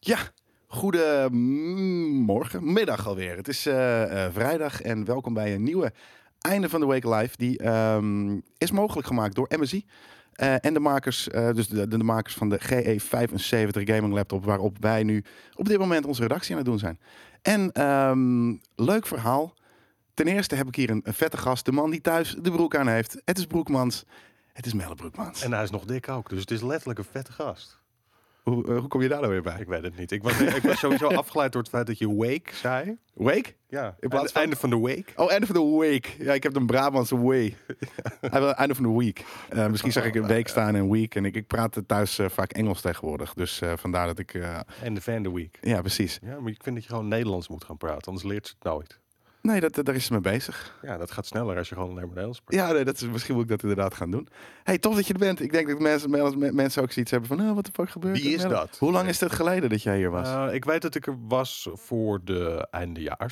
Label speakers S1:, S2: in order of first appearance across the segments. S1: Ja, goedemorgen, middag alweer. Het is eh, eh, vrijdag en welkom bij een nieuwe Einde van de Week Live. Die ehm, is mogelijk gemaakt door MSI. eh, en de makers, eh, dus de, de makers van de GE75 Gaming Laptop, waarop wij nu op dit moment onze redactie aan het doen zijn. En ehm, leuk verhaal. Ten eerste heb ik hier een, een vette gast, de man die thuis de broek aan heeft. Het is Broekmans. Het is Melle Broekmans.
S2: En hij is nog dik ook, dus het is letterlijk een vette gast.
S1: hoe, eh, hoe kom je daar nou weer bij?
S2: Ik weet het niet. Ik was, ik was sowieso afgeleid door het feit dat je wake zei.
S1: Wake?
S2: Ja,
S1: In plaats
S2: in plaats
S1: van-
S2: einde van de week.
S1: Oh, einde van de week. Ja, ik heb een Brabantse way. Hij wil einde van de week. Eh, misschien zag ik een
S2: Oh,
S1: week staan en week. En ik, ik praat thuis eh, vaak Engels tegenwoordig. Dus eh, vandaar dat ik... eh,
S2: En de van de week.
S1: ja, precies.
S2: Ja, maar ik vind dat je gewoon Nederlands moet gaan praten, anders leert ze het nooit.
S1: Nee, dat, eh, daar is ze mee bezig.
S2: Ja, dat gaat sneller als je gewoon alleen maar Nederlands praat.
S1: Ja, nee, dat is, misschien moet ik dat inderdaad gaan doen. hey, tof dat je er bent. Ik denk dat mensen, men- mensen ook zoiets hebben van... Oh, wat de fuck gebeurt
S2: Wie
S1: er?
S2: is dat?
S1: Hoe lang is het geleden dat jij hier was?
S2: Eh, ik weet dat ik er was voor de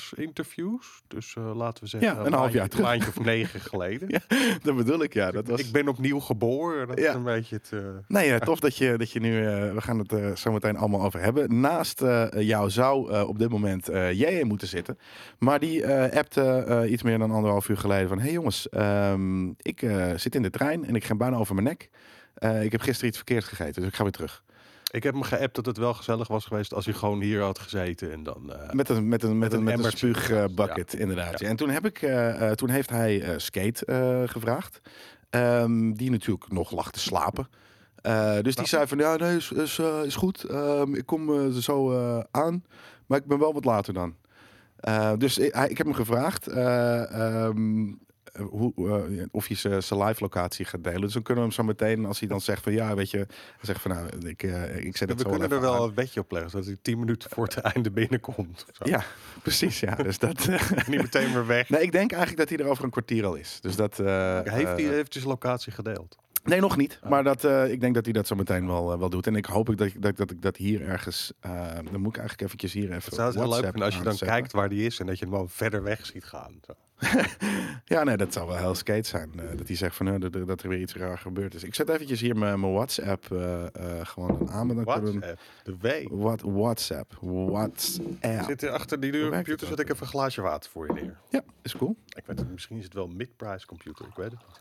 S2: eindejaarsinterviews. Dus eh, laten we zeggen...
S1: Ja, een half jaar
S2: maandje-
S1: terug.
S2: maandje of negen geleden.
S1: Ja, dat bedoel ik, ja. Dat was...
S2: Ik ben opnieuw geboren. Dat
S1: Ja.
S2: is een beetje het... eh,
S1: Nee, eh, tof dat je, dat je nu... eh, we gaan het eh, zo meteen allemaal over hebben. Naast eh, jou zou eh, op dit moment eh jij in moeten zitten. Maar die eh appte eh, iets meer dan anderhalf uur geleden van... Hé hey jongens, ehm, ik eh, zit in de trein en ik ga bijna over mijn nek. Eh, ik heb gisteren iets verkeerds gegeten, dus ik ga weer terug.
S2: Ik heb hem geappt dat het wel gezellig was geweest als hij gewoon hier had gezeten en dan... eh,
S1: Met een, met een, met
S2: een
S1: een, met een
S2: emmertje.
S1: spuug, eh, bucket, inderdaad.
S2: Ja.
S1: En toen, heb ik, eh, eh, toen heeft hij eh, Skate eh, gevraagd. Ehm, die natuurlijk nog lag te slapen. Eh, dus
S2: Nou.
S1: die zei van, ja, nee, is, is, eh, is goed. Ehm, ik kom eh, zo eh, aan. Maar ik ben wel wat later dan. Eh, dus ik, hij- ik heb hem gevraagd eh, ehm, eh, hoe, eh, of hij zijn- zijn live locatie gaat delen. Dus dan kunnen we hem zo meteen, als hij dan zegt van, ja, weet je. Hij zegt van, nou, ik, eh, ik zet het
S2: we
S1: zo wel even
S2: kunnen er wel
S1: aan.
S2: een wetje op leggen, dat hij tien minuten voor het einde binnenkomt. of zo.
S1: Ja, precies, ja. Dus dat...
S2: Niet meteen weer weg.
S1: Nee, ik denk eigenlijk dat hij er over een kwartier al is. Dus dat. eh,
S2: Heeft hij Oh.
S1: eh,
S2: heeft hij zijn locatie gedeeld?
S1: Nee, nog niet. Maar dat, eh, ik denk dat hij dat zo meteen wel, eh, wel doet. En ik hoop ook dat, ik- dat, dat ik dat hier ergens. eh, dan moet ik eigenlijk eventjes hier even.
S2: Het zou heel leuk
S1: WhatsApp
S2: vinden als je dan
S1: aanzetten.
S2: kijkt waar die is en dat je hem gewoon verder weg ziet gaan. Zo.
S1: Ja, nee, dat zou wel heel skate zijn. eh, dat hij zegt van eh, dat, er- dat er weer iets raar gebeurd is. Ik zet eventjes hier mijn mijn WhatsApp eh, eh, gewoon aan. Maar dan kunnen we Oh,
S2: WhatsApp, Eh, de W.
S1: hem- Wat, WhatsApp. WhatsApp.
S2: Zit er achter die dure
S1: Hoe werkt
S2: computer
S1: het
S2: zet ik even een glaasje water voor je neer.
S1: Ja, is cool.
S2: Ik weet het, misschien is het wel een mid-price computer, ik weet het niet.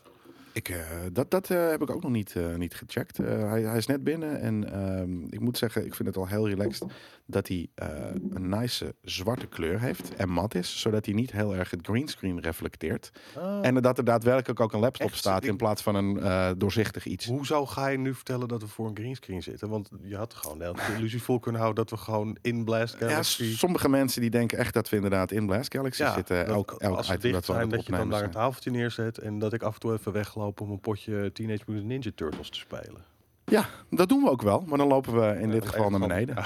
S1: Ik, eh, dat dat eh, heb ik ook nog niet, eh, niet gecheckt. Eh, hij, hij is net binnen en ehm, ik moet zeggen, ik vind het al heel relaxed dat hij eh, een nice zwarte kleur heeft en mat is, zodat hij niet heel erg het greenscreen reflecteert. En dat er daadwerkelijk ook een laptop
S2: Ah. Echt?
S1: staat in
S2: Ik-
S1: plaats van een eh, doorzichtig iets.
S2: Hoezo ga je nu vertellen dat we voor een greenscreen zitten? Want je had gewoon de hele tijd de illusie vol kunnen houden dat we gewoon in Blast
S1: Ja,
S2: Galaxy...
S1: sommige mensen die denken echt dat we inderdaad in Blast Galaxy zitten.
S2: dat
S1: Elk, elk
S2: als ze
S1: item
S2: dicht
S1: dat we aan
S2: zijn,
S1: het
S2: dat je dan
S1: opnemen
S2: daar een
S1: zijn.
S2: tafeltje neerzet en dat ik af en toe even wegloop om een potje Teenage Mutant Ninja Turtles te spelen.
S1: Ja, dat doen we ook wel, maar dan lopen we in dit
S2: dat
S1: geval
S2: even
S1: naar beneden.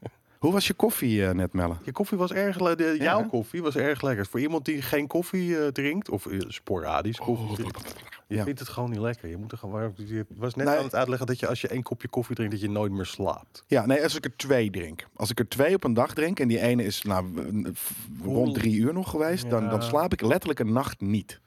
S1: Hoe was je koffie eh, net, Melle?
S2: Je koffie was erg le- de-
S1: Ja,
S2: Jouw
S1: hè?
S2: koffie was erg lekker. Voor iemand die geen koffie eh, drinkt of eh, sporadisch koffie drinkt, je
S1: Ja.
S2: vindt het gewoon niet lekker. Je moet er gewoon. waarom- Je was net
S1: Nee.
S2: aan het uitleggen dat je als je één kopje koffie drinkt dat je nooit meer slaapt.
S1: Ja, nee, als ik er twee drink. Als ik er twee op een dag drink en die ene is nou, w- f- rond drie uur nog geweest, dan, dan
S2: Ja.
S1: slaap ik letterlijk een nacht niet.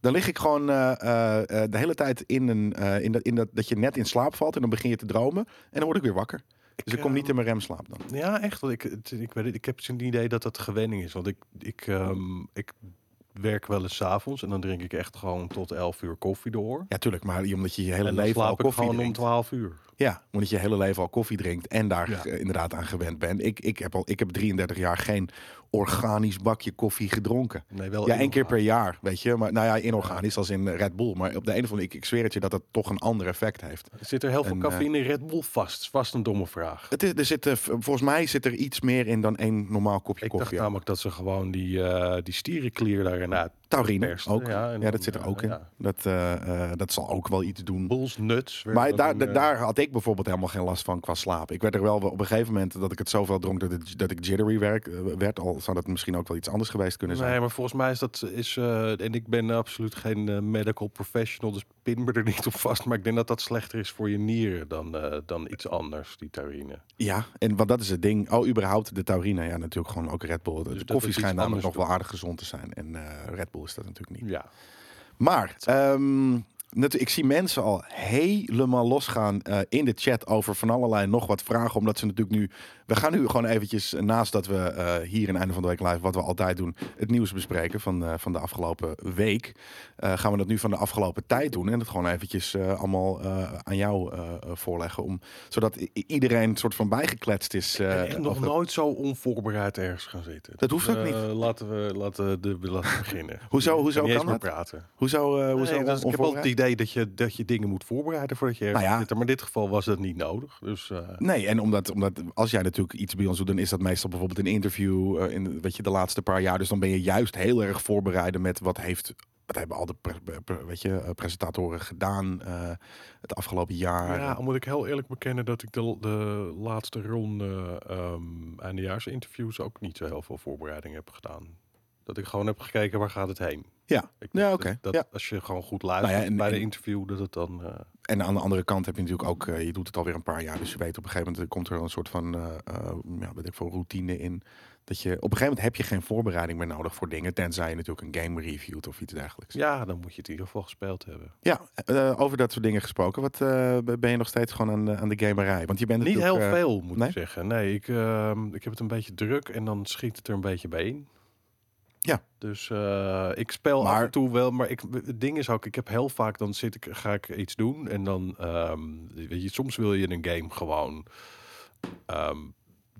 S1: Dan lig ik gewoon eh, eh, eh, de hele tijd in, een, eh, in, dat, in dat, dat je net in slaap valt en dan begin je te dromen en dan word ik weer wakker. Dus ik kom
S2: ehm,
S1: niet in mijn remslaap dan.
S2: Ja, echt. want Ik, het- ik, weet het, ik heb zo'n idee dat dat gewenning is. Want ik, ik, ehm, ik werk wel eens 's avonds en dan drink ik echt gewoon tot 11 uur koffie door.
S1: Ja, tuurlijk, maar omdat je je hele
S2: En dan
S1: leven al
S2: slaap ik
S1: koffie
S2: gewoon om
S1: drinkt.
S2: 12 uur.
S1: Ja, omdat je je hele leven al koffie drinkt en daar
S2: Ja.
S1: eh, inderdaad aan gewend bent. Ik, ik, heb al, ik heb 33 jaar geen organisch bakje koffie gedronken.
S2: Nee, wel
S1: Ja, één keer per
S2: inorganisch.
S1: jaar, weet je. Maar nou ja, inorganisch als in Red Bull. Maar op de een of andere ik, ik zweer het je dat dat toch een ander effect heeft.
S2: Zit er heel veel
S1: En, eh,
S2: cafeïne in Red Bull vast? Vast een domme vraag.
S1: Het is, er zit, eh, v- volgens mij zit er iets meer in dan één normaal kopje
S2: Ik dacht
S1: koffie.
S2: namelijk dat ze gewoon die, eh die stierenklier daarin uit.
S1: Taurine
S2: Perst,
S1: ook.
S2: ja,
S1: Ja,
S2: en
S1: dat
S2: dan,
S1: zit er
S2: eh,
S1: ook in.
S2: ja.
S1: Dat, eh, eh, dat zal ook wel iets doen.
S2: Bulls nuts. werd
S1: Maar
S2: dat
S1: daar,
S2: een,
S1: da-
S2: eh,
S1: daar had ik bijvoorbeeld helemaal geen last van qua slaap. Ik werd er wel op een gegeven moment dat ik het zoveel dronk dat, het, dat ik jittery werk, eh, werd. Al zou dat misschien ook wel iets anders geweest kunnen zijn.
S2: Nee, maar volgens mij is dat. Is, eh, en ik ben absoluut geen eh, medical professional, dus pin me er niet op vast. Maar ik denk dat dat slechter is voor je nieren dan, eh, dan iets anders, die tarine.
S1: Ja, en want dat is het ding. Oh, überhaupt de taurine. Ja, natuurlijk gewoon ook Red Bull. De- De,
S2: Dus dat het
S1: koffie
S2: iets
S1: schijnt namelijk
S2: anders
S1: nog wel aardig gezond te zijn. En eh, Red Bull is dat natuurlijk niet.
S2: Ja.
S1: Maar, ehm, Natu- ik zie mensen al helemaal losgaan eh, in de chat over van allerlei nog wat vragen. Omdat ze natuurlijk nu. We gaan nu gewoon eventjes, eh, naast dat we eh, hier in Einde van de Week Live, wat we altijd doen, het nieuws bespreken van, eh, van de afgelopen week. eh, gaan we dat nu van de afgelopen tijd doen. En dat gewoon eventjes eh, allemaal eh, aan jou eh, eh, voorleggen. Om, zodat i- i- iedereen soort van bijgekletst is. eh,
S2: Ik ben nog
S1: over-
S2: nooit zo onvoorbereid ergens gaan zitten.
S1: Dat hoeft
S2: Dus,
S1: ook
S2: eh,
S1: niet.
S2: Laten we laten de, we laten beginnen.
S1: Hoezo- hoezo
S2: Ik niet eens
S1: kan
S2: meer praten.
S1: Hoezo? eh, hoezo
S2: Nee, dat is- ik heb
S1: onvoorbereid?
S2: altijd het idee dat je, dat je dingen moet voorbereiden voordat je ergens
S1: Nou ja.
S2: zit. Maar in dit geval was dat niet nodig. Dus eh,
S1: Nee, en omdat, omdat als jij natuurlijk iets bij ons doet, dan is dat meestal bijvoorbeeld een interview eh, in weet je, de laatste paar jaar. Dus dan ben je juist heel erg voorbereid met wat heeft. Wat hebben al de pre- pre- pre- weet je, eh, presentatoren gedaan eh, het afgelopen jaar?
S2: ja, al moet ik heel eerlijk bekennen dat ik de, de laatste ronde ehm eindejaarsinterviews ook niet zo heel veel voorbereiding heb gedaan. Dat ik gewoon heb gekeken waar gaat het heen.
S1: Ja.
S2: Ik
S1: Ja,
S2: denk
S1: oké,
S2: dat- dat
S1: ja.
S2: Als je gewoon goed luistert
S1: Nou ja, en-
S2: bij de
S1: en-
S2: interview, dat het dan. eh,
S1: En aan de andere kant heb je natuurlijk ook, eh, je doet het alweer een paar jaar, dus je weet op een gegeven moment eh, komt er een soort van, eh, eh, ja, weet ik veel, routine in. Dat je, op een gegeven moment heb je geen voorbereiding meer nodig voor dingen, tenzij je natuurlijk een game reviewt of iets dergelijks.
S2: ja, dan moet je het in ieder geval gespeeld hebben.
S1: Ja, eh, over dat soort dingen gesproken. Wat eh, ben je nog steeds gewoon aan, de- aan de gamerij? Want je bent
S2: Niet heel
S1: natuurlijk, eh,
S2: veel, moet
S1: nee?
S2: ik zeggen. Nee, ik, ehm, ik heb het een beetje druk en dan schiet het er een beetje bij in.
S1: Ja.
S2: Dus eh, ik speel af
S1: Maar-
S2: en toe wel, maar ik, het ding is ook, ik heb heel vaak, dan zit ik, ga ik iets doen en dan, ehm, weet je, soms wil je een game gewoon ehm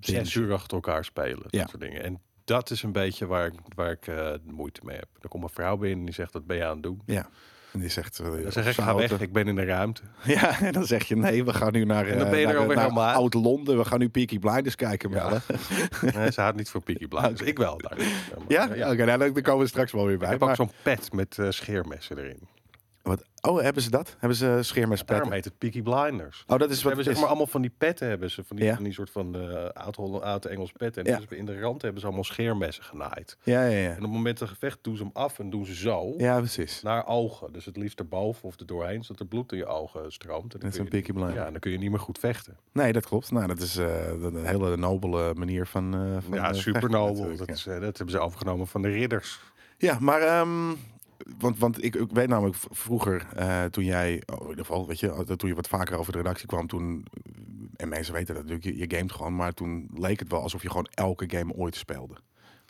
S2: zes uur achter elkaar spelen,
S1: Ja.
S2: dat soort dingen. En dat is een beetje waar ik, waar ik eh, moeite mee heb. Dan komt mijn vrouw binnen en die zegt, wat ben je aan het doen?
S1: Ja. En die zegt... eh,
S2: Dan
S1: op
S2: zeg ik,
S1: zijn
S2: ga weg,
S1: auto-
S2: ik ben in de ruimte.
S1: Ja, en dan zeg je nee, we gaan nu naar,
S2: En dan
S1: eh,
S2: ben je
S1: naar,
S2: er alweer
S1: naar
S2: helemaal uit.
S1: Oud-Londen. We gaan nu Peaky Blinders kijken.
S2: Ja.
S1: Ja,
S2: Nee, ze houdt niet van Peaky Blinders. Ik wel. daar. Maar,
S1: ja?
S2: eh,
S1: oké, nou, dan- dan komen we straks wel weer
S2: Ik
S1: bij.
S2: heb
S1: Maar-
S2: ook zo'n pet met eh, scheermessen erin.
S1: wat, oh, hebben ze dat? Hebben ze scheermespetten?
S2: Daarom heet het Peaky Blinders.
S1: Oh, dat is wat
S2: Ze hebben
S1: het
S2: zeg
S1: is.
S2: maar allemaal van die petten hebben ze. Van die,
S1: Ja.
S2: van die soort van eh, oud-Holland- oud-Engels petten. En
S1: Ja.
S2: dus in de rand hebben ze allemaal scheermessen genaaid.
S1: Ja, ja, ja.
S2: En op het moment van gevecht doen ze hem af en doen ze zo
S1: Ja, precies.
S2: naar ogen. Dus het liefst erboven of er doorheen, zodat er bloed in je ogen stroomt. En dan,
S1: Net
S2: kun
S1: zo'n
S2: je,
S1: Peaky Blinders.
S2: ja, en dan kun je niet meer goed vechten.
S1: Nee, dat klopt. Nou, dat is eh, een een hele nobele manier van... eh, van eh,
S2: ja,
S1: vechten
S2: super nobel.
S1: natuurlijk,
S2: Dat,
S1: ja.
S2: is, eh, dat hebben ze overgenomen van de ridders.
S1: Ja, maar. ehm, want, want ik, ik weet namelijk v- vroeger, eh, toen jij, oh, in ieder geval, weet je, dat- toen je wat vaker over de redactie kwam, toen, eh, en mensen weten dat natuurlijk, je, je gamet gewoon, maar toen leek het wel alsof je gewoon elke game ooit speelde.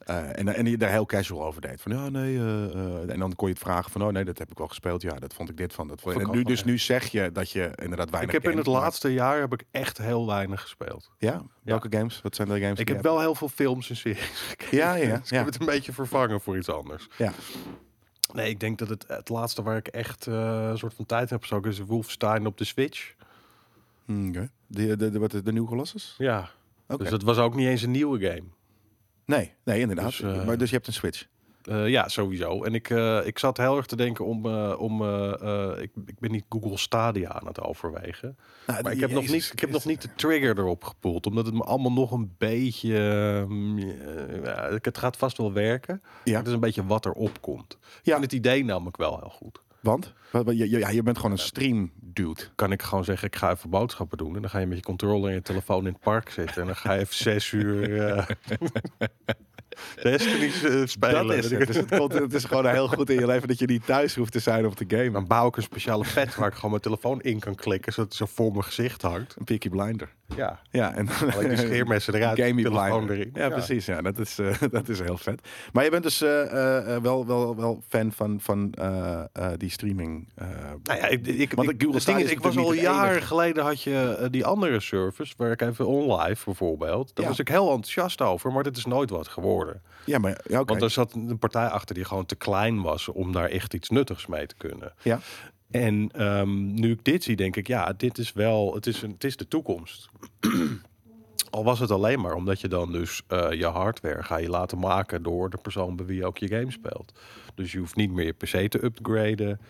S1: Eh, en, en je daar heel casual over deed. Van ja, nee. eh, eh, en dan kon je het vragen van, oh nee, dat heb ik wel gespeeld. Ja, dat vond ik dit van. Dat vond ik.
S2: Vond ik
S1: En nu,
S2: ook wel,
S1: dus nu zeg je dat je inderdaad
S2: Ik
S1: weinig.
S2: heb in het
S1: gamet, maar-
S2: laatste jaar heb ik echt heel weinig gespeeld.
S1: Ja, welke games? Wat zijn de games?
S2: Ik
S1: die
S2: heb
S1: Dus je
S2: wel heel veel films en series gekeken.
S1: Ja, ja,
S2: Dus ik
S1: ja.
S2: heb het een beetje vervangen voor iets anders.
S1: Ja.
S2: Nee, ik denk dat het, het laatste waar ik echt eh, een soort van tijd heb gestoken is Wolfenstein op de Switch.
S1: hebt? Hmm, oké. de, de, de, wat de, de nieuwe Colossus?
S2: Ja.
S1: Oké.
S2: Dus dat was ook niet eens een nieuwe game.
S1: nee, nee, inderdaad.
S2: Dus, eh,
S1: maar, dus je hebt een Switch.
S2: Eh, ja, sowieso. En ik, eh, ik zat heel erg te denken om... eh, om eh, eh, ik, ik ben niet Google Stadia aan het overwegen.
S1: Nou,
S2: Maar ik heb, nog
S1: Jezus
S2: niet, ik heb nog
S1: Christus.
S2: niet de trigger erop gepoeld. Omdat het me allemaal nog een beetje... ehm, eh, ja, het gaat vast wel werken.
S1: Ja.
S2: Het is een beetje wat erop komt.
S1: Ja.
S2: En het idee namelijk wel heel goed.
S1: Want? Wat- wat- je- je- Ja, je bent gewoon een stream dude.
S2: kan ik gewoon zeggen, ik ga even boodschappen doen. En dan ga je met je controller en je telefoon in het park zitten. En dan ga je even zes uur eh Destiny eh, spelen.
S1: Dat is het. Dus het, komt, het is gewoon heel goed in je leven dat je niet thuis hoeft te zijn op de game.
S2: Dan bouw ik een speciale pet waar ik gewoon mijn telefoon in kan klikken. Zodat het zo voor mijn gezicht hangt.
S1: Een Peaky Blinder.
S2: Ja,
S1: Ja, en dan
S2: haal ik dus die scheermessen eruit.
S1: Gamey
S2: de telefoon
S1: Blinder.
S2: erin.
S1: Ja, precies. Ja, dat is, eh, dat is heel vet. Maar je bent dus eh, eh, eh, wel, wel, wel fan van, van eh, eh, die streaming. eh,
S2: Nou ja, ik, ik,
S1: Want Google
S2: ik- het ding
S1: Stadia
S2: is,
S1: is
S2: ik was al
S1: natuurlijk niet de
S2: jaren
S1: enige.
S2: geleden had je eh, die andere service, waar ik even online bijvoorbeeld. Daar
S1: Ja.
S2: was ik heel enthousiast over, maar dat is nooit wat geworden.
S1: ja, maar ja, oké.
S2: Want er zat een partij achter die gewoon te klein was om daar echt iets nuttigs mee te kunnen.
S1: Ja.
S2: En ehm, nu ik dit zie, denk ik, ja, dit is wel, het is, een, het is de toekomst. Al was het alleen maar omdat je dan dus eh, je hardware ga je laten maken door de persoon bij wie je ook je game speelt. Dus je hoeft niet meer je PC te upgraden.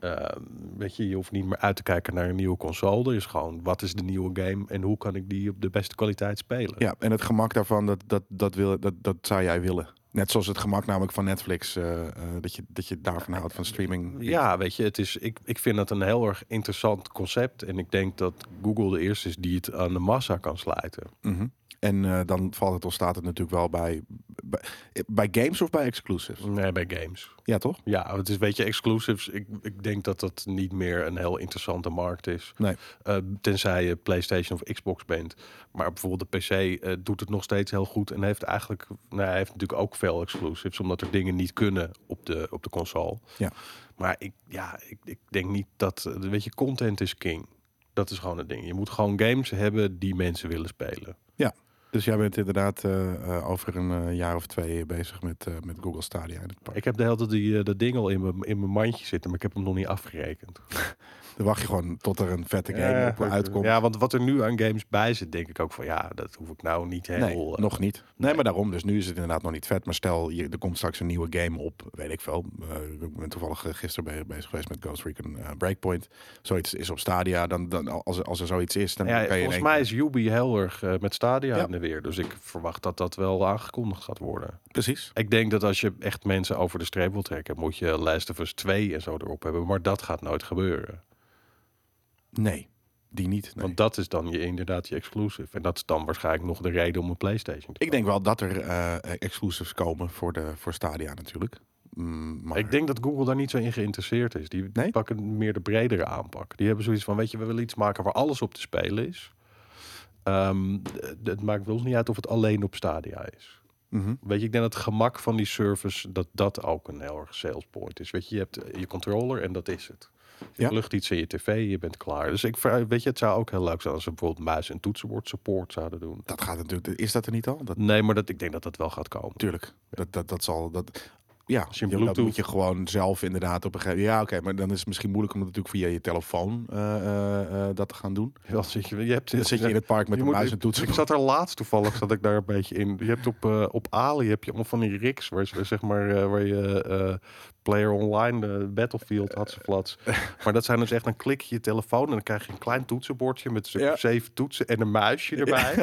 S2: Ehm, weet je, je hoeft niet meer uit te kijken naar een nieuwe console. Er is gewoon, wat is de nieuwe game en hoe kan ik die op de beste kwaliteit spelen?
S1: Ja, en het gemak daarvan, dat, dat, dat, wil, dat, dat zou jij willen. Net zoals het gemak namelijk van Netflix, eh, eh, dat, je, dat je daarvan houdt van streaming.
S2: Ja, weet je, het is, ik, ik vind dat een heel erg interessant concept. En ik denk dat Google de eerste is die het aan de massa kan slijten.
S1: Mhm. En eh, dan valt het ontstaat het natuurlijk wel bij, bij, bij games of bij exclusives?
S2: Nee, bij games.
S1: Ja, toch?
S2: Ja, het is weet je, exclusives. Ik, ik denk dat dat niet meer een heel interessante markt is.
S1: Nee.
S2: Eh, tenzij je PlayStation of Xbox bent. Maar bijvoorbeeld de PC eh, doet het nog steeds heel goed. En heeft eigenlijk, nou, hij heeft natuurlijk ook veel exclusives. Omdat er dingen niet kunnen op de, op de console.
S1: Ja.
S2: Maar ik, ja, ik, ik denk niet dat, eh, weet je, content is king. Dat is gewoon het ding. Je moet gewoon games hebben die mensen willen spelen.
S1: Dus jij bent inderdaad eh, eh, over een eh, jaar of twee bezig met, eh, met Google Stadia in het park.
S2: Ik heb de hele tijd die, eh, dat ding al in mijn, in mijn mandje zitten, maar ik heb hem nog niet afgerekend.
S1: Dan wacht je gewoon tot er een vette game
S2: Ja,
S1: op uitkomt.
S2: Ja, want wat er nu aan games bij zit, denk ik ook van ja, dat hoef ik nou niet
S1: Nee,
S2: helemaal. eh,
S1: nog niet. Nee,
S2: nee.
S1: maar daarom. Dus nu is het inderdaad nog niet vet. Maar stel, je, er komt straks een nieuwe game op. Weet ik veel. Eh, ik ben toevallig eh, gisteren be- bezig geweest met Ghost Recon eh, Breakpoint. Zoiets is op Stadia. Dan, dan, als, er- als er zoiets is, dan
S2: nou ja,
S1: kan je... in
S2: volgens
S1: één-
S2: mij is Ubi heel erg eh, met Stadia
S1: Ja.
S2: in de weer. Dus ik verwacht dat dat wel aangekondigd gaat worden.
S1: Precies.
S2: Ik denk dat als je echt mensen over de streep wil trekken, moet je Last of Us 2 en zo erop hebben. Maar dat gaat nooit gebeuren.
S1: Nee, die niet. nee.
S2: Want dat is dan je, inderdaad je exclusive. En dat is dan waarschijnlijk nog de reden om een PlayStation te
S1: Ik denk wel dat er eh, exclusives komen voor, de, voor Stadia natuurlijk. Mm, maar...
S2: kopen. Ik denk dat Google daar niet zo in geïnteresseerd is. Die
S1: Nee?
S2: pakken meer de bredere aanpak. Die hebben zoiets van, weet je, we willen iets maken waar alles op te spelen is. Ehm, d- het maakt ons niet uit of het alleen op Stadia is.
S1: Mhm.
S2: Weet je, ik denk dat het gemak van die service, dat dat ook een heel erg sales point is. Weet je, je hebt eh, je controller en dat is het. Je
S1: Ja.
S2: plugt iets in je tv, je bent klaar. Dus ik vraag, weet je, het zou ook heel leuk zijn als ze bijvoorbeeld muis- en toetsenbord support zouden doen.
S1: Dat gaat natuurlijk... Is dat er niet al? Dat,
S2: Nee, maar dat, ik denk dat dat wel gaat komen.
S1: tuurlijk. Dat, dat, dat zal... Dat, ja,
S2: je een
S1: je- dat
S2: Bluetooth-
S1: moet je gewoon zelf inderdaad op een gegeven Ja, oké, maar dan is het misschien moeilijk om dat natuurlijk via je telefoon eh, eh, eh, dat te gaan doen.
S2: Ja, zit je, je hebt,
S1: Dan zit je in het park met
S2: je
S1: een
S2: moet-
S1: muis en toetsen.
S2: Ik zat er laatst toevallig, zat ik daar een beetje in. Je hebt op, eh, op Ali heb je allemaal van die rigs, waar, ze- zeg maar, eh, waar je eh, player online, eh, Battlefield, had ze flats. Maar dat zijn dus echt, dan klik je je telefoon en dan krijg je een klein toetsenbordje met een stuk
S1: Ja.
S2: of zeven toetsen en een muisje erbij.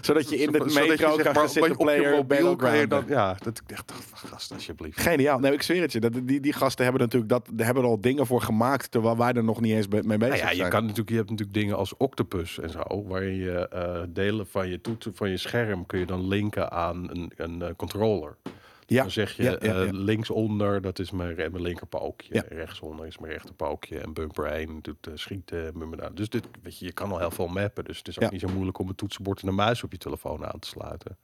S1: Zodat je in de
S2: Zodat je,
S1: metro
S2: zeg
S1: kan
S2: maar,
S1: gaan zitten
S2: op je
S1: player op
S2: mobiel kan je
S1: Battleground.
S2: dan, Ja, dat ik dacht, ach, gast, alsjeblieft.
S1: Geniaal. Nee, ik zweer het je. Dat, die, die gasten hebben natuurlijk dat, die hebben er al dingen voor gemaakt, terwijl wij er nog niet eens be- mee bezig
S2: Nou ja, je,
S1: zijn.
S2: kan natuurlijk, je hebt natuurlijk dingen als octopus en zo, waarin je eh, delen van je toetsen van je scherm kun je dan linken aan een, een eh, controller.
S1: ja,
S2: Dan zeg je
S1: ja, ja,
S2: eh,
S1: ja.
S2: linksonder, dat is mijn, re- mijn linkerpookje.
S1: Ja.
S2: Rechtsonder is mijn rechterpookje. En bumper 1 doet eh, schieten. bumper daar. Dus dit, weet je, je kan al heel veel mappen. Dus het is ook
S1: Ja.
S2: niet zo moeilijk om een toetsenbord en een muis op je telefoon aan te sluiten.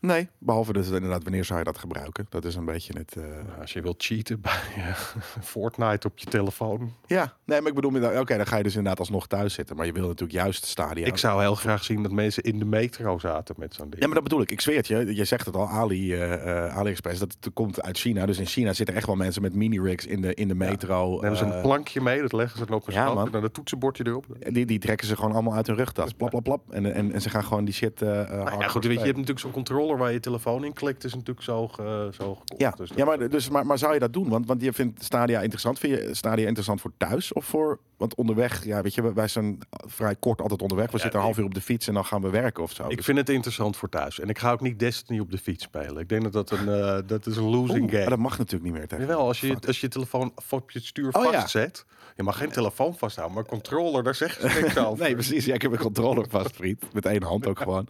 S1: Nee, behalve dus inderdaad, wanneer zou je dat gebruiken? Dat is een beetje het... eh,
S2: Nou, als je wilt cheaten bij eh, Fortnite op je telefoon.
S1: Ja, nee, maar ik bedoel, inderdaad- oké, dan ga je dus inderdaad alsnog thuis zitten. Maar je wil natuurlijk juist stadia.
S2: Ik zou heel graag zien dat mensen in de metro zaten met zo'n ding.
S1: Ja, maar dat bedoel ik. Ik zweer het je. Je zegt het al, Ali, eh eh, AliExpress, dat het komt uit China. Dus in China zitten echt wel mensen met mini-rigs in de, in de metro.
S2: Dan hebben ze
S1: eh,
S2: een plankje mee, dat leggen ze dan op een
S1: ja,
S2: ja,
S1: man.
S2: en dan een toetsenbordje erop. Nou
S1: Eh, die, die trekken ze gewoon allemaal uit hun rugtas. Plap, plap, plap. En, en, en ze gaan gewoon die shit eh, eh,
S2: Nou ja,
S1: hardcore
S2: goed, weet je, je
S1: spelen.
S2: hebt natuurlijk zo'n controller waar je telefoon in klikt, is natuurlijk zo, ge- zo gekocht.
S1: Ja,
S2: Dus dat-
S1: ja maar, dus, maar, maar zou je dat doen? Want, want je vindt Stadia interessant. Vind je Stadia interessant voor thuis of voor... Want onderweg, ja, weet je, wij- wij zijn vrij kort altijd onderweg. We zitten een half uur op de fiets en dan gaan we werken of zo.
S2: Ik
S1: Dus-
S2: vind het interessant voor thuis. En ik ga ook niet Destiny op de fiets spelen. Ik denk dat dat een, eh, dat is een
S1: Oeh,
S2: losing
S1: maar
S2: game.
S1: dat mag natuurlijk niet meer tegen.
S2: Jawel, als je, als je telefoon v- op je stuur
S1: Oh, ja.
S2: vastzet. Je mag geen telefoon vasthouden, maar controller, daar zeggen ze niks over.
S1: Nee, precies. Ja, ik heb een controller vast, vriend. Met één hand ook gewoon.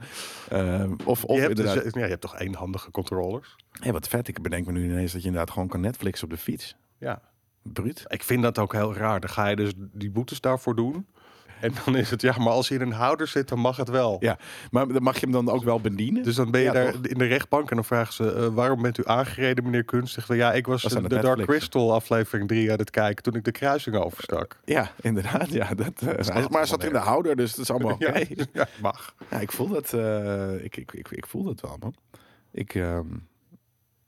S1: Ehm, of of
S2: je, hebt dus,
S1: inderdaad...
S2: ja, je hebt toch eenhandige controllers?
S1: Hé, dus- wat vet. Ik bedenk me nu ineens dat je inderdaad gewoon kan Netflix op de fiets.
S2: Ja.
S1: Bruut.
S2: Ik vind dat ook heel raar. Dan ga je dus die boetes daarvoor doen. En dan is het, ja, maar als je in een houder zit, dan mag het wel.
S1: Ja, maar dan mag je hem dan ook wel bedienen?
S2: Dus dan ben je
S1: Ja,
S2: daar
S1: toch?
S2: in de rechtbank en dan vragen ze... eh, waarom bent u aangereden, meneer Kunstig? Van, ja, ik was,
S1: Was
S2: eh,
S1: aan
S2: de
S1: het
S2: Dark
S1: Netflixen.
S2: Crystal aflevering 3 aan het kijken... toen ik de kruising overstak.
S1: Ja, inderdaad. Ja, dat, eh, hij- maar hij
S2: allemaal
S1: zat in de houder, dus dat is allemaal oké.
S2: Ja, ja, mag.
S1: Ja, ik voel dat. eh, ik, ik, ik, ik voel dat wel, man. Ik. ehm,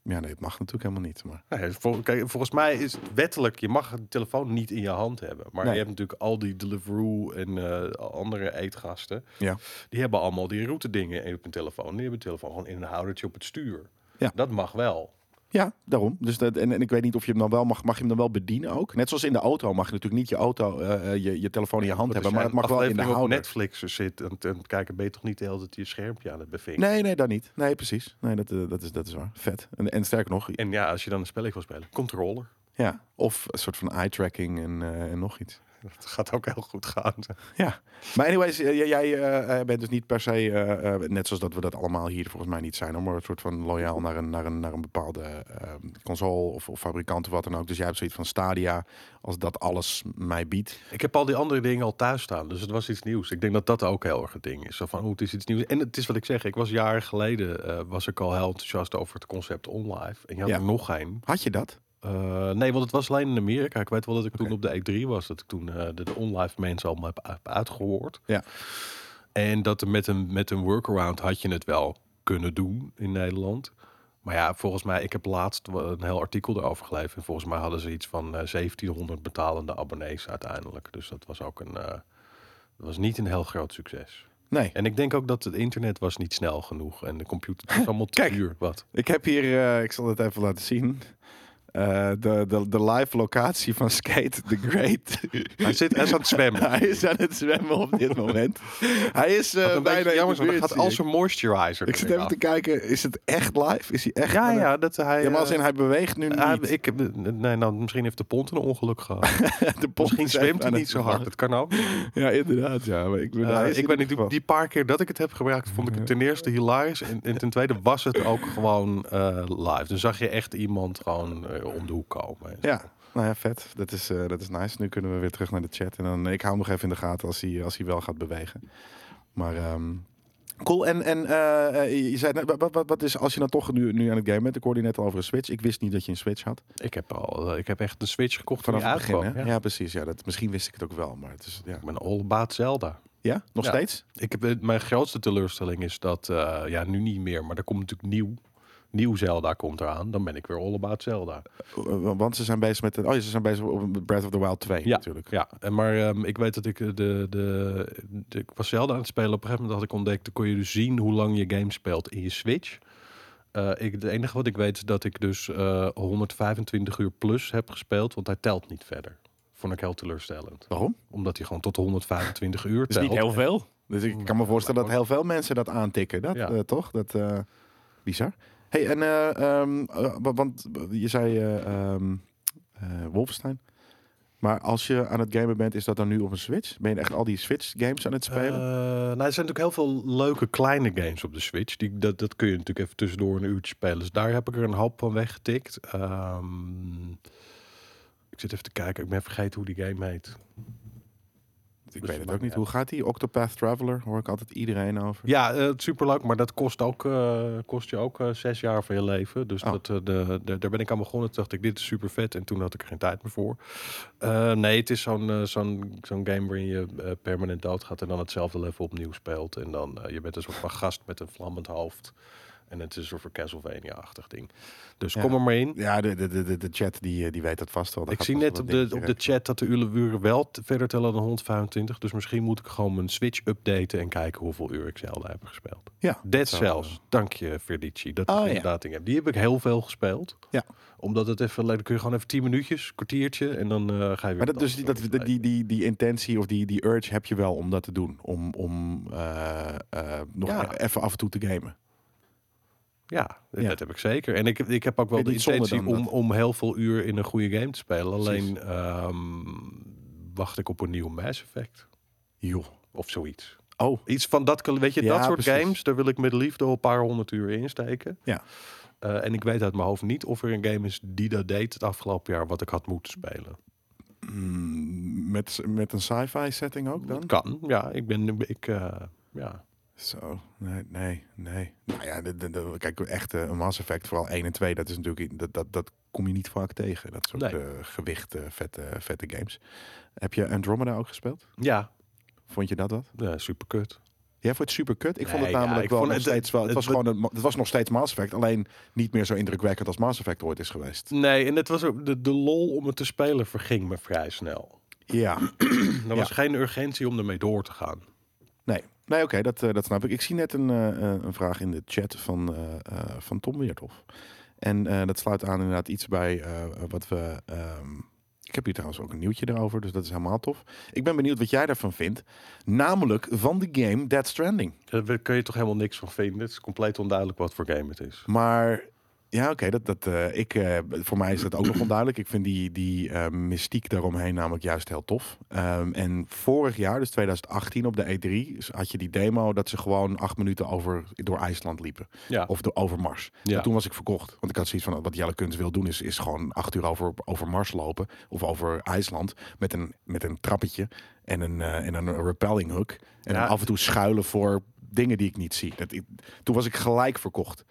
S1: ja, nee, het mag natuurlijk helemaal niet. Maar
S2: Nee, vol- kijk, volgens mij is het wettelijk... je mag een telefoon niet in je hand hebben. Maar
S1: Nee.
S2: je hebt natuurlijk al die Deliveroo en eh, andere eetgasten...
S1: Ja.
S2: die hebben allemaal die route dingen op hun telefoon. Die hebben hun telefoon gewoon in een houdertje op het stuur.
S1: Ja.
S2: Dat mag wel.
S1: ja, daarom. Dus dat, en, en ik weet niet of je hem dan wel mag. Mag je hem dan wel bedienen ook? Net zoals in de auto mag je natuurlijk niet je auto, eh, eh, je, je telefoon in je hand
S2: Want
S1: hebben, maar
S2: als jij
S1: het mag
S2: een
S1: wel in de
S2: aflevering op
S1: houder.
S2: Netflix zit en, en kijken... ben je toch niet de hele tijd je schermpje aan het bevinken?
S1: Nee, nee, dat niet. Nee, precies. Nee, dat, eh, dat, is, dat is waar. Vet. En, en sterker nog,
S2: En ja, als je dan een spelletje wil spelen, controller.
S1: ja. Of een soort van eye-tracking en, eh, en nog iets.
S2: Dat gaat ook heel goed gaan.
S1: Ja, maar anyways, eh, jij, jij, eh, eh, bent dus niet per se, eh, eh, net zoals dat we dat allemaal hier volgens mij niet zijn, hoor, maar een soort van loyaal naar een, naar een, naar een bepaalde eh, console of, of fabrikant of wat dan ook. Dus jij hebt zoiets van Stadia, als dat alles mij biedt.
S2: Ik heb al die andere dingen al thuis staan, dus het was iets nieuws. Ik denk dat dat ook heel erg het ding is. Zo van, oh, het is iets nieuws. En het is wat ik zeg, ik was jaren geleden eh, was ik al heel enthousiast over het concept OnLive. En je had
S1: Ja.
S2: er nog één.
S1: Had je dat?
S2: Eh, nee, want het was alleen in Amerika. Ik weet wel dat ik
S1: Oké.
S2: toen op de E3 was, dat ik toen eh, de, de OnLive mensen allemaal heb, heb uitgehoord.
S1: Ja.
S2: En dat er met een, met een workaround had je het wel kunnen doen in Nederland. Maar ja, volgens mij, ik heb laatst wel een heel artikel erover gelezen. En volgens mij hadden ze iets van eh, 1700 betalende abonnees uiteindelijk. Dus dat was ook een. eh, dat was niet een heel groot succes.
S1: Nee.
S2: En ik denk ook dat het internet was niet snel genoeg. En de computer het was allemaal te
S1: Kijk.
S2: duur. Wat?
S1: Ik heb hier, eh, ik zal het even laten zien, Eh, de, de, de live locatie van Skate the Great.
S2: Hij zit hij is aan het zwemmen.
S1: Hij is aan het zwemmen op dit moment. Hij is eh,
S2: Wat een
S1: bijna
S2: beetje jammer,
S1: in
S2: is, want
S1: de
S2: hij
S1: buurt,
S2: gaat
S1: zie
S2: als
S1: ik.
S2: een moisturizer.
S1: Ik zit
S2: erin
S1: even
S2: af.
S1: te kijken, is het echt live? Is hij echt?
S2: Ja,
S1: aan het-
S2: ja, dat hij.
S1: Ja, maar als
S2: eh,
S1: in hij beweegt nu
S2: hij-
S1: niet.
S2: ik, heb- nee, nou, misschien heeft de pont een ongeluk gehad.
S1: de pont
S2: Misschien
S1: is even
S2: zwemt hij
S1: aan
S2: niet
S1: het
S2: zo hard.
S1: vervallen.
S2: Dat kan ook.
S1: Ja, inderdaad. Ja, maar ik, ben,
S2: Eh,
S1: hij Ah, is in
S2: ik weet
S1: ieder
S2: niet, die,
S1: geval-
S2: die paar keer dat ik het heb gebruikt, vond ik het ten eerste hilarisch. En, en ten tweede was het ook gewoon eh, live. Dan zag je echt iemand gewoon eh, om de hoek komen.
S1: Ja, nou ja, vet. Dat is, eh, dat is nice. Nu kunnen we weer terug naar de chat. En dan, ik hou hem nog even in de gaten als hij, als hij wel gaat bewegen. Maar ehm, cool. En, en eh, eh, je zei, net, wat, wat, wat is, als je dan toch nu, nu aan het game bent, ik hoorde je net al over een Switch. Ik wist niet dat je een Switch had.
S2: Ik heb, al, eh, ik heb echt een Switch gekocht
S1: Vanaf
S2: toen
S1: het
S2: die
S1: begin,
S2: uitkwam.
S1: hè? Ja.
S2: Ja.
S1: precies. Ja, dat, misschien wist ik het ook wel, maar het is, ja.
S2: Ik ben all about Zelda.
S1: Ja? Nog
S2: Ja.
S1: steeds?
S2: Ik heb, eh, mijn grootste teleurstelling is dat, eh, ja, nu niet meer, maar er komt natuurlijk nieuw. Nieuw Zelda komt eraan, dan ben ik weer all about Zelda.
S1: Eh, Want ze zijn bezig met, de, oh, ja, ze zijn bezig op Breath of the Wild 2
S2: Ja,
S1: natuurlijk.
S2: Ja, en maar ehm, ik weet dat ik eh, de, de, de... Ik was Zelda aan het spelen. Op een gegeven moment had ik ontdekt... dan kon je dus zien hoe lang je game speelt in je Switch. Eh, ik, het enige wat ik weet is dat ik dus eh, 125 uur plus heb gespeeld. Want hij telt niet verder. Vond ik heel teleurstellend.
S1: Waarom?
S2: Omdat hij gewoon tot 125 uur
S1: Dat
S2: telt.
S1: is niet heel veel. Dus ik kan me voorstellen dat heel veel mensen dat aantikken, dat,
S2: Ja.
S1: eh, toch? Dat, eh, bizar. Hey, en eh, ehm, eh, wa- want je zei eh, ehm, eh, Wolfenstein. Maar als je aan het gamen bent, is dat dan nu op een Switch? Ben je echt al die Switch-games aan het spelen?
S2: Eh, nou, er zijn natuurlijk heel veel leuke kleine games op de Switch. Die, dat, dat kun je natuurlijk even tussendoor een uurtje spelen. Dus daar heb ik er een hoop van weggetikt. Ehm, ik zit even te kijken. Ik ben vergeten hoe die game heet.
S1: ik
S2: dus
S1: weet het
S2: maakt
S1: ook niet.
S2: niet
S1: Hoe gaat die? Octopath Traveler hoor ik altijd iedereen over.
S2: Ja, eh, superleuk. Maar dat kost, ook, eh, kost je ook eh, zes jaar van je leven. Dus
S1: Oh.
S2: dat, eh, de, de- daar ben ik aan begonnen. Toen dacht ik, dit is super vet. En toen had ik er geen tijd meer voor. Eh, nee, het is zo'n eh, zo'n zo'n game waarin je eh, permanent doodgaat... en dan hetzelfde level opnieuw speelt. En dan eh, je bent een soort van gast met een vlammend hoofd. En het is een soort van Castlevania-achtig ding. Dus
S1: Ja.
S2: kom er maar in.
S1: Ja, de, de, de, de- de chat die, eh, die weet dat vast wel. Daar
S2: Ik
S1: gaat
S2: zie
S1: vast
S2: net
S1: wel
S2: op
S1: een
S2: de, op
S1: dingetje
S2: de chat dat de uren wel te- verder tellen dan 125. Dus misschien moet ik gewoon mijn Switch updaten en kijken hoeveel uur ik Zelda heb gespeeld.
S1: Ja,
S2: Dead
S1: zou-
S2: Cells. Dank je, Verdici. Dat
S1: Oh,
S2: is
S1: ja.
S2: inderdaad een game. Die heb ik heel veel gespeeld.
S1: Ja.
S2: Omdat het even, dan kun je gewoon even 10 minuutjes, kwartiertje en dan eh, ga je weer.
S1: Maar dat, dus, die- dat, die, die, die, die intentie of die, die urge heb je wel om dat te doen. Om, om eh, eh, nog
S2: Ja.
S1: even af en toe te gamen.
S2: Ja,
S1: Ja.
S2: dat heb ik zeker. En ik, ik heb ook wel
S1: Vind
S2: de
S1: je het zonde
S2: intentie
S1: dan
S2: om,
S1: dat-
S2: om heel veel uur in een goede game te spelen.
S1: Precies.
S2: Alleen ehm, wacht ik op een nieuw Mass Effect
S1: Joh.
S2: of zoiets.
S1: Oh,
S2: Iets van dat, kal- weet je,
S1: Ja,
S2: dat soort
S1: precies.
S2: games, daar wil ik met liefde al een paar honderd uur in steken.
S1: Ja.
S2: Eh, en ik weet uit mijn hoofd niet of er een game is die dat deed het afgelopen jaar wat ik had moeten spelen.
S1: mm, met, met een sci-fi setting ook dan?
S2: Dat kan, ja. Ik ben, ik, eh, ja.
S1: Zo, nee, nee, nee. Nou ja, de, de, de- kijk, echt eh, een Mass Effect, vooral 1 en 2, dat is natuurlijk, i- dat, dat, dat kom je niet vaak tegen. Dat soort
S2: Nee.
S1: eh, gewicht, eh, vette, vette games. Heb je Andromeda ook gespeeld?
S2: Ja,
S1: Vond je dat wat?
S2: super kut.
S1: Jij vond het super kut. Ik vond het
S2: Nee, ja,
S1: namelijk
S2: ik
S1: wel
S2: vond
S1: nog
S2: het-
S1: steeds wel. Het,
S2: het-
S1: was gewoon een, ma- het was nog steeds Mass Effect, alleen niet meer zo indrukwekkend als Mass Effect ooit is geweest.
S2: Nee, en het was ook, de, de lol om het te spelen verging me vrij snel.
S1: Ja,
S2: Er was geen urgentie om ermee door te gaan.
S1: nee, nee, oké, dat, eh, dat snap ik. Ik zie net een, eh, eh, een vraag in de chat van, eh, eh, van Tom Weerthof. En eh, dat sluit aan inderdaad iets bij eh, wat we. ehm, ik heb hier trouwens ook een nieuwtje erover, dus dat is helemaal tof. Ik ben benieuwd wat jij daarvan vindt. Namelijk van de game Dead Stranding.
S2: Daar kun je toch helemaal niks van vinden. Het is compleet onduidelijk wat voor game het is.
S1: Maar Ja, oké. dat, dat, eh, ik, eh, voor mij is dat ook nog onduidelijk. Ik vind die, die eh, mystiek daaromheen namelijk juist heel tof. Ehm, en vorig jaar, dus 2018 op de E3, s- had je die demo dat ze gewoon acht minuten over, door IJsland liepen.
S2: Ja.
S1: Of door, over Mars.
S2: Ja.
S1: En toen was ik verkocht. Want ik had zoiets van, oh, wat Jelle Kunst wil doen is, is gewoon acht uur over, over Mars lopen. Of over IJsland met een, met een trappetje en een, eh, en een rappelling hook. En
S2: Ja.
S1: dan af en toe schuilen voor dingen die ik niet zie. Dat, ik, toen was ik gelijk verkocht.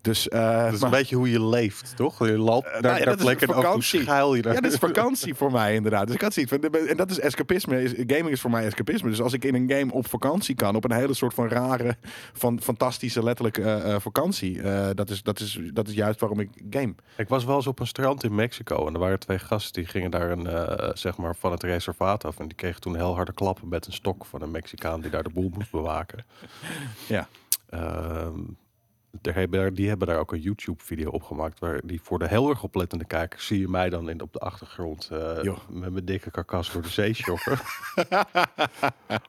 S1: Dus, eh,
S2: Dat is
S1: maar-
S2: een beetje hoe je leeft, toch? Je loopt naar,
S1: nou ja,
S2: naar
S1: dat is
S2: plekken en af en toe
S1: vakantie.
S2: schuil je daar.
S1: Ja, dat is vakantie voor mij inderdaad. Dus ik had zoiets van, en dat is escapisme. Is- Gaming is voor mij escapisme. Dus als ik in een game op vakantie kan, op een hele soort van rare, van fantastische letterlijk eh, eh, vakantie, eh, dat, is, dat, is, dat is juist waarom ik game.
S2: Ik was wel eens op een strand in Mexico en er waren twee gasten die gingen daar een, eh, zeg maar van het reservaat af. En die kregen toen heel harde klappen met een stok van een Mexicaan die daar de boel moest bewaken.
S1: Ja.
S2: Ehm, daar hebben daar- die hebben daar ook een YouTube-video op gemaakt. Waar die voor de heel erg oplettende kijkers zie je mij dan in, op de achtergrond eh,
S1: Joh.
S2: met mijn dikke karkas door de zee sjoggen.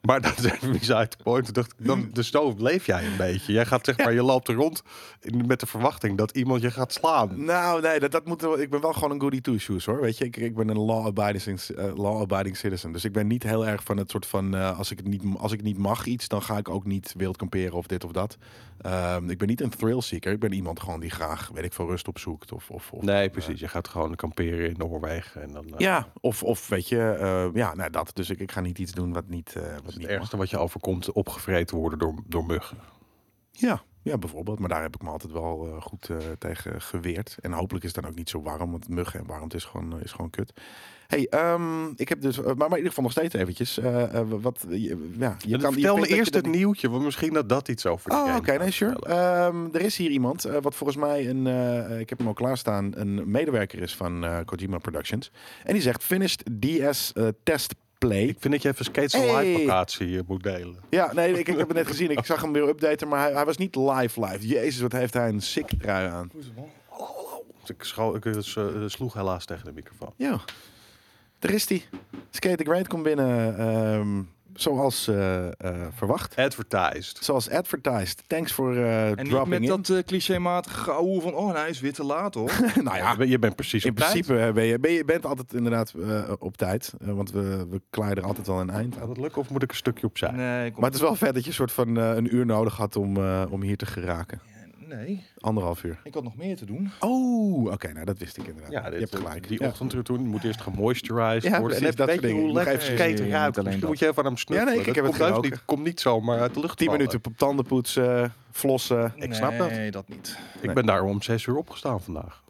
S2: maar dat is even beside the point. Toen dacht ik, Dan, dus zo leef jij een beetje. Jij gaat zeg maar, je loopt er rond in- met de verwachting dat iemand je gaat slaan.
S1: Nou, nee, dat, dat moet, wel- ik ben wel gewoon een goody two-shoes hoor. Weet je, ik, ik ben een law-abiding citizen- eh, law-abiding citizen. Dus ik ben niet heel erg van het soort van, eh, als, ik het niet, als ik niet mag iets, dan ga ik ook niet wild kamperen of dit of dat. Ehm, ik ben niet een thrill-seeker. Ik ben iemand gewoon die graag, weet ik veel, rust opzoekt of, of, of
S2: Nee, precies. Je gaat gewoon kamperen in Noorwegen. En dan, eh,
S1: Ja, of, of weet je, eh, ja, nou dat. Dus ik, ik ga niet iets doen wat niet, eh, wat
S2: Het
S1: niet mag.
S2: ergste wat je overkomt, opgevreten worden door, door muggen.
S1: Ja, ja, bijvoorbeeld. Maar daar heb ik me altijd wel eh, goed eh, tegen geweerd. En hopelijk is het dan ook niet zo warm, want muggen en warmte is gewoon, eh, is gewoon kut. hey, ehm, ik heb dus, eh, maar, maar in ieder geval nog steeds eventjes. eh, eh, wat, je, ja, je kan, je
S2: Vertel
S1: vindt dat
S2: me
S1: je
S2: eerst
S1: dat
S2: het nieuwtje, want misschien dat dat iets over de
S1: Oh,
S2: game
S1: oké, nee,
S2: gaat
S1: sure.
S2: vertellen.
S1: Ehm, er is hier iemand, eh, wat volgens mij een, eh, ik heb hem al klaarstaan, een medewerker is van eh, Kojima Productions. En die zegt, finished DS eh, test play.
S2: Ik vind dat je even Skates Online
S1: Hey.
S2: vakantie eh, moet delen.
S1: Ja, nee, ik, ik heb het net gezien. Ik zag hem weer updaten, maar hij, hij was niet live live. Jezus, wat heeft hij een sick trui aan.
S2: Ik, scho- ik eh, s- eh, sloeg helaas tegen de microfoon.
S1: Ja, daar is hij. Skate the Great komt binnen, ehm, zoals eh, eh, verwacht.
S2: Advertised.
S1: Zoals advertised. Thanks voor eh
S3: En niet
S1: dropping
S3: met
S1: in.
S3: dat eh clichématige geouwe van, oh, hij is weer te laat, hoor.
S1: nou
S2: Ja,
S1: ja,
S2: je bent- je bent precies
S1: in
S2: op tijd.
S1: principe eh, ben je, ben je bent altijd inderdaad eh, op tijd. Eh, want we, we klaaien er altijd wel een eind aan.
S2: Gaat het lukken of moet ik een stukje opzij?
S3: Nee, kom.
S1: Maar het is wel vet dat je soort van eh, een uur nodig had om, eh, om hier te geraken.
S3: Nee,
S1: Anderhalf uur.
S3: ik had nog meer te doen.
S1: Oh, oké, nou dat wist ik inderdaad.
S2: Ja,
S1: je
S2: dit-
S1: hebt gelijk.
S2: Die
S1: Ja.
S2: ochtend er toen moet eerst gemoisturized
S1: Ja,
S2: worden.
S1: precies,
S2: En
S1: dat
S2: weet
S1: soort
S2: je
S1: dingen.
S2: hoe
S1: Je moet
S2: lekker
S1: even
S2: skate ruikt?
S3: skaten. Niet alleen
S2: Misschien
S3: dat.
S2: moet je even aan hem snuffelen.
S1: Ja, nee, ik
S2: Dat
S1: heb het
S2: komt heus
S1: geroken.
S2: niet, komt niet zomaar uit de lucht
S1: 10
S2: vallen.
S1: minuten op tanden poetsen, flossen.
S3: nee,
S1: Ik snap dat.
S3: Nee, dat niet.
S1: Nee.
S2: Ik ben daar om zes uur opgestaan vandaag.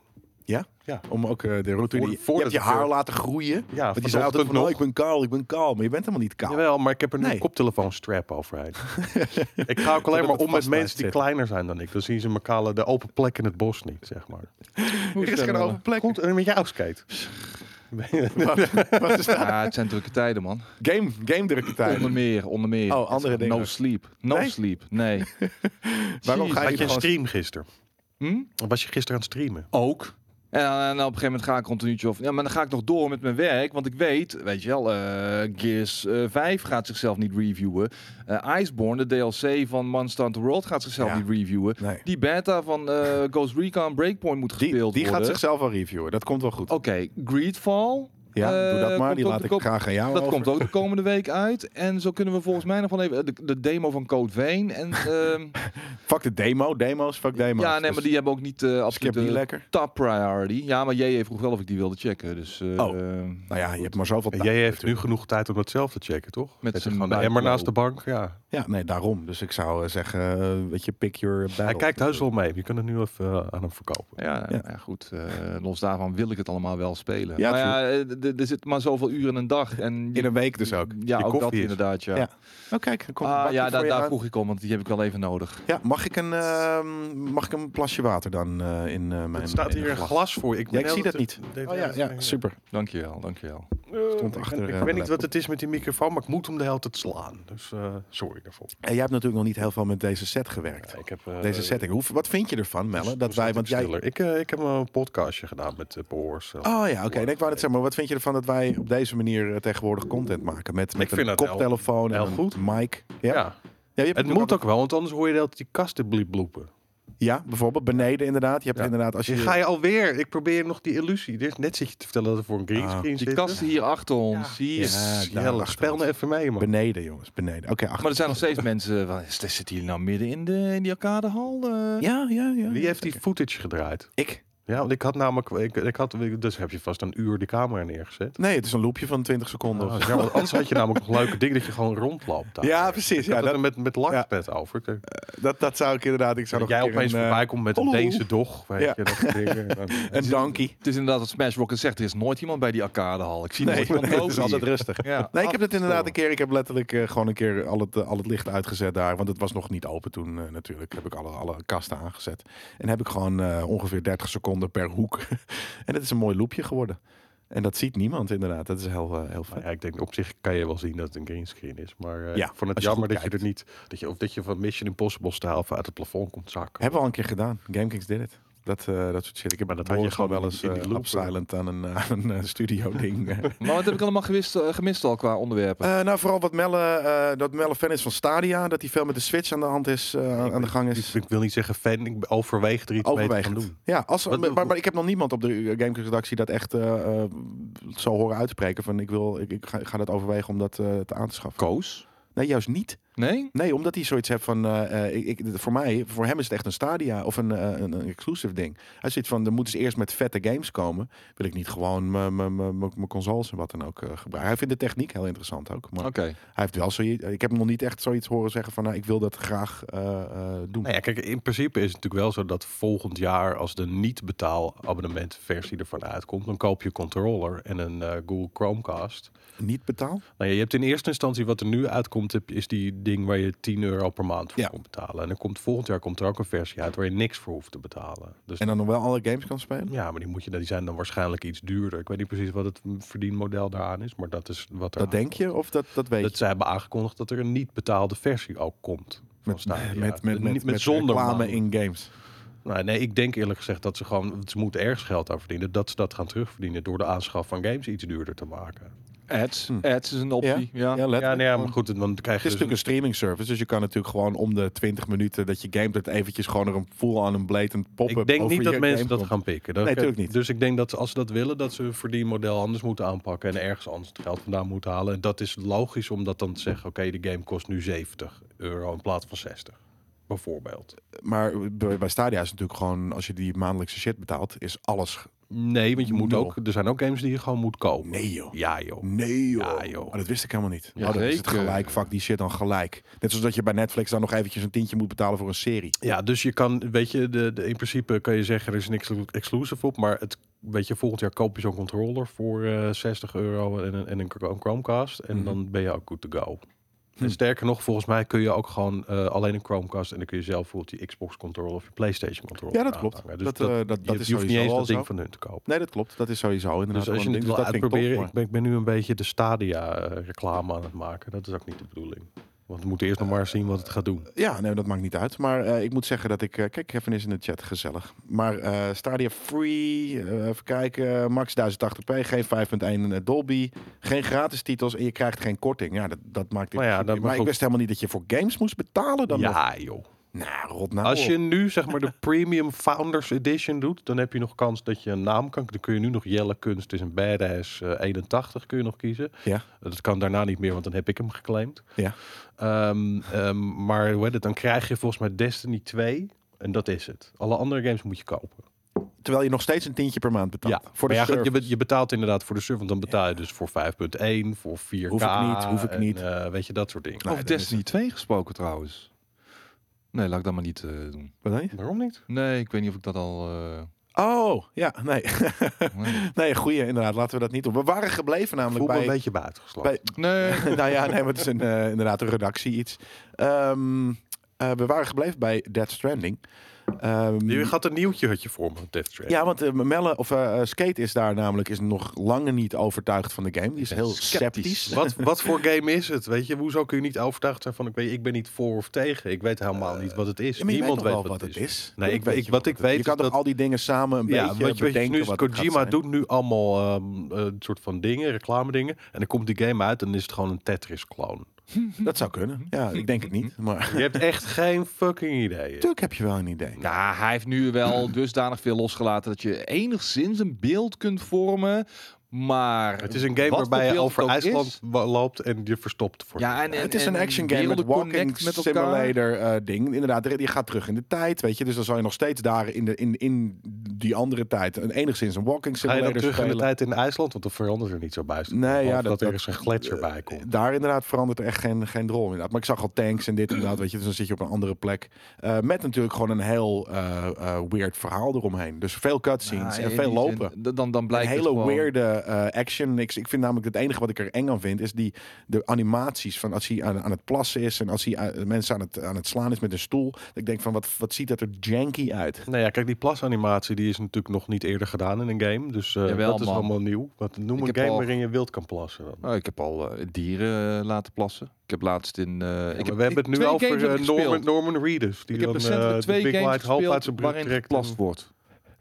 S1: Ja?
S2: Ja.
S1: Om ook eh, de routine.
S2: Voor-
S1: je
S2: voordat
S1: hebt je
S2: ik
S1: haar
S2: er-
S1: laten groeien.
S2: Ja,
S1: want die
S2: vanochtend
S1: zei altijd van,
S2: nog.
S1: oh, ik ben kaal, ik ben kaal. Maar je bent helemaal niet kaal.
S2: Jawel, maar ik heb er nu
S1: Nee.
S2: een koptelefoonstrap overheen. ik ga ook alleen
S1: het
S2: maar om
S1: vast blijft
S2: met mensen die
S1: zitten.
S2: kleiner zijn dan ik. Dan zien ze mijn kale de open plek in het bos niet, zeg maar.
S3: Hoe
S1: er is
S3: het nou
S1: geen
S3: dan,
S1: open plek.
S2: Komt er met jou skate?
S1: Wat is
S3: eh?
S1: dat?
S3: Ja, het zijn drukke tijden, man.
S1: Game, game drukke tijd.
S3: Onder meer, onder meer.
S1: Oh, andere dingen.
S3: No sleep. No
S1: Nee?
S3: sleep. Nee.
S1: Waarom ga
S2: Had je een
S1: gewoon-
S2: stream gisteren?
S3: Hm?
S2: Was je gisteren aan het streamen?
S3: Ook. En, dan- en op een gegeven moment ga ik rond een uurtje of... Ja, maar dan ga ik nog door met mijn werk. Want ik weet, weet je wel, eh, Gears eh, 5 gaat zichzelf niet reviewen. Eh, Iceborne, de DLC van Monster Hunter World, gaat zichzelf
S1: Ja.
S3: niet reviewen.
S1: Nee.
S3: Die beta van eh, Ghost Recon Breakpoint moet gespeeld
S1: Die, die
S3: worden.
S1: gaat zichzelf wel reviewen. Dat komt wel goed.
S3: Oké, Greedfall.
S1: ja,
S3: eh,
S1: doe dat maar.
S3: komt
S1: Die
S3: ook
S1: laat
S3: de
S1: ik
S3: kop-
S1: graag aan jou
S3: Dat
S1: over.
S3: komt ook de komende week uit. En zo kunnen we volgens mij nog wel even... De, de demo van Code Veen. En, ehm,
S1: Fuck de demo. Demo's, fuck demo's.
S3: ja, nee,
S1: Dus
S3: maar die hebben ook niet eh
S1: Skip
S3: absoluut
S1: die
S3: de
S1: lekker.
S3: top priority. Ja, maar jij vroeg wel of ik die wilde checken. Dus, eh,
S1: Oh.
S3: ehm,
S1: Nou ja, je hebt maar zoveel
S2: En
S1: tijd.
S2: jij heeft nu
S1: natuurlijk.
S2: genoeg tijd om dat zelf te checken, toch?
S3: Met
S2: Zet
S3: zijn
S2: gewoon de
S3: buik
S2: emmer
S3: blauw.
S2: naast de bank. Ja.
S1: Ja, nee, daarom. Dus ik zou eh, zeggen, eh, weet je, pick your battle.
S2: Hij kijkt heus wel mee. Je kunt het nu even eh, aan hem verkopen.
S3: Ja,
S1: Ja.
S3: nou ja, goed. eh, los daarvan wil ik het allemaal wel spelen.
S1: Ja,
S3: maar ja, eh, d- d- er zit maar zoveel uur in een dag. En
S1: In een week dus ook.
S3: ja,
S2: je
S3: ook
S2: koffie
S3: dat
S2: is.
S3: inderdaad, ja.
S1: Ja. Oh, kijk. er komt een
S3: Ah,
S1: bakje
S3: ja,
S1: voor
S3: daar,
S1: je
S3: daar
S1: aan.
S3: vroeg ik om, want die heb ik wel even nodig.
S1: Ja, mag ik een, ehm, mag ik een plasje water dan eh, in eh, mijn
S2: Er staat
S1: in een
S2: hier een
S1: glas?
S2: glas voor. Ik, ben
S1: Ja, ik
S2: heel
S1: zie
S2: de
S1: dat
S2: tijd-
S1: niet. Oh ja, ja, super.
S3: Dankjewel, dankjewel.
S1: Stond
S2: Ik-
S1: achter, eh,
S2: Ik,
S1: de
S2: weet niet wat
S1: laptop.
S2: het is met die microfoon, maar ik moet hem de hele tijd slaan. Dus eh, sorry daarvoor.
S1: En jij hebt natuurlijk nog niet heel veel met deze set gewerkt.
S2: Ik heb, eh,
S1: Deze setting. Hoe, wat vind je ervan, Melle? Dat
S2: dus
S1: wij,
S2: dat
S1: want
S2: ik
S1: jij.
S2: stiller. Ik, eh, ik heb een podcastje gedaan met de behoors. eh.
S1: Oh ja, oké. Nee, ik wou net zeggen, maar wat vind je ervan dat wij op deze manier eh, tegenwoordig content maken? Met, met
S2: Ik vind
S1: een
S2: dat heel-
S1: koptelefoon en
S2: heel
S1: een
S2: goed.
S1: mic. Ja, Ja, je
S2: ja.
S1: hebt
S2: Het
S1: natuurlijk
S2: moet ook wel, want anders hoor je dat die kasten bliep bloepen.
S1: Ja, bijvoorbeeld beneden inderdaad. Je hebt
S2: Ja.
S1: inderdaad als je...
S2: ga je alweer. Ik probeer nog die illusie. Er is net zit je te vertellen dat er voor een green
S1: Ah.
S2: screen zit.
S3: Die kast hier achter ons.
S2: Ja,
S3: Hier.
S1: Ja,
S2: ja,
S1: daar
S2: ja,
S1: achter
S2: spel
S1: ons.
S2: nou even mee, man.
S1: Beneden jongens, beneden. Oké, achter.
S3: Maar er zijn nog steeds mensen van, "Is- zitten jullie nou midden in, de, in die arcadehal? eh?"
S1: Ja, ja, ja.
S2: Wie heeft die footage gedraaid?
S1: Ik?
S2: Ja, want ik had namelijk, ik, ik had, dus heb je vast een uur de camera neergezet.
S1: Nee, het is een loopje van 20 seconden.
S2: Oh,
S1: of zo.
S2: ja, want anders had je namelijk nog leuke dingen dat je gewoon rondloopt. daar.
S1: Ja, precies.
S2: Ik had
S1: Ja,
S2: het
S1: dat-
S2: er met, met lakpet over. Ik dacht,
S1: Dat, dat zou ik inderdaad... Ik zou
S2: dat
S1: nog
S2: jij
S1: een keer
S2: opeens
S1: een, eh,
S2: voorbij komt met een
S1: hallo.
S2: Deense dog. Weet
S1: Ja.
S2: je, dat soort dingen. Dan-
S1: Een donkey.
S3: Het is inderdaad wat Smash Rocket zegt. Er is nooit iemand bij die arcadehal. Ik zie
S1: Nee,
S3: nooit iemand
S1: nee, het
S3: lopen
S1: is altijd
S3: hier.
S1: rustig.
S3: Ja.
S1: Nee, ik heb het inderdaad een keer. Ik heb letterlijk eh, gewoon een keer al het, eh, al het licht uitgezet daar. Want het was nog niet open toen eh, natuurlijk. Heb ik alle, alle kasten aangezet. En heb ik gewoon eh, ongeveer 30 seconden per hoek. en het is een mooi loopje geworden. En dat ziet niemand inderdaad. Dat is heel, eh, heel
S2: Maar
S1: fijn.
S2: ja, ik denk op zich kan je wel zien dat het een greenscreen is. Maar eh
S1: Ja,
S2: ik vond het
S1: als je
S2: jammer
S1: goed
S2: dat je er niet, dat je, of dat je van Mission Impossible stijl even uit het plafond komt zakken.
S1: Hebben we al een keer gedaan. GameKings did it. Dat, eh, dat soort shit. Ik heb
S2: Maar
S1: dat
S2: dat had je
S1: gewoon
S2: gewoon
S1: wel
S2: in
S1: eens
S2: die- in
S1: eh
S2: die loop,
S1: silent aan een, aan een eh, studio ding. eh,
S3: Maar wat heb ik allemaal gewist, eh, gemist al qua onderwerpen?
S1: Eh, nou, vooral wat Melle, eh, dat Melle fan is van Stadia. Dat hij veel met de Switch aan de hand is, eh, aan- aan de gang is.
S2: Ik, ik wil niet zeggen fan, ik overweeg er iets mee te gaan
S1: Overwegend.
S2: doen.
S1: Ja, als,
S2: Wat-
S1: maar, maar, maar ik heb nog niemand op de Gamecube-redactie dat echt eh, eh, zo horen uitspreken van ik, wil, ik, ik, ga, ik ga dat overwegen om dat eh, te aan te schaffen.
S3: Koos?
S1: Nee, juist niet.
S3: Nee?
S1: Nee, omdat hij zoiets heeft van, eh, eh, ik, ik- voor mij, voor hem is het echt een stadia of een, eh, een, een exclusive ding. Hij zit van, er moeten ze eerst met vette games komen. Wil ik niet gewoon mijn- mijn- mijn mijn- mijn consoles en wat dan ook eh, gebruiken. Hij vindt de techniek heel interessant ook. Maar
S3: Oké.
S1: hij heeft wel zoiets, ik heb hem nog niet echt zoiets horen zeggen van, nou, ik wil dat graag eh, eh, doen.
S2: Nou ja, kijk, in principe is het natuurlijk wel zo dat volgend jaar, als de niet-betaalabonnementversie ervan uitkomt, dan koop je een controller en een eh, Google Chromecast.
S1: Niet betaal?
S2: Nou ja, je hebt in eerste instantie wat er nu uitkomt, heb- is die ding waar je 10 euro per maand voor
S1: Ja.
S2: kon betalen. En dan komt volgend jaar komt er ook een versie uit waar je niks voor hoeft te betalen. Dus
S1: En dan nog wel alle games kan spelen?
S2: ja, maar die, moet je, die zijn dan waarschijnlijk iets duurder. Ik weet niet precies wat het verdienmodel daaraan is, maar dat is wat er.
S1: Dat denk je of dat, dat weet je?
S2: dat zij hebben aangekondigd dat er een niet betaalde versie ook komt. van
S1: Met,
S2: Stadia.
S1: met, met, met,
S2: Niet- met, zonder
S1: reclame
S2: maand.
S1: in games.
S2: Nou, nee, ik denk eerlijk gezegd dat ze gewoon, ze moeten ergens geld aan verdienen, dat ze dat gaan terugverdienen door de aanschaf van games iets duurder te maken.
S3: Ads.
S1: Hm.
S3: Ads is een optie. Ja.
S1: Ja, letterlijk.
S2: Ja, nee, ja, maar
S1: Gewoon-
S2: goed, dan krijg
S1: Het
S2: je
S1: is
S2: dus
S1: natuurlijk een streaming service, dus je kan natuurlijk gewoon om de 20 minuten dat je gamet het eventjes gewoon er een full aan een blatant pop-up
S2: Ik denk
S1: over
S2: niet dat
S1: je
S2: mensen
S1: game
S2: dat
S1: komt.
S2: gaan pikken. Dat
S1: Nee, tuurlijk niet.
S2: Dus ik denk dat als ze dat willen, dat ze hun verdienmodel anders moeten aanpakken en ergens anders het geld vandaan moeten halen. En dat is logisch om dat dan te zeggen, oké, de game kost nu 70 euro in plaats van 60. Bijvoorbeeld.
S1: Maar bij, bij Stadia is het natuurlijk gewoon als je die maandelijkse shit betaalt, is alles.
S2: Nee, want je moet
S1: Nul.
S2: ook, er zijn ook games die je gewoon moet kopen.
S1: Nee joh.
S2: Ja joh.
S1: Nee joh.
S2: Ja, joh.
S1: Maar dat wist ik helemaal niet.
S3: Ja,
S1: oh, dat is het
S3: zeker.
S1: gelijk. Fuck die shit dan gelijk. Net zoals dat je bij Netflix dan nog eventjes een tientje moet betalen voor een serie.
S2: Ja, dus je kan, weet je, de, de, in principe kan je zeggen, er is niks exclusive op, maar het, weet je, volgend jaar koop je zo'n controller voor eh, 60 euro en, een- en een Chrome- Chromecast en
S1: Mhm.
S2: dan ben je ook good to go.
S1: Hm.
S2: En sterker nog, volgens mij kun je ook gewoon eh, alleen een Chromecast en dan kun je zelf bijvoorbeeld die Xbox controller of je PlayStation controller
S1: Ja, dat klopt.
S2: aanhangen. Dus
S1: dat,
S2: dat,
S1: eh, dat, dat
S2: je,
S1: is
S2: je hoeft niet
S1: sowieso
S2: eens
S1: al
S2: dat ding
S1: zo.
S2: van hun te kopen.
S1: Nee, dat klopt. Dat is sowieso inderdaad.
S2: Dus
S1: wel
S2: als je
S1: een
S2: het
S1: ding.
S2: wil
S1: Dus dat vind ik tof,
S2: uitproberen,
S1: maar-
S2: ik ben, ik ben nu een beetje de Stadia-reclame aan het maken. Dat is ook niet de bedoeling. Want we moeten eerst
S1: Eh,
S2: nog maar zien wat het gaat doen.
S1: Ja, nee, dat maakt niet uit. Maar eh, ik moet zeggen dat ik... eh, kijk, Kevin is in de chat, gezellig. Maar eh, Stadia Free, eh, even kijken, max 1080p, geen 5.1 eh, Dolby, geen gratis titels en je krijgt geen korting. Ja, dat, dat maakt... in
S2: Maar Oh ja,
S1: principe-
S2: dat- maar
S1: maar ik
S2: goed.
S1: wist helemaal niet dat je voor games moest betalen dan nog.
S2: ja, joh.
S1: Nou, rot nou
S2: Als
S1: op.
S2: je nu zeg maar de Premium Founders Edition doet, dan heb je nog kans dat je een naam kan. Dan kun je nu nog Jelle Kunst is een badass eh, 81 kun je nog kiezen.
S1: Ja.
S2: Dat kan daarna niet meer, want dan heb ik hem geclaimd.
S1: Ja.
S2: Ehm, ehm, maar hoe heet het? Dan krijg je volgens mij Destiny 2 en dat is het. Alle andere games moet je kopen.
S1: Terwijl je nog steeds een tientje per maand betaalt. Voor de
S2: Maar ja, goed, je,
S1: service.
S2: be- je betaalt inderdaad voor de server, want dan betaal je dus voor 5.1, voor 4K.
S1: Hoef ik niet, hoef ik
S2: en,
S1: niet.
S2: eh, weet je dat soort dingen.
S1: Nee,
S3: Over
S1: dat is-
S3: Destiny 2 gesproken trouwens. Nee, laat ik dat maar niet eh, doen.
S1: Wat dan?
S2: Oh, Waarom niet?
S3: Nee, ik weet niet of ik dat al... eh,
S1: Oh, ja, nee.
S3: nee.
S1: nee, goeie, inderdaad. Laten we dat niet doen. We waren gebleven namelijk
S2: Voel me
S1: bij...
S2: een beetje buitengeslagen.
S1: bij-
S3: nee.
S1: nou ja, nee, maar het is een, eh, inderdaad een redactie iets. Ehm, eh, we waren gebleven bij Dead Stranding. Ehm,
S2: Je had een nieuwtje had je voor me, Death Stranding.
S1: ja, want eh, Melle, of eh, eh, Skate is daar namelijk is nog lange niet overtuigd van de game. Die is heel sceptisch.
S2: Wat, wat voor game is het? Weet je, hoezo kun je niet overtuigd zijn van ik, weet, ik ben niet voor of tegen? Ik weet helemaal niet wat het is.
S1: Ja, maar je
S2: Niemand
S1: toch
S2: weet
S1: wel
S2: wat, het is. Nee,
S1: Tuurlijk
S2: ik weet-
S1: weet je
S2: wat ik
S1: het is.
S2: weet
S1: Je
S2: is
S1: kan toch
S2: dat-
S1: al die dingen samen een
S2: Ja,
S1: beetje
S2: weet je, weet je,
S1: bedenken
S2: nu is
S1: wat het gaat
S2: Kojima
S1: zijn.
S2: doet nu allemaal ehm, eh, een soort van dingen, reclame dingen. En dan komt die game uit en is het gewoon een Tetris-kloon.
S1: Dat zou kunnen. Ja, ik denk het niet. Maar
S2: Je hebt echt geen fucking idee.
S1: natuurlijk heb je wel een idee.
S3: Nou, hij heeft nu wel dusdanig veel losgelaten dat je enigszins een beeld kunt vormen. Maar
S2: Het is een game
S3: wat voor
S2: waarbij je
S3: beeld het
S2: over
S3: ook is-
S2: IJsland wa- loopt en je verstopt voor.
S3: Ja, en, en-
S1: het is
S3: en-
S1: een
S3: en
S1: action game met
S3: beelden
S1: walking
S3: connect met elkaar.
S1: simulator eh, ding. Inderdaad, die gaat terug in de tijd, weet je. Dus dan zal je nog steeds daar in, de, in, in die andere tijd een, enigszins een walking
S2: Ga je
S1: simulator
S2: dan terug in de
S1: spelen.
S2: tijd in IJsland? Want dan verandert er niet zo bij.
S1: Nee, ja, dat-
S2: dat, dat er
S1: dat- eh,
S2: eens een gletsjer bij komt.
S1: Daar inderdaad verandert er echt geen, geen drol inderdaad. Maar ik zag al tanks en dit inderdaad, weet je. Dus dan zit je op een andere plek. Eh, met natuurlijk gewoon een heel eh, eh, weird verhaal eromheen. Dus veel cutscenes
S3: Ja,
S1: en
S3: in
S1: veel
S3: die
S1: lopen.
S3: zin, d- dan, dan
S1: Een
S3: blijkt het
S1: hele
S3: gewoon-
S1: weirde eh, action. Ik, ik vind namelijk het enige wat ik er eng aan vind, is die de animaties van als hij aan, aan het plassen is en als hij eh, mensen aan het, aan het slaan is met een stoel. Dat Ik denk van wat, wat ziet dat er janky uit?
S2: Nou ja, kijk, die plasanimatie die is natuurlijk nog niet eerder gedaan in een game. Dus eh,
S3: Jawel,
S2: dat is
S3: man.
S2: allemaal nieuw. Wat, noem
S3: Ik
S2: een
S3: heb
S2: game
S3: al-
S2: waarin je wild kan plassen. Dan.
S3: Oh, ik heb al eh, dieren eh, laten plassen. Ik heb laatst in... eh, ik
S2: Ja,
S3: heb,
S2: maar we hebben het nu
S3: twee
S2: over
S3: games
S2: eh,
S3: heb ik
S2: Norman,
S3: gespeeld.
S2: Norman Reedus. Die
S3: Ik heb
S2: dan,
S3: recentelijk
S2: eh, de
S3: twee
S2: Big
S3: games
S2: White Hope uit
S3: gespeeld
S2: zijn broek
S3: waarin
S2: trekt.
S3: geplast wordt.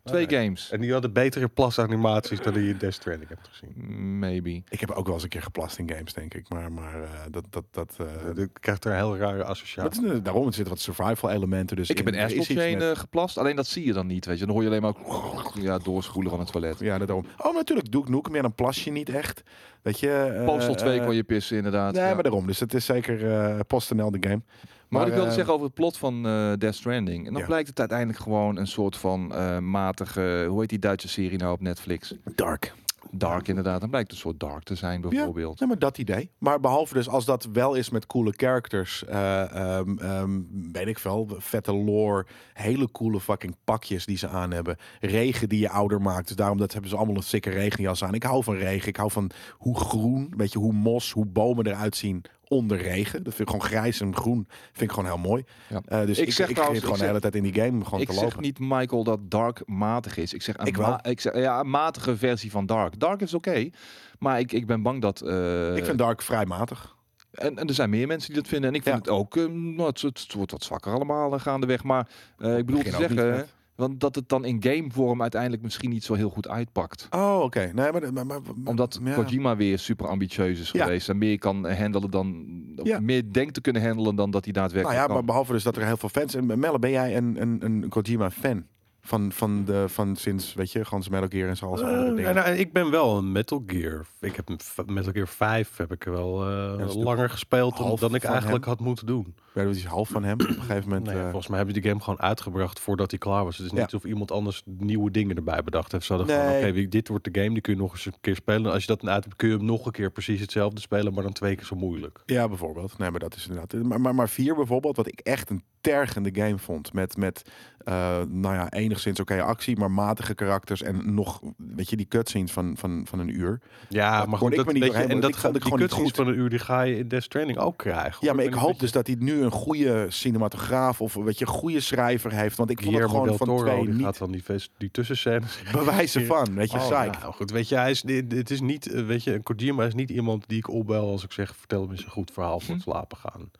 S3: Twee games.
S2: En die hadden betere plasanimaties dan die je in Death Stranding hebt gezien.
S3: Maybe.
S1: Ik heb ook wel eens een keer geplast in games, denk ik. Maar, maar eh, dat... dat, dat eh,
S2: Eh, Ik krijg er een heel rare associatie.
S1: dat is, eh, daarom het zit wat survival elementen. Dus
S3: Ik heb
S1: in.
S3: een
S1: Er is
S3: asphalt
S1: iets
S3: chain
S1: met-
S3: eh, geplast. Alleen dat zie je dan niet, weet je. Dan hoor je alleen maar ook ja, doorspoelen van het toilet.
S1: Ja, dat daarom. Oh, maar natuurlijk Duke Nukem. Ja, dan plas je niet echt. Weet je... eh,
S3: Postal 2
S1: eh,
S3: kon je pissen, inderdaad.
S1: Nee,
S3: ja.
S1: maar daarom. Dus het is zeker eh, PostNL de game.
S3: Maar, wat ik wilde
S1: eh,
S3: zeggen over het plot van eh, Death Stranding. En dan
S1: Ja.
S3: blijkt het uiteindelijk gewoon een soort van eh, matige... Hoe heet die Duitse serie nou op Netflix?
S1: Dark.
S3: Dark inderdaad. Dan blijkt het een soort Dark te zijn bijvoorbeeld.
S1: Ja, maar dat idee. Maar behalve dus als dat wel is met coole characters, eh, ehm, ehm, weet ik veel, vette lore, hele coole fucking pakjes die ze aan hebben, regen die je ouder maakt. Dus daarom dat hebben ze allemaal een sikke regenjas aan. Ik hou van regen. Ik hou van hoe groen, weet je, hoe mos, hoe bomen eruit zien onder regen. Dat vind ik gewoon grijs en groen. Vind ik gewoon heel mooi.
S3: Ja.
S1: Eh, dus
S3: Ik
S1: ik, ik,
S3: zeg
S1: ik zit
S3: trouwens-
S1: gewoon
S3: ik
S1: de hele
S3: zeg-
S1: tijd in die game gewoon
S3: Ik
S1: te
S3: zeg
S1: lopen.
S3: niet, Michael, dat Dark matig is. Ik zeg een,
S1: Ik wel.
S3: ma- ik zeg, ja, een matige versie van Dark. Dark is oké, maar ik, ik ben bang dat... eh,
S1: ik vind Dark vrij matig.
S3: En, en er zijn meer mensen die dat vinden. En ik vind
S1: Ja.
S3: het ook. eh, nou, het, het wordt wat zwakker allemaal eh, gaandeweg. Maar eh, ik bedoel te
S1: Begin ook niet
S3: zeggen.
S1: vet.
S3: Want dat het dan in gamevorm uiteindelijk misschien niet zo heel goed uitpakt.
S1: Oh, oké. Nee, maar, maar, maar-
S3: Omdat
S1: ja.
S3: Kojima weer super ambitieus is
S1: Ja.
S3: geweest. En meer kan handelen dan. of
S1: Ja.
S3: meer denkt te kunnen handelen dan dat hij
S1: Nou
S3: daadwerkelijk.
S1: ja, maar
S3: kan.
S1: behalve dus dat er heel veel fans... En Melle, ben jij een, een, een Kojima-fan? Van, van, de, van sinds, weet je, gewoon zijn Metal Gear en zo. Als andere
S2: Eh,
S1: dingen.
S2: nou, ik ben wel een Metal Gear. Ik heb een v- Metal Gear 5 heb ik wel eh,
S1: dat is de
S2: langer gespeeld dan,
S1: half
S2: dan ik
S1: van
S2: eigenlijk had moeten doen.
S1: Weet je, die is half van hem op een gegeven moment.
S2: Nee,
S1: eh,
S2: volgens mij hebben ze die game gewoon uitgebracht voordat hij klaar was. Het is
S1: Ja.
S2: niet alsof iemand anders nieuwe dingen erbij bedacht heeft. Ze hadden gewoon,
S1: Nee.
S2: oké, wie- dit wordt de game, die kun je nog eens een keer spelen. Als je dat uit hebt, kun je hem nog een keer precies hetzelfde spelen, maar dan twee keer zo moeilijk.
S1: Ja, bijvoorbeeld. Nee, maar dat is inderdaad. Maar, maar, maar vier bijvoorbeeld, wat ik echt een tergende game vond. Met, met eh, nou ja, enigszins oké actie, maar matige karakters. En nog, weet je, die cutscenes van, van, van een uur.
S2: Ja,
S1: kon
S2: maar goed,
S1: ik
S2: dat,
S1: me niet
S2: weet je,
S1: doorheen,
S2: en
S1: want
S2: dat
S1: ik
S2: gaat
S1: vond het
S2: die
S1: gewoon niet goed.
S2: cutscenes van een uur, die ga je in Death Stranding ook krijgen. hoor.
S1: Ja, maar ik
S2: ben
S1: hoop
S2: een beetje-
S1: dus dat hij nu een goede cinematograaf of weet je, goede schrijver heeft. Want ik vond het
S2: Guillermo
S1: gewoon
S2: del
S1: van twee
S2: Toro, die gaat
S1: niet
S2: dan die, ves- die tussenscènes
S1: bewijzen van. Weet je,
S2: Oh,
S1: psych.
S2: nou, goed, weet je, hij is, dit- het is niet, eh, weet je, een Kojima is niet iemand die ik opbel als ik zeg, vertel me eens een goed verhaal voor het slapen gaan.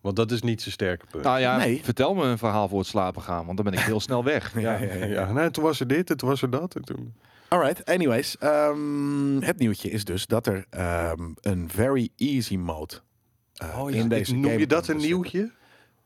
S2: Want dat is niet zijn sterke punt.
S3: Nou ja,
S1: Nee.
S3: vertel me een verhaal voor het slapen gaan. Want dan ben ik heel snel weg.
S1: Ja, ja,
S2: ja, nee, toen was er dit en toen was er dat. En toen...
S1: Alright, anyways. ehm, het nieuwtje is dus dat er ehm, een very easy mode eh, in deze
S2: Oh Noem
S1: game dus,
S2: je dat een
S1: komt te
S2: nieuwtje?
S1: zitten.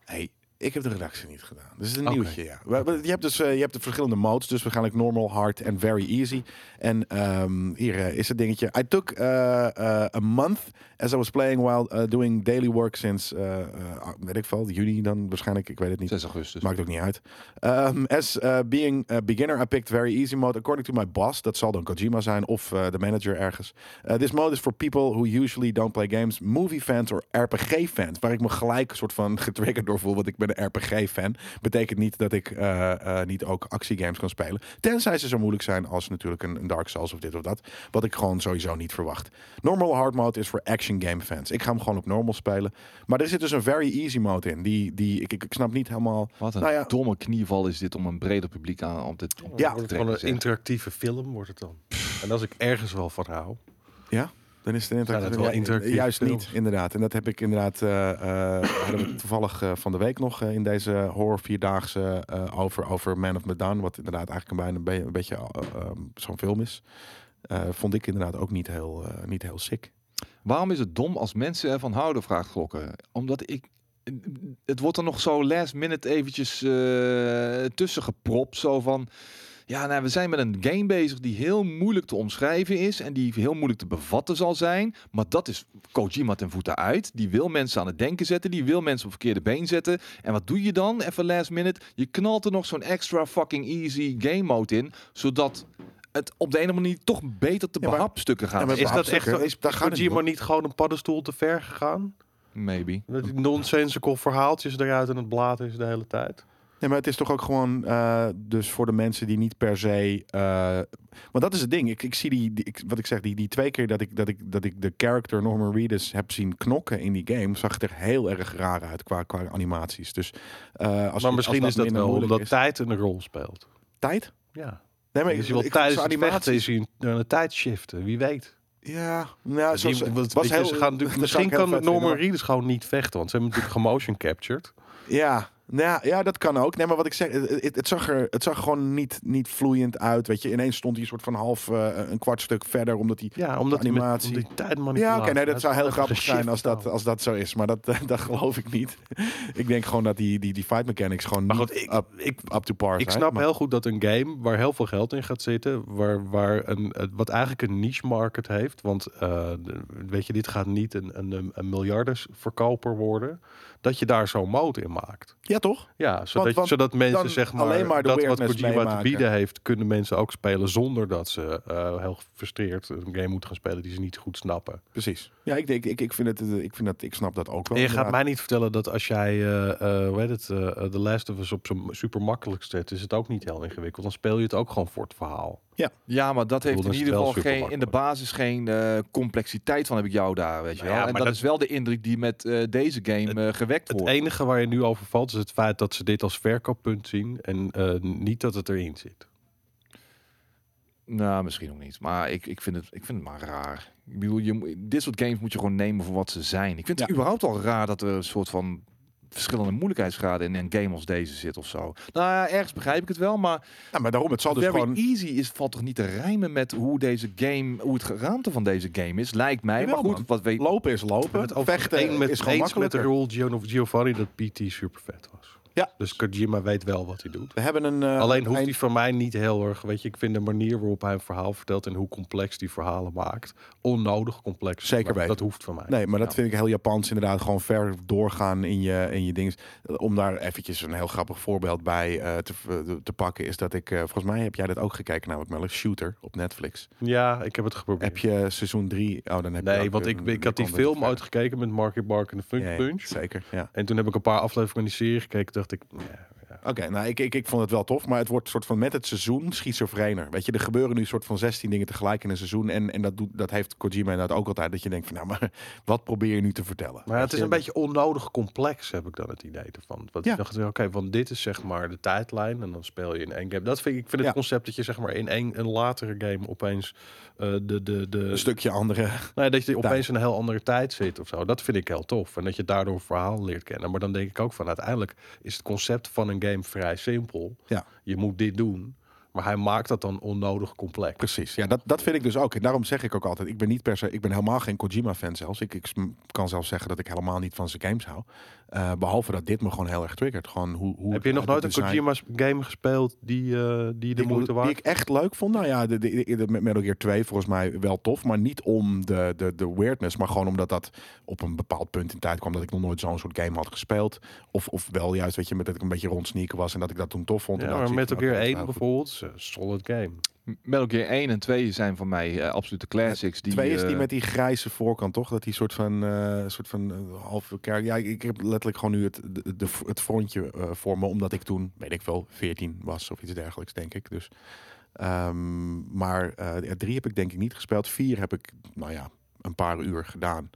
S1: Hey, ik heb de redactie niet gedaan. Dus het is een
S2: Oké.
S1: nieuwtje, ja. We- we- Je hebt dus eh, je hebt de verschillende modes. Dus waarschijnlijk normal, hard en very easy. En ehm, hier eh, is het dingetje. I took eh, eh, a month as I was playing while eh, doing daily work since, eh, eh, weet ik veel, juni dan waarschijnlijk. Ik weet het niet.
S3: 6 augustus.
S1: Maakt ook niet uit. Ehm, as eh, being a beginner, I picked very easy mode. According to my boss, dat zal dan Kojima zijn of eh, de manager ergens. Eh, this mode is for people who usually don't play games, movie fans or RPG fans. Waar ik me gelijk soort van getriggerd door voel, want ik ben een RPG fan. Betekent niet dat ik eh, eh, niet ook actiegames kan spelen. Tenzij ze zo moeilijk zijn als natuurlijk een, een Dark Souls of dit of dat. Wat ik gewoon sowieso niet verwacht. Normal hard mode is voor action game fans. Ik ga hem gewoon op normal spelen. Maar er zit dus een very easy mode in. Die, die, ik, ik, ik snap niet helemaal
S3: Wat een
S1: Nou ja.
S3: domme knieval is dit om een breder publiek aan om dit om
S1: Ja, wordt
S3: te
S2: Gewoon
S3: trekken,
S2: een
S3: zeg.
S2: interactieve film wordt het dan. En als ik ergens wel van hou.
S1: Ja, dan is het een
S2: Zijn
S1: interactieve
S2: het wel
S1: ja,
S2: interactieve
S1: Juist
S2: films?
S1: niet, inderdaad. En dat heb ik inderdaad eh, eh, hadden we toevallig eh, van de week nog eh, in deze horror vierdaagse eh, over, over Man of Medan. Wat inderdaad eigenlijk een, bijna, een beetje eh, eh, zo'n film is. Eh, vond ik inderdaad ook niet heel, eh, niet heel sick.
S3: Waarom is het dom als mensen ervan houden, vraagt Glokken. Omdat ik... Het wordt er nog zo last minute eventjes eh, tussen gepropt. Zo van... Ja, nou, we zijn met een game bezig die heel moeilijk te omschrijven is. En die heel moeilijk te bevatten zal zijn. Maar dat is Kojima ten voeten uit. Die wil mensen aan het denken zetten. Die wil mensen op verkeerde been zetten. En wat doe je dan? Even last minute. Je knalt er nog zo'n extra fucking easy game mode in. Zodat het op de ene manier toch beter te
S1: Ja, maar-
S3: behapstukken gaat.
S1: Ja, maar
S2: Is dat echt
S1: Hapstukken,
S2: zo-
S1: is-
S2: is
S1: daar gaat het niet
S2: Kojima niet gewoon een paddenstoel te ver gegaan?
S3: Maybe.
S2: Dat
S1: Hm.
S2: die nonsensical verhaaltjes eruit en het blaten is de hele tijd.
S1: Nee, maar het is toch ook gewoon, eh, dus voor de mensen die niet per se. eh, want dat is het ding. Ik, ik zie die, die- ik, wat ik zeg, die, die twee keer dat ik, dat, ik, dat ik de character Norman Reedus heb zien knokken in die game, zag het er heel erg raar uit qua, qua animaties. Dus eh, als
S2: maar misschien is dat wel omdat
S1: tijd.
S2: tijd een rol speelt.
S1: tijd.
S2: Ja.
S1: Nee,
S2: Maar
S1: ik-
S2: is hij wel
S1: ik-
S2: Dus tijdens
S1: zo'n
S2: het vechten is hij aan de tijd shiften. eh, Wie weet.
S1: Ja, nou,
S2: Die-
S1: Ah, zoals,
S2: want,
S1: was
S2: weet Dus je,
S1: heel,
S2: ze gaan natuurlijk-
S1: dat zou
S2: misschien
S1: ik heel
S2: kan
S1: vet
S2: Norman
S1: vinden,
S2: Reedus gewoon niet vechten. Want ze hebben natuurlijk gemotion captured.
S1: Ja, nou ja, ja, dat kan ook. Nee, maar wat ik zeg, het, het- het zag er het zag gewoon niet, niet vloeiend uit. Weet je, ineens stond hij een soort van half eh, een kwart stuk verder, omdat hij.
S2: Ja, omdat hij met-
S1: Animatie.
S2: om die tijd
S1: Ja, oké, nee, dat zou heel grappig zijn als dat, als dat zo is. Maar dat, eh, dat geloof ik niet. ik denk gewoon dat die, die, die fight mechanics gewoon
S2: Maar
S1: niet
S2: goed, ik-
S1: up,
S2: ik-
S1: up to par zijn.
S2: Ik snap
S1: maar,
S2: heel goed dat een game waar heel veel geld in gaat zitten, waar, waar een, eh, wat eigenlijk een niche market heeft, want eh, de- weet je, dit gaat niet een, een, een miljardensverkoper worden, dat je daar zo'n mode in maakt.
S1: Ja, toch?
S2: Ja, zodat,
S1: want
S2: zodat mensen zeg maar,
S1: alleen maar de
S2: dat wat
S1: weirdness
S2: Kojima te
S1: meemaken.
S2: bieden heeft, kunnen mensen ook spelen zonder dat ze eh, heel gefrustreerd een game moeten gaan spelen die ze niet goed snappen.
S1: Precies. Ja, ik, denk, ik, ik, vind het, eh, ik vind dat, ik snap dat ook wel.
S2: En je gaat
S1: inderdaad.
S2: mij niet vertellen dat als jij, eh, eh, hoe heet het, eh, eh, The Last of Us op zijn super makkelijk zet, is het ook niet heel ingewikkeld. Dan speel je het ook gewoon voor het verhaal.
S3: Ja, maar dat
S2: Ik
S3: heeft
S2: bedoel,
S3: in
S2: dan is
S3: ieder
S2: het wel
S3: geval geen, in de
S2: supermakkelijk.
S3: basis geen eh, complexiteit van heb ik jou daar, weet je
S2: Nou
S3: wel.
S2: ja,
S3: en
S2: maar
S3: dat,
S2: dat-
S3: is wel de indruk die met eh, deze game eh, gewekt
S2: Het
S3: wordt.
S2: enige waar je nu over valt is het feit dat ze dit als verkooppunt zien en eh, niet dat het erin zit. e-
S3: Nou, misschien ook niet. Maar ik, ik, vind, het, ik vind het maar raar. Ik bedoel, je, moet- dit soort games moet je gewoon nemen voor wat ze zijn. Ik vind het überhaupt al raar dat er een soort van verschillende moeilijkheidsgraden in een game als deze zit of zo. Nou ja, ergens begrijp ik het wel, maar
S1: Ja, maar daarom, het zal dus
S3: Very
S1: gewoon...
S3: easy is, valt toch niet te rijmen met hoe deze game, hoe het geraamte van deze game is, lijkt mij.
S1: Jawel,
S3: maar goed,
S1: man.
S3: wat weet
S1: Lopen is lopen.
S2: Het
S1: vechten is gewoon
S2: met, eens met
S1: makkelijker.
S2: de rol Gio- Giovanni dat PT super vet was.
S1: Ja.
S2: Dus Kojima weet wel wat hij doet.
S1: We hebben een... eh,
S2: Alleen hoeft
S1: een-
S2: hij van mij niet heel erg. Weet je, ik vind de manier waarop hij een verhaal vertelt en hoe complex die verhalen maakt, onnodig complex.
S1: Zeker
S2: Maar
S1: weten.
S2: Dat hoeft van mij.
S1: Nee, maar dat
S3: Ja.
S1: vind ik heel Japans inderdaad. Gewoon ver doorgaan in je, in je ding. Om daar eventjes een heel grappig voorbeeld bij eh, te, te pakken... is dat ik... eh, volgens mij heb jij dat ook gekeken namelijk, Melle. Shooter op Netflix.
S2: Ja, ik heb het geprobeerd.
S1: Heb je seizoen 3... Oh, dan heb je
S2: Nee,
S1: ook
S2: want ik,
S1: een-
S2: ik had die
S1: kan dat
S2: film
S1: verder.
S2: uitgekeken met Marky Bark en de Funk
S1: Ja, ja,
S2: Punch.
S1: Zeker, ja.
S2: En toen heb ik een paar afleveringen in die serie gekeken. Dacht ik, ja,
S1: Oké, nou, ik, ik, ik vond het wel tof, maar het wordt soort van met het seizoen schizofrener. Weet je, er gebeuren nu soort van 16 dingen tegelijk in een seizoen. En, en dat, doet, dat heeft Kojima inderdaad ook altijd. Dat je denkt van, nou, maar wat probeer je nu te vertellen?
S2: Maar ja, het
S1: Weet
S2: is
S1: je,
S2: een beetje onnodig complex, heb ik dan het idee ervan. Want
S1: Ja.
S2: ik dacht, oké, want dit is zeg maar de tijdlijn en dan speel je in één game. Dat vind ik, ik vind het
S1: Ja.
S2: concept dat je zeg maar in één een latere game opeens eh, de, de, de
S1: Een stukje andere.
S2: nee, dat je
S1: tijd.
S2: opeens in een heel andere tijd zit of zo. Dat vind ik heel tof en dat je daardoor een verhaal leert kennen. Maar dan denk ik ook van uiteindelijk is het concept van een game vrij simpel.
S1: Ja.
S2: Je moet dit doen, maar hij maakt dat dan onnodig complex.
S1: Precies. Ja, dat, dat vind ik dus ook. En daarom zeg ik ook altijd, ik ben niet per se, ik ben helemaal geen Kojima-fan zelfs. Ik, ik sm- kan zelfs zeggen dat ik helemaal niet van zijn games hou. Eh, behalve dat dit me gewoon heel erg triggert. Gewoon hoe, hoe
S2: Heb je nog
S1: het
S2: nooit een
S1: design-
S2: Kojima's game gespeeld die, eh, die de
S1: die, ik-
S2: moeite waard
S1: die ik echt leuk vond. Nou ja, de, de, de, de Metal Gear 2 volgens mij wel tof. Maar niet om de, de, de weirdness. Maar gewoon omdat dat op een bepaald punt in tijd kwam. Dat ik nog nooit zo'n soort game had gespeeld. Of, of wel juist, weet je, met dat ik een beetje rondsneaken was. En dat ik dat toen tof vond.
S2: Ja,
S1: En dat
S2: maar
S1: ik
S2: Metal
S1: van,
S2: Gear
S1: oké,
S2: 1
S1: dat is wel
S2: bijvoorbeeld, is een solid game.
S3: Metal Gear 1 en 2 zijn voor mij eh, absolute classics. Die,
S1: goed. Twee is die
S3: eh,
S1: met die grijze voorkant, toch? Dat die soort van, eh soort van eh, halve kerk. Ja, ik- ik heb letterlijk gewoon nu het, de, de- het frontje eh, voor me. Omdat ik toen, weet ik wel, 14 was of iets dergelijks, denk ik. Dus, ehm, maar eh, ja, drie heb ik denk ik niet gespeeld. Vier heb ik, nou ja, een paar uur gedaan.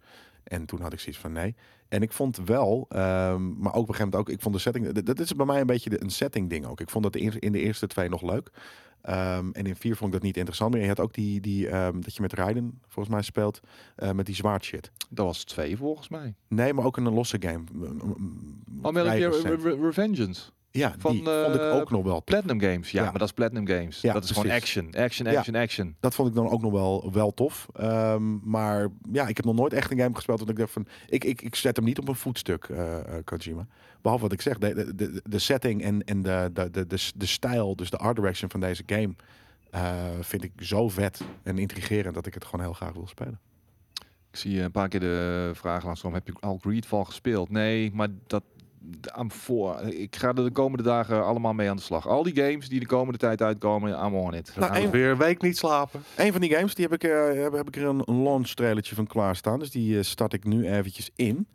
S1: En toen had ik zoiets van nee. En ik vond wel, ehm, maar ook op een gegeven moment ook, ik vond de setting, d- dat is bij mij een beetje de, een setting ding ook. Ik vond dat de eer- in de eerste twee nog leuk. Ehm, en in vier vond ik dat niet interessant meer. Je had ook die, die ehm, dat je met Raiden volgens mij speelt, eh, met die zwaard shit.
S3: Dat was 2 volgens mij.
S1: Nee, maar ook in een losse game. M- m- m- vrij
S3: Oh, Metal Gear
S1: recent.
S3: Re- Re- Revengeance.
S1: Ja,
S3: eh, Van,
S1: die vond ik
S3: eh,
S1: ook nog wel. tof.
S3: Platinum Games. Ja,
S1: Ja.
S3: maar dat is Platinum Games.
S1: Ja,
S3: dat is gewoon
S1: precies.
S3: action. Action,
S1: Ja.
S3: action, action.
S1: Dat vond ik dan ook nog wel, wel tof. Ehm, maar ja, ik heb nog nooit echt een game gespeeld. Want ik dacht van, ik, ik, ik zet hem niet op een voetstuk, eh, eh, Kojima. Behalve wat ik zeg, de, de, de, de setting en, en de, de, de, de, de stijl, dus de art direction van deze game... eh, vind ik zo vet en intrigerend dat ik het gewoon heel graag wil spelen.
S3: Ik zie een paar keer de vraag langskomen. Heb je al Greedfall gespeeld? Nee, maar dat... I'm voor. Ik ga er de komende dagen allemaal mee aan de slag. Al die games die de komende tijd uitkomen, I'm on it.
S1: Nou,
S3: I'm
S1: één-
S2: Weer een week niet slapen.
S1: Een van die games, die heb ik, eh, heb, heb ik er een een launch trailertje van klaarstaan. Dus die eh, start ik nu eventjes in.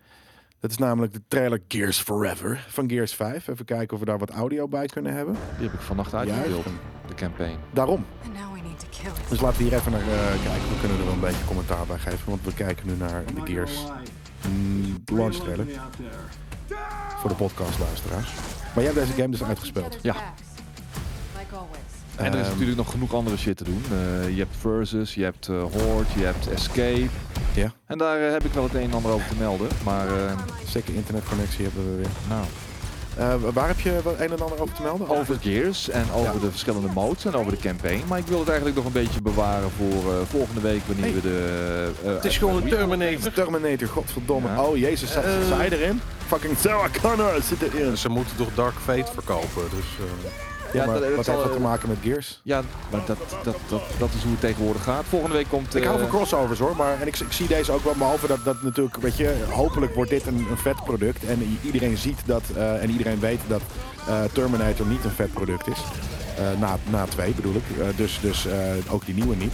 S1: Dat is namelijk de trailer Gears Forever van Gears 5. Even kijken of we daar wat audio bij kunnen hebben.
S3: Die heb ik vannacht uitgespeeld, de campaign.
S1: Daarom.
S4: And now we need to kill it.
S1: Dus laten we hier even naar eh, kijken. We kunnen er wel een beetje commentaar bij geven. Want we kijken nu naar de Gears mm, launch trailer voor de podcastluisteraars. Maar jij hebt deze game dus uitgespeeld.
S3: Ja.
S4: Like always.
S3: En er is
S1: Ehm,
S3: natuurlijk nog genoeg andere shit te doen. Eh, je hebt Versus, je hebt eh, Horde, je hebt Escape.
S1: Ja.
S3: En daar eh, heb ik wel het een en ander over te melden. Maar eh,
S1: Zeker internetconnectie hebben we weer.
S3: nou,
S1: Eh, waar heb je wel een en ander over te melden?
S3: over Gears en over
S1: Ja.
S3: de verschillende modes en over de campaign. Maar ik wil het eigenlijk nog een beetje bewaren voor eh, volgende week wanneer
S1: Hey.
S3: we de... eh,
S2: Het is gewoon een Terminator.
S1: Terminator, godverdomme.
S3: Ja.
S1: Oh jezus, zat
S2: Eh.
S1: zij erin? Fucking Sarah Connor zit erin.
S2: Ze moeten toch Dark Fate verkopen. Dus, eh,
S1: Ja,
S3: Ja,
S1: maar
S3: dat- dat
S1: wat
S3: zal,
S1: heeft dat
S3: eh,
S1: te maken met Gears?
S3: Ja, maar dat, dat, dat, dat is hoe het tegenwoordig gaat. Volgende week komt...
S1: Ik hou
S3: eh,
S1: van crossovers hoor, maar en ik, ik zie deze ook wel, behalve dat, dat natuurlijk, weet je, hopelijk wordt dit een, een vet product en i- iedereen ziet dat eh, en iedereen weet dat eh, Terminator niet een vet product is. Eh, na, na twee bedoel ik, Eh, dus, dus eh, ook die nieuwe niet.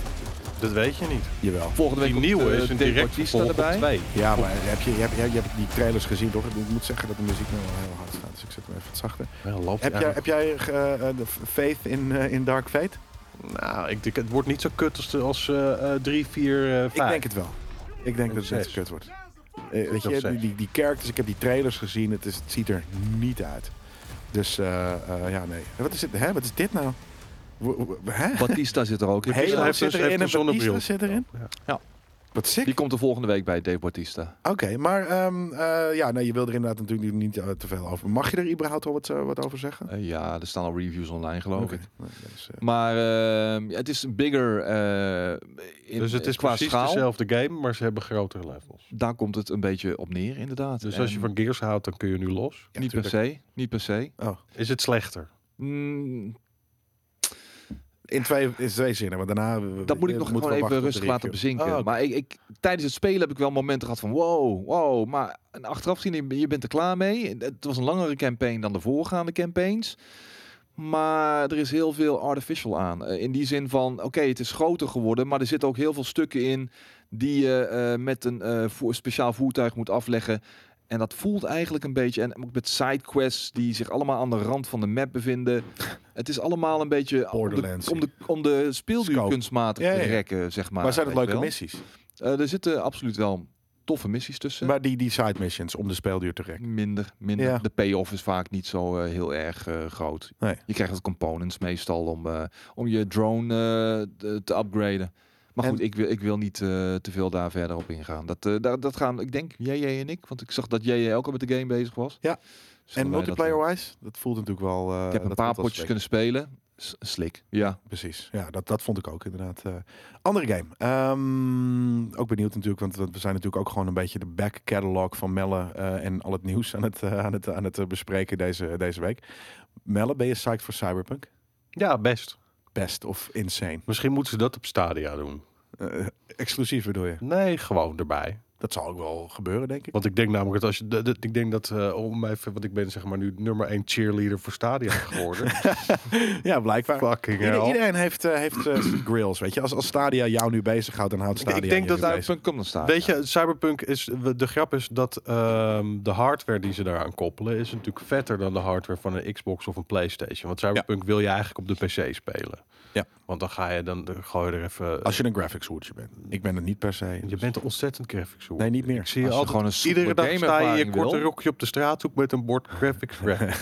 S2: dat weet je niet.
S1: Jawel.
S3: volgende week
S2: Die
S3: komt,
S2: nieuwe
S3: eh,
S2: is een
S3: Dave
S2: direct
S3: Bautista
S2: vervolg op twee.
S1: Ja, maar heb je, heb, je, heb je die trailers gezien toch? Ik moet zeggen dat de muziek nou wel heel hard staat, dus ik zet hem even wat zachter.
S2: Ja, loopt
S1: Heb jij,
S2: eigenlijk.
S1: heb jij eh, eh, de faith in, eh, in Dark Fate?
S2: Nou, ik denk, het wordt niet zo kut als, de- als eh, eh, drie, vier, eh
S1: Ik
S2: vijf.
S1: denk het wel. Ik denk dat het net
S2: zes.
S1: kut wordt. Eh, weet
S2: Of
S1: je, die,
S2: zes.
S1: die, die characters, ik heb die trailers gezien, het, is, het ziet er niet uit. Dus eh, eh, ja, nee. Wat is, het, hè? Wat is dit nou? W- w- Hè?
S3: Bautista zit er ook. in.
S1: Hele-
S2: heeft
S1: zit
S2: een-
S1: erin
S2: heeft
S1: en
S2: een zonnebril.
S1: Batista zit erin?
S2: Ja.
S1: Wat sick.
S3: Die komt er volgende week bij, Dave Bautista.
S1: Oké, maar ehm, eh, ja, nee, je wil er inderdaad natuurlijk nu niet eh, te veel over. Mag je er überhaupt al wat, eh, wat over zeggen?
S3: Eh, ja, er staan al reviews online, geloof
S1: Oké.
S3: ik.
S1: Nee, dat is, eh,
S3: Maar ehm, ja, het is een bigger eh, in,
S2: Dus het is
S3: qua
S2: precies
S3: schaal.
S2: dezelfde game, maar ze hebben grotere levels.
S3: Daar komt het een beetje op neer, inderdaad.
S2: Dus als je
S3: En
S2: van Gears houdt, dan kun je nu los.
S1: ja,
S3: niet per
S1: tuurlijk.
S3: se, niet per se.
S1: Oh.
S2: Is het slechter?
S3: Mm,
S1: In, twee, in twee zinnen, want daarna... eh,
S3: dat moet ik nog gewoon even rustig laten bezinken.
S1: Oh, oké.
S3: Maar ik, ik, tijdens het spelen heb ik wel momenten gehad van wow, wow. Maar een achteraf zien, je- je bent er klaar mee. Het was een langere campaign dan de voorgaande campaigns. Maar er is heel veel artificial aan. Eh, In die zin van, oké, het is groter geworden, maar er zitten ook heel veel stukken in die je eh, met een eh, voer- speciaal voertuig moet afleggen. En dat voelt eigenlijk een beetje, en ook met sidequests die zich allemaal aan de rand van de map bevinden. Het is allemaal een beetje om de,
S1: Borderlands.
S3: om de, om de speelduur
S1: Scope.
S3: kunstmatig
S1: Ja, ja,
S3: te
S1: ja.
S3: rekken, zeg maar.
S1: Maar zijn het
S3: weet
S1: leuke
S3: je wel.
S1: missies?
S3: Eh, er zitten absoluut wel toffe missies tussen.
S1: Maar die, die side missions om de speelduur te rekken.
S3: Minder, minder.
S1: Ja.
S3: De payoff is vaak niet zo eh, heel erg eh, groot.
S1: Nee.
S3: Je krijgt wat components meestal om, eh, om je drone eh, te- te upgraden. Maar
S1: En-
S3: goed, ik wil, ik wil niet eh, te veel daar verder op ingaan. Dat, eh, daar, dat gaan, ik denk, JJ en ik. Want ik zag dat JJ ook al met de game bezig was.
S1: Ja.
S3: Dus
S1: En
S3: dan wij dat doen.
S1: multiplayer-wise, dat voelt natuurlijk wel... eh,
S3: Ik heb een
S1: dat
S3: paar
S1: voelt wel
S3: potjes kunnen spelen. S- Slik. Ja.
S1: Precies, ja, dat, dat vond ik ook inderdaad. eh. andere game. Ehm, ook benieuwd natuurlijk, want, want we zijn natuurlijk ook gewoon een beetje de back catalog van Melle eh, en al het nieuws aan het, eh, aan het, aan het eh, bespreken deze, deze week. Melle, ben je psyched voor Cyberpunk?
S2: Ja, best.
S1: Best of insane?
S2: Misschien moeten ze dat op Stadia doen.
S1: Eh, exclusief bedoel je?
S2: Nee, gewoon erbij.
S1: Dat zal ook wel gebeuren, denk ik.
S2: Want ik denk namelijk dat als je... dat- dat- ik denk dat eh, om even... Want ik ben zeg maar nu nummer één cheerleader voor Stadia geworden.
S1: ja, blijkbaar.
S2: Fucking
S1: Ieder-
S2: hell.
S1: iedereen heeft, eh, heeft eh, grills, weet je. Als, als Stadia jou nu bezighoudt, dan houdt
S2: Ik- ik
S1: Stadia
S2: denk
S1: je
S2: dat
S1: nu
S2: daar-
S1: bezig.
S3: Cyberpunk komt dan
S1: Ah,
S3: staan.
S2: Weet je, Cyberpunk is... De grap is dat ehm, de hardware die ze daaraan koppelen... is natuurlijk vetter dan de hardware van een Xbox of een Playstation. Want Cyberpunk wil je eigenlijk op de PC spelen.
S1: Ja.
S2: Want dan ga je... Dan, dan gooi je er even...
S1: Als je een graphics hoertje bent. Ik ben het niet per se.
S2: Je
S1: dus-
S2: bent een ontzettend graphics hoer.
S1: Nee, niet meer.
S2: Ik zie je
S3: Als je
S2: altijd,
S3: gewoon een soepele
S2: iedere dag sta je in je
S3: gameervaring
S2: korte
S3: wil.
S2: rokje op de straathoek met een bord graphics graphics.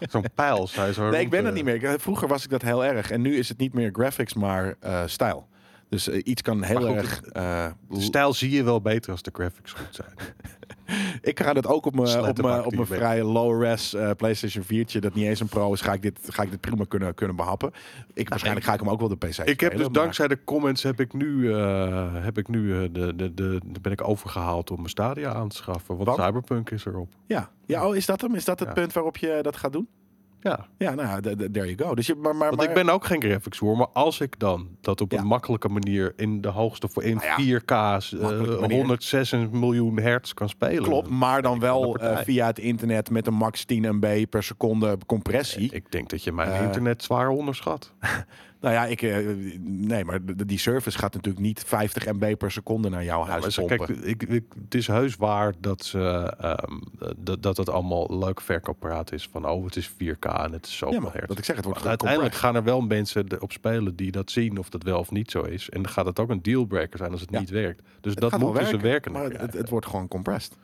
S2: Zo'n pijl, zei zo.
S1: Nee, ik
S2: rond,
S1: ben
S2: eh,
S1: dat niet meer. Ik- Vroeger was ik dat heel erg. En nu is het niet meer graphics, maar eh, stijl. Dus eh, iets kan heel
S2: Maar goed,
S1: erg... eh,
S2: De stijl zie je wel beter als de graphics goed zijn.
S1: Ik ga dat ook op mijn op mijn-
S2: Slettenbak
S1: op
S2: die
S1: mijn
S2: je bent.
S1: vrij low-res eh, PlayStation 4'tje, dat niet eens een pro is, ga ik dit, ga ik dit prima kunnen, kunnen behappen. Ik, waarschijnlijk ga ik hem ook wel de PC
S2: Nou, Ik heb dus
S1: spelen, maar-
S2: dankzij de comments heb ik nu, eh, heb ik nu eh, de, de, de, de- ben ik overgehaald om mijn Stadia aan te schaffen. Want
S1: Want?
S2: Cyberpunk is erop.
S1: Ja, ja oh, is dat hem? Is dat het
S2: Ja.
S1: punt waarop je dat gaat doen?
S2: Ja,
S1: Ja, nou, ja, d- d- there you go. Dus je, maar, maar,
S2: want
S1: maar,
S2: ik ben ook geen graphics hoor, maar als ik dan dat op
S1: Ja.
S2: een makkelijke manier in de hoogste voor in
S1: Nou ja,
S2: 4K's eh,
S1: makkelijke manier.
S2: 106 miljoen hertz kan spelen.
S1: Klopt, maar dan
S2: van de
S1: wel
S2: partij.
S1: eh, via het internet met een max 10 MB per seconde compressie.
S2: Ik denk dat je mijn
S1: Eh.
S2: internet zwaar onderschat.
S1: nou ja, ik, eh, nee, maar d- d- die service gaat natuurlijk niet 50 MB per seconde naar jouw
S2: Maar
S1: huis
S2: ze-
S1: nou, pompen.
S2: kijk, ik, ik- het is heus waar dat, ze, ehm, dat, dat het allemaal leuk verkoopparaat is. Van oh, het is 4K en het is
S1: ja,
S2: zoveel
S1: maar,
S2: hertz.
S1: wat ik zeg, het wordt
S2: Maar uiteindelijk
S1: gecompressed.
S2: gaan er wel mensen de- op spelen die dat zien of dat wel of niet zo is. En dan gaat het ook een dealbreaker zijn als het
S1: Ja.
S2: niet werkt. Dus
S1: Het
S2: dat
S1: gaat wel
S2: moeten ze werken.
S1: Maar het, het wordt gewoon compressed.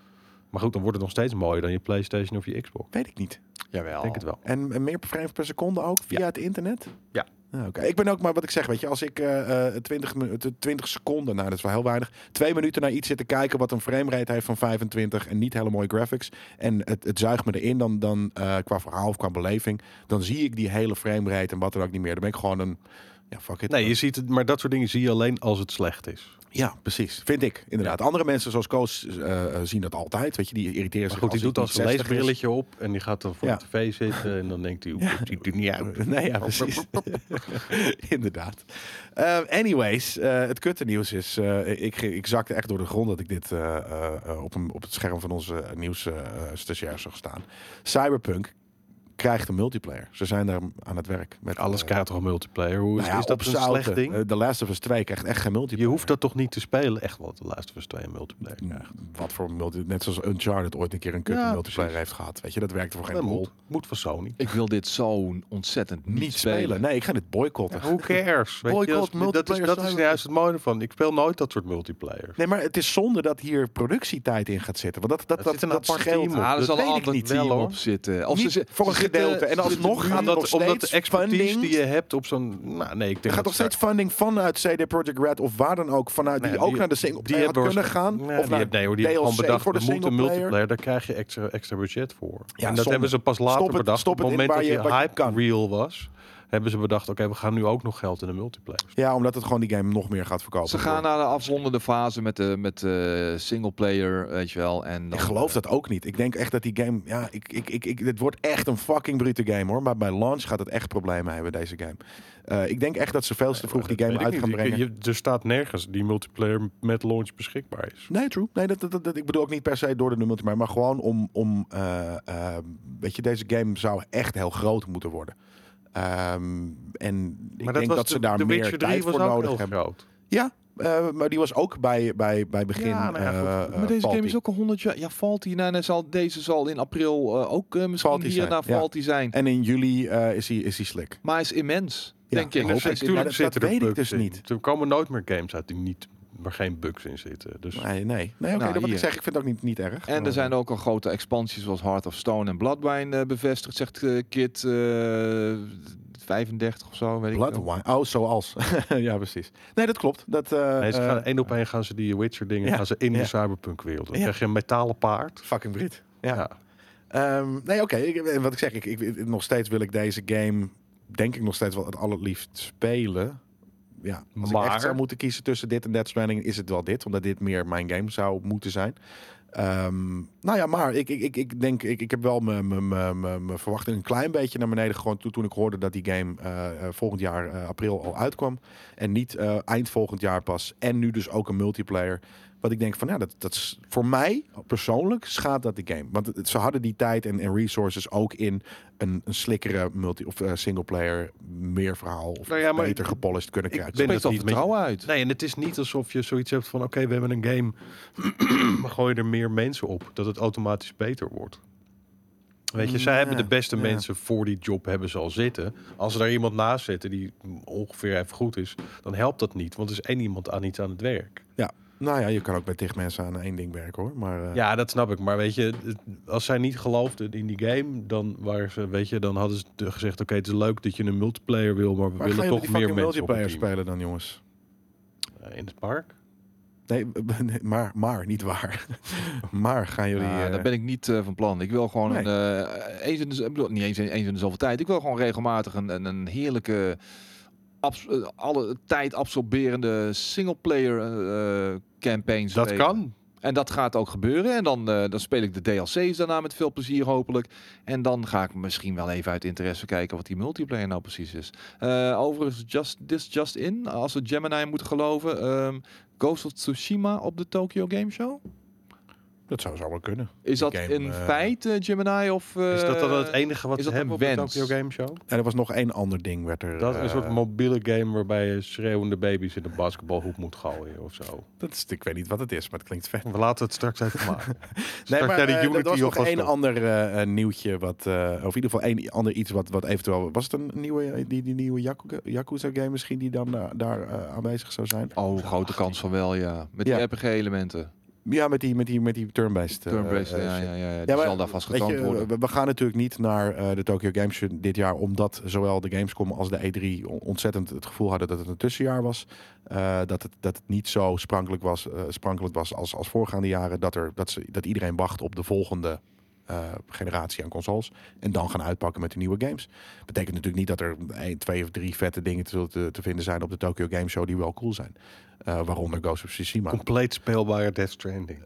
S2: maar goed, dan wordt het nog steeds mooier dan je PlayStation of je Xbox.
S1: Weet ik niet.
S2: Ik
S3: Jawel.
S2: denk het wel.
S1: En, en meer frames per seconde ook via
S2: Ja.
S1: het internet?
S2: Ja.
S1: Ah, Oké, Ik ben ook maar wat ik zeg, weet je, als ik eh eh, 20, minu- eh, 20 seconden, nou dat is wel heel weinig, twee minuten naar iets zit te kijken wat een framerate heeft van 25 en niet hele mooie graphics en het, het zuigt me erin dan, dan eh, qua verhaal of qua beleving, dan zie ik die hele framerate en wat dan ook niet meer. Dan ben ik gewoon een, ja fuck it.
S2: Nee, je ziet het, maar dat soort dingen zie je alleen als het slecht is.
S1: Ja, precies. Vind ik, inderdaad. Andere mensen zoals Koos eh, eh, zien dat altijd, weet je, die irriteren
S2: Maar
S1: zich
S2: goed, die doet
S1: Dus het
S2: dan
S1: niet
S2: zijn
S1: 60 is.
S2: leesbrilletje op en die gaat dan voor
S1: Ja.
S2: de tv zitten. En dan denkt hij, hoe ziet er niet uit?
S1: Nee, ja, precies. Inderdaad. Eh, anyways, eh, het kutte nieuws is... eh, ik, ik zakte echt door de grond dat ik dit eh, eh, eh, op, een, op het scherm van onze eh, nieuwsstagiair zag staan. Cyberpunk krijgt een multiplayer. Ze zijn daar aan het werk. Met,
S2: Alles
S1: eh,
S2: krijgt toch een multiplayer? Hoe is,
S1: nou ja,
S2: is dat een
S1: opzouten.
S2: slecht ding?
S1: Eh, The Last of Us 2 krijgt echt geen
S2: je
S1: multiplayer.
S2: hoeft dat toch niet te spelen? Echt wel, de laatste was twee multiplayer. krijgt.
S1: Wat voor multi Net zoals Uncharted ooit een keer een kutte
S2: Ja,
S1: multiplayer heeft gehad. Weet je, dat werkte voor geen
S2: Dat
S1: rol.
S2: moet, moet van Sony.
S3: Ik wil dit zo ontzettend niet,
S1: Niet spelen. Nee, ik ga dit boycotten.
S2: Who cares? Weet je,
S1: Boycott,
S2: dat- dat, is,
S1: multiplayer
S2: dat is
S1: zijn we-
S2: juist het mooie ervan. Ik speel nooit dat soort multiplayers.
S1: Nee, maar het is zonde dat hier productietijd in gaat zitten. Want dat, dat,
S2: Er
S1: dat,
S2: zit een
S1: dat
S2: apart
S1: scheelt.
S2: team op.
S3: Ah, er
S2: Dat
S3: zal
S2: weet ik
S3: altijd
S2: niet,
S3: wel
S2: hoor.
S3: op zitten. Of
S1: Niet
S3: ze,
S1: voor een
S3: ze
S1: gedeelte.
S3: zitten-
S1: En alsnog
S3: ze-
S1: gaat
S2: omdat,
S1: nog steeds
S2: omdat de expertise
S1: funding-
S2: die je hebt op zo'n... Nou, nee, ik denk
S1: Er gaat
S2: dat
S1: nog steeds funding vanuit CD Projekt Red of waar dan ook vanuit die,
S2: Nee,
S1: ook naar de single player had
S2: hebben
S1: kunnen gaan.
S2: waarschijnlijk- Nee,
S1: of
S2: die
S1: naar
S2: hebben- nee hoor, die hebben
S1: DLC
S2: gewoon bedacht,
S1: voor de
S2: we moeten
S1: single player.
S2: multiplayer, daar krijg je extra, extra budget voor.
S1: Ja,
S2: en dat
S1: zonde.
S2: hebben ze pas later
S1: Stop het-
S2: bedacht.
S1: stop
S2: op het
S1: het in
S2: moment dat
S1: waar je-
S2: die
S1: wat je
S2: hype
S1: kan.
S2: real was, hebben ze bedacht, oké, we gaan nu ook nog geld in de multiplayer.
S1: Ja, omdat het gewoon die game nog meer gaat verkopen.
S3: Ze gaan naar de afrondende fase met de met, eh singleplayer, weet je wel. En dan-
S1: ik geloof dat ook niet. Ik denk echt dat die game. Ja, ik, ik, ik, ik, dit wordt echt een fucking brute game hoor. Maar bij launch gaat het echt problemen hebben, deze game. Eh, ik denk echt dat ze veel te vroeg die game
S2: Weet ik
S1: uit
S2: niet.
S1: gaan
S2: Je-
S1: brengen.
S2: je- er staat nergens die multiplayer met launch beschikbaar is.
S1: Nee, true. Nee, dat, dat, dat- dat- ik bedoel ook niet per se door de nummer, maar, maar gewoon om, om eh, eh, weet je, deze game zou echt heel groot moeten worden. Ehm, en ik denk dat ze daar meer tijd voor nodig hebben.
S2: groot.
S1: Ja, eh, maar die was ook bij, bij, bij begin.
S2: Ja, nou ja, goed.
S1: eh, eh,
S3: maar deze game
S1: faulty.
S3: is ook al 100 jaar. Ja, valt hij. Nou, dan zal, deze zal in april eh, ook eh, misschien
S1: Faulty
S3: hier
S1: zijn,
S3: naar
S1: ja.
S3: faulty zijn.
S1: En in juli eh, is hij is hij slik.
S3: Maar hij is immens,
S1: Ja,
S3: denk ik.
S1: ik hoop
S3: Hij
S1: het.
S3: is
S1: Tuurlijk.
S3: immens.
S1: dat- dat weet ik dus
S2: in.
S1: niet.
S2: Er komen nooit meer games uit die niet, waar geen bugs in zitten. Dus
S1: Nee, nee. nee oké,
S3: Nou,
S1: dat wat ik
S3: hier.
S1: zeg, ik vind het ook niet, niet erg.
S3: En er zijn ook al grote expansies zoals Heart of Stone en Bloodwine eh, bevestigd, zegt eh, Kit eh, 35 of zo, weet ik
S1: Bloodwine. Oh, zoals. ja, precies. Nee, dat klopt. Dat, eh,
S2: nee, ze gaan
S1: eh,
S2: één op één gaan ze die Witcher dingen
S1: ja,
S2: gaan ze in
S1: ja.
S2: de cyberpunk wereld. Dan
S1: Ja.
S2: krijg je een metalen paard.
S1: fucking Brit. Ja.
S2: Ja.
S1: Ehm, nee, oké. ik- en Wat ik zeg, ik, ik, nog steeds wil ik deze game, denk ik nog steeds wel het allerliefst spelen. Ja, als ik
S2: Maar-
S1: echt zou moeten kiezen tussen dit en Death Stranding, is het wel dit. Omdat dit meer mijn game zou moeten zijn. Ehm, nou ja, maar ik, ik, ik, ik denk, ik, ik heb wel mijn- mijn- mijn mijn- mijn verwachting een klein beetje naar beneden gegooid toen, toen ik hoorde dat die game eh, eh, volgend jaar eh, april al uitkwam. En niet eh, eind volgend jaar pas. En nu dus ook een multiplayer. Wat ik denk van, ja, dat, dat is voor mij persoonlijk schaadt dat de game. Want het- ze hadden die tijd en, en resources ook in een, een slikkere multi- of eh, singleplayer, meer verhaal of
S2: Nou ja, maar
S1: beter
S2: ik-
S1: gepolished kunnen
S2: ik
S1: krijgen.
S2: ben-
S3: Spreekt
S2: dat
S3: al
S2: niet met-
S3: vertrouwen uit.
S2: Nee, en het is niet alsof je zoiets hebt van oké, we hebben een game, maar gooi er meer mensen op, dat het automatisch beter wordt. Weet je, zij
S1: Ja,
S2: hebben de beste
S1: ja.
S2: mensen voor die job hebben ze al zitten. Als ze daar iemand naast zitten die ongeveer even goed is, dan helpt dat niet, want er is één iemand aan iets aan het werk.
S1: Ja. Nou ja, je kan ook met tig mensen aan één ding werken hoor. Maar eh,
S2: Ja, dat snap ik. Maar weet je, het- als zij niet geloofden in die game, dan, waren ze, weet je, dan hadden ze de- gezegd: Oké, het is leuk dat je een multiplayer wil, maar we
S1: waar ga
S2: willen
S1: je met die
S2: toch meer
S1: fucking
S2: mensen op het
S1: multiplayer
S2: team.
S1: spelen dan jongens?
S2: Eh, In het park?
S1: Nee, b- nee, maar, maar, niet waar. maar gaan jullie...
S2: Nou,
S3: Ja,
S1: eh,
S3: daar ben ik niet eh, van plan. Ik wil gewoon
S1: Nee.
S3: een, eh, eens in de, z- ik bedoel, niet eens, in- eens in de zoveel tijd. Ik wil gewoon regelmatig een, een, een heerlijke, abs- eh, alle tijd absorberende singleplayer eh, eh, campaign
S2: Dat
S3: spelen.
S2: kan.
S3: En dat gaat ook gebeuren. En dan, eh, dan speel ik de DLC's daarna met veel plezier hopelijk. En dan ga ik misschien wel even uit interesse kijken wat die multiplayer nou precies is. Eh, overigens, just, this just in, als we Gemini moeten geloven. ehm, Ghost of Tsushima op de Tokyo Game Show.
S1: Dat zou zomaar kunnen.
S3: Is dat
S1: game,
S3: in
S1: eh,
S3: feite Gemini of... eh,
S2: Is dat dan het enige wat
S3: is
S2: ze
S3: dat
S2: hebben
S3: ook
S2: op de
S3: wel
S2: Tokyo
S3: wens?
S2: Game Show?
S1: En er was nog één ander ding, werd er...
S2: Dat is een soort
S1: eh,
S2: mobiele game waarbij je schreeuwende baby's in de basketbalhoek moet gooien of zo.
S1: dat is, ik weet niet wat het is, maar het klinkt vet.
S2: We laten het straks even maken.
S1: Nee, maar
S2: jij die
S1: eh,
S2: Unity
S1: dat was nog
S2: alvast
S1: één
S2: op?
S1: ander eh, eh, nieuwtje, wat, eh, of in ieder geval één ander iets wat, wat eventueel... Was het een nieuwe, eh, die, die nieuwe Yaku- Yakuza-game misschien die dan eh, daar eh, aanwezig zou zijn?
S3: Oh, grote kans van wel, ja. Met die
S1: Ja.
S3: RPG-elementen.
S1: Ja, met die, met die, met die turn-based. eh,
S3: Turn-based,
S1: eh,
S3: ja,
S1: shit.
S3: ja, ja, ja. Die
S1: Ja, maar
S3: zal daar vast
S1: weet je, eh,
S3: getoond worden.
S1: we, we gaan natuurlijk niet naar eh, de Tokyo Games Show dit jaar, omdat zowel de Gamescom als de E3 on- ontzettend het gevoel hadden dat het een tussenjaar was. Eh, dat, het, dat het niet zo sprankelijk was, eh, sprankelend was als, als voorgaande jaren. Dat, er, dat, ze, dat iedereen wacht op de volgende eh, generatie aan consoles. En dan gaan uitpakken met de nieuwe games. Betekent natuurlijk niet dat er één, twee of drie vette dingen te, te, te vinden zijn op de Tokyo Game Show die wel cool zijn. Eh, waaronder Ghost of Tsushima.
S2: Compleet speelbare Death Stranding.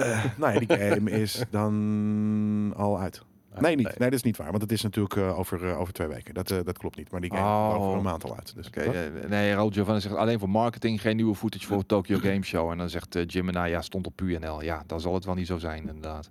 S1: Nee, die game is dan al uit. Nee, niet. nee, dat is niet waar. Want het is natuurlijk eh, over, eh, over twee weken. Dat, eh, dat klopt niet. Maar die game is
S3: Oh.
S1: over een maand al uit. Dus
S3: Oké,
S1: dat-
S3: eh, nee, Raoul Giovanni zegt alleen voor marketing geen nieuwe footage voor Tokyo Game Show. En dan zegt eh, Gemini, ja, stond op PNL. Ja, dan zal het wel niet zo zijn, inderdaad.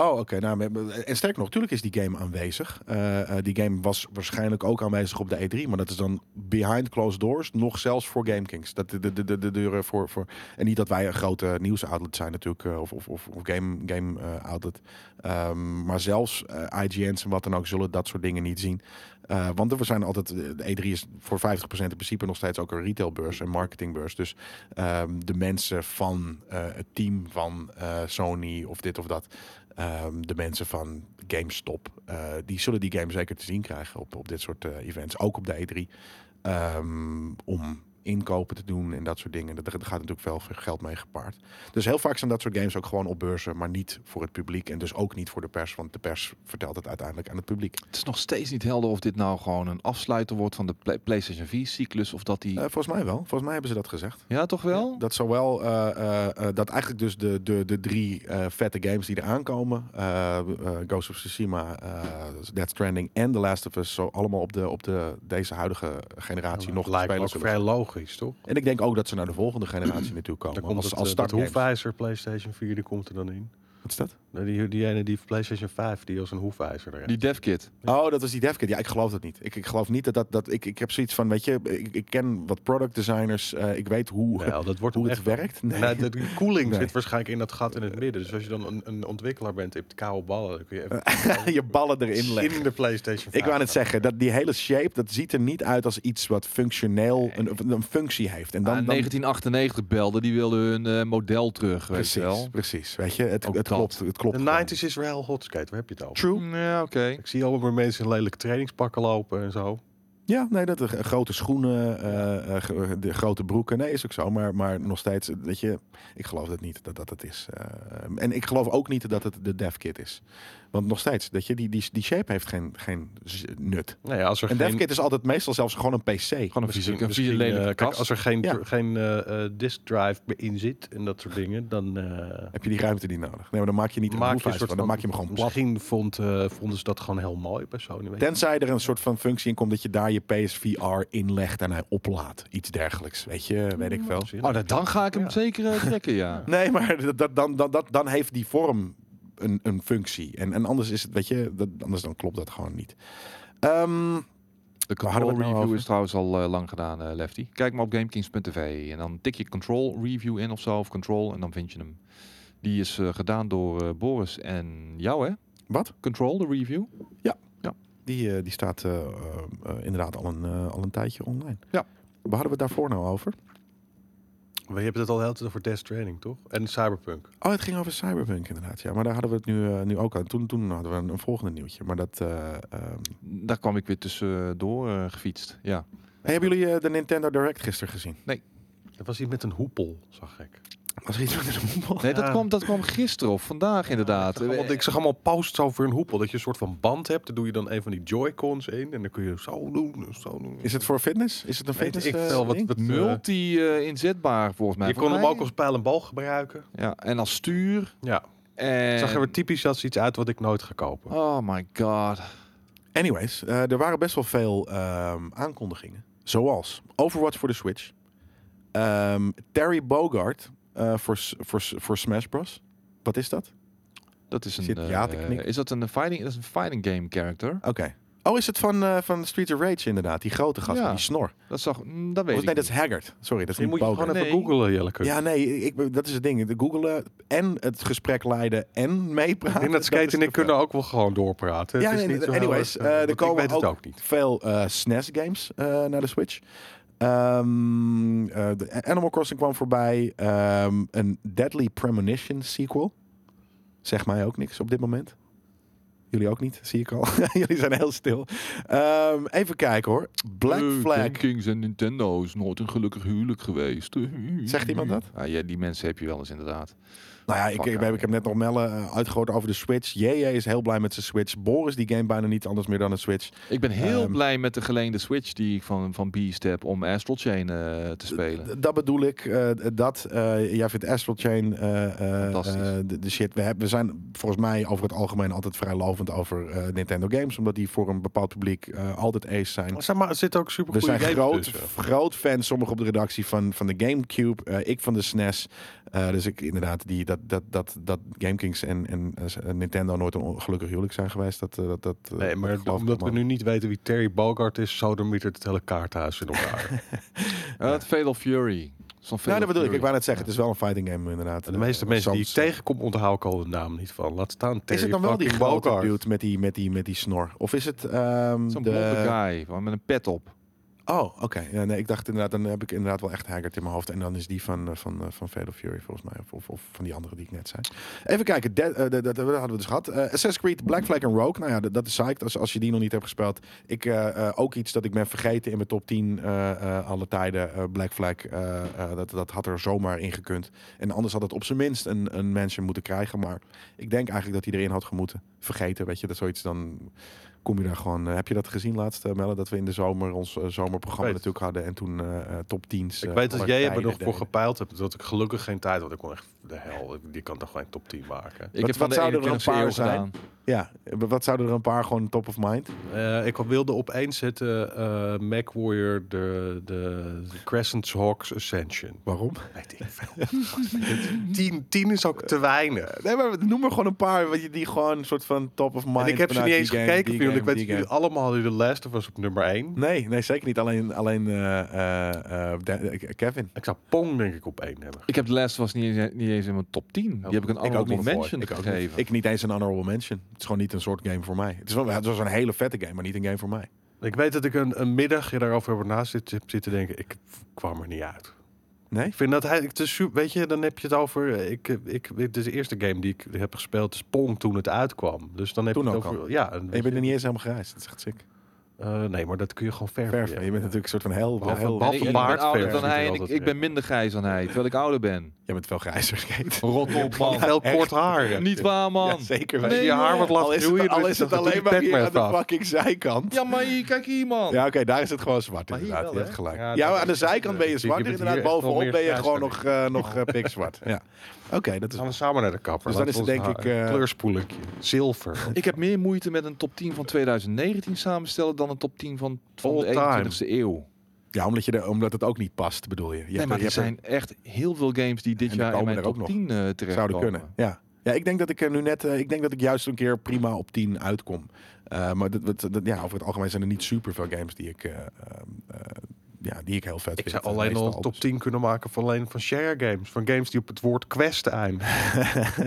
S1: Oh, oké. nou, maar- maar- en sterker nog, natuurlijk is die game aanwezig. Eh, eh, die game was waarschijnlijk ook aanwezig op de E3. Maar dat is dan behind closed doors. Nog zelfs voor GameKings. Dat de, de, de, de, de deuren voor, voor... En niet dat wij een grote nieuwsoutlet zijn natuurlijk. eh, of, of, of, of game, game eh, outlet. Ehm, maar zelfs eh, IGN's en wat dan ook zullen dat soort dingen niet zien. Eh, want er zijn altijd... De E3 is voor 50% in principe nog steeds ook een retailbeurs. en marketingbeurs. Dus ehm, de mensen van eh, het team van eh, Sony of dit of dat... Ehm, de mensen van GameStop, eh, die zullen die game zeker te zien krijgen op, op dit soort eh, events. Ook op de E3. Ehm, om inkopen te doen en dat soort dingen. Daar daar gaat natuurlijk wel veel geld mee gepaard. Dus heel vaak zijn dat soort games ook gewoon op beurzen, maar niet voor het publiek. En dus ook niet voor de pers, want de pers vertelt het uiteindelijk aan het publiek.
S3: Het is nog steeds niet helder of dit nou gewoon een afsluiter wordt van de Play- PlayStation 4-cyclus. Of dat die...
S1: Eh, volgens mij wel. Volgens mij hebben ze dat gezegd.
S3: ja, toch wel?
S1: Dat zowel eh, eh, eh, dat eigenlijk dus de, de, de drie eh, vette games die eraan komen, eh, eh, Ghost of Tsushima, eh Death Stranding en The Last of Us, zo allemaal op, de, op de, deze huidige generatie nog te
S2: lijkt me
S1: spelen
S2: ook
S1: zullen.
S2: vrij logisch, toch?
S1: En ik denk ook dat ze naar de volgende generatie naartoe komen.
S2: Dan komt
S1: als
S2: het,
S1: als
S2: eh, dat
S1: startgames.
S2: hoefijzer PlayStation 4, die komt er dan in.
S1: Wat is dat?
S2: Nee, Nou, Die, die ene die PlayStation 5, die als een hoefijzer erin.
S3: Die devkit.
S1: Oh, dat was die DevKit. Ja, ik geloof dat niet. Ik, ik geloof niet dat dat... dat ik, ik heb zoiets van, weet je, ik, ik ken wat product designers. eh, ik weet hoe,
S2: Nou, dat wordt
S1: hoe
S2: hem
S1: het
S2: echt
S1: werkt. Nee.
S2: Nee, de, de koeling
S1: Nee. Eh,
S2: zit waarschijnlijk in dat gat in het midden. Dus als je dan een, een ontwikkelaar bent, je hebt koude ballen. Dan kun je even
S1: je ballen erin leggen.
S2: in de PlayStation 5
S1: Ik wou net zeggen, dat die hele shape, dat ziet er niet uit als iets wat functioneel, een, een functie heeft. En dan,
S3: Ah,
S1: dan
S3: 1998 belden, die wilden hun eh, model terug, weet je
S1: precies,
S3: wel.
S1: precies. Weet je, het,
S3: Ook
S1: het klopt.
S3: dat.
S1: Het klopt
S2: De
S1: gewoon.
S2: 90s is wel heel hot skate, waar heb je het over?
S1: True.
S3: Ja, oké.
S2: Ik zie allemaal mensen in lelijke trainingspakken lopen en zo.
S1: Ja, nee, dat eh, grote schoenen, eh, eh, ge- de grote broeken, nee, is ook zo. Maar, maar nog steeds, eh, weet je, ik geloof dat niet dat dat het is. Eh, en ik geloof ook niet dat het de dev kit is. Want nog steeds, dat je, die, die, die shape heeft geen, geen z- nut.
S2: Nou ja, als er
S1: Een
S2: geen...
S1: dev kit is altijd meestal zelfs gewoon een PC.
S3: Gewoon een
S2: Misschien-
S3: fysieke, een
S2: misschien,
S3: fysieke
S2: eh,
S3: lelijke
S2: kijk,
S3: kast.
S2: als er geen,
S1: Ja.
S2: geen eh, eh, disk drive in zit en dat soort dingen, dan eh,
S1: Heb je die ruimte niet nodig? Nee, maar dan maak je niet een
S2: maak je een
S1: hoefijzer
S2: soort
S1: van,
S2: van...
S1: dan maak je hem gewoon plat.
S2: Misschien vond, eh, vonden ze dat gewoon heel mooi bij Sony. weet je.
S1: Tenzij er een soort van functie in komt dat je daar je PSVR inlegt en hij oplaadt. Iets dergelijks, weet je, weet ik wel.
S2: Zin.
S3: Oh, dan, dan ga ik hem
S2: Ja.
S3: zeker eh, trekken, ja.
S1: Nee, maar dat, dat, dan, dan, dat, dan heeft die vorm een, een functie. En, en anders is het, weet je, dat, anders dan klopt dat gewoon niet. Ehm,
S3: De
S1: Waar hadden we
S3: control
S1: het nou
S3: review
S1: over?
S3: is trouwens al eh, lang gedaan, eh, Lefty. Kijk maar op GameKings.tv en dan tik je control review in of zo, of control, en dan vind je hem. Die is eh, gedaan door eh, Boris en jou, hè?
S1: wat?
S3: Control, de review.
S1: Die, eh, die staat eh, eh, eh, inderdaad al een, eh, al een tijdje online.
S3: Ja.
S1: Waar hadden we het daarvoor nou over?
S2: Maar je hebt het al de hele tijd over Death Stranding, toch? En Cyberpunk.
S1: Oh, het ging over Cyberpunk inderdaad. Ja, maar daar hadden we het nu, eh, nu ook aan. Toen, toen hadden we een, een volgende nieuwtje. Maar dat... eh, ehm,
S3: Daar kwam ik weer tussendoor eh, gefietst, ja.
S1: Hey, hebben jullie eh, de Nintendo Direct gisteren gezien?
S2: Er was iets met een hoepel, zag ik.
S1: maar schiet met een hoepel.
S3: Nee, dat,
S2: Ja.
S3: kwam, dat kwam gisteren of vandaag inderdaad. Eh,
S2: Want ik zag allemaal posts over een hoepel. Dat je een soort van band hebt. Dan doe je dan een van die Joy-Cons in. En dan kun je zo doen. Zo doen.
S1: Is het voor fitness? Is het een
S2: Weet
S1: fitness?
S2: ik
S1: eh,
S2: veel wat,
S1: ding?
S2: wat, eh,
S3: Multi-inzetbaar eh, volgens mij.
S2: je kon
S3: Volgens
S2: hem
S3: mij-
S2: ook als pijl en bal gebruiken.
S3: Ja, en als stuur.
S2: Ja.
S3: En...
S2: Zag er weer typisch als iets uit wat ik nooit ga kopen.
S3: Oh my god.
S1: Anyways, eh, er waren best wel veel ehm, aankondigingen. Zoals Overwatch voor de Switch. Ehm, Terry Bogard eh, voor S- voor S- voor Smash Bros. Wat is dat?
S3: Dat is een.
S1: Zit ja te
S3: eh,
S1: knikken.
S3: is dat een fighting? Dat is een fighting game character.
S1: Oké. Oh, is het van, eh, van Street of Rage inderdaad? Die grote gast,
S3: Ja.
S1: met die snor.
S3: Dat zag. mm, Dat weet
S1: Of,
S3: ik.
S1: nee, dat is
S3: niet.
S1: Haggard. Sorry, dat is
S2: Die
S1: niet
S2: moet je
S1: Bogart.
S2: gewoon even
S3: Nee.
S2: googelen, Jelleke.
S1: Ja, nee, ik, dat is het ding. Googelen en het gesprek leiden en meepraten.
S2: Ik denk nou, dat
S1: is
S2: Skate en
S1: te
S2: ik kunnen ook wel gewoon doorpraten.
S1: Ja,
S2: het is
S1: nee,
S2: niet zo heel
S1: anyways,
S2: erg,
S1: eh,
S2: eh,
S1: er
S2: want
S1: komen
S2: ik weet het ook niet.
S1: veel eh, SNES-games eh, naar de Switch. Ehm, eh, de Animal Crossing kwam voorbij. Ehm, een Deadly Premonition sequel. Zeg mij ook niks op dit moment. Jullie ook niet, zie ik al. Jullie zijn heel stil. Ehm, even kijken hoor. Black
S3: Eh,
S1: Flag.
S3: Kings en Nintendo is nooit een gelukkig huwelijk geweest. Eh,
S1: Zegt iemand dat?
S3: Ah, ja, die mensen heb je wel eens inderdaad.
S1: Nou ja, ik, ik,
S3: Fucker.
S1: ik heb net nog Melle eh, uitgegooid over de Switch. JJ is heel blij met zijn Switch. Boris die game bijna niet anders meer dan een Switch.
S3: Ik ben heel
S1: Ehm.
S3: blij met de geleende Switch die ik van, van Beast heb om Astral Chain eh, te spelen.
S1: D- Dat bedoel ik. eh, d- dat, eh, jij vindt Astral Chain eh, eh,
S3: Fantastisch.
S1: eh, de, de shit. We, hebben, we zijn volgens mij over het algemeen altijd vrij lovend over eh, Nintendo games. Omdat die voor een bepaald publiek eh, altijd ace zijn.
S2: Maar zeg maar, er zitten ook super
S1: We
S2: goede dus,
S1: zijn
S2: games
S1: groot,
S2: tussen.
S1: groot fans, sommigen op de redactie van, van de Gamecube. eh, ik van de SNES. Eh, dus ik inderdaad, die, dat, dat, dat, dat GameKings en, en eh, Nintendo nooit een ongelukkig huwelijk zijn geweest. Dat, eh, dat, dat, eh,
S2: Nee,
S1: dat
S2: maar
S1: geloof ik
S2: omdat we
S1: allemaal.
S2: nu niet weten wie Terry Bogart is, sodemietert het hele kaarthuis in elkaar.
S3: Eh, Het Fatal Fury. Zo'n
S1: Nou,
S3: Fatal
S1: dat bedoel ik.
S3: Fury.
S1: Ik wou net zeggen, het is wel een fighting game inderdaad.
S2: de meeste
S1: Eh,
S2: mensen die ik
S1: Sans-
S2: tegenkom onthoud ik al de naam niet van. Laat staan Terry
S1: Is het dan wel die
S2: fucking
S1: grote
S2: Bogart.
S1: dude met die, met, die, met die snor? Of is het ehm,
S3: Zo'n blonde
S1: de...
S3: guy van- met een pet op.
S1: Oh, oké. Ja, nee, ik dacht inderdaad, dan heb ik inderdaad wel echt Haggard in mijn hoofd. En dan is die van, eh, van, eh, van Fatal Fury volgens mij. Of, of, of van die andere die ik net zei. Even kijken, dat hadden we dus gehad. Eh, Assassin's Creed, Black Flag en Rogue. Nou ja, dat, dat is psyched als, als je die nog niet hebt gespeeld. Ik, eh, eh, ook iets dat ik ben vergeten in mijn top 10 eh, eh, alle tijden. eh, Black Flag, eh, eh, dat, dat had er zomaar in gekund. En anders had het op zijn minst een, een mention moeten krijgen. Maar ik denk eigenlijk dat hij erin had gemoeten. Vergeten, weet je, dat zoiets dan kom je daar gewoon. eh, heb je dat gezien laatst, eh, Melle? Dat we in de zomer ons eh, zomerprogramma
S2: Ik weet
S1: natuurlijk hadden en toen eh, eh, top 10's.
S2: Ik
S1: eh,
S2: weet dat
S1: alle
S2: jij er nog
S1: tijden
S2: voor
S1: deden.
S2: gepeild hebt, dat ik gelukkig geen tijd had. Ik kon echt de hel, ik- die kan toch geen top 10 maken.
S3: Ik
S1: Wat-
S3: heb van
S1: wat
S3: de
S1: zouden er een
S3: 21ste
S1: paar
S3: eeuw
S1: zijn?
S3: gedaan.
S1: Ja, eh, wat zouden er een paar gewoon top of mind?
S2: Eh, ik wilde opeens zetten eh Mac Warrior, de, de, de Crescent Hawks Ascension.
S1: Waarom?
S2: Weet ik veel. 10, 10 is ook te weinig.
S1: Nee, maar noem er gewoon een paar wat je die gewoon een soort van top of mind.
S2: En ik heb ze niet
S1: vanuit
S2: eens
S1: die game,
S2: gekeken,
S1: die
S2: voor jullie. Ik
S1: game,
S2: weet dat
S1: die
S2: jullie
S1: game.
S2: allemaal hadden de Last of Us op nummer 1.
S1: Nee, nee, zeker niet. Alleen, alleen eh, eh, eh, Dan- eh, Kevin.
S2: Ik zou Pong denk ik op 1 hebben.
S3: Ik heb de Last was niet eens, niet eens in mijn top 10. Die heb ik een
S1: Oh, ook
S3: honorable
S1: niet.
S3: mention
S1: Ik ook niet.
S3: gegeven.
S1: Ik niet eens een honorable mention. Het is gewoon niet een soort game voor mij. Het, is wel, het was een hele vette game, maar niet een game voor mij.
S2: Ik weet dat ik een, een middag hier daarover heb na zit, heb zitten denken. Ik kwam er niet uit.
S1: Nee?
S2: Ik vind dat hij, het is, su- weet je, dan heb je het over. eh, Ik, eh, ik, dit is de eerste game die ik heb gespeeld is Pong toen het uitkwam. Dus dan heb
S1: Toen
S2: je het
S1: ook
S2: over. Ja, en
S1: En je
S2: weet
S1: bent er niet eens helemaal gereisd. Dat is echt sick.
S2: je, eh, nee, maar dat kun je gewoon verven.
S1: Verf.
S2: ja.
S1: Je bent natuurlijk een soort van heel...
S2: Behalve-
S1: heel-
S3: En
S2: behalve
S3: ik, ik ben
S2: baard
S3: ouder
S2: verf
S3: dan hij en
S2: ziet er
S3: ik,
S2: altijd
S3: ik ben minder grijs dan hij, terwijl ik ouder ben.
S1: Jij bent wel grijzer, Skate.
S3: Rot op,
S2: Van
S3: man.
S2: veel kort haar. hebt.
S3: Niet waar, man.
S1: Ja, zeker
S2: Als je
S1: weten.
S2: Oh, je haar wat
S1: Al
S2: laat
S1: is
S2: groeien,
S1: het,
S2: dan
S1: al is het
S2: toch
S1: alleen
S2: een
S1: maar hier aan
S2: Pac-Man
S1: de
S2: af.
S1: fucking zijkant. Ja,
S3: Ja, maar hier, kijk hier, man.
S1: oké, daar is het gewoon zwart
S2: Maar hier
S1: inderdaad.
S2: wel,
S1: je hebt
S2: hè?
S1: gelijk. Ja,
S2: Ja,
S1: maar
S2: dat
S1: aan de
S2: is- eh,
S1: zijkant ben je
S2: je
S1: zwart.
S2: bent hier
S1: inderdaad,
S2: echt wel
S1: bovenop
S2: meer
S1: ben je
S2: grijs
S1: gewoon
S2: dan
S1: nog, eh, nog eh, pikzwart. Ja. Oké, dat is...
S2: Gaan we samen naar de kapper.
S1: Dus dan
S2: Laten
S1: is
S2: we
S1: het
S2: ons
S1: denk
S2: haar-
S1: ik, eh,
S2: kleurspoeletje. Zilver.
S3: Ik heb meer moeite met een top 10 van 2019 samenstellen dan een top 10 van, van
S2: All
S3: de
S2: time.
S3: 21ste eeuw.
S1: Ja, omdat, je de, omdat het ook niet past, bedoel je. je
S3: nee,
S1: hebt-
S3: maar
S1: je
S3: er
S1: hebt-
S3: zijn echt heel veel games die dit
S1: En er
S3: jaar in
S1: komen
S3: mijn
S1: er ook nog.
S3: top 10 eh terecht
S1: Zouden kunnen, ja. Ja, ik denk dat ik er nu net... eh, ik denk dat ik juist een keer prima op 10 uitkom. Eh, maar dat, dat, dat- ja, over het algemeen zijn er niet super veel games die ik... eh, eh, eh, ja, die ik heel vet
S2: Ik
S1: vind. Eh,
S2: zou alleen
S1: Meestal
S2: al een top 10 kunnen maken van alleen van share games. Van games die op het woord quest eindigen.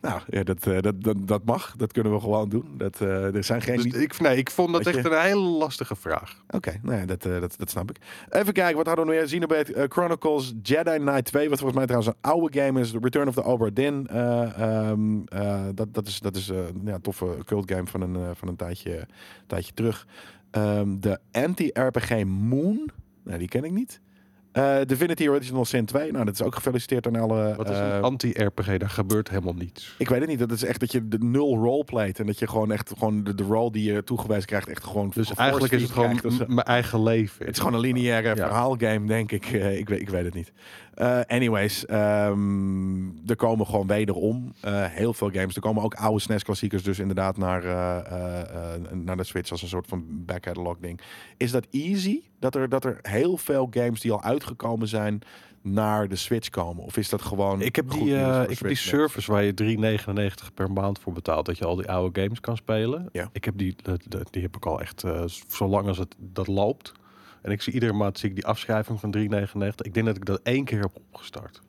S1: nou, ja, dat, eh, dat, dat, dat mag. Dat kunnen we gewoon doen. Dat, eh, er zijn geen...
S2: Dus
S1: niet-
S2: ik, nee, ik vond dat
S1: Weet je-
S2: echt een hele lastige vraag.
S1: Oké, nou ja, dat, eh, dat, dat snap ik. Even kijken, wat hadden we nu weer? Xenoblade eh, Chronicles Jedi Knight 2, wat volgens mij trouwens een oude game is. The Return of the Obra Dinn. Eh, ehm, eh, dat, dat is, dat is eh, ja, een toffe cult game van een, eh, van een tijdje, tijdje terug. Ehm, de anti-RPG Moon, nou, die ken ik niet. Eh, Divinity Original Sin 2. Nou, dat is ook gefeliciteerd aan alle...
S2: Wat is een
S1: eh,
S2: anti-RPG? Daar gebeurt helemaal niets.
S1: ik weet het niet. Dat is echt dat je de nul role playt. En dat je gewoon echt gewoon de, de role die je toegewezen krijgt... echt gewoon
S2: Dus
S1: geforceerd
S2: eigenlijk is het gewoon
S1: krijgt of zo.
S2: m- mijn eigen leven.
S1: Het is gewoon een lineaire
S2: Ja.
S1: verhaalgame, denk ik. Eh, ik, weet, ik weet het niet. Eh, anyways, ehm, er komen gewoon wederom eh, heel veel games. Er komen ook oude SNES-klassiekers dus inderdaad naar, eh, eh, eh, naar de Switch als een soort van back-catalog ding. Is dat easy? Dat er, dat er heel veel games die al uitgekomen zijn naar de Switch komen? Of is dat gewoon
S2: Ik heb
S1: goed
S2: die,
S1: nieuws
S2: eh,
S1: voor
S2: ik heb die
S1: Switch mensen?
S2: service waar je 3,99 per maand voor betaalt. Dat je al die oude games kan spelen.
S1: Ja.
S2: Ik heb die, dat- dat- die heb ik al echt eh, z- zo lang als het dat loopt. En ik zie iedere maand zie ik die afschrijving van 3,99. Ik denk dat ik dat één keer heb opgestart.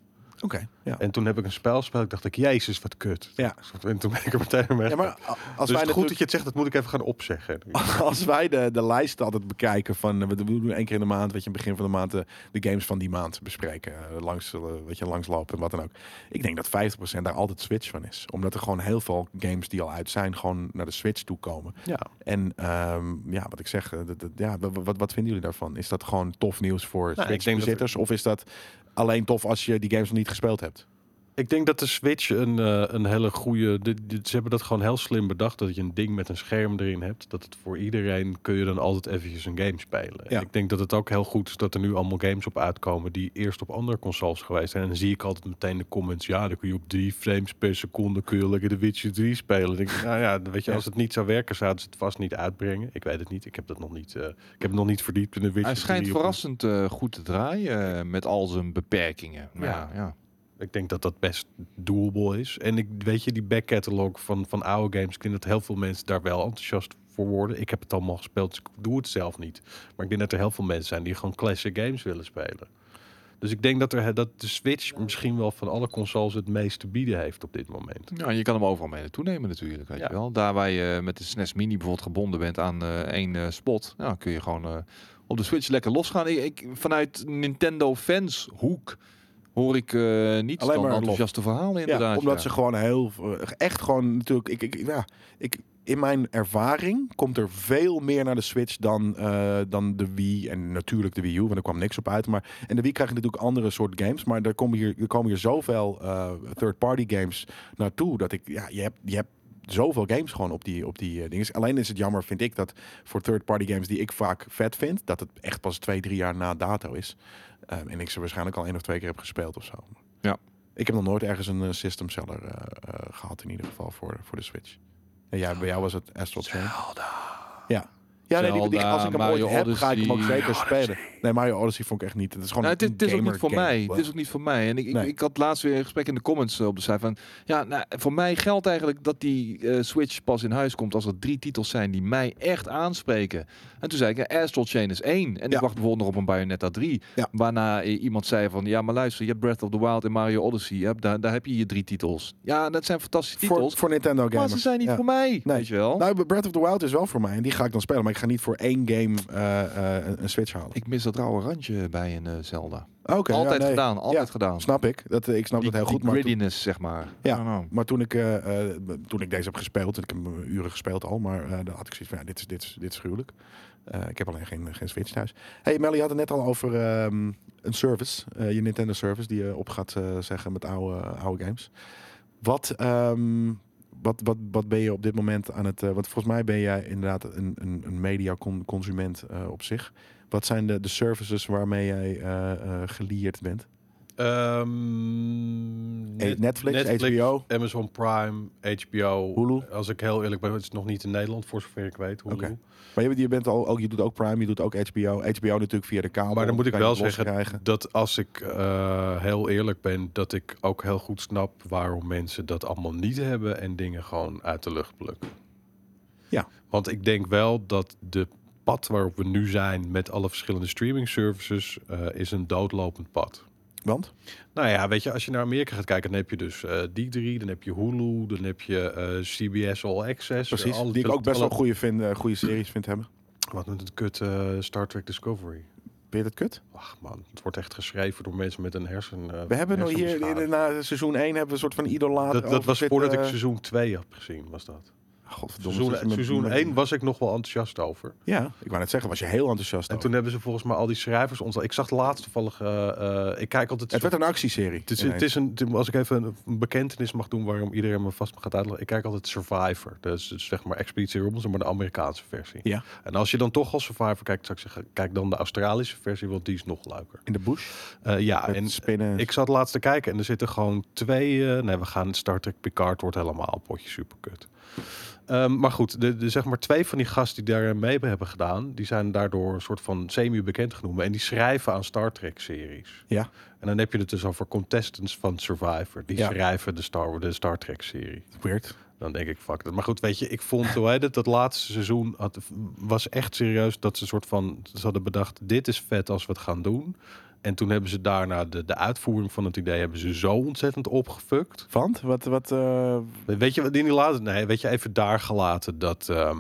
S1: Oké, ja.
S2: En toen heb ik een spel gespeeld. Ik dacht ik, jezus, wat kut. Dus
S1: Ja.
S2: En toen ben ik er meteen mee.
S1: Ja, maar a- als
S2: dus
S1: wij
S2: het goed
S1: natuurlijk-
S2: dat je het zegt, dat moet ik even gaan opzeggen.
S1: als wij de, de lijsten altijd bekijken van eh, we doen één keer in de maand, weet je, begin van de maand eh, de games van die maand bespreken, eh, langs, eh, weet je, langslopen en wat dan ook. Ik denk dat 50% daar altijd Switch van is, omdat er gewoon heel veel games die al uit zijn gewoon naar de Switch toe komen.
S2: Ja.
S1: En ehm, ja, wat ik zeg, eh, dat, dat- ja, wa- wa- wat, wat vinden jullie daarvan? Is dat gewoon tof nieuws voor
S2: dat
S1: Switch bezitters, of is dat alleen tof als je die games nog niet gespeeld hebt?
S2: Ik denk dat de Switch een, eh, een hele goede. de- de- Ze hebben dat gewoon heel slim bedacht. Dat je een ding met een scherm erin hebt. Dat het voor iedereen kun je dan altijd eventjes een game spelen. En
S1: Ja.
S2: Ik denk dat het ook heel goed is dat er nu allemaal games op uitkomen. die eerst op andere consoles geweest zijn. En dan zie ik altijd meteen de comments. Ja, dan kun je op drie frames per seconde. kun je lekker de Witcher 3 spelen. Dan denk ik, nou ja, dan weet je,
S1: Ja.
S2: als het niet zou werken. zouden ze het vast niet uitbrengen. Ik weet het niet. Ik heb dat nog niet. eh, ik heb het nog niet verdiept in de Witcher
S3: Hij schijnt
S2: 3 op een
S3: verrassend eh, goed te draaien eh, met al zijn beperkingen. Maar
S2: Ja.
S3: Ja, ja.
S2: Ik denk dat dat best doable is. En ik weet je, die backcatalog van, van oude games, ik denk dat heel veel mensen daar wel enthousiast voor worden. Ik heb het allemaal gespeeld, dus ik doe het zelf niet. Maar ik denk dat er heel veel mensen zijn die gewoon classic games willen spelen. Dus ik denk dat, er, dat de Switch misschien wel van alle consoles het meest te bieden heeft op dit moment.
S3: Ja, je kan hem overal mee naartoe nemen natuurlijk, weet
S2: Ja.
S3: je wel. Daar waar je eh, met de SNES Mini bijvoorbeeld gebonden bent aan eh, één eh, spot, ja, kun je gewoon eh, op de Switch lekker losgaan. Ik, ik, vanuit Nintendo fans hoek hoor ik eh niet
S1: Alleen
S3: dan
S1: maar lof.
S3: enthousiaste verhalen inderdaad.
S1: Ja, omdat
S3: ja.
S1: ze gewoon heel, eh, echt gewoon natuurlijk, ik, ik, ja, ik, in mijn ervaring komt er veel meer naar de Switch dan, eh, dan de Wii en natuurlijk de Wii U, want er kwam niks op uit. Maar en de Wii krijg je natuurlijk andere soort games, maar er komen hier, er komen hier zoveel eh, third-party games naartoe dat ik, ja, je hebt, je hebt zoveel games gewoon op die, op die eh, dingen. Alleen is het jammer, vind ik, dat voor third-party games die ik vaak vet vind, dat het echt pas twee, drie jaar na dato is. Ehm, en ik ze waarschijnlijk al één of twee keer heb gespeeld of zo.
S3: Ja.
S1: Ik heb nog nooit ergens een eh, system seller eh, eh, gehad in ieder geval voor, voor de Switch. En eh, ja, bij jou was het Astral Chain. Ja. Ja, nee, die, die- als ik hem
S3: Zelda,
S1: ooit
S3: Mario
S1: heb, ga ik hem ook
S3: Odyssey.
S1: zeker spelen. Nee, Mario Odyssey vond ik echt niet. Het is gewoon
S3: Nou, het, is-
S1: een
S3: het is ook niet
S1: gamer
S3: voor
S1: game.
S3: mij. Het is ook niet voor mij. En ik, ik,
S1: Nee.
S3: ik had laatst weer een gesprek in de comments eh, op de site van... Ja, nou, voor mij geldt eigenlijk dat die eh, Switch pas in huis komt... als er drie titels zijn die mij echt aanspreken. En toen zei ik, ja, Astral Chain is één. En
S1: Ja.
S3: ik wacht bijvoorbeeld nog op een Bayonetta 3.
S1: Ja.
S3: Waarna eh, iemand zei van... Ja, maar luister, je hebt Breath of the Wild en Mario Odyssey. Je hebt, daar, daar heb je je drie titels. Ja, dat zijn fantastische
S1: voor,
S3: titels.
S1: voor Nintendo
S3: maar ze
S1: gamers.
S3: zijn niet
S1: Ja.
S3: voor mij,
S1: Nee.
S3: weet je wel.
S1: Nou, Breath of the Wild is wel voor mij en die ga ik dan spelen. Maar ik ga niet voor één game eh, eh, een, een Switch halen.
S3: ik mis dat rauwe randje bij een eh, Zelda.
S1: Oké, ja,
S3: altijd
S1: nee.
S3: gedaan, altijd
S1: Ja,
S3: gedaan.
S1: Snap ik. Dat, eh, ik snap
S3: Die,
S1: dat heel
S3: die
S1: goed. Maar toen,
S3: grittiness, zeg maar.
S1: Ja.
S3: I don't know.
S1: maar toen ik, eh, eh, toen ik deze heb gespeeld, en ik heb hem uren gespeeld al, maar eh daar had ik zoiets van, ja, dit is, dit is, dit is gruwelijk. Eh, ik heb alleen geen, geen Switch thuis. Hey, Melly je had het net al over ehm, een service, eh, je Nintendo service, die je op gaat eh, zeggen met oude, oude games. Wat, ehm, wat, wat, wat ben je op dit moment aan het... eh, want volgens mij ben jij inderdaad een, een, een media-consument eh, op zich. Wat zijn de, de services waarmee jij eh, eh, geleerd bent?
S2: Ehm,
S1: Eh,
S2: net-
S1: Netflix, HBO?
S2: Amazon Prime, HBO.
S1: Hulu?
S2: Als ik heel eerlijk ben, het is nog niet in Nederland, voor zover ik weet. Hulu.
S1: Oké. Maar je, je bent al, ook, je doet ook Prime, je doet ook HBO. HBO natuurlijk via de kabel.
S2: Maar dan moet ik
S1: kan je
S2: wel
S1: het los
S2: zeggen
S1: krijgen.
S2: dat als ik eh, heel eerlijk ben, dat ik ook heel goed snap waarom mensen dat allemaal niet hebben en dingen gewoon uit de lucht plukken.
S1: Ja.
S2: Want ik denk wel dat de pad waarop we nu zijn met alle verschillende streaming services eh, is een doodlopend pad.
S1: Want?
S2: Nou ja, weet je, als je naar Amerika gaat kijken, dan heb je dus eh, die drie, dan heb je Hulu, dan heb je eh, CBS All Access. eh,
S1: Precies.
S2: alle-
S1: die ik ook best
S2: alle-
S1: wel goede, vind, eh, goede series vind hebben.
S2: Wat met het kut eh, Star Trek Discovery.
S1: Vind je dat kut?
S2: Ach man, het wordt echt geschreven door mensen met een hersen. eh,
S1: We hebben nog hier,
S2: hersenbeschade.
S1: in, na seizoen 1 hebben we een soort van idolaat.
S2: Dat, dat
S1: over
S2: was
S1: zitten. eh,
S2: voordat ik seizoen 2 had gezien, was dat.
S1: Godverdomme.
S2: Seizoen,
S1: zit je met-
S2: seizoen
S1: met-
S2: 1 was ik nog wel enthousiast over.
S1: Ja, ik wou net zeggen, was je heel enthousiast.
S2: En
S1: over.
S2: toen hebben ze volgens mij al die schrijvers ons. Ik zag laatst toevallig. eh, eh, ik kijk altijd.
S1: het werd een actieserie.
S2: Het is,
S1: ineens.
S2: het is een, als ik even een- een bekentenis mag doen waarom iedereen me vast gaat uitleggen. Ik kijk altijd Survivor. Dus, dus zeg maar Expeditie Robinson, maar de Amerikaanse versie.
S1: Ja,
S2: En als je dan toch al Survivor kijkt, zou ik zeggen, kijk dan de Australische versie, want die is nog leuker.
S1: in de bush.
S2: Eh, ja,
S1: Met
S2: en
S1: spinnen.
S2: ik zat laatst te kijken en er zitten gewoon twee... eh, nee, we gaan Star Trek Picard, wordt helemaal een potje superkut. Ehm, maar goed, de, de, zeg maar twee van die gasten die daar mee hebben gedaan... die zijn daardoor een soort van semi-bekend genoemd. En die schrijven aan Star Trek-series.
S1: Ja.
S2: En dan heb je het dus over contestants van Survivor. Die
S1: Ja.
S2: schrijven de Star, de Star Trek-serie.
S1: Weird.
S2: Dan denk ik, fuck dat. Maar goed, weet je, ik vond hoe heet het, dat laatste seizoen had, was echt serieus dat ze een soort van ze hadden bedacht: dit is vet als we het gaan doen. En toen hebben ze daarna de, de uitvoering van het idee hebben ze zo ontzettend opgefukt.
S1: Want? Wat, wat, eh,
S2: We- Weet je wat in die laatste? Nee, weet je even daar gelaten dat, ehm,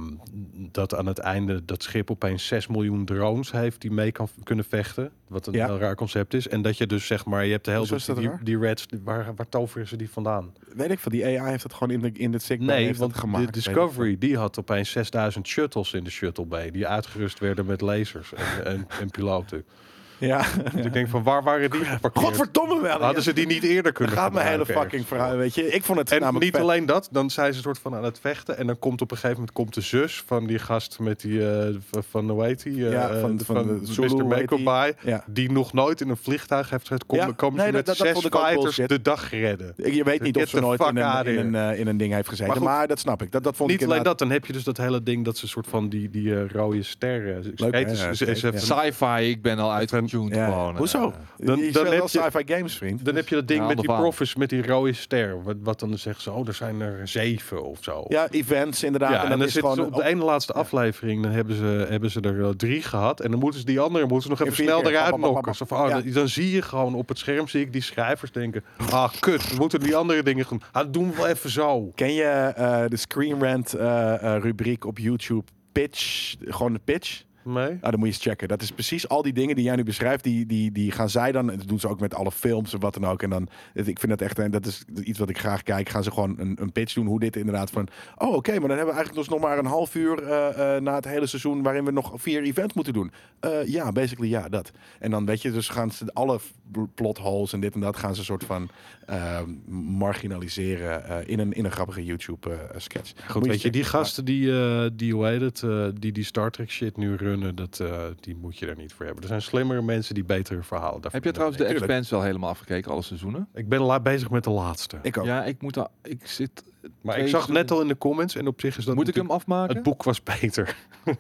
S2: dat aan het einde dat schip opeens 6 miljoen drones heeft die mee kan kunnen vechten. Wat een
S1: Ja.
S2: heel raar concept is. En dat je dus zeg maar, je hebt de hele
S1: Hoezo is dat
S2: die,
S1: raar?
S2: die reds, die- waar, waar toveren ze die vandaan?
S1: weet ik van, die AI heeft dat gewoon in, de, in het zichtbaar
S2: Nee,
S1: heeft
S2: want
S1: dat gemaakt.
S2: de Discovery die had opeens 6000 shuttles in de shuttle bay die uitgerust werden met lasers en, en, en piloten.
S1: Ja.
S2: Dus ik denk van waar waren die geparkeerd?
S1: Godverdomme wel.
S2: Hadden ze die niet eerder
S1: Dat
S2: kunnen
S1: gaat mijn hele
S2: gebruiken
S1: fucking
S2: ergens voor?
S1: verhaal, weet je. Ik vond het
S2: En
S1: namelijk
S2: niet
S1: vet.
S2: alleen dat, dan zijn ze een soort van aan het vechten. En dan komt op een gegeven moment komt de zus van die gast met die eh, van- van hoe heet die? eh,
S1: Ja, van-
S2: de-
S1: van de Zulu,
S2: Mr.
S1: hoe heet die?
S2: Makeopai.
S1: Ja.
S2: Die nog nooit in een vliegtuig heeft gezet. Kom,
S1: Ja,
S2: dan komen
S1: nee,
S2: ze met
S1: dat- dat
S2: zes
S1: vond ik ook
S2: fighters
S1: bullshit.
S2: de dag redden.
S1: Ik- Je weet niet
S2: Get
S1: of ze
S2: the
S1: nooit
S2: fuck
S1: in een,
S2: out
S1: in,
S2: here.
S1: een, eh, in een ding heeft gezeten. Maar,
S2: Maar goed,
S1: dat snap ik. Dat, dat vond
S2: Niet
S1: ik
S2: alleen
S1: inderdaad-
S2: dat, dan heb je dus dat hele ding dat ze een soort van die, die eh, rode sterren.
S1: Leuk, hè?
S2: skaten-
S1: Ja,
S2: ze- ze-
S1: skate,
S2: ze-
S1: ja.
S3: Sci-fi, ik ben al uitgetuned
S1: Ja.
S3: gewoon. eh.
S1: Hoezo?
S2: dan
S1: je
S2: heb
S1: speelt wel
S2: je-
S1: sci-fi games, vriend.
S2: Dan heb je dat ding
S3: Ja,
S2: met die
S3: ander verhaal.
S2: profs met die rode ster. Wat, wat dan zeggen ze, oh, er zijn er zeven of zo.
S1: Ja, events inderdaad.
S2: Ja,
S1: en
S2: en
S1: dan,
S2: dan
S1: is
S2: zitten ze
S1: gewoon oh,
S2: op de ene laatste aflevering, dan hebben ze, hebben ze er eh, drie gehad. En dan moeten ze die andere moeten ze nog even
S1: vier
S2: snel
S1: keer,
S2: eruit
S1: pap, pap, pap,
S2: knokken. Zo van,
S1: pap.
S2: oh,
S1: Ja.
S2: dan- Dan zie je gewoon op het scherm, zie ik die schrijvers denken... Ah, kut, we moeten die andere dingen doen. Ah, dat doen we wel even zo.
S1: Ken je eh, de Screen Rant eh, eh, rubriek op YouTube? Pitch, gewoon de pitch.
S2: Nee?
S1: Nou, dan moet je eens checken. Dat is precies al die dingen die jij nu beschrijft. Die, die, die gaan zij dan. en Dat doen ze ook met alle films en wat dan ook. En dan, het- ik vind dat echt. En dat is iets wat ik graag kijk. Gaan ze gewoon een, een pitch doen. Hoe dit inderdaad van. Oh, oké, maar dan hebben we eigenlijk dus nog maar een half uur. eh, eh, na het hele seizoen. waarin we nog vier events moeten doen. Eh, ja, basically ja, dat. En dan weet je, dus gaan ze alle f- plot holes en dit en dat. gaan ze een soort van eh, marginaliseren. eh, in, een, in een grappige eh, YouTube-sketch.
S2: Goed, weet je, die gasten die, eh, die hoe heet het, eh, die die Star Trek shit nu runnen, dat, eh, die moet je er niet voor hebben. Er zijn slimmere mensen die betere verhalen daarvoor
S3: Heb je trouwens de
S2: bedenken.
S1: tuurlijk.
S3: Expanse wel helemaal afgekeken, alle seizoenen?
S2: Ik ben la- bezig met de laatste.
S1: Ik ook.
S3: Ja, ik moet daar, ik zit...
S2: maar
S3: twee
S2: ik zag net
S3: seizoenen.
S2: al in de comments en op zich is dat
S3: Moet ik hem afmaken?
S2: Het boek was beter.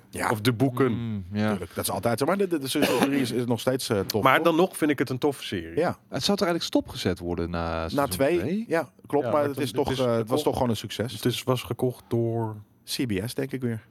S1: Ja.
S2: Of de boeken.
S3: Mm, ja.
S1: Tuurlijk, dat is altijd zo. Maar de, de, de seizoen drie is, is nog steeds eh, tof.
S2: Maar
S1: hoor.
S2: dan nog vind ik het een toffe serie.
S1: Ja.
S3: Het zou er eigenlijk stopgezet worden na
S1: Na
S3: seizoen
S1: twee,
S3: twee?
S1: ja, klopt.
S2: Ja,
S1: maar
S2: maar
S1: het,
S2: dan-
S1: is toch,
S2: het is
S1: eh, het was
S2: gekocht.
S1: toch gewoon een succes.
S2: Dus het was gekocht door...
S1: CBS, denk ik weer.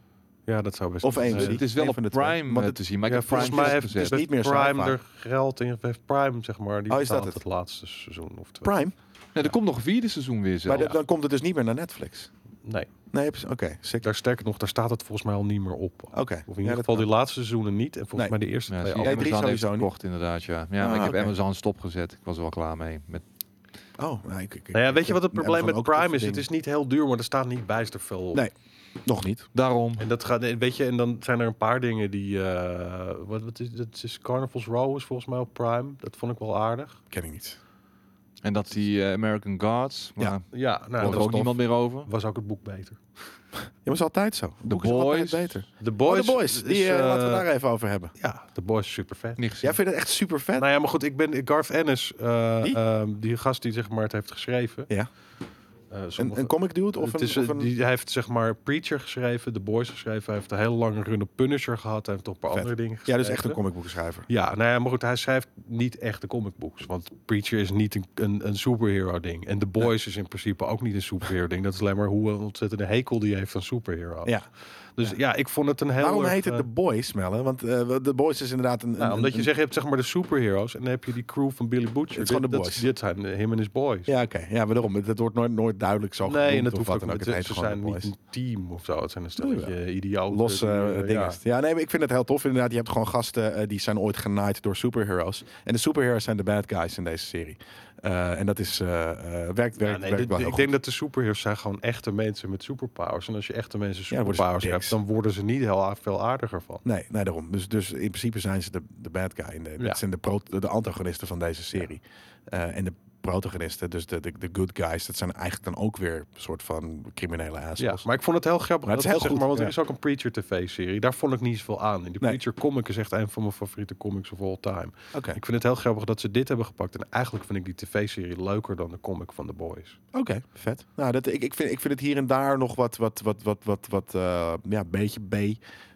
S2: Ja, dat zou best
S1: Of
S2: kunnen.
S1: één.
S3: Dus
S1: Nee,
S3: het is
S1: één
S3: wel op
S1: van de twee.
S3: Prime
S1: Want
S3: eh,
S1: het-
S3: te zien, maar
S2: Ja,
S3: ik heb Prime
S2: volgens mij heeft,
S3: gezet.
S2: heeft
S1: niet meer
S2: Prime
S1: sci-fi.
S2: er geld in. Heeft Prime, zeg maar. Die
S1: Oh, is dat
S2: betaalt
S1: het?
S2: het? laatste seizoen of twee.
S1: Prime.
S3: Nee, er komt nog een vierde seizoen weer
S1: Maar
S3: zelf.
S1: dat- dan komt het dus niet meer naar Netflix.
S2: Nee,
S1: Nee, precies. oké. sick.
S2: daar sterker nog, daar staat het volgens mij al niet meer op. Of
S1: Oké.
S2: in
S1: Ja,
S2: ieder
S1: dat
S2: geval
S1: kan.
S2: die laatste seizoenen niet. En volgens
S1: Nee.
S2: mij de eerste
S3: Ja,
S2: twee
S3: zie je,
S1: Nee,
S2: al.
S1: drie
S3: Amazon heeft
S1: sowieso niet.
S3: gekocht inderdaad, ja. Ja, maar
S1: Ah,
S3: ik heb
S1: oké.
S3: Amazon stopgezet. Ik was er wel klaar mee. Met,
S1: Oh, nou, ik, ik-
S2: Nou ja,
S1: ik-
S2: weet je wat het
S1: ik-
S2: probleem
S1: Amazon
S2: met
S1: ook toffe
S2: Prime is? Het
S1: dingen.
S2: is niet heel duur, maar er staat niet bijster veel op.
S1: Nee. Nog niet.
S3: daarom.
S2: En dat gaat, weet je, en dan zijn er een paar dingen die, eh, wat, wat is, dat is Carnival's Row is volgens mij op Prime. Dat vond ik wel aardig.
S1: Ken ik niet.
S3: En dat die eh, American Gods. Maar
S1: Ja,
S3: ja,
S2: Ja,
S3: daar
S2: nou,
S3: was
S2: dat
S3: ook
S2: was,
S3: niemand meer over.
S2: was ook het boek beter.
S1: Ja, maar het is altijd zo. De
S3: Boys.
S1: beter.
S2: The
S1: Oh,
S2: Boys.
S1: de boys. Die, eh, laten we daar even over hebben.
S2: Ja, The Boys is super vet.
S3: Niet gezien.
S1: Jij vindt het echt super vet.
S2: Nou ja, maar goed, ik ben Garth Ennis, eh,
S1: Wie?
S2: ehm, die gast die zeg maar het heeft geschreven.
S1: Ja.
S2: Eh,
S1: een,
S2: sommige-
S1: een comic dude of
S2: het
S1: een...
S2: is, eh,
S1: of een-
S2: die, hij heeft zeg maar Preacher geschreven, The Boys geschreven. Hij heeft een hele lange run op Punisher gehad. Hij heeft nog een paar
S1: Vet.
S2: andere dingen
S1: ja,
S2: geschreven.
S1: dus echt een comicboekschrijver.
S2: Ja, nou ja, maar goed, hij schrijft niet echte comicbooks. Want Preacher is niet een, een, een superhero ding. En The Boys is in principe ook niet een superhero ding. Dat is alleen maar hoe een ontzettende hekel die heeft aan superhero.
S1: Ja.
S2: Dus ja. ik vond het een heel
S1: Waarom
S2: erg,
S1: heet het
S2: eh,
S1: The Boys, Melle? Want eh, The Boys is inderdaad een...
S2: Nou,
S1: een-
S2: omdat je
S1: een-
S2: zegt, je hebt zeg maar de superheroes en dan heb je die crew van Billy Butcher.
S1: Het is gewoon de
S2: Dit-
S1: boys.
S2: Dat, dit zijn eh, him en his boys.
S1: Ja, oké. Ja, maar daarom. Het, het wordt nooit, nooit duidelijk zo
S2: nee, en
S1: genoemd
S2: dat
S1: of
S2: hoeft
S1: wat
S2: ook
S1: dan ook.
S2: niet.
S1: Het heet
S2: Ze
S1: gewoon
S2: zijn
S1: The
S2: niet
S1: Boys.
S2: een team of zo. Het zijn een
S1: Jawel.
S2: stelletje idioten.
S1: Los
S2: die,
S1: eh
S2: eh,
S1: dingen.
S2: ja.
S1: Ja. nee, maar ik vind het heel tof inderdaad. Je hebt gewoon gasten eh, die zijn ooit genaaid door superheroes. En de superheroes zijn de bad guys in deze serie. Eh, en dat is, eh, eh, werkt, werkt,
S2: Ja, nee,
S1: werkt
S2: dit-
S1: wel heel
S2: ik
S1: goed.
S2: denk dat de superheroes zijn gewoon echte mensen met superpowers. En als je echte mensen
S1: Ja, dan worden ze
S2: superpowers hebt,
S1: dicks.
S2: dan worden ze niet heel a- veel aardiger van.
S1: Nee, nee, daarom. Dus, dus in principe zijn ze de, de bad guy. In de,
S2: Ja.
S1: Dat zijn de, pro- de antagonisten van deze serie. Eh, en de protagonisten, dus de, de, de good guys, dat zijn eigenlijk dan ook weer een soort van criminele
S2: Ja,
S1: assholes.
S2: maar ik vond het heel grappig.
S1: Maar het is
S2: dat
S1: heel
S2: zeg
S1: goed,
S2: Maar, want
S1: ja.
S2: er is ook een Preacher TV-serie. Daar vond ik niet zoveel aan. En die
S1: Nee.
S2: Preacher comic is echt een van mijn favoriete comics of all time.
S1: Oké,
S2: Ik vind het heel grappig dat ze dit hebben gepakt. En eigenlijk vind ik die tv-serie leuker dan de comic van The Boys.
S1: oké, vet. Nou, dat, ik, ik, vind, ik vind het hier en daar nog wat, wat, wat, wat, wat, wat eh, ja, een beetje B.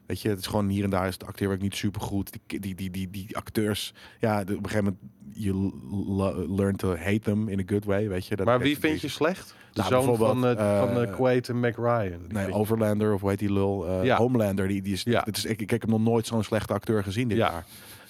S1: Weet je, het is gewoon hier en daar is het acteerwerk niet super goed. Die, die, die, die, die acteurs, ja, de- op een gegeven moment, je l- learn to hate them in a good way, weet je. Dat
S2: maar
S1: dat
S2: wie
S1: is
S2: vind
S1: een
S2: je slecht? De
S1: Nou,
S2: zoon van,
S1: bijvoorbeeld,
S2: eh van eh,
S1: eh,
S2: Quaid en Mac Ryan. Die
S1: Nee, oh,
S2: vind ik-
S1: Overlander of hoe heet die lul? eh,
S2: Ja.
S1: Homelander. Die, die is,
S2: Ja.
S1: dit is, ik, ik heb hem nog nooit zo'n slechte acteur gezien dit
S2: ja,
S1: jaar.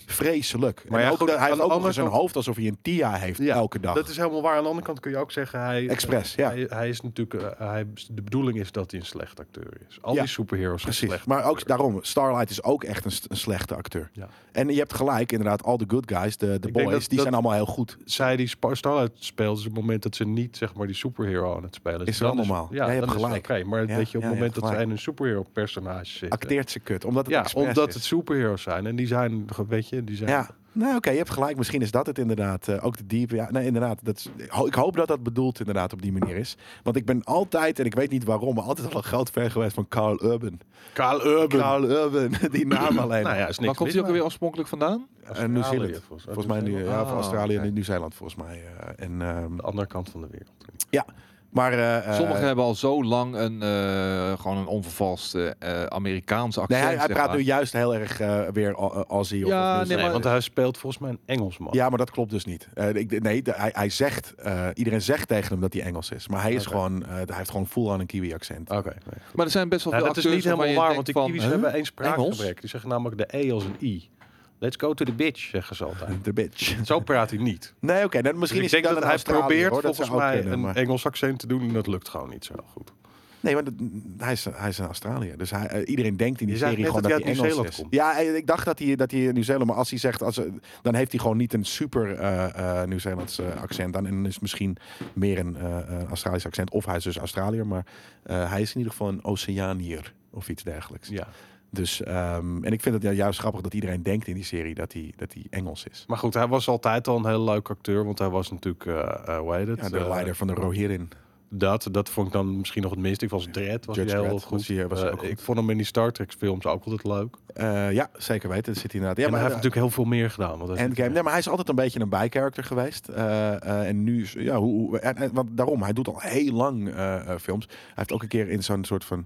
S1: Vreselijk.
S2: Maar
S1: Maar
S2: ja,
S1: ook,
S2: goed,
S1: dat- hij
S2: aan
S1: heeft
S2: de
S1: ook nog
S2: andere
S1: in zijn
S2: kant-
S1: hoofd alsof hij een TIA heeft
S2: Ja,
S1: elke dag.
S2: dat is helemaal waar. Aan de andere kant kun je ook zeggen... Hij, eh,
S1: Expres, Ah. ja.
S2: hij, hij is natuurlijk... eh, hij, de bedoeling is dat hij een slecht acteur is. Al
S1: Ja,
S2: die superheroes zijn
S1: Precies.
S2: slecht.
S1: maar ook daarom, Starlight is ook echt een, st- een slechte acteur.
S2: Ja.
S1: En je hebt gelijk, inderdaad, al de good guys, de, de
S2: Ik denk
S1: boys,
S2: dat-
S1: die
S2: dat-
S1: zijn allemaal heel goed.
S2: zij die Spa- Starlight speelt, is het moment dat ze niet zeg maar die superhero aan het spelen
S1: Is
S2: Dan
S1: wel normaal. Ja,
S2: Ja,
S1: je
S2: dan
S1: hebt
S2: is het
S1: gelijk.
S2: oké. Maar
S1: Ja,
S2: weet je, op
S1: ja,
S2: het
S1: je
S2: moment
S1: hebt
S2: dat zij
S1: gelijk.
S2: in een superhero personage zitten.
S1: Acteert ze kut, omdat het
S2: ja,
S1: expres
S2: omdat
S1: is.
S2: het superheroes zijn. En die zijn, weet je, die zijn...
S1: Ja, nou oké, je hebt gelijk. Misschien is dat het inderdaad. Eh, ook de diepe. Ja, nee, inderdaad. Dat is, ho- ik hoop dat dat bedoeld inderdaad op die manier is. Want ik ben altijd, en ik weet niet waarom, maar altijd al een groot fan geweest van Carl Urban.
S2: Carl Urban.
S1: Carl Urban, die naam alleen.
S2: Nou ja, is niks
S3: Waar
S2: mis
S3: komt hij ook
S2: mee.
S3: alweer oorspronkelijk vandaan?
S1: En Nieuw-Zeeland.
S2: Australië, volgens-
S1: Volgens mij nu,
S2: Nieuw-Zeeland.
S1: ja, van
S3: Ah,
S1: Australië
S2: oké.
S1: en Nieuw-Zeeland volgens mij. eh, en, ehm,
S2: De andere kant van de wereld.
S1: ja, maar... eh, eh,
S3: Sommigen hebben al zo lang een, eh, gewoon een onvervalste eh Amerikaanse
S1: Nee,
S3: accent.
S1: hij, hij
S3: zeg
S1: praat
S3: maar.
S1: nu juist heel erg eh, weer Au- eh, Aussie of-
S3: Ja,
S1: of
S3: nee,
S1: Nieuw-Zeeland.
S2: Nee,
S3: maar-
S2: want hij speelt volgens mij een Engelsman.
S1: Ja, maar dat klopt dus niet. Eh, ik, nee, de- hij, hij zegt, eh, iedereen zegt tegen hem dat hij Engels is. Maar hij, is
S2: Oké.
S1: gewoon, eh, hij heeft gewoon full aan een Kiwi-accent.
S2: Oké. nee.
S3: Maar er zijn best wel
S2: Nou,
S3: veel
S2: dat is
S3: acteurs
S2: niet helemaal waar, want
S3: ik
S2: die kiwis hebben één spraakgebrek.
S3: Engels?
S2: Die zeggen namelijk de E als een I. Let's go to the bitch, zeggen ze altijd.
S1: De bitch.
S2: Zo praat hij niet.
S1: Nee, oké. dan misschien
S2: Dus
S1: is
S2: Oh. ik denk
S1: dan
S2: dat,
S1: een
S2: hij
S1: Australiër,
S2: probeert
S1: hoor, dat
S2: volgens
S1: zou ook
S2: mij
S1: kunnen,
S2: een
S1: maar-
S2: Engels accent te doen en dat lukt gewoon niet zo goed.
S1: Nee, want het- hij is, hij is een Australiër. Dus hij, eh, iedereen denkt in die
S2: Je zei
S1: serie
S2: net
S1: gewoon
S2: dat
S1: dat,
S2: hij uit
S1: hij Engels
S2: Nieuw-Zeeland
S1: is.
S2: komt.
S1: Ja, eh, ik dacht dat hij, dat hij in Nieuw-Zeeland... Maar als hij zegt... Als, eh, dan heeft hij gewoon niet een super eh, eh, Nieuw-Zeelands eh, accent. Dan is het misschien meer een eh, eh, Australisch accent. Of hij is dus Australiër. Maar eh, hij is in ieder geval een Oceanier of iets dergelijks.
S2: Ja.
S1: Dus, ehm, en ik vind het ju- juist grappig dat iedereen denkt in die serie dat hij, dat hij Engels is.
S2: Maar goed, hij was altijd al een heel leuk acteur, want hij was natuurlijk, eh eh, hoe heet het?
S1: Ja, de
S2: Eh,
S1: leider van de Rohirrim.
S2: dat, dat vond ik dan misschien nog het minst. Ik was Dredd, was
S1: Judge
S2: hij heel
S1: Dredd,
S2: goed.
S1: was hij- was hij
S2: Eh,
S1: ook goed.
S2: Ik vond hem in die Star Trek films ook altijd leuk.
S1: Eh, ja, zeker weten. Dat zit hij inderdaad. Ja,
S2: en hij heeft
S1: eh,
S2: natuurlijk heel veel meer gedaan. Want hij is
S1: Endgame.
S2: natuurlijk-
S1: Nee, maar hij is altijd een beetje een bijkarakter geweest. Eh, eh, en nu, is- ja, hoe, hoe- en, en- want daarom, hij doet al heel lang eh, eh, films. Hij heeft ook een keer in zo'n soort van,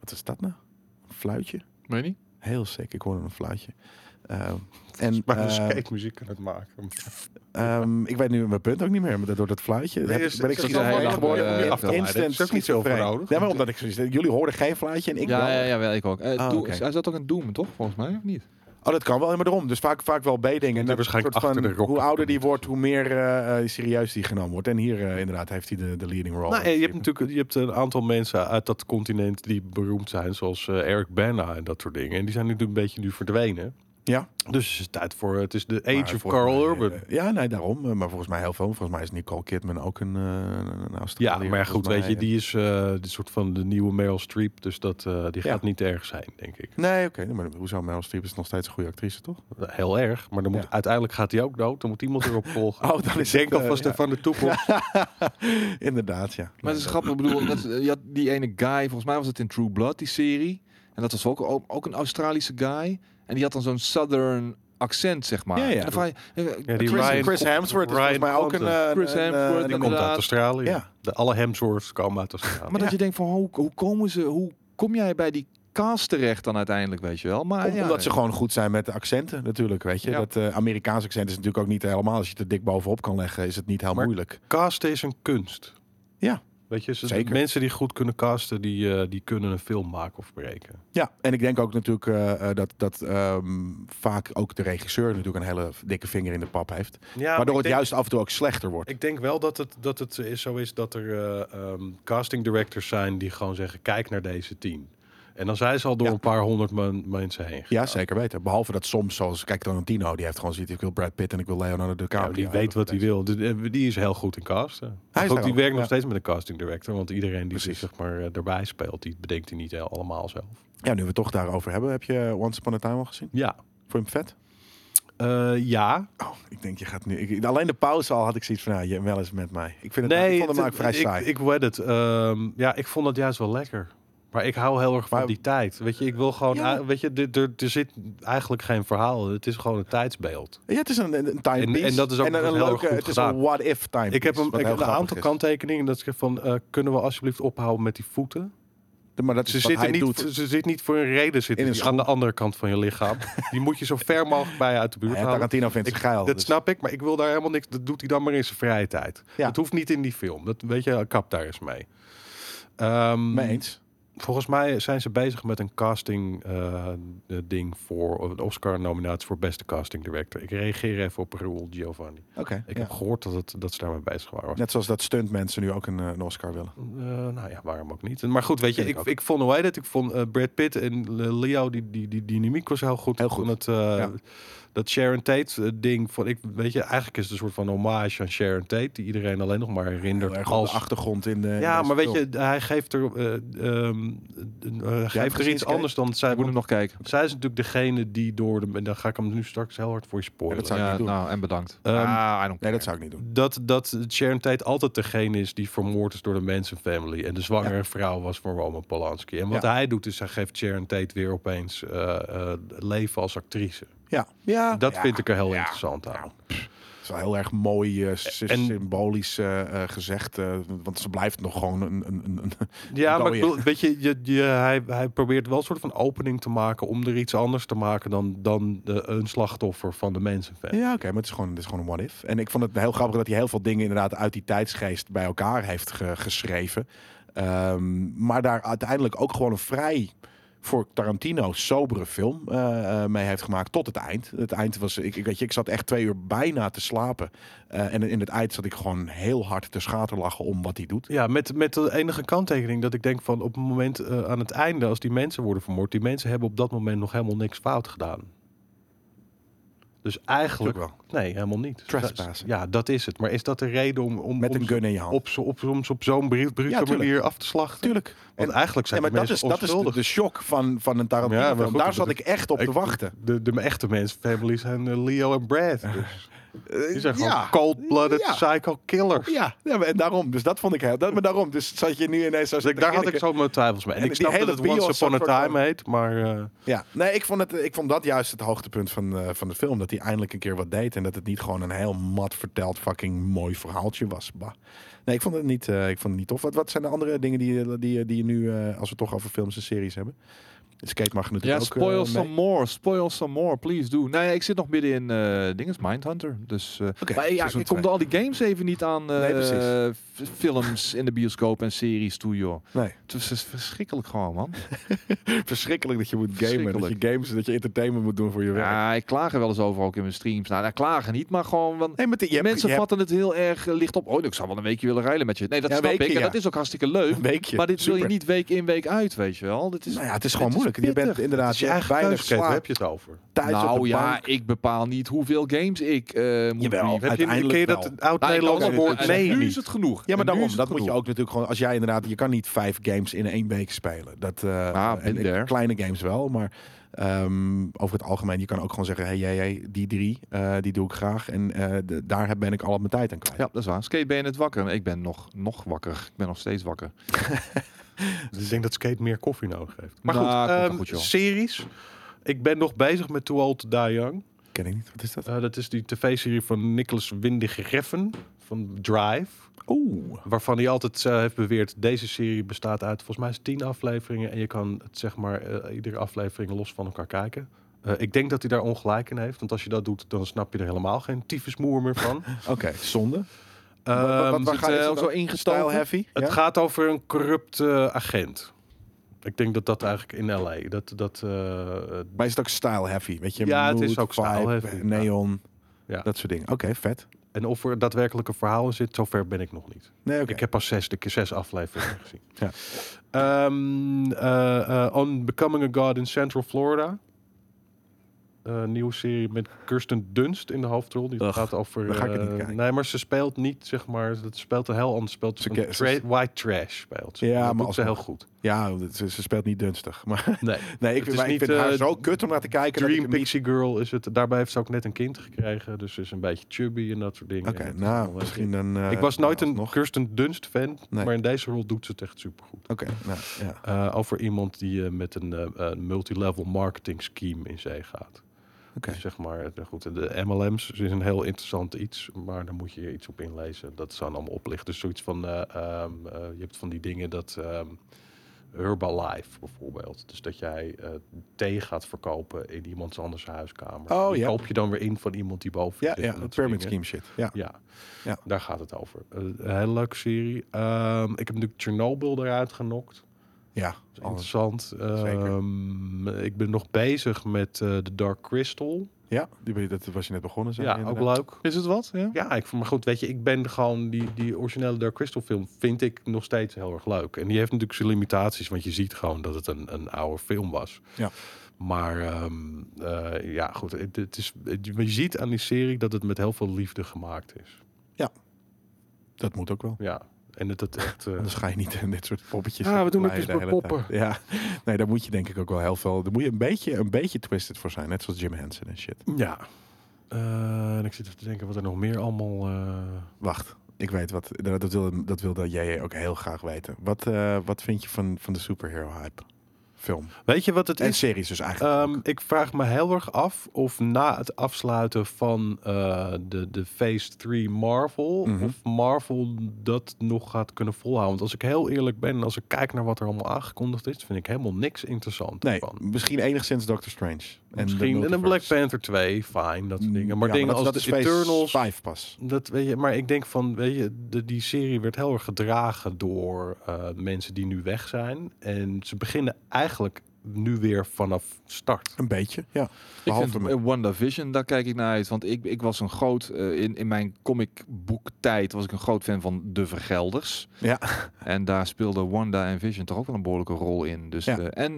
S1: wat is dat nou? Een fluitje?
S3: Weet je niet?
S1: Heel sick, ik hoorde een fluitje. Ehm, en
S2: Maar hij
S1: eh,
S2: was skatemuziek aan het maken.
S1: ehm, ik weet nu mijn punt ook niet meer, maar door dat fluitje heb
S2: dus
S1: ik- ben ik
S3: zit
S1: schiet-
S3: er heel lang
S1: geworden.
S3: bij, eh,
S1: In-
S3: af te
S2: leiden.
S1: instant
S2: Dat is ook niet zo
S1: schizofreen.
S2: verouderd.
S1: Nee, maar omdat ik zoiets- jullie hoorden geen fluitje en ik
S3: ja,
S1: wel.
S3: ja, ja, wel, ik ook. Eh,
S1: Ah,
S3: Doom-
S1: oké.
S3: Hij zat ook in Doom, toch? Volgens mij, of niet?
S1: Oh, dat kan wel, maar daarom. Dus vaak, vaak wel B-dingen. En
S2: hij
S1: dat
S2: waarschijnlijk
S1: soort
S2: achter
S1: van,
S2: de rock
S1: hoe ouder die
S2: komt.
S1: wordt, hoe meer eh, eh, serieus die genomen wordt. En hier eh, inderdaad heeft hij de, de leading role.
S2: Nou, en je hebt natuurlijk je hebt een aantal mensen uit dat continent die beroemd zijn, zoals eh, Eric Bana en dat soort dingen. En die zijn natuurlijk een beetje nu verdwenen.
S1: Ja.
S2: Dus het is tijd voor, het is de
S1: Maar
S2: age of
S1: volgens
S2: Carl
S1: mij,
S2: Urban.
S1: eh, ja, nee, daarom. Eh, Maar volgens mij heel veel. Volgens mij is Nicole Kidman ook een, eh een
S2: ja,
S1: Australiër.
S2: maar
S1: Volgens
S2: goed,
S1: mij,
S2: weet je,
S1: eh,
S2: die is eh dit soort van de nieuwe Meryl Streep, dus dat, eh, die
S1: Ja.
S2: gaat niet erg zijn, denk ik.
S1: Nee, oké. Maar hoezo, Meryl Streep is nog steeds een goede actrice, toch?
S2: Heel erg, maar dan moet,
S1: Ja.
S2: uiteindelijk gaat hij ook dood, dan moet iemand erop volgen.
S1: Oh, dan is
S2: Denk
S1: het, eh,
S2: alvast
S1: ja.
S2: van de toekomst.
S1: Inderdaad, ja.
S3: Maar het is grappig, ik bedoel, net, eh, je had die ene guy, volgens mij was het in True Blood, die serie. En dat was ook, ook, ook een Australische guy. En die had dan zo'n southern accent, zeg maar.
S1: Ja, ja.
S3: En dan vraag je, eh,
S2: Ja, die
S3: Chris-
S1: Chris,
S2: Ryan-
S1: Chris Hemsworth is volgens
S2: Ryan
S1: mij ook een...
S2: Compton.
S1: eh,
S3: Chris
S1: een, eh,
S3: Hemsworth,
S1: die
S2: Die
S1: komt
S2: komt uit
S3: inderdaad.
S2: Australië.
S1: Ja.
S2: De, alle Hemsworths komen uit Australië.
S3: Maar dat je denkt van, hoe, hoe komen ze, hoe kom jij bij die cast terecht dan uiteindelijk, weet je wel? Maar,
S1: Om-
S3: ja,
S1: Omdat ze gewoon goed zijn met de accenten natuurlijk, weet je.
S3: Ja.
S1: Ah, Dat eh Amerikaans accent is natuurlijk ook niet helemaal... Als je het er dik bovenop kan leggen, is het niet heel
S2: Maar-
S1: moeilijk.
S2: casten is een kunst.
S1: Ja.
S2: Weet je, ze-
S1: Zeker.
S2: mensen die goed kunnen casten, die, eh, die kunnen een film maken of breken.
S1: Ja, en ik denk ook natuurlijk eh, eh, dat, dat ehm, vaak ook de regisseur natuurlijk een hele dikke vinger in de pap heeft.
S2: Ja,
S1: waardoor het juist af en toe ook slechter wordt.
S2: Ik denk wel dat het, dat het is- zo is dat er eh, ehm, casting directors zijn die gewoon zeggen: kijk naar deze tien. En dan zijn ze al door
S1: Ja.
S2: een paar honderd men- mensen heen.
S1: Ja, zeker weten. Behalve dat soms, zoals kijk Tarantino, die heeft gewoon zitten. Ik wil Brad Pitt en ik wil Leonardo
S2: Ja,
S1: DiCaprio.
S2: die weet wat hij wil. Die- eh, Die is heel goed in casten.
S1: Hij is
S2: Goed,
S1: daar
S2: die
S1: ook,
S2: werkt nog
S1: ja.
S2: steeds met een casting director. Want iedereen die zich
S1: Precies.
S2: zeg maar, eh, erbij speelt, die bedenkt hij niet heel allemaal zelf.
S1: Ja, nu we het toch daarover hebben, heb je Once Upon a Time al gezien?
S2: Ja.
S1: Vond je hem vet?
S2: Eh, ja.
S1: Oh, ik denk je gaat nu. ik- alleen de pauze al had ik zoiets van, nou, je wel eens met mij. Ik vind het, ik vond hem
S2: het-
S1: ook vrij
S2: ik-
S1: saai.
S2: Ik weet het. Ehm, ja, ik vond het juist wel lekker. Maar ik hou heel erg van
S1: Maar-
S2: die tijd. Weet je, ik wil gewoon...
S1: Ja.
S2: eh, Weet je, er- er- er zit eigenlijk geen verhaal. Het is gewoon een tijdsbeeld.
S1: ja, het is een, een een timepiece.
S2: en dat is ook
S1: een,
S2: heel
S1: een
S2: erg
S1: leuke,
S2: goed
S1: het is
S2: gedaan.
S1: een what if time.
S2: Ik heb, hem, ik heb een aantal kanttekeningen. Dat ik van, eh, kunnen we alsjeblieft ophouden met die voeten?
S1: Maar dat
S2: Ze
S1: is wat
S2: zitten
S1: hij
S2: niet,
S1: doet.
S2: voor- ze zit niet voor een reden zitten
S1: In een
S2: die aan de andere kant van je lichaam. die moet je zo ver mogelijk bij je uit de buurt
S1: Nou ja,
S2: houden.
S1: Tarantino vindt het geil.
S2: Dat
S1: dus-
S2: snap ik, maar ik wil daar helemaal niks. Dat doet hij dan maar in zijn vrije tijd.
S1: Ja.
S2: Dat hoeft niet in die film. Dat weet je, kap daar eens mee. Ehm,
S1: Mee eens.
S2: Volgens mij zijn ze bezig met een casting eh, eh, ding voor een Oscar-nominatie voor beste casting director. Ik reageer even op Raoul Giovanni.
S1: Oké.
S2: Ik
S1: ja.
S2: heb gehoord dat, het, dat ze daarmee bezig waren.
S1: Net zoals dat stuntmensen nu ook een, eh, een Oscar willen.
S2: Eh, nou ja, waarom ook niet? Maar goed, weet je,
S1: Vind
S2: ik,
S1: ik ook.
S2: ik vond hoe heet het? Ik vond eh, Brad Pitt en eh, Leo, die, die, die dynamiek was heel goed.
S1: Heel
S2: Ik vond
S1: goed,
S2: Het, eh,
S1: ja.
S2: Dat Sharon Tate eh, ding, vond ik, weet je, eigenlijk is het een soort van hommage aan Sharon Tate, die iedereen alleen nog maar herinnert
S1: Heel erg op
S2: als...
S1: de achtergrond in de. in
S2: ja,
S1: deze
S2: maar weet
S1: film.
S2: je, hij geeft er, eh, ehm, eh, eh, geeft er
S1: gezien,
S2: iets
S1: Sky?
S2: anders dan zij.
S3: Ik moet hem nog kijken.
S2: Zij is natuurlijk degene die door de... En dan ga ik hem nu straks heel hard voor je spoilen.
S1: zou ik
S3: ja,
S1: niet doen.
S3: nou, en bedankt.
S2: Ehm,
S3: ah, I don't
S1: Nee, dat zou ik niet doen.
S2: dat, dat Sharon Tate altijd degene is die vermoord is door de Manson family. En de zwangere vrouw was van Roman Polanski. En wat
S1: Ja.
S2: hij doet is hij geeft Sharon Tate weer opeens eh, eh, leven als actrice.
S1: Ja, ja.
S2: Dat
S1: Oh, ja.
S2: vind ik er heel interessant aan.
S1: Het is wel heel erg mooi eh, sy-
S2: En-
S1: symbolisch eh, eh, gezegd. eh, want ze blijft nog gewoon een. een, een, een
S2: Ja, maar
S1: dode.
S2: ik bedoel, weet je, je, je- hij, hij probeert wel een soort van opening te maken om er iets anders te maken dan, dan eh, een slachtoffer van de Manson family.
S1: Ja, oké, maar het is, gewoon, het is gewoon een what-if. En ik vond het heel grappig dat hij heel veel dingen inderdaad uit die tijdsgeest bij elkaar heeft ge- geschreven. Ehm, maar daar uiteindelijk ook gewoon een vrij voor Tarantino sobere film eh, eh, mee heeft gemaakt tot het eind. Het eind was, ik, ik, weet je, ik zat echt twee uur bijna te slapen. Eh, en in het eind zat ik gewoon heel hard te schaterlachen om wat hij doet.
S2: Ja, met, met de enige kanttekening dat ik denk van op het moment eh, aan het einde, als die mensen worden vermoord, die mensen hebben op dat moment nog helemaal niks fout gedaan. Dus eigenlijk.
S1: Natuurlijk
S2: Nee, helemaal niet.
S1: Trespassing.
S2: Ja, dat is het. Maar is dat de reden om, om,
S1: Met
S2: om
S1: een
S2: ze
S1: gun in je hand.
S2: op, zo- op, om ze op zo'n bru- brute
S1: Ja, tuurlijk.
S2: manier af te slachten?
S1: Tuurlijk.
S2: Want eigenlijk zijn
S1: Ja,
S2: die
S1: maar dat is,
S2: mensen
S1: dat is de,
S2: onschuldig.
S1: de shock van, van een Tarantino.
S2: Ja, maar
S1: film.
S2: goed,
S1: Daar
S2: dat
S1: zat
S2: is-
S1: ik echt op te
S2: Ik-
S1: wachten.
S2: de, de, echte mensen, families zijn eh, Leo en Brad. Dus die zijn gewoon
S1: ja.
S2: cold-blooded
S1: Ja.
S2: psycho killers.
S1: Ja, ja, maar en daarom. Dus dat vond ik heel. Dat, maar daarom. Dus zat je nu ineens zo.
S2: Dus ik, daar had ik zo mijn twijfels mee. En,
S1: En
S2: ik
S1: die
S2: snap dat
S1: hele
S2: het
S1: bios
S2: Once Upon a
S1: soort van-
S2: Time heet, maar... eh,
S1: Ja, nee, ik vond, het, ik vond dat juist het hoogtepunt van, eh, van de film. Dat hij eindelijk een keer wat deed. En dat het niet gewoon een heel mat verteld fucking mooi verhaaltje was. Bah. Nee, ik vond het niet, eh, ik vond het niet tof. Wat, wat zijn de andere dingen die, je- die, je- die je nu, eh, als we het toch over films en series hebben? Skate mag er
S3: Ja,
S1: natuurlijk ook. eh,
S3: spoil
S1: mee.
S3: some more. Spoil some more, please do. Nee, ik zit nog midden in eh dinges, Mindhunter. Dus, eh
S1: Oké,
S3: maar ja,
S1: seizoen
S3: ik kom
S1: twee.
S3: al die games even niet aan eh,
S1: Nee, precies.
S3: f- films in de bioscoop en series toe, joh.
S1: Nee,
S3: Het is- is verschrikkelijk gewoon, man.
S1: verschrikkelijk dat je moet gamen. Dat je
S3: Verschrikkelijk.
S1: games, dat je entertainment moet doen voor je werk.
S3: Ja, ik klaag er wel eens over ook in mijn streams. Nou, daar klagen niet, maar gewoon... Want
S1: Nee, maar die- je hebt-
S3: mensen
S1: je hebt
S3: vatten het heel erg eh, licht op. Oh, ik zou wel een weekje willen rijden met je. Nee, dat
S1: Ja,
S3: snap
S1: weekje,
S3: ik. En
S1: ja.
S3: dat is ook hartstikke leuk.
S1: een weekje.
S3: Maar dit wil je
S1: Super.
S3: niet week in, week uit, weet je wel. Dit is,
S1: Nou ja, het is gewoon
S3: dit
S1: moeilijk.
S3: is
S1: Je bent
S3: pittig.
S1: inderdaad
S2: als je
S1: je hebt
S2: eigen
S1: weinig
S2: thuisgeeft, waar
S1: slaap.
S2: heb je het over?
S1: Thuis op
S3: nou
S1: de
S3: ja,
S1: bank.
S3: ik bepaal niet hoeveel games ik eh
S1: Jawel,
S3: moet reviewen.
S1: Heb je- Uiteindelijk ken je dat wel.
S2: oud
S3: Nou, ik kan
S1: Nederlandse
S3: ook-
S1: woord
S3: en
S1: nee
S3: Nu
S1: niet?
S3: is het genoeg.
S1: Ja, maar
S3: En nu
S1: daarom.
S3: is
S1: Dat
S3: het
S1: moet je
S3: genoeg.
S1: ook natuurlijk gewoon. Als jij inderdaad, je kan niet vijf games in één week spelen. Dat eh,
S3: Ah,
S1: en,
S3: been there.
S1: kleine games wel, maar ehm, over het algemeen, je kan ook gewoon zeggen: hey, hey, hey, die drie, eh, die doe ik graag. En eh, de- daar heb- ben ik al op mijn tijd aan kwijt.
S3: Ja, dat is waar. Skate, ben je net wakker? Ik ben nog, nog wakker. Ik ben nog steeds wakker.
S2: Dus ik denk dat Skate meer koffie nodig heeft. Maar
S3: Nou,
S2: goed,
S3: komt wel
S2: ehm,
S3: goed, joh.
S2: series. Ik ben nog bezig met Too Old To Die Young.
S1: Ken ik niet. Wat is dat?
S2: Eh, dat is die tv-serie van Nicholas Windig Reffen van Drive.
S1: Oeh.
S2: Waarvan hij altijd eh, heeft beweerd, deze serie bestaat uit volgens mij is het tien afleveringen. En je kan het, zeg maar eh, iedere aflevering los van elkaar kijken. Eh, ik denk dat hij daar ongelijk in heeft. Want als je dat doet, dan snap je er helemaal geen tyfusmoer meer van.
S1: Oké, zonde.
S2: Ehm,
S1: wat- wat-
S3: Is het,
S1: ga- is
S3: eh,
S1: het
S3: ook zo
S1: ook Style
S3: ingestoken?
S1: heavy.
S2: Het
S1: ja?
S2: gaat over een corrupte agent. Ik denk dat dat eigenlijk in LA. Dat, dat, eh,
S1: Maar is het ook style heavy? Weet je,
S2: Ja, het is
S1: mood,
S2: ook style
S1: vibe,
S2: heavy.
S1: Neon,
S2: Ja.
S1: dat soort dingen. Oké, vet.
S2: En of er daadwerkelijk een verhaal in zit, zover ben ik nog niet.
S1: Nee, oké.
S2: Ik heb pas zes, de keer zes afleveringen gezien.
S1: Ja.
S2: Ehm, eh, eh, On Becoming a God in Central Florida. Een nieuwe serie met Kirsten Dunst in de hoofdrol. Die
S1: Ugh,
S2: gaat over.
S1: dan ga ik het niet
S2: eh,
S1: kijken.
S2: nee, maar ze speelt niet, zeg maar. Dat speelt een heel ander spel.
S1: Ze
S2: Een
S1: ke-
S2: tra-
S1: ze-
S2: white trash speelt. ze.
S1: Ja,
S2: dat
S1: maar
S2: doet ze heel
S1: alsnog.
S2: goed.
S1: Ja, ze, ze speelt niet dunstig. Maar
S2: Nee.
S1: nee, ik,
S2: Het is
S1: maar ik
S2: niet,
S1: vind haar
S2: eh,
S1: zo kut om naar te kijken. dat ik
S2: Dream
S1: hem niet-
S2: Pixie Girl is het. Daarbij heeft ze ook net een kind gekregen. Dus ze is een beetje chubby en dat soort dingen.
S1: Oké,
S2: En dat is allemaal
S1: nou,
S2: wel
S1: misschien een... eh,
S2: ik was nooit een
S1: alsnog.
S2: Kirsten Dunst fan,
S1: Nee.
S2: maar in deze rol doet ze het echt supergoed.
S1: Oké, nou, ja.
S2: Eh, over iemand die eh, met een eh, eh, multilevel marketing scheme in zee gaat.
S1: Oké.
S2: Dus zeg maar, eh, goed, en de MLM's is een heel interessant iets, maar daar moet je iets op inlezen. Dat zijn allemaal oplichten. Dus zoiets van, eh, ehm, eh, je hebt van die dingen dat ehm Herbalife bijvoorbeeld. Dus dat jij eh, thee gaat verkopen in iemands anders huiskamer.
S1: Oh,
S2: Die
S1: ja.
S2: koop je dan weer in van iemand die boven je
S1: Ja, ja,
S2: zit en dat soort
S1: pyramid
S2: dingen.
S1: scheme shit. Ja.
S2: Ja.
S1: Ja.
S2: daar gaat het over. Eh, een hele leuke serie. Ehm, ik heb natuurlijk Chernobyl eruit genokt.
S1: Ja,
S2: Dat is
S1: alles.
S2: interessant.
S1: Zeker.
S2: Ehm, ik ben nog bezig met eh The Dark Crystal.
S1: ja die, ben je- dat was je net begonnen. zei
S2: ja,
S1: je
S2: ook
S1: inderdaad.
S2: leuk.
S3: Is het wat? Ja.
S2: Ja, ik, maar goed, weet je, ik ben gewoon... Die, die originele Dark Crystal film vind ik nog steeds heel erg leuk. En die heeft natuurlijk zijn limitaties, want je ziet gewoon dat het een, een oude film was.
S1: Ja.
S2: Maar ehm, eh, ja, goed, het, het is, het- je ziet aan die serie dat het met heel veel liefde gemaakt is.
S1: Dat moet ook wel.
S2: Ja, en dat het echt... eh,
S1: Anders ga je niet in dit soort poppetjes.
S2: Ah, we doen het
S1: kleien
S2: dus
S1: de
S2: met
S1: hele tijd.
S2: poppen.
S1: Ja, nee, daar moet je denk ik ook wel heel veel. Daar moet je een beetje, een beetje twisted voor zijn. Net zoals Jim Henson en shit.
S2: Ja. Eh, en ik zit even te denken wat er nog meer allemaal. eh,
S1: Wacht, ik weet wat. Dat dat wilde, dat wilde jij ook heel graag weten. Wat, eh, wat vind je van, van de superhero hype? Film.
S2: Weet je wat het
S1: En
S2: is?
S1: series dus eigenlijk.
S2: Ehm, ik vraag me heel erg af of na het afsluiten van eh, de, de Phase 3 Marvel,
S1: Mhm.
S2: of Marvel dat nog gaat kunnen volhouden. Want als ik heel eerlijk ben, en als ik kijk naar wat er allemaal aangekondigd is, vind ik helemaal niks interessant.
S1: nee,
S2: ervan.
S1: misschien enigszins Doctor Strange. Eh, En
S2: Misschien en
S1: de
S2: een Black
S1: multiverse. Mm,
S2: Panther 2, fijn, dat soort
S1: Ja,
S2: dingen. Maar dingen
S1: dat-
S2: als
S1: dat
S2: de
S1: is phase
S2: Eternals,
S1: Five pas.
S2: Dat weet je, maar ik denk van, weet je, de, die serie werd heel erg gedragen door eh, mensen die nu weg zijn. En ze beginnen eigenlijk nu weer vanaf start.
S1: Een beetje, ja.
S3: Ik
S1: Behalve
S3: vind
S1: de-
S3: eh, WandaVision, daar kijk ik naar uit. Want ik, ik was een groot, eh, in, in mijn comicboektijd was ik een groot fan van De Vergelders.
S1: Ja.
S3: En daar speelden Wanda en Vision toch ook wel een behoorlijke rol in. Dus
S1: Ja.
S3: eh, en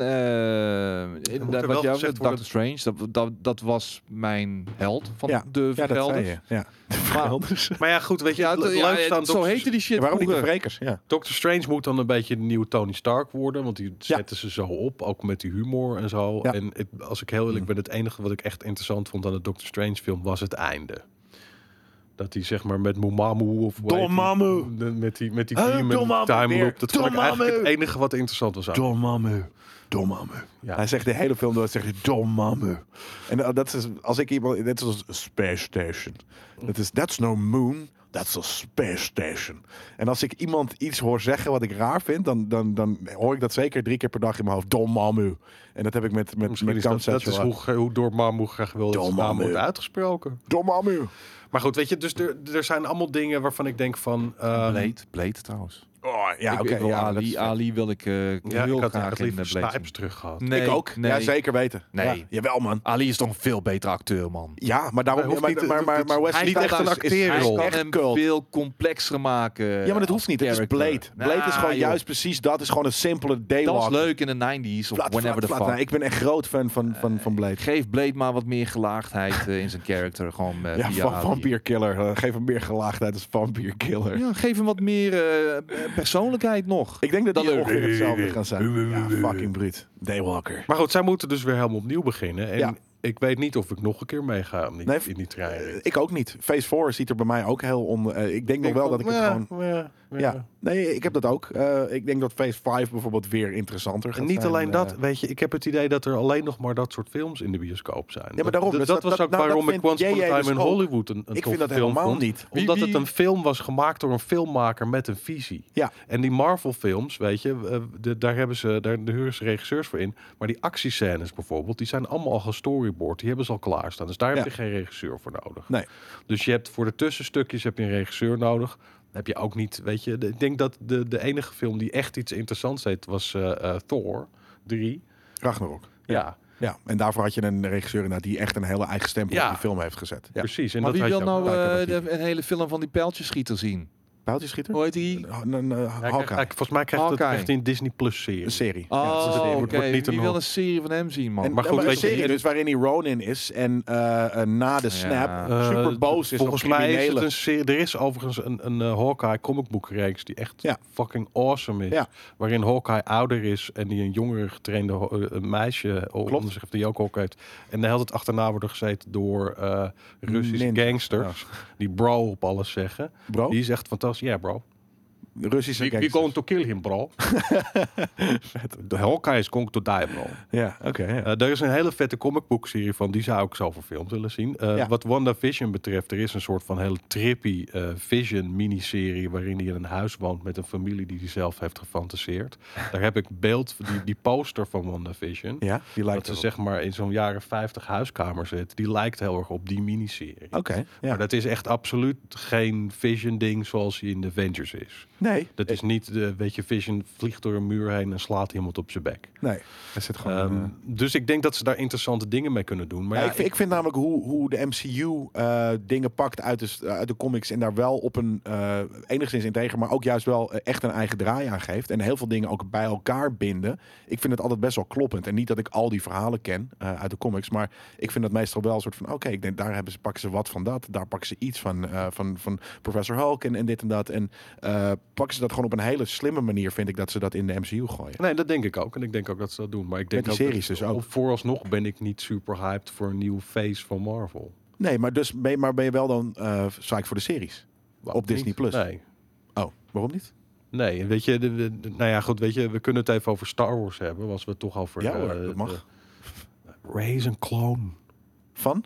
S3: eh
S2: er
S3: inderdaad,
S2: wel
S3: wat jou
S2: gezegd
S3: zegt,
S2: worden-
S3: Doctor Strange, dat, dat, dat was mijn held van
S1: Ja.
S3: De
S1: ja, dat zei
S3: Vergelders.
S1: je. Ja.
S2: Maar ja, eh, goed, weet je,
S3: Ja,
S2: het
S3: dat-
S2: le-
S3: ja,
S2: leuk
S3: ja,
S2: staan.
S3: zo
S2: Doctor,
S3: heette die shit
S1: Ja, waarom niet de
S3: vroeger.
S1: Vrekers? Ja.
S2: Doctor Strange moet dan een beetje de nieuwe Tony Stark worden. Want die
S1: Ja.
S2: zetten ze zo op, ook met die humor en zo.
S1: Ja.
S2: En het- als ik heel eerlijk
S1: Hm.
S2: ben, het enige wat ik echt interessant vond aan de Doctor Strange film was het einde. Dat hij zeg maar met Mumamu of hoe heet die-
S1: Dormammu.
S2: met die met die
S1: Huh,
S2: demon
S1: Dormammu
S2: time
S1: weer.
S2: loop. Dat vond ik eigenlijk het
S1: Dormammu.
S2: enige wat interessant was aan.
S1: Domamu. Domamu.
S2: Ja.
S1: Hij zegt de hele film door, zegt hij Domamu. En eh, dat is, als ik iemand, net zoals Space Station. Dat is, that's no moon, that's a space station. En als ik iemand iets hoor zeggen wat ik raar vind, dan, dan, dan hoor ik dat zeker drie keer per dag in mijn hoofd. Domamu. En dat heb ik met, met,
S2: Misschien
S1: met
S2: is dat, dat is
S1: Kamsatje
S2: hoe, ge- hoe Dormammu graag wil dat zijn naam
S1: Dormammu.
S2: wordt uitgesproken.
S1: Dormammu.
S2: Maar goed, weet je, dus er, er zijn allemaal dingen waarvan ik denk van... ehm,
S1: Ah,
S3: Bleed, Bleed trouwens.
S1: Oh, ja,
S3: ik,
S1: oké.
S3: ik wil
S1: ja, dat
S3: Ali,
S1: is vet.
S3: Ali wil ik eh
S2: ja,
S3: heel
S2: ik had
S3: graag
S2: eigenlijk
S3: in de
S2: liever
S3: Blade
S2: Snipes
S3: zien.
S2: terug gehad.
S3: Nee,
S1: eh, ik ook.
S3: nee.
S1: Ja, zeker weten.
S3: Nee.
S1: Ja, jawel, man.
S3: Ali is toch een veel betere acteur, man.
S1: Ja, maar daarom...
S2: Hij hoeft
S1: maar,
S2: niet-
S1: maar, maar, maar Wesley
S2: Hij is niet echt
S1: Snipes
S2: een
S1: is- is- hij
S2: acteerrol.
S3: kan
S1: is echt
S3: hem
S1: cult.
S3: veel complexer maken. eh,
S1: Ja, maar dat hoeft niet. Het is Blade. Blade is gewoon juist precies dat. is gewoon een simpele
S3: Dat
S1: daywalk.
S3: was leuk in de 90s of
S1: Flat,
S3: whenever
S1: flat,
S3: the
S1: flat.
S3: fuck.
S1: Nou, ik ben echt groot fan van, van, van Blade.
S3: Geef Blade maar wat meer gelaagdheid eh, in zijn character. Gewoon eh,
S1: Ja,
S3: via
S1: van
S3: Ali.
S1: Vampire Killer. Eh, geef hem meer gelaagdheid als Vampire Killer.
S3: Ja, geef hem wat meer eh, persoonlijkheid nog.
S1: Ik denk dat
S3: Dat
S1: die
S3: leuk.
S1: ongeveer hetzelfde gaan zijn. Ja, fucking bruut. Daywalker.
S2: Maar goed, zij moeten dus weer helemaal opnieuw beginnen. En
S1: Ja.
S2: ik weet niet of ik nog een keer meega in die,
S1: Nee,
S2: in die trein.
S1: Eh, Ik ook niet. Phase 4 ziet er bij mij ook heel on... eh, ik denk nog wel dat ik het gewoon... Ja, nee, ik heb dat ook. Eh, ik denk dat Phase 5 bijvoorbeeld weer interessanter gaat
S2: En niet
S1: zijn.
S2: alleen
S1: Eh,
S2: dat, weet je, ik heb het idee dat er alleen nog maar dat soort films in de bioscoop zijn.
S1: maar daarom,
S2: dat,
S1: dus
S2: dat
S1: dat-
S2: was
S1: dat-
S2: ook
S1: nou, dat
S2: waarom ik
S1: vindt
S2: Once Upon a
S1: JJ
S2: Time
S1: dus
S2: in
S1: ook.
S2: Hollywood een, een
S1: Ik
S2: toffe
S1: vind dat
S2: film
S1: helemaal
S2: vond.
S1: niet.
S3: Wie-
S2: Omdat
S3: wie-
S2: het een film was gemaakt door een filmmaker met een visie.
S1: Ja.
S2: En die Marvel films, weet je, eh, de- daar hebben ze, daar daar huren ze regisseurs voor in. Maar die actiescènes bijvoorbeeld, die zijn allemaal al gestoryboard. Die hebben ze al klaarstaan. Dus daar
S1: Ja.
S2: heb je geen regisseur voor nodig.
S1: Nee.
S2: Dus je hebt voor de tussenstukjes heb je een regisseur nodig. Dan heb je ook niet, weet je, de- ik denk dat de, de enige film die echt iets interessants deed was eh, eh, Thor 3.
S1: Ragnarok.
S2: Ja.
S1: Ja, en daarvoor had je een regisseur inderdaad die echt een hele eigen stempel
S2: Ja.
S1: op die film heeft gezet. Ja.
S2: Precies. En
S3: maar
S2: dat
S3: wie
S2: had
S3: wil
S2: je ook.
S3: nou
S1: kijken
S3: eh,
S1: wat die-
S3: de- een hele film van die pijltjesschieter zien?
S1: Pijltjesschieter?
S2: Oh.
S3: Hoe heet die?
S1: Ha- Een, een, eh,
S2: Hij krijgt-
S1: Hawkeye.
S2: hij- volgens mij krijgt het
S3: Hawkeye.
S2: echt in Disney Plus serie.
S1: Een serie. Ja, het is een
S3: Oh,
S1: serie.
S3: oké.
S2: wordt niet
S3: Wie
S2: een-
S3: wil een serie van hem zien, man?
S1: En,
S2: maar goed,
S1: een
S2: weet je,
S1: serie
S2: hier-
S1: dus waarin hij Ronin is en eh, eh, na de snap
S3: Ja.
S1: super boos is
S2: Eh, Volgens
S1: op
S2: mij is het
S1: criminelen.
S2: een serie. Er is overigens een, een eh, Hawkeye comic book reeks die echt
S1: Ja.
S2: fucking awesome is.
S1: Ja.
S2: Waarin Hawkeye ouder is en die een jongere getrainde ho- eh, een meisje onder zich heeft die ook hockey heeft. En de hele tijd achterna worden gezeten door eh, Russische
S1: Ninja.
S2: gangsters. Die bro op alles zeggen.
S1: Bro,
S2: Die is echt fantastisch. Ja bro.
S1: Russische
S2: We, we
S1: gangsters.
S2: going to kill him bro. de Hawkeye is going to die bro.
S1: Ja, oké. ja.
S2: Eh, er is een hele vette comicbook-serie van, die zou ik zo verfilmd willen zien. Eh
S1: Ja.
S2: Wat WandaVision betreft, er is een soort van hele trippy eh, Vision-miniserie... waarin hij in een huis woont met een familie die hij zelf heeft gefantaseerd. Daar heb ik beeld, die, die poster van WandaVision...
S1: Ja, die
S2: dat
S1: lijkt
S2: ze
S1: erop.
S2: zeg maar in zo'n jaren 50 huiskamer zit... die lijkt heel erg op die miniserie.
S1: Oké, Ah, ja.
S2: Maar dat is echt absoluut geen Vision-ding zoals hij in The Avengers is.
S1: Nee,
S2: Dat is niet, de, weet je, Vision vliegt door een muur heen en slaat iemand op zijn bek.
S1: nee. Er zit gewoon...
S2: Ehm,
S1: eh,
S2: dus ik denk dat ze daar interessante dingen mee kunnen doen. Maar
S1: Ja,
S2: ja,
S1: ik, vind- ik vind namelijk hoe, hoe de MCU eh, dingen pakt uit de, s- uit de comics en daar wel op een eh, enigszins integer, maar ook juist wel eh, echt een eigen draai aan geeft en heel veel dingen ook bij elkaar binden. Ik vind het altijd best wel kloppend en niet dat ik al die verhalen ken eh, uit de comics, maar ik vind dat meestal wel een soort van oké, ik denk daar hebben ze pakken ze wat van dat, daar pakken ze iets van eh, van, van Professor Hulk en, en dit en dat en eh, pakken ze dat gewoon op een hele slimme manier vind ik dat ze dat in de MCU gooien.
S2: nee, dat denk ik ook. En ik denk ook dat ze dat doen. Maar ik denk
S1: die
S2: ook dat-
S1: series dus ook.
S2: op- Vooralsnog ben ik niet super hyped voor een nieuwe phase van Marvel.
S1: Nee, maar dus ben je, maar ben je wel dan eh psyched voor de series?
S2: Waarom
S1: Disney
S2: niet?
S1: Plus.
S2: Nee.
S1: Oh, waarom niet?
S2: Nee, en weet je, de, de- de- nou ja, goed, weet je, we kunnen het even over Star Wars hebben, was we het toch over.
S1: Ja hoor,
S2: eh,
S1: dat mag.
S2: de- Ray is een clone.
S1: Van?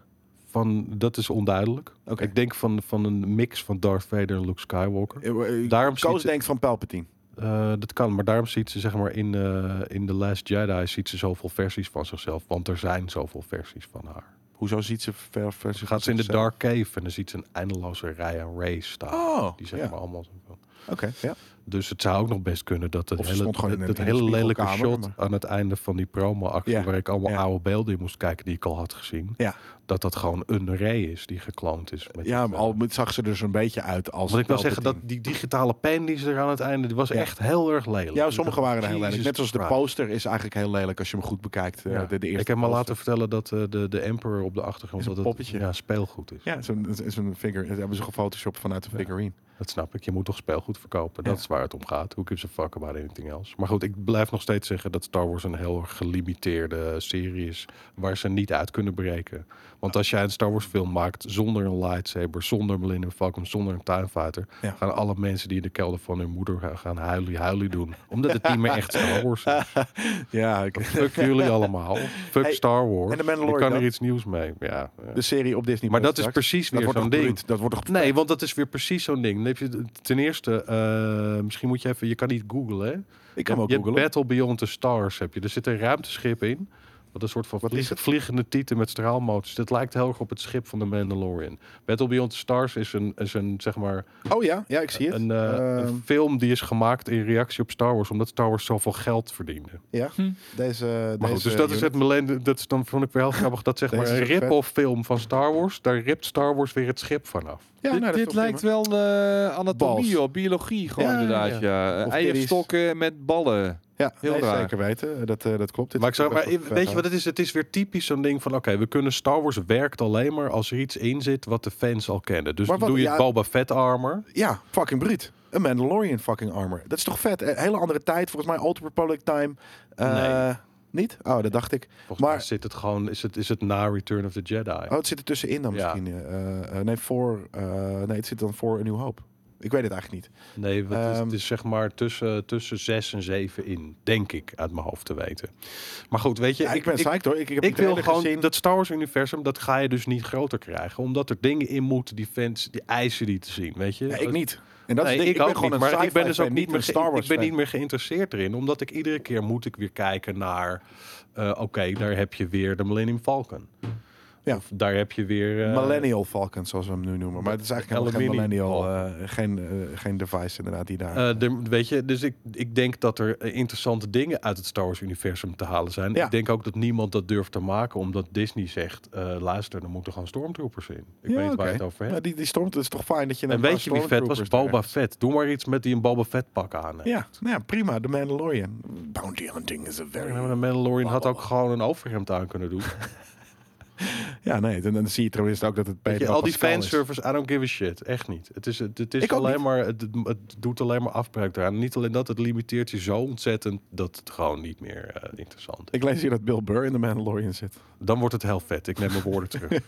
S2: Van, dat is onduidelijk.
S1: Oké.
S2: Ik denk van, van een mix van Darth Vader en Luke Skywalker. Daarom
S1: Daarom
S2: ziet
S1: Koos
S2: ze-
S1: denkt van Palpatine.
S2: Eh, dat kan, maar daarom ziet ze zeg maar in, eh, in The Last Jedi ziet ze zoveel versies van zichzelf, want er zijn zoveel versies van haar.
S1: Hoezo ziet ze ver versie?
S2: Dan gaat ze in de dark cave en dan ziet ze een eindeloze rij aan rays staan.
S1: Oh,
S2: die zeg
S1: ja.
S2: maar allemaal. zo van.
S1: Oké, ja.
S2: Dus het zou ook nog best kunnen dat het
S1: Of ze
S2: hele,
S1: stond gewoon in
S2: dat-
S1: een-
S2: dat
S1: in een
S2: hele lelijke
S1: spiegelkamer,
S2: shot aan het einde van die promo-actie,
S1: Ja,
S2: waar ik allemaal
S1: ja.
S2: oude beelden in moest kijken die ik al had gezien,
S1: Ja.
S2: dat dat gewoon een ray is die gekloond is. Met
S1: ja
S2: die-
S1: maar al met- zag ze er zo'n beetje uit als.
S2: Wat eh, ik wil zeggen, dat
S1: Palpatine.
S2: die digitale pen die ze er aan het einde, die was
S1: Ja.
S2: echt heel erg lelijk.
S1: Ja, sommige waren er heel
S2: Jesus
S1: lelijk. Net zoals de
S2: Christ.
S1: poster is eigenlijk heel lelijk als je hem goed bekijkt. eh,
S2: Ja.
S1: de, de eerste
S2: ik heb me
S1: poster.
S2: laten vertellen dat eh, de, de Emperor op de achtergrond
S1: Is een
S2: dat
S1: poppetje.
S2: Het, ja, speelgoed is.
S1: Ja, zo'n is is een figure. Dat hebben ze gefotoshopt vanuit een figurine.
S2: Dat snap ik. Je moet toch speelgoed verkopen. Dat
S1: Ja.
S2: is waar het om gaat. Hoe gives a fuck about anything else? Maar goed, ik blijf nog steeds zeggen dat Star Wars een heel gelimiteerde serie is. Waar ze niet uit kunnen breken. Want als jij een Star Wars film maakt zonder een lightsaber, zonder Millennium Falcon, zonder een TIE Fighter.
S1: Ja.
S2: Gaan alle mensen die in de kelder van hun moeder gaan- gaan huilie huilie doen. Omdat het niet meer echt Star Wars is.
S1: Ja, ik-
S2: Fuck jullie allemaal. Fuck
S1: Hey,
S2: Star Wars.
S1: en de
S2: Je
S1: Mandalorian
S2: kan
S1: dan?
S2: er iets nieuws mee. Ja, ja.
S1: de serie op Disney.
S2: Maar
S1: Plus
S2: dat is
S1: straks.
S2: precies
S1: Dat
S2: weer
S1: wordt
S2: zo'n
S1: toch
S2: ding.
S1: bruut? Dat wordt toch.
S2: Nee, want dat is weer precies zo'n ding. Dan heb je ten eerste, eh, misschien moet je even, je kan niet googlen. Hè?
S1: Ik kan hem ook
S2: je hebt
S1: googelen.
S2: Battle Beyond the Stars heb je. Er zit een ruimteschip in. Wat een soort van
S1: Wat is
S2: vlieg-
S1: het?
S2: vliegende tieten met straalmotors. Dat lijkt heel erg op het schip van de Mandalorian. Battle Beyond the Stars is een, is een zeg maar,
S1: Oh ja, ja, ik zie het.
S2: een, eh,
S1: Ehm,
S2: een film die is gemaakt in reactie op Star Wars. Omdat Star Wars zoveel geld verdiende.
S1: ja, deze.
S2: Maar goed,
S1: deze
S2: dus dat is het millennium. Dat is dan vond ik wel grappig. Dat zeg
S1: eh, Deze
S2: maar een
S1: is vet.
S2: rip-off film van Star Wars. Daar ript Star Wars weer het schip vanaf.
S1: Ja,
S3: dit
S1: nou, dat is
S3: dit
S1: toch
S3: lijkt
S1: prima.
S3: wel eh, anatomie,
S1: Bals.
S3: op biologie gewoon
S2: Ja, ja,
S3: inderdaad. Ja. Eh,
S1: Of
S3: Eierstokken met ballen.
S1: Ja,
S3: heel
S1: heel
S3: raar.
S1: Zeker weten. Dat, eh, dat klopt. Dit
S2: Maar, ik zou,
S1: is best
S2: maar
S1: wel vet
S2: weet je wat het is? Het is weer typisch zo'n ding van... oké, we kunnen Star Wars werkt alleen maar als er iets in zit... wat de fans al kennen. Dus
S1: Maar
S2: dan
S1: wat-
S2: doe je
S1: ja.
S2: het Boba Fett armor.
S1: Ja, fucking bruut. Een Mandalorian fucking armor. Dat is toch vet? Een hele andere tijd. Volgens mij Old Republic time. Eh, Niet? Oh, dat dacht ik.
S2: Volgens
S1: Maar-
S2: mij zit het gewoon... is het, is het na Return of the Jedi.
S1: Oh, het zit er tussenin dan
S2: Ja.
S1: misschien. eh, eh, nee, voor, eh, nee, het zit dan voor een nieuw hoop. Ik weet het eigenlijk niet.
S2: Nee, want het, is,
S1: Ehm.
S2: het is zeg maar tussen, tussen zes en zeven in. Denk ik, uit mijn hoofd te weten. Maar goed, weet je...
S1: Ja, ik, ben psyched hoor. Ik, ik heb
S2: Ik wil gewoon
S1: gezien.
S2: dat Star Wars universum, dat ga je dus niet groter krijgen. Omdat er dingen in moeten die fans, die eisen die te zien, weet je.
S1: Ja,
S2: Dat-
S1: ik niet. En dat is het
S2: Nee,
S1: ding.
S2: ik, ook
S1: ben gewoon
S2: niet,
S1: een
S2: maar ik ben
S1: sci-fi
S2: dus
S1: fan,
S2: ook niet
S1: een
S2: meer, ge-
S1: Star Wars
S2: ik ben
S1: fan.
S2: niet meer geïnteresseerd erin, omdat ik iedere keer moet ik weer kijken naar, eh, oké, daar heb je weer de Millennium Falcon.
S1: Ja.
S2: Of daar heb je weer... eh,
S1: millennial Falcon, zoals we hem nu noemen. Maar het is eigenlijk helemaal geen
S2: Aluminium
S1: millennial, eh, geen, eh, geen device inderdaad die daar...
S2: eh, de- weet je, dus ik, ik denk dat er eh, interessante dingen uit het Star Wars-universum te halen zijn.
S1: Ja.
S2: Ik denk ook dat niemand dat durft te maken, omdat Disney zegt: eh, luister, er moeten gewoon stormtroopers in. Ik
S1: Ja,
S2: weet waar
S1: oké.
S2: je het over hebt.
S1: Maar die, die stormt, het is toch fijn dat je...
S2: en
S1: een paar
S2: weet je wie vet was?
S1: stormtroopers
S2: Boba
S1: neer-
S2: Fett. Doe maar iets met die een Boba Fett pak aan. hè.
S1: Ja, nou ja, prima. The Mandalorian. Bounty hunting is a very...
S2: En de Mandalorian had ook gewoon een overhemd aan kunnen doen.
S1: Ja, nee, dan, dan zie je trouwens ook dat het
S2: Weet
S1: Pedro
S2: je, al die
S1: Pascal is.
S2: fanservice, I don't give a shit. Echt niet. Het is, het, het is
S1: Ik ook
S2: alleen
S1: niet.
S2: maar, het, het doet alleen maar afbreuk eraan. Niet alleen dat, het limiteert je zo ontzettend dat het gewoon niet meer eh, interessant is.
S1: Ik lees hier dat Bill Burr in The Mandalorian zit.
S2: Dan wordt het heel vet. Ik neem mijn woorden terug.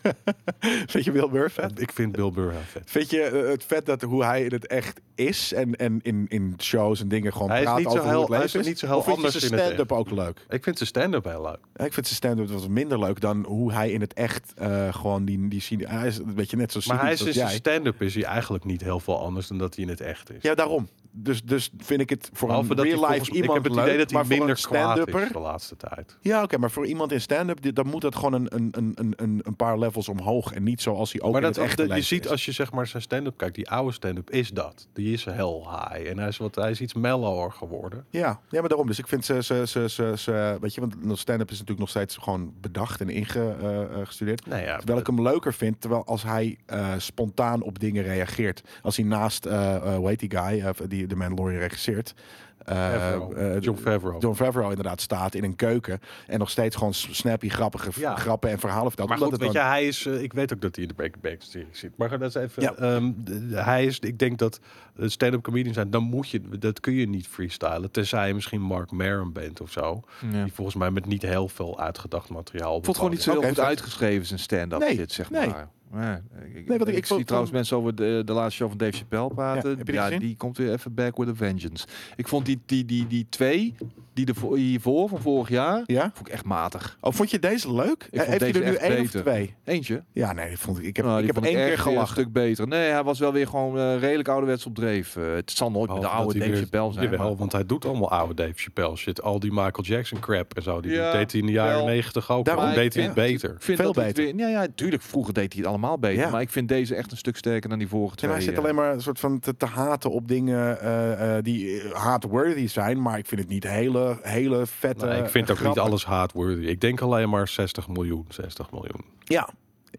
S1: Vind je Bill Burr vet?
S2: Ik vind Bill Burr heel vet.
S1: Vind je eh, het vet dat hoe hij in het echt is en, en in, in shows en dingen gewoon
S2: Hij is
S1: praat
S2: niet zo
S1: over hoe
S2: heel-
S1: het leven
S2: hij is niet zo heel
S1: of vind je
S2: anders
S1: zijn
S2: in het
S1: stand-up ook leuk?
S2: Ik vind zijn stand-up heel leuk.
S1: Ik vind zijn stand-up wat minder leuk dan hoe hij in het echt eh, gewoon die, die scene... Hij is een beetje net zo
S2: Maar hij
S1: cynisch
S2: is in
S1: als
S2: zijn
S1: jij.
S2: stand-up is hij eigenlijk niet heel veel anders dan dat hij in het echt is.
S1: Ja, daarom. Dus, dus vind ik het voor
S2: Behalve
S1: een
S2: dat hij
S1: real-life
S2: volgens, ik
S1: iemand
S2: heb het
S1: leuk,
S2: idee dat hij
S1: maar voor
S2: minder
S1: een
S2: kwaad
S1: stand-upper...
S2: is de laatste tijd.
S1: Ja, oké, maar voor iemand in stand-up, dit- dan moet dat gewoon een, een, een- een, een, een paar levels omhoog. En niet zoals hij ook
S2: maar
S1: in
S2: dat,
S1: het echte
S2: dat- je
S1: leven
S2: ziet
S1: is.
S2: als je zeg maar zijn stand-up kijkt, die oude stand-up is dat. Die is heel high en hij is, wat, hij is iets mellower geworden.
S1: Ja, ja, maar daarom. Dus ik vind ze, ze, ze, ze, ze- weet je, want stand-up is natuurlijk nog steeds gewoon bedacht en eh, ingestudeerd.
S2: Nou ja,
S1: terwijl ik hem leuker vind, terwijl als hij eh, spontaan op dingen reageert. Als hij naast, eh, eh, hoe heet die guy, eh, die de Mandalorian regisseert. eh,
S2: Favreau.
S1: eh,
S2: Jon Favreau.
S1: Jon Favreau inderdaad staat in een keuken en nog steeds gewoon snappy, grappige v-
S2: Ja.
S1: grappen en verhalen vertelt.
S2: Maar
S1: omdat
S2: goed, weet
S1: het
S2: je,
S1: dan-
S2: hij is. eh, ik weet ook dat hij in de Breaking Bad serie zit. Maar dat is even.
S1: Ja.
S2: ehm, d- hij is. Ik denk dat eh, stand-up comedian zijn. Dan moet je. Dat kun je niet freestylen. Tenzij je misschien Mark Maron bent of zo. Die volgens mij met niet heel veel uitgedacht materiaal.
S3: Ik vond het gewoon niet zo heel
S1: Oké,
S3: goed
S1: vet.
S3: uitgeschreven zijn stand-up
S1: Nee,
S3: shit, zeg
S1: nee.
S3: maar. Ja, ik,
S1: Nee,
S3: nee,
S1: want
S3: ik,
S1: ik-
S3: ik,
S1: ik vond-
S3: zie trouwens mensen over de, de laatste show van Dave Chappelle
S1: Ja,
S3: praten.
S1: heb je die
S3: Ja,
S1: gezien?
S3: die komt weer even back with a vengeance. Ik vond die, die, die, die twee, die ervoor, hiervoor van vorig jaar,
S1: Ja?
S3: vond ik echt matig.
S1: Oh, vond je deze leuk?
S3: vond
S1: Heeft
S3: deze
S1: je er nu
S3: echt
S1: één
S3: beter.
S1: of twee?
S3: Eentje.
S1: Ja, nee, die vond ik, ik heb,
S3: Nou,
S1: ik
S3: die
S1: heb
S3: vond
S1: één keer
S3: echt weer een
S1: gelachen.
S3: stuk beter. Nee, hij was wel weer gewoon eh, redelijk ouderwets op dreef. Eh, het zal nooit met de oude Dave Chappelle zijn.
S2: Jawel,
S3: maar-
S2: want hij doet allemaal oude Dave Chappelle shit. Al die Michael Jackson crap en zo. Die
S3: Ja,
S2: deed hij in de jaren
S3: wel.
S2: negentig ook.
S1: Daarom-
S2: Daarom
S1: Maar
S2: deed hij
S1: ik
S2: het beter.
S3: Ik vind
S1: Veel
S3: dat hij het
S1: beter.
S3: weer- ja, ja, tuurlijk. Vroeger deed hij het allemaal beter.
S1: Ja.
S3: Maar ik vind deze echt een stuk sterker dan die vorige
S1: Ja,
S3: twee.
S1: maar hij zit
S3: eh.
S1: alleen maar een soort van te, te haten op dingen eh, eh, die eh, haatworthy zijn. Maar ik vind het niet hele, hele vette.
S3: Eh,
S2: Nee, Nou, ik vind ook niet
S1: grappen.
S2: alles haatworthy. Ik denk alleen maar 60 miljoen, 60 miljoen.
S1: Ja.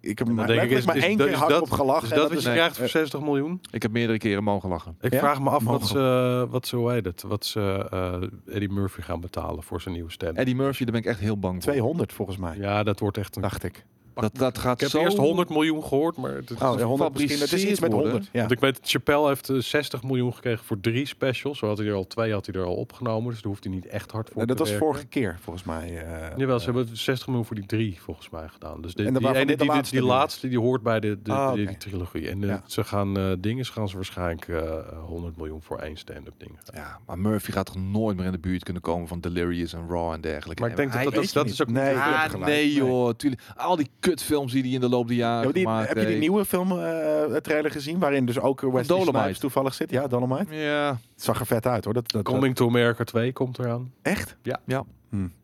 S1: Ik heb
S2: Dan
S1: maar,
S2: denk ik,
S1: ik, maar één
S2: dat-
S1: keer hard
S2: dat-
S1: op gelachen.
S2: Is
S1: en
S2: dat wat je
S1: is-
S2: krijgt voor
S1: eh,
S2: 60 miljoen?
S3: Ik heb meerdere keren mogen lachen.
S2: Ik
S1: Ja?
S2: vraag me af wat
S1: Mogen.
S2: ze, eh, wat ze, hoe heet het, wat ze eh, Eddie Murphy gaan betalen voor zijn nieuwe stem.
S3: Eddie Murphy, daar ben ik echt heel bang voor.
S1: 200 volgens mij,
S2: Ja, dat wordt echt een...
S1: dacht ik.
S2: Oh,
S3: Dat, dat gaat
S2: ik heb
S3: zo...
S2: eerst 100 miljoen gehoord, maar het,
S1: Oh, ja, 100 misschien. Het is iets met
S3: worden.
S1: 100. Ja.
S2: want ik weet dat Chappelle heeft eh, 60 miljoen gekregen voor drie specials. Zo had hij er al twee had hij er al opgenomen, dus daar hoeft hij niet echt hard voor
S1: Nou, dat
S2: te
S1: was
S2: werken.
S1: vorige keer volgens mij. eh,
S2: Jawel, ze hebben 60 miljoen voor die drie volgens mij gedaan. Dus de,
S1: En
S2: die,
S1: dan waarvan
S2: ene-
S1: dit de
S2: die, die,
S1: laatste
S2: die
S1: nu is.
S2: laatste die hoort bij de, de,
S1: Ah,
S2: de-
S1: oké.
S2: die trilogie. En eh,
S1: Ja.
S2: ze gaan eh dingen gaan ze waarschijnlijk eh 100 miljoen voor één stand-up ding. gaan.
S3: Ja, maar Murphy gaat toch nooit meer in de buurt kunnen komen van Delirious en Raw en dergelijke.
S2: Maar ik
S3: Nee,
S2: denk dat
S3: hij
S2: dat, dat,
S1: weet
S2: dat
S1: niet.
S2: is ook
S1: Nee,
S2: niet-
S1: heeft
S3: Ah,
S1: gelijk.
S3: nee
S1: Nee.
S3: joh, tuurlijk. Al die kutfilms die hij in de loop der jaren
S1: ja, maar die-
S3: gemaakt
S1: heb je die
S3: heeft.
S1: nieuwe film eh, eh, trailer gezien? Waarin dus ook Wesley
S3: Dolomite.
S1: Snipes toevallig zit. Ja, Dolomite.
S3: Ja,
S1: Het zag er vet uit hoor. Dat, dat, dat-
S2: Coming to America 2 komt eraan.
S1: echt?
S3: ja.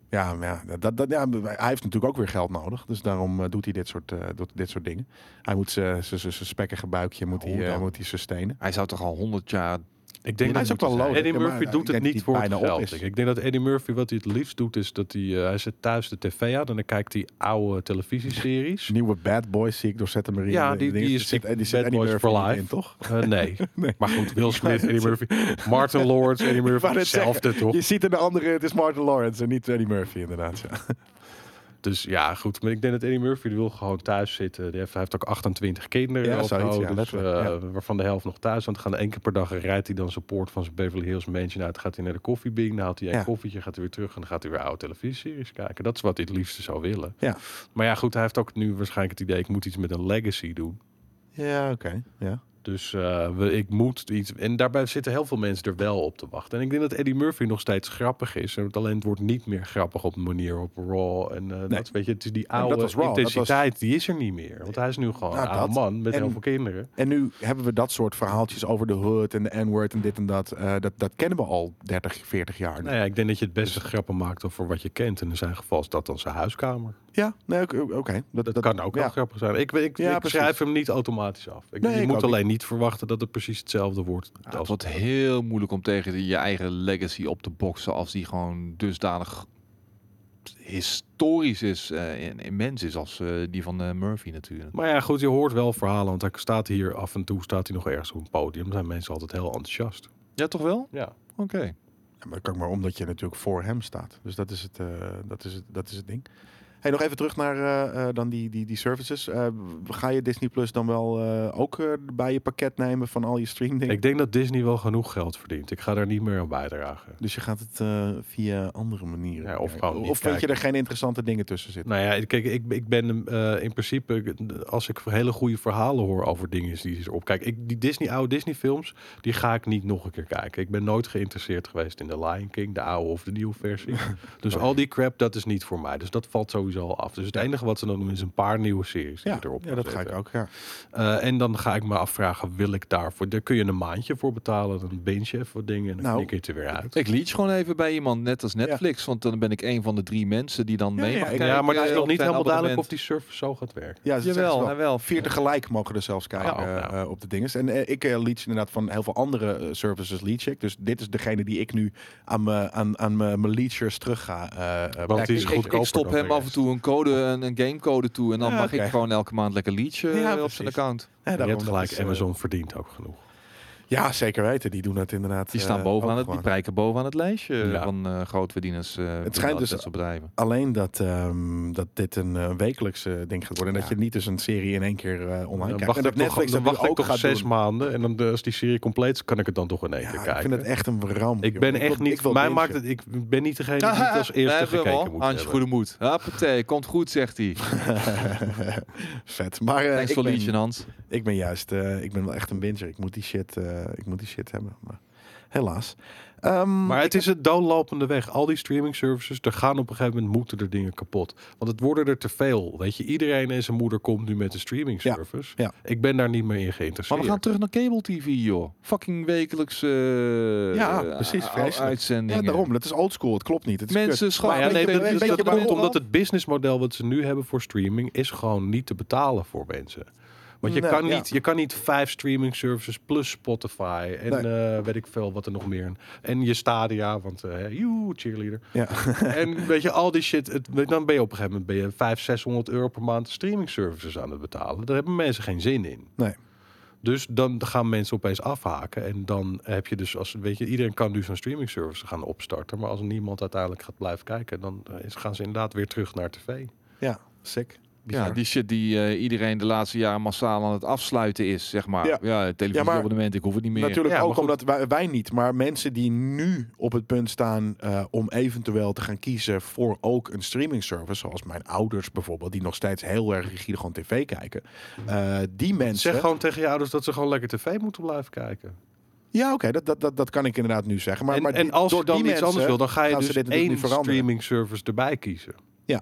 S1: Ja, maar ja, dat, dat, ja, hij heeft natuurlijk ook weer geld nodig. Dus daarom eh, doet hij dit soort, eh, doet dit soort dingen. Hij moet zijn spekkige buikje moet
S2: Oh,
S1: hij,
S3: Hoe
S1: eh,
S3: dan?
S1: moet hij sustainen.
S3: Hij zou toch al 100 jaar...
S2: Ik
S1: hij
S2: denk dat
S1: is ook wel
S3: moeten
S1: low.
S2: Eddie
S1: Ja, maar
S2: Murphy
S1: ik
S2: doet
S1: denk
S2: het
S1: dat
S2: niet
S1: die
S2: voor het
S1: bijna op
S2: geld.
S1: is.
S2: denk Ik. Ik denk dat Eddie Murphy wat hij het liefst doet is dat hij, eh, hij zet thuis de tv aan en dan kijkt hij oude televisieseries.
S1: Nieuwe Bad Boys zie ik door Zetten Marie.
S2: Ja, die- die is-
S1: zit, die
S2: Bad
S1: zit Eddie
S2: Boys
S1: Murphy
S2: for
S1: niet
S2: life.
S1: in, toch?
S2: Eh, nee. maar goed, Will Smith, Eddie Murphy, Martin Lawrence, Eddie
S1: Ik
S2: Murphy,
S1: wou net
S2: hetzelfde
S1: zeggen,
S2: toch?
S1: Je ziet in de andere, het is Martin Lawrence en niet Eddie Murphy inderdaad. Ja.
S2: Dus ja, goed. Maar ik denk dat Eddie Murphy die wil gewoon thuis zitten. Die heeft, hij heeft ook 28 kinderen.
S1: Ja,
S2: of
S1: zoiets,
S2: zo,
S1: ja,
S2: dus,
S1: letterlijk,
S2: eh, Waarvan de helft nog thuis want gaan. Eén keer per dag rijdt hij dan zijn poort van zijn Beverly Hills Mansion uit. Gaat hij naar de koffiebing. Dan haalt hij een
S1: Ja.
S2: koffietje. Gaat hij weer terug. En dan gaat hij weer oude televisieseries kijken. Dat is wat hij het liefste zou willen.
S1: Ja.
S2: Maar ja, goed. Hij heeft ook nu waarschijnlijk het idee. Ik moet iets met een legacy doen.
S1: Ja, oké. Ja.
S2: Dus eh, we, ik moet iets. En daarbij zitten heel veel mensen er wel op te wachten. En ik denk dat Eddie Murphy nog steeds grappig is. En het alleen het wordt niet meer grappig op de manier op Raw. En eh, dat weet je, het is die
S1: dat
S2: oude
S1: was Raw. Dat was-
S2: intensiteit, die is er niet meer. Want hij is nu gewoon
S1: Nou,
S2: een oude
S1: dat.
S2: man met
S1: En-
S2: heel veel kinderen.
S1: En nu hebben we dat soort verhaaltjes over de hood en de N-word en dit en dat. Eh, dat. Dat kennen we al 30, 40 jaar. nu.
S2: Nou ja, ik denk dat je het beste
S1: Dus-
S2: grappen maakt over wat je kent. En in zijn geval is dat dan zijn huiskamer.
S1: Ja, nee, oké. oké. Dat,
S2: Dat,
S1: dat-
S2: kan ook
S1: ja.
S2: wel grappig zijn. Ik, ik,
S1: Ja,
S2: ik
S1: precies.
S2: schrijf hem niet automatisch af. Ik,
S1: Nee,
S2: je
S1: ik
S2: moet
S1: ook
S2: alleen niet verwachten dat het precies hetzelfde wordt.
S3: Ja, het
S2: als
S3: wordt heel moeilijk om tegen die- je eigen legacy op te boksen als die gewoon dusdanig historisch is eh, en immens is als eh, die van eh, Murphy natuurlijk.
S2: Maar ja, goed, je hoort wel verhalen. Want hij staat hier af en toe staat hij nog ergens op een podium. Dan zijn mensen altijd heel enthousiast.
S3: Ja, toch wel?
S2: Ja.
S3: Oké.
S1: Ja, maar dat kan ook maar omdat je natuurlijk voor hem staat. Dus dat is het, eh, dat is het, dat is het ding. Hey, nog even terug naar eh, eh, dan die, die, die services. Eh, ga je Disney Plus dan wel eh, ook eh, bij je pakket nemen van al je streamdingen?
S2: Ik denk dat Disney wel genoeg geld verdient. Ik ga daar niet meer aan bijdragen.
S1: Dus je gaat het eh, via andere manieren.
S2: Ja, of
S1: bekijken.
S2: gewoon niet
S1: of vind je
S2: kijken.
S1: er geen interessante dingen tussen zitten?
S2: Nou ja, kijk, ik, ik ben hem, eh, in principe, ik- als ik hele goede verhalen hoor over dingen die ze erop kijken. Ik, die Disney, oude Disney films, die ga ik niet nog een keer kijken. Ik ben nooit geïnteresseerd geweest in de Lion King, de oude of de nieuwe versie. Dus al die crap, dat is niet voor mij. Dus dat valt sowieso al af. Dus het enige wat ze dan doen is een paar nieuwe series Nou, die
S1: Ja,
S2: je erop
S1: ja, dat ga ik ook. Ja.
S2: Eh, en dan ga ik me afvragen, wil ik daarvoor... Daar kun je een maandje voor betalen, dan binge je even wat dingen en dan
S1: Nou,
S2: knik je het er weer uit.
S3: Ik liet gewoon even bij iemand, net als Netflix, want dan ben ik een van de drie mensen die dan
S1: Ja,
S3: mee
S1: ja,
S3: mag
S1: ik-
S3: kijken
S2: ja, maar het is
S3: eh,
S2: nog
S3: op
S2: niet
S3: zijn
S2: helemaal duidelijk of
S3: abonnement.
S2: die service zo gaat werken.
S1: Ja, ze zeggen
S3: Jawel,
S1: ze
S3: nou wel.
S1: Vier tegelijk mogen er zelfs kijken
S2: Oh, nou.
S1: eh, eh, op de dinges. En eh, ik eh, leech inderdaad van heel veel andere eh, services leech ik. Dus dit is degene die ik nu aan mijn aan, aan mijn mijn leechers terug ga. eh, eh,
S2: Want die
S1: pakken.
S2: is
S3: Ik, ik
S2: goedkoper
S3: stop
S2: dan de
S3: hem af en
S2: rest.
S3: toe een code, een, een gamecode toe en dan
S1: Ja,
S3: mag
S1: oké.
S3: ik gewoon elke maand lekker liedje
S1: Ja,
S3: op
S1: precies.
S3: zijn account.
S1: Ja,
S2: je
S1: daarom,
S2: hebt
S1: dat
S2: gelijk,
S1: is, eh,
S2: Amazon verdient ook genoeg.
S1: Ja, zeker weten. Die doen het inderdaad.
S3: Die
S1: eh,
S3: staan bovenaan
S1: ook
S3: het, die
S1: gewoon.
S3: prijken bovenaan het lijstje
S2: Ja.
S3: van eh grootverdieners. eh, binnen
S1: schijnt
S3: al
S1: dus-
S3: dat soort bedrijven.
S1: Alleen dat, ehm, dat dit een eh, wekelijkse ding gaat worden. En dat je niet dus een serie in één keer eh, online
S2: Dan
S1: krijgt.
S2: wacht
S1: en
S2: ik
S1: dat
S2: nog,
S1: Netflix
S2: dan
S1: dat
S2: wacht
S1: nu
S2: ik nog
S1: ook gaat
S2: zes
S1: doen.
S2: maanden en dan de- als die serie compleet is, kan ik het dan toch in één
S1: Ja,
S2: keer
S1: ik
S2: kijken.
S1: vind het echt een ramp.
S2: Ik
S1: joh.
S2: ben echt
S1: wil-
S2: niet.
S1: ik wil
S2: mij
S1: bingen.
S2: maakt het. Ik ben niet degene die het als eerste gekeken moet hebben.
S3: Antje Goede Moed. Hoppatee, komt goed, zegt hij.
S1: Vet. Maar eh,
S3: Thanks
S1: ik,
S3: voor
S1: ben,
S3: liedje, Hans.
S1: ik ben juist, eh, ik ben wel echt een binger. Ik moet die shit, eh, ik moet die shit hebben. Maar helaas. Ehm,
S2: Maar het is het doodlopende weg. Al die streaming services, er gaan op een gegeven moment moeten er dingen kapot. Want het worden er te veel. Weet je, iedereen en zijn moeder komt nu met een streaming
S1: Ja,
S2: service.
S1: ja.
S2: Ik ben daar niet meer in
S3: Maar
S2: geïnteresseerd.
S3: we gaan terug naar cable TV, joh. Fucking wekelijks eh,
S1: Ja,
S3: eh,
S1: precies,
S3: u-
S1: vreselijk. ja,
S3: uitzendingen.
S1: daarom. Dat is oldschool. Het klopt niet. Het is
S3: Mensen,
S1: kut.
S3: schat-
S1: Maar
S2: ja,
S1: weet
S2: nee,
S1: je-
S2: dat,
S1: weet
S2: dat,
S1: je
S2: dat
S1: waarom
S2: komt omdat het businessmodel wat ze nu hebben voor streaming is gewoon niet te betalen voor mensen. Want je,
S1: Nee,
S2: kan,
S1: ja.
S2: niet, je kan niet vijf streaming services plus Spotify en eh, weet ik veel wat er nog meer. En je stadia, want eh joe, cheerleader.
S1: Ja.
S2: en weet je, al die shit. Het, dan ben je op een gegeven moment ben je 500, 600 euro per maand streaming services aan het betalen. Daar hebben mensen geen zin in.
S1: Nee.
S2: Dus dan gaan mensen opeens afhaken. En dan heb je dus als weet je, iedereen kan nu zo'n streaming service gaan opstarten. Maar als niemand uiteindelijk gaat blijven kijken, dan eh, is- gaan ze inderdaad weer terug naar tv.
S1: Ja, sick.
S3: Ja,
S1: Bizar.
S3: die shit die eh, iedereen de laatste jaren massaal aan het afsluiten is, zeg maar.
S1: Ja.
S3: Ja, televisieabonnement, ik hoef het niet meer.
S1: Natuurlijk
S2: Ja, maar
S1: ook
S2: goed.
S1: omdat wij, wij niet, maar mensen die nu op het punt staan eh, om eventueel te gaan kiezen voor ook een streaming service, zoals mijn ouders bijvoorbeeld, die nog steeds heel erg rigide gewoon tv kijken. Eh, die mensen.
S2: Zeg gewoon tegen je ouders dat ze gewoon lekker tv moeten blijven kijken.
S1: Ja, oké, dat, dat, dat, dat kan ik inderdaad nu zeggen. Maar,
S2: en,
S1: maar
S2: en
S1: die-
S2: als je
S1: door
S2: dan
S1: die
S2: iets
S1: mensen
S2: anders wil, dan ga je
S1: gaan ze
S2: dus
S1: dit natuurlijk
S2: één
S1: niet veranderen.
S2: streaming service erbij kiezen.
S1: Ja.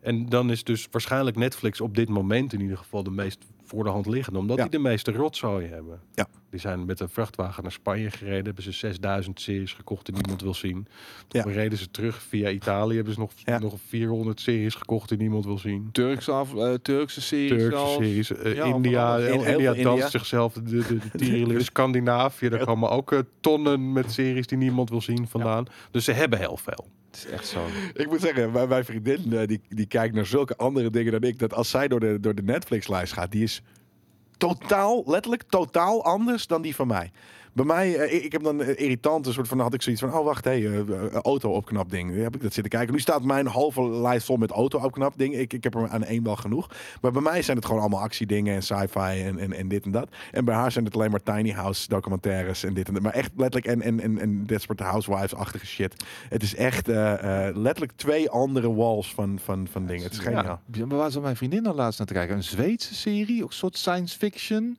S2: En dan is dus waarschijnlijk Netflix op dit moment in ieder geval de meest voor de hand liggende. Omdat
S1: Ja.
S2: die de meeste rotzooi hebben.
S1: Ja.
S2: Die zijn met een vrachtwagen naar Spanje gereden. Hebben ze 6000 series gekocht die niemand wil zien. Toen
S1: Ja.
S2: reden ze terug via Italië. Hebben ze nog,
S1: Ja.
S2: nog 400 series gekocht die niemand wil zien.
S3: Turkse, af, eh, Turkse series
S2: Turkse
S3: zelfs.
S2: series. eh,
S3: Ja,
S2: India,
S3: van alles.
S1: Heel- heel
S2: India
S1: veel
S2: danst
S1: India.
S2: zichzelf. De, de, de tierenlier. Scandinavië, daar komen ook eh, tonnen met series die niemand wil zien vandaan. Dus ze hebben heel veel.
S3: Het is echt zo.
S1: Ik moet zeggen, mijn, mijn vriendin eh, die, die kijkt naar zulke andere dingen dan ik. Dat als zij door de, door de Netflix-lijst gaat, die is totaal, letterlijk totaal anders dan die van mij. Bij mij, eh, ik, ik heb dan eh, irritant, een soort van, dan had ik zoiets van, oh wacht, hé, hey, auto-opknap ding. Heb ik dat zitten kijken. Nu staat mijn halve lijst vol met auto-opknap ding. Ik, ik heb er aan één wel genoeg. Maar bij mij zijn het gewoon allemaal actiedingen en sci-fi en, en, en dit en dat. En bij haar zijn het alleen maar tiny house documentaires en dit en dat. Maar echt letterlijk en, en, en, en Desperate Housewives-achtige shit. Het is echt eh, eh, letterlijk twee andere walls van, van, van dingen. Het is geniaal.
S3: Ja. Maar waar zat mijn vriendin nou laatst naar te kijken? Een Zweedse serie, ook een soort science fiction.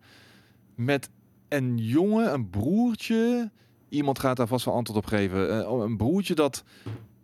S3: met een jongen, een broertje. Iemand gaat daar vast wel antwoord op geven. Eh, oh, een broertje dat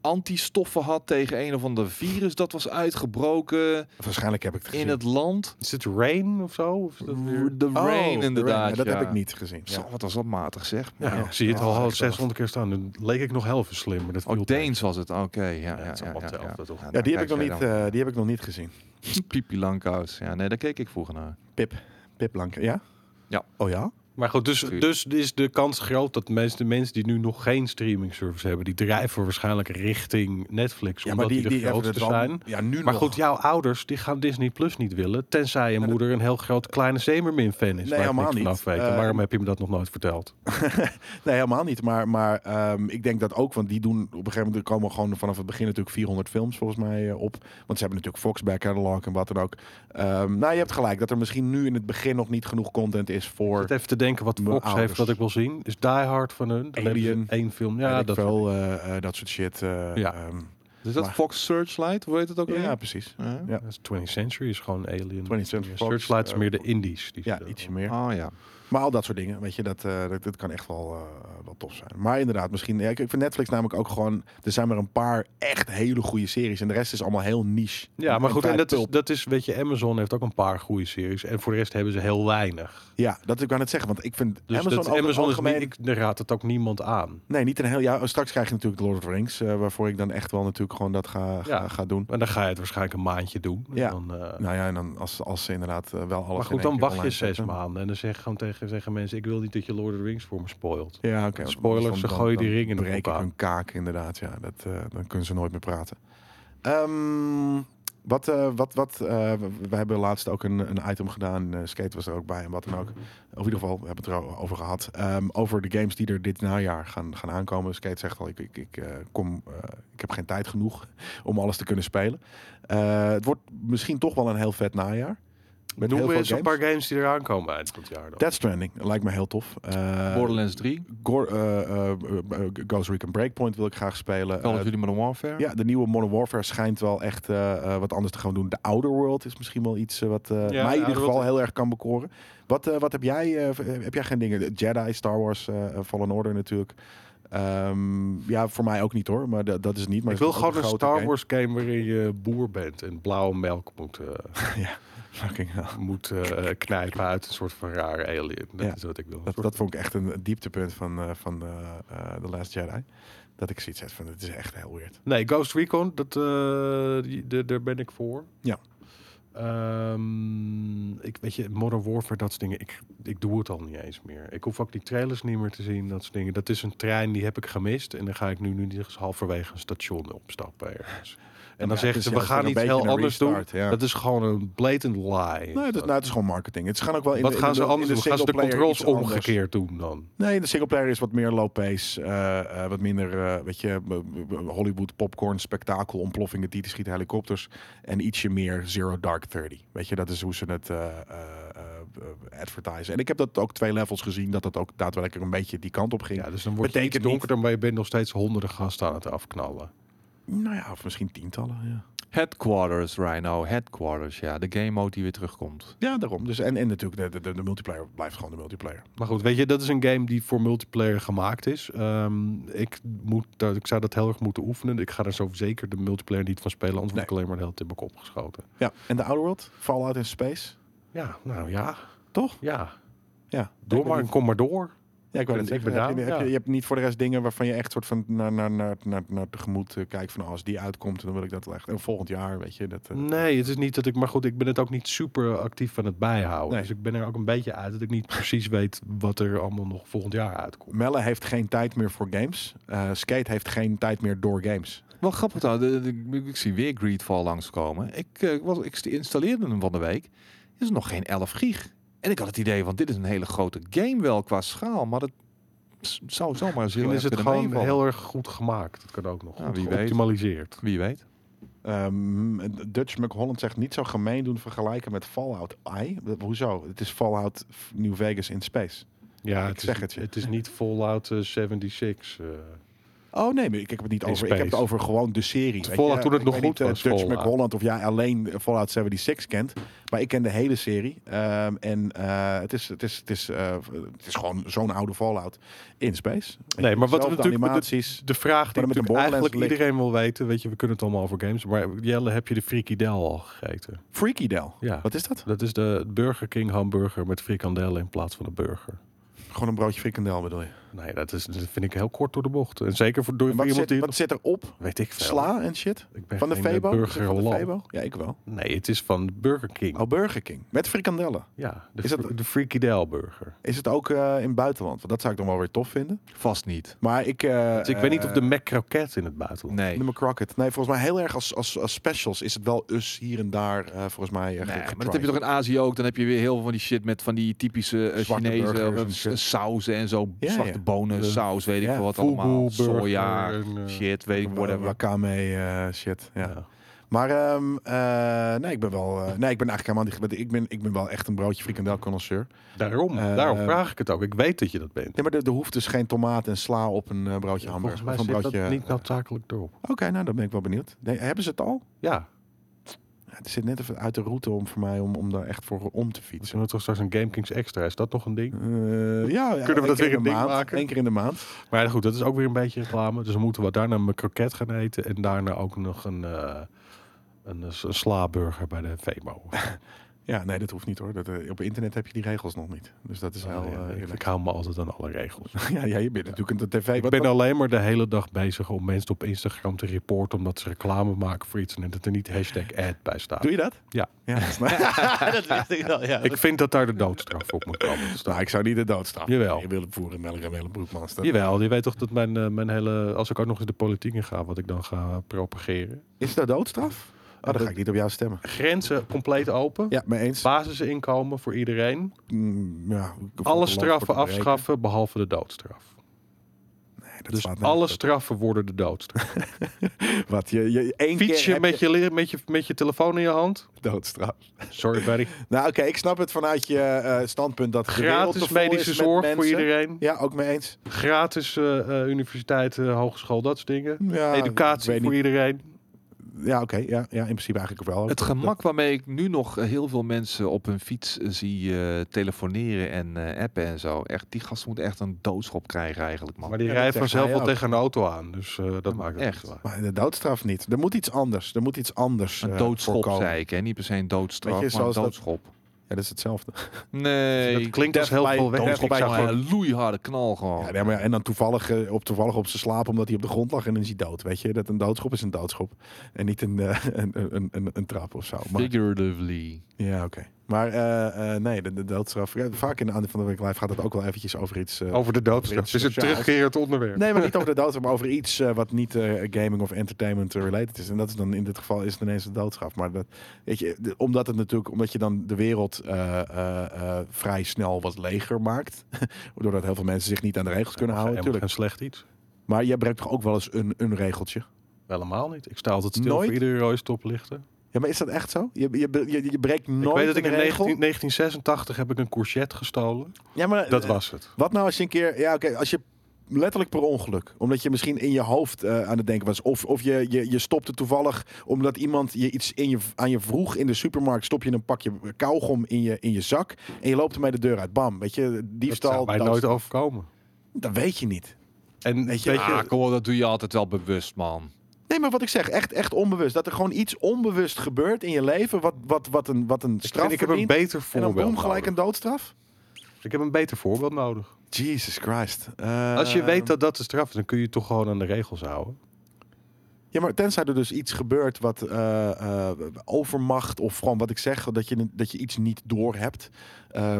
S3: antistoffen had tegen een of ander virus dat was uitgebroken
S1: Waarschijnlijk heb ik het gezien.
S3: in het land.
S2: Is het Rain of zo? Of is dat weer-
S3: The
S1: Oh,
S3: Rain inderdaad.
S1: Dat
S3: ja.
S1: heb ik niet gezien. Ja.
S3: Zo, wat was dat matig zeg.
S2: Ja,
S3: Maar
S2: ik zie het
S1: Ja,
S2: al, al
S1: echt
S2: 600 keer staan. Dan leek ik nog heel veel slim. Maar dat viel
S3: Oh,
S2: tegen.
S3: Deens was het. Oké, ja.
S2: Ja,
S3: Ja,
S2: het is allemaal hetzelfde, toch? Ja,
S1: Ja, die heb, ik
S3: kijk
S1: nog
S3: jij
S1: niet,
S3: dan.
S1: eh, die heb ik nog niet gezien.
S3: Pipi Langkous. Ja, nee, daar keek ik vroeger naar.
S1: Pip Blanke, ja?
S3: Ja.
S1: Oh ja?
S2: Maar goed, dus, dus is de kans groot dat mensen, de mensen die nu nog geen streaming service hebben, die drijven waarschijnlijk richting Netflix.
S1: Ja,
S2: omdat die, de
S1: hebben
S2: grootste
S1: het wel-
S2: zijn.
S1: Ja, nu
S2: Maar
S1: nog.
S2: goed, jouw ouders die gaan Disney Plus niet willen. Tenzij je moeder een heel groot kleine Zemermin fan is.
S1: Nee,
S2: waar ik
S1: helemaal
S2: niks van
S1: niet.
S2: af weet.
S1: Eh,
S2: Waarom heb je me dat nog nooit verteld?
S1: Nee, helemaal niet. Maar, maar ehm, ik denk dat ook, want die doen op een gegeven moment er komen gewoon vanaf het begin natuurlijk 400 films volgens mij eh, op. Want ze hebben natuurlijk Fox Back Catalog en wat dan ook. Ehm, nou, je hebt gelijk dat er misschien nu in het begin nog niet genoeg content is voor
S2: Ik zit even te denken wat
S1: Mijn
S2: Fox heeft
S1: ouders.
S2: dat ik wil zien. Is Die Hard van hun. Dan hebben ze
S1: Alien.
S2: één film.
S1: weet
S2: Ja,
S1: ik
S2: dat
S1: veel, eh, eh, dat soort shit. eh,
S2: Ja.
S1: ehm,
S3: Is dat
S1: Maar-
S3: Fox Searchlight? Hoe heet het ook alweer?
S1: ja, precies.
S3: Ja.
S1: Ja.
S2: Dat is 20th Century is gewoon Alien.
S1: 20th Century
S2: Ja,
S1: Fox,
S2: Searchlight is
S1: eh,
S2: meer de indies. Die
S1: Ja,
S2: ze-
S1: ietsje meer.
S3: Oh ja.
S1: Maar al dat soort dingen, weet je, dat, eh, dat, dat kan echt wel, eh, wel tof zijn. Maar inderdaad, misschien... Ja, ik ik vind Netflix namelijk ook gewoon... Er zijn maar een paar echt hele goede series. En de rest is allemaal heel niche.
S2: Ja, maar goed, en
S1: vrij
S2: dat is,
S1: pulp.
S2: dat is, weet je, Amazon heeft ook een paar goede series. En voor de rest hebben ze heel weinig.
S1: Ja, dat ik aan het zeggen. Want ik vind
S2: Dus
S1: Amazon,
S2: Amazon,
S1: over
S2: dat,
S1: het
S2: Amazon is niet,
S1: algemeen-
S2: ik daar raadt het ook niemand aan.
S1: Nee, niet een heel jaar. Straks krijg je natuurlijk Lord of the Rings, eh, waarvoor ik dan echt wel natuurlijk gewoon dat ga, ga,
S2: Ja.
S1: ga doen.
S2: En dan ga je het waarschijnlijk een maandje doen. En
S1: Ja.
S2: dan, eh,
S1: Nou ja, en dan als, als ze inderdaad eh, wel alles.
S2: maar
S1: in
S2: goed,
S1: één
S2: dan
S1: keer
S2: wacht je
S1: online
S2: zes
S1: zetten.
S2: maanden. En dan zeg gewoon tegen, zeggen mensen, ik wil niet dat je Lord of the Rings voor me spoilt.
S1: Ja, oké. want
S2: Spoilers,
S1: anders
S2: ze
S1: dan-
S2: gooien
S1: dan
S2: die ring in de
S1: breek ik
S2: elkaar.
S1: hun kaak, inderdaad. Ja, dat, eh, dan kunnen ze nooit meer praten. Ehm, wat, eh, wat, wat, eh, we- we hebben laatst ook een, een item gedaan. eh, skate was er ook bij en wat dan ook. Of in ieder geval, we hebben het erover gehad. ehm, over de games die er dit najaar gaan, gaan aankomen. Skate zegt al, ik, ik, ik, eh, kom, eh, ik heb geen tijd genoeg om alles te kunnen spelen. Eh, het wordt misschien toch wel een heel vet najaar. Met
S2: Noem
S1: heel
S2: weer
S1: veel
S2: eens een
S1: games.
S2: paar games die eraan komen eind van het jaar dan.
S1: Death Stranding lijkt me heel tof. Eh,
S3: Borderlands 3.
S1: Gor- eh, eh, eh, Ghost Recon Breakpoint wil ik graag
S2: Oh,
S1: spelen.
S3: Call
S1: Eh,
S3: of Duty Modern Warfare.
S1: ja, de nieuwe Modern Warfare schijnt wel echt eh, eh, wat anders te gaan doen. De Outer World is misschien wel iets eh, wat eh,
S2: Ja,
S1: mij in
S2: Outer
S1: ieder geval
S2: World-
S1: heel erg kan bekoren. Wat, eh, wat heb jij? eh, v- heb jij geen dingen? Jedi, Star Wars, eh, Fallen Order natuurlijk. Ehm, ja, voor mij ook niet hoor, maar dat- dat is het niet. Maar
S2: ik
S1: het
S2: wil
S1: is ook
S2: gewoon een
S1: grote
S2: Star
S1: game.
S2: Wars game waarin je boer bent en blauwe melk moet, eh,
S1: Fucking hell.
S2: moet eh, knijpen uit een soort van rare alien. Dat
S1: Ja.
S2: is wat ik wil. Een
S1: Dat,
S2: soort-
S1: dat vond ik echt een dieptepunt van, eh, van eh, eh, The Last Jedi. Dat ik zoiets had van, het is echt heel weird.
S2: Nee, Ghost Recon, dat, eh, die- de- daar ben ik voor.
S1: Ja.
S2: Ehm, ik weet je, Modern Warfare, dat soort dingen. Ik, ik doe het al niet eens meer. Ik hoef ook die trailers niet meer te zien, dat soort dingen. Dat is een trein, die heb ik gemist. En dan ga ik nu, nu niet eens halverwege een station opstappen ergens. En dan
S1: Ja,
S2: zeggen
S1: dus
S2: ze,
S1: ja,
S2: we
S1: het is
S2: gaan
S1: een
S2: iets
S1: beetje
S2: heel
S1: een
S2: anders
S1: restart,
S2: doen.
S1: ja.
S2: Dat is gewoon een blatant lie.
S1: Nee, dat, nou, het is gewoon marketing. Het gaan ook wel in
S2: Wat
S1: de, in
S2: gaan
S1: de-
S2: ze
S1: in
S2: anders doen? Gaan ze de
S1: singleplayer
S2: controls
S1: iets anders.
S2: omgekeerd doen dan?
S1: Nee, de singleplayer is wat meer low pace. eh, eh, wat minder, eh, weet je, b- b- b- Hollywood popcorn, spektakel, ontploffingen, tieten, schieten, helikopters. En ietsje meer Zero Dark Thirty. Weet je, dat is hoe ze het eh, eh, eh, advertisen. En ik heb dat ook twee levels gezien, dat dat ook daadwerkelijk een beetje die kant op ging.
S2: Ja, dus dan wordt het iets
S1: Betekent niet-
S2: donkerder, maar je bent nog steeds honderden gasten aan het afknallen.
S1: Nou ja, of misschien tientallen, ja.
S3: Headquarters, Rhino. Headquarters, ja. De game mode die weer terugkomt.
S1: Ja, daarom. Dus, en, en natuurlijk, de, de- de, de multiplayer blijft gewoon de multiplayer.
S2: Maar goed, weet je, dat is een game die voor multiplayer gemaakt is. Ehm, ik, moet, dat- ik zou dat heel erg moeten oefenen. Ik ga er zo zeker de multiplayer niet van spelen, anders word ik alleen maar de hele tijd in mijn kop geschoten.
S1: Ja, en de Outer World, Fallout in Space.
S2: Ja, nou ja.
S1: Toch?
S2: Ja.
S1: Ja,
S2: Door maar, kom maar door.
S1: Ja, ik weet het
S2: Ik
S1: zeker.
S2: ben
S1: Heb je,
S2: daar,
S1: heb je,
S2: ja.
S1: je hebt niet voor de rest dingen waarvan je echt soort van naar, naar, naar, naar, naar tegemoet eh, kijkt. Van oh, als die uitkomt, dan wil ik dat wel echt. En volgend jaar, weet je. Dat, eh,
S2: Nee, het is niet dat ik, maar goed, ik ben het ook niet super actief aan het bijhouden.
S1: Nee.
S2: Dus ik ben er ook een beetje uit dat ik niet precies weet wat er allemaal nog volgend jaar uitkomt.
S1: Melle heeft geen tijd meer voor games. Eh, Skate heeft geen tijd meer door games.
S3: Wel grappig nou. de- de- ik zie weer Greedfall langskomen. Ik, eh, was, ik installeerde hem van de week. Is nog geen 11 gig. En ik had het idee van dit is een hele grote game wel qua schaal. Maar dat s- zou zomaar eens
S2: Misschien
S3: heel erg
S2: is het
S3: kunnen
S2: gewoon
S3: meevallen.
S2: heel erg goed gemaakt. Dat kan ook nog.
S3: Ja,
S2: goed
S3: wie weet.
S2: geoptimaliseerd.
S3: Wie weet.
S1: Ehm, Dutch McHolland zegt niet zo gemeen doen vergelijken met Fallout I. Hoezo? Het is Fallout New Vegas in Space.
S2: Ja,
S1: Ik
S2: het,
S1: zeg
S2: is,
S1: het je.
S2: het is niet Fallout eh, 76. eh.
S1: Oh nee, maar ik heb het niet
S2: In
S1: over. Ik heb het
S2: space.
S1: over gewoon de serie. weet
S2: Fallout
S1: je.
S2: toen het
S1: Ik
S2: nog
S1: weet
S2: goed
S1: niet, eh,
S2: was,
S1: Dutch
S2: Fallout.
S1: McHolland of jij alleen eh, Fallout 76 kent. Maar ik ken de hele serie. Ehm, en eh, het, is, het, is, het, is, eh, het is gewoon zo'n oude Fallout in space. Weet
S2: Nee,
S1: je,
S2: maar wat we
S1: dezelfde
S2: natuurlijk met de-
S1: animaties.
S2: De vraag die
S1: Maar dan met een
S2: natuurlijk eigenlijk
S1: borderlands
S2: iedereen wil weten, weet je, we kunnen het allemaal over games, maar Jelle, heb je de Freaky Del al gegeten?
S1: Freaky Del.
S2: Ja.
S1: Wat is dat?
S2: Dat is de Burger King hamburger met frikandellen in plaats van een burger.
S1: Gewoon een broodje frikandel bedoel je.
S2: Nee, dat, is, dat vind ik heel kort door de bocht. En zeker voor, door
S1: En
S2: voor
S1: Wat
S2: iemand
S1: zit,
S2: die...
S1: wat zit erop?
S2: weet ik veel.
S1: Sla en shit?
S2: Ik ben
S1: Van de
S2: geen, eh,
S1: Febo? Is het
S2: Burger
S1: van de
S2: lol.
S1: Febo? Ja, ik wel.
S2: Nee, het is van Burger King.
S1: Oh, Burger King. Met frikandellen.
S2: Ja, de,
S1: Is
S2: fr-
S1: dat-
S2: de Freaky Del burger.
S1: Is het ook eh, in het buitenland? Want dat zou ik dan wel weer tof vinden.
S3: Vast niet.
S1: Maar ik... eh,
S2: Dus ik weet niet of de
S1: eh,
S2: Mac Croquette in het buitenland...
S3: Nee.
S1: Nummer Crockett. Nee, volgens mij heel erg als, als, als specials is het wel us hier en daar eh, volgens mij. eh, ge-
S3: Nee, maar
S1: getried.
S3: dat heb je toch in Azië ook. Dan heb je weer heel veel van die shit met van die typische eh,
S1: Zwarte burgers
S3: Chinese
S1: en
S3: eh, s-
S1: shit.
S3: sauzen en zo.
S1: Ja,
S3: zwarte
S1: ja.
S3: bonen,
S2: De
S3: saus, weet ik
S1: ja,
S3: veel wat
S2: Fugu
S3: allemaal.
S2: burger
S3: Soja,
S2: en, eh,
S3: shit, weet ik, whatever.
S1: Wakame eh, shit. Ja.
S2: Ja.
S1: Maar ehm, eh, nee, ik ben wel. eh, nee, ik ben eigenlijk helemaal niet. gebet- Ik ben, ik ben wel echt een broodje frikandel connoisseur.
S2: Daarom,
S1: Eh,
S2: daarom vraag ik het ook. Ik weet dat je dat bent.
S1: Nee, maar er, er hoeft dus geen tomaat en sla op een eh, broodje
S2: Volgens
S1: hamburger.
S2: mij
S1: Of een
S2: zit
S1: broodje.
S2: dat niet noodzakelijk erop.
S1: Oké, nou dan ben ik wel benieuwd. Nee, hebben ze het al?
S2: Ja,
S1: Ja, Het zit net even uit de route om voor mij om, om daar echt voor om te
S2: we
S1: fietsen.
S2: zijn toch straks een Game Kings Extra. Is dat nog een ding?
S1: Eh, ja, ja,
S2: we
S1: één keer
S2: dat weer
S1: in
S2: een
S1: de
S2: ding
S1: maand,
S2: maken?
S1: één keer in de maand.
S2: Maar goed, dat is ook weer een beetje reclame. Dus dan moeten we daarna een kroket gaan eten. En daarna ook nog een, eh, een, eh, een slaburger bij de Vemo.
S1: Ja, nee, dat hoeft niet hoor. Dat, eh, op internet heb je die regels nog niet. Dus dat is heel...
S2: Oh, ja,
S1: eh,
S2: ik, ik
S1: relaxed.
S2: hou me altijd aan alle regels.
S1: ja, ja, je bent natuurlijk een tv...
S2: Ik
S1: Wat,
S2: ben alleen maar de hele dag bezig om mensen op Instagram te reporten. Omdat ze reclame maken voor iets. En dat er niet hashtag ad bij staat.
S1: doe je dat?
S2: Ja.
S1: ja dat is- nou,
S5: dat wist ik wel, ja.
S2: Ik vind dat daar de doodstraf op moet komen. te staan.
S1: Nou, ik zou niet de doodstraf
S2: Jawel.
S1: Je willen voeren met Willem Willem Broekmans. Dat-
S2: Jawel, je weet toch dat mijn, eh, mijn hele... Als ik ook nog eens de politiek in ga, wat ik dan ga propageren.
S1: Is dat doodstraf? Oh, dan ga ik niet op jou stemmen.
S2: Grenzen compleet open.
S1: Ja, mee eens.
S2: Basisinkomen voor iedereen.
S1: Mm, ja, ik hoef het
S2: Alle
S1: land voor te
S2: straffen
S1: breken.
S2: afschaffen, behalve de doodstraf.
S1: Nee, dat
S2: Dus
S1: slaat nergens
S2: alle
S1: op.
S2: straffen worden de doodstraf.
S1: Wat, je, je, één
S2: Fiets
S1: keer
S2: je
S1: heb
S2: met je, li- met, je, met je telefoon in je hand?
S1: je doodstraf.
S2: Sorry, buddy.
S1: Nou oké, ik snap het vanuit je eh, standpunt dat de wereld te
S2: Gratis
S1: vol is
S2: medische
S1: met
S2: zorg voor
S1: mensen.
S2: iedereen.
S1: Ja, ook mee eens.
S2: Gratis eh, eh, universiteit, eh, hogeschool, dat soort dingen.
S1: Ja, ik
S2: Educatie
S1: weet
S2: voor
S1: niet.
S2: iedereen.
S1: Ja, oké. ja, ja, in principe eigenlijk wel.
S3: Het
S1: Dat- dat-
S3: gemak waarmee ik nu nog eh, heel veel mensen op hun fiets eh, zie eh, telefoneren en eh, appen en zo. Echt, die gast moet echt een doodschop krijgen eigenlijk, man.
S2: Maar die
S1: Ja, dat
S2: rijdt
S1: zegt
S2: vanzelf
S1: hij
S2: wel
S1: ook.
S2: tegen een auto aan. Dus eh, dat maakt het
S3: echt.
S2: niet zwaar.
S1: Maar de doodstraf niet. Er moet iets anders. Er moet iets anders.
S3: Een
S1: eh,
S3: doodschop,
S1: voorkomen.
S3: zei ik. Hè? Niet per se een doodstraf,
S1: Weet je,
S3: maar een
S1: zoals dat-
S3: doodschop.
S1: Ja, dat is hetzelfde.
S3: Nee.
S2: Dat klinkt als heel
S1: Death by-
S2: veel weg.
S1: Death
S2: Ik
S1: by
S2: zou
S1: Cloud.
S2: gewoon-
S3: een loeiharde knal gewoon.
S1: Ja, nee, maar ja, en dan toevallig, eh, op, toevallig op zijn slaap omdat hij op de grond lag en dan is hij dood. Weet je, dat een doodschop is een doodschop. En niet een, eh, een, een, een, een trap of zo. Maar,
S3: Figuratively.
S1: ja, oké. Maar eh, eh, nee, de, de doodstraf. ja, vaak in de Ander van de Week Live gaat het ook wel eventjes over iets...
S3: Oh,
S1: eh,
S2: Over de doodstraf. Het is een
S1: Sociaal.
S2: terugkerend onderwerp.
S1: Nee, maar niet over de doodstraf, maar over iets eh, wat niet eh, gaming of entertainment eh, related is. En dat is dan in dit geval is het ineens de doodstraf. Maar dat, weet je, de- omdat het natuurlijk, omdat je dan de wereld eh, eh, eh, vrij snel wat leger maakt, doordat heel veel mensen zich niet aan de regels kunnen houden,
S2: natuurlijk.
S1: natuurlijk.
S2: Een slecht iets.
S1: Maar jij breekt toch ook wel eens een, een regeltje.
S2: Helemaal niet. Ik sta altijd stil
S1: Nooit?
S2: voor iedere rode stoplichten.
S1: Ja, maar is dat echt zo? Je, je, je, je breekt nooit
S2: ik weet dat ik
S1: een
S2: in
S1: regel.
S2: 19- 1986 heb ik een courgette gestolen.
S1: Ja, maar
S2: Dat
S1: eh,
S2: was het.
S1: Wat nou als je een keer, ja, oké, als je letterlijk per ongeluk, omdat je misschien in je hoofd eh, aan het denken was, of, of je, je, je stopte toevallig omdat iemand je iets in je, aan je vroeg in de supermarkt, stop je een pakje kauwgom in je, in je zak en je loopt ermee de deur uit, bam, weet je,
S2: dat zou
S1: diefstal.
S2: mij
S1: dat-
S2: nooit overkomen.
S1: Dat weet je niet.
S2: En
S1: Weet
S2: weet
S1: je-
S2: je,
S3: Ah, kom op, dat doe je altijd wel bewust, man.
S1: Nee, maar wat ik zeg, echt, echt onbewust. Dat er gewoon iets onbewust gebeurt in je leven, wat, wat, wat een, wat een
S2: ik,
S1: straf
S2: vind- ik heb een
S1: verdient.
S2: beter
S1: En dan
S2: voorbeeld
S1: boem, gelijk
S2: nodig.
S1: een doodstraf?
S2: Ik heb een beter voorbeeld nodig.
S1: Jesus Christ.
S2: Als je weet
S1: Ehm,
S2: dat dat de straf is, dan kun je je toch gewoon aan de regels houden.
S1: Ja, maar tenzij er dus iets gebeurt wat eh, eh, overmacht of gewoon wat ik zeg, dat je, dat je iets niet door hebt.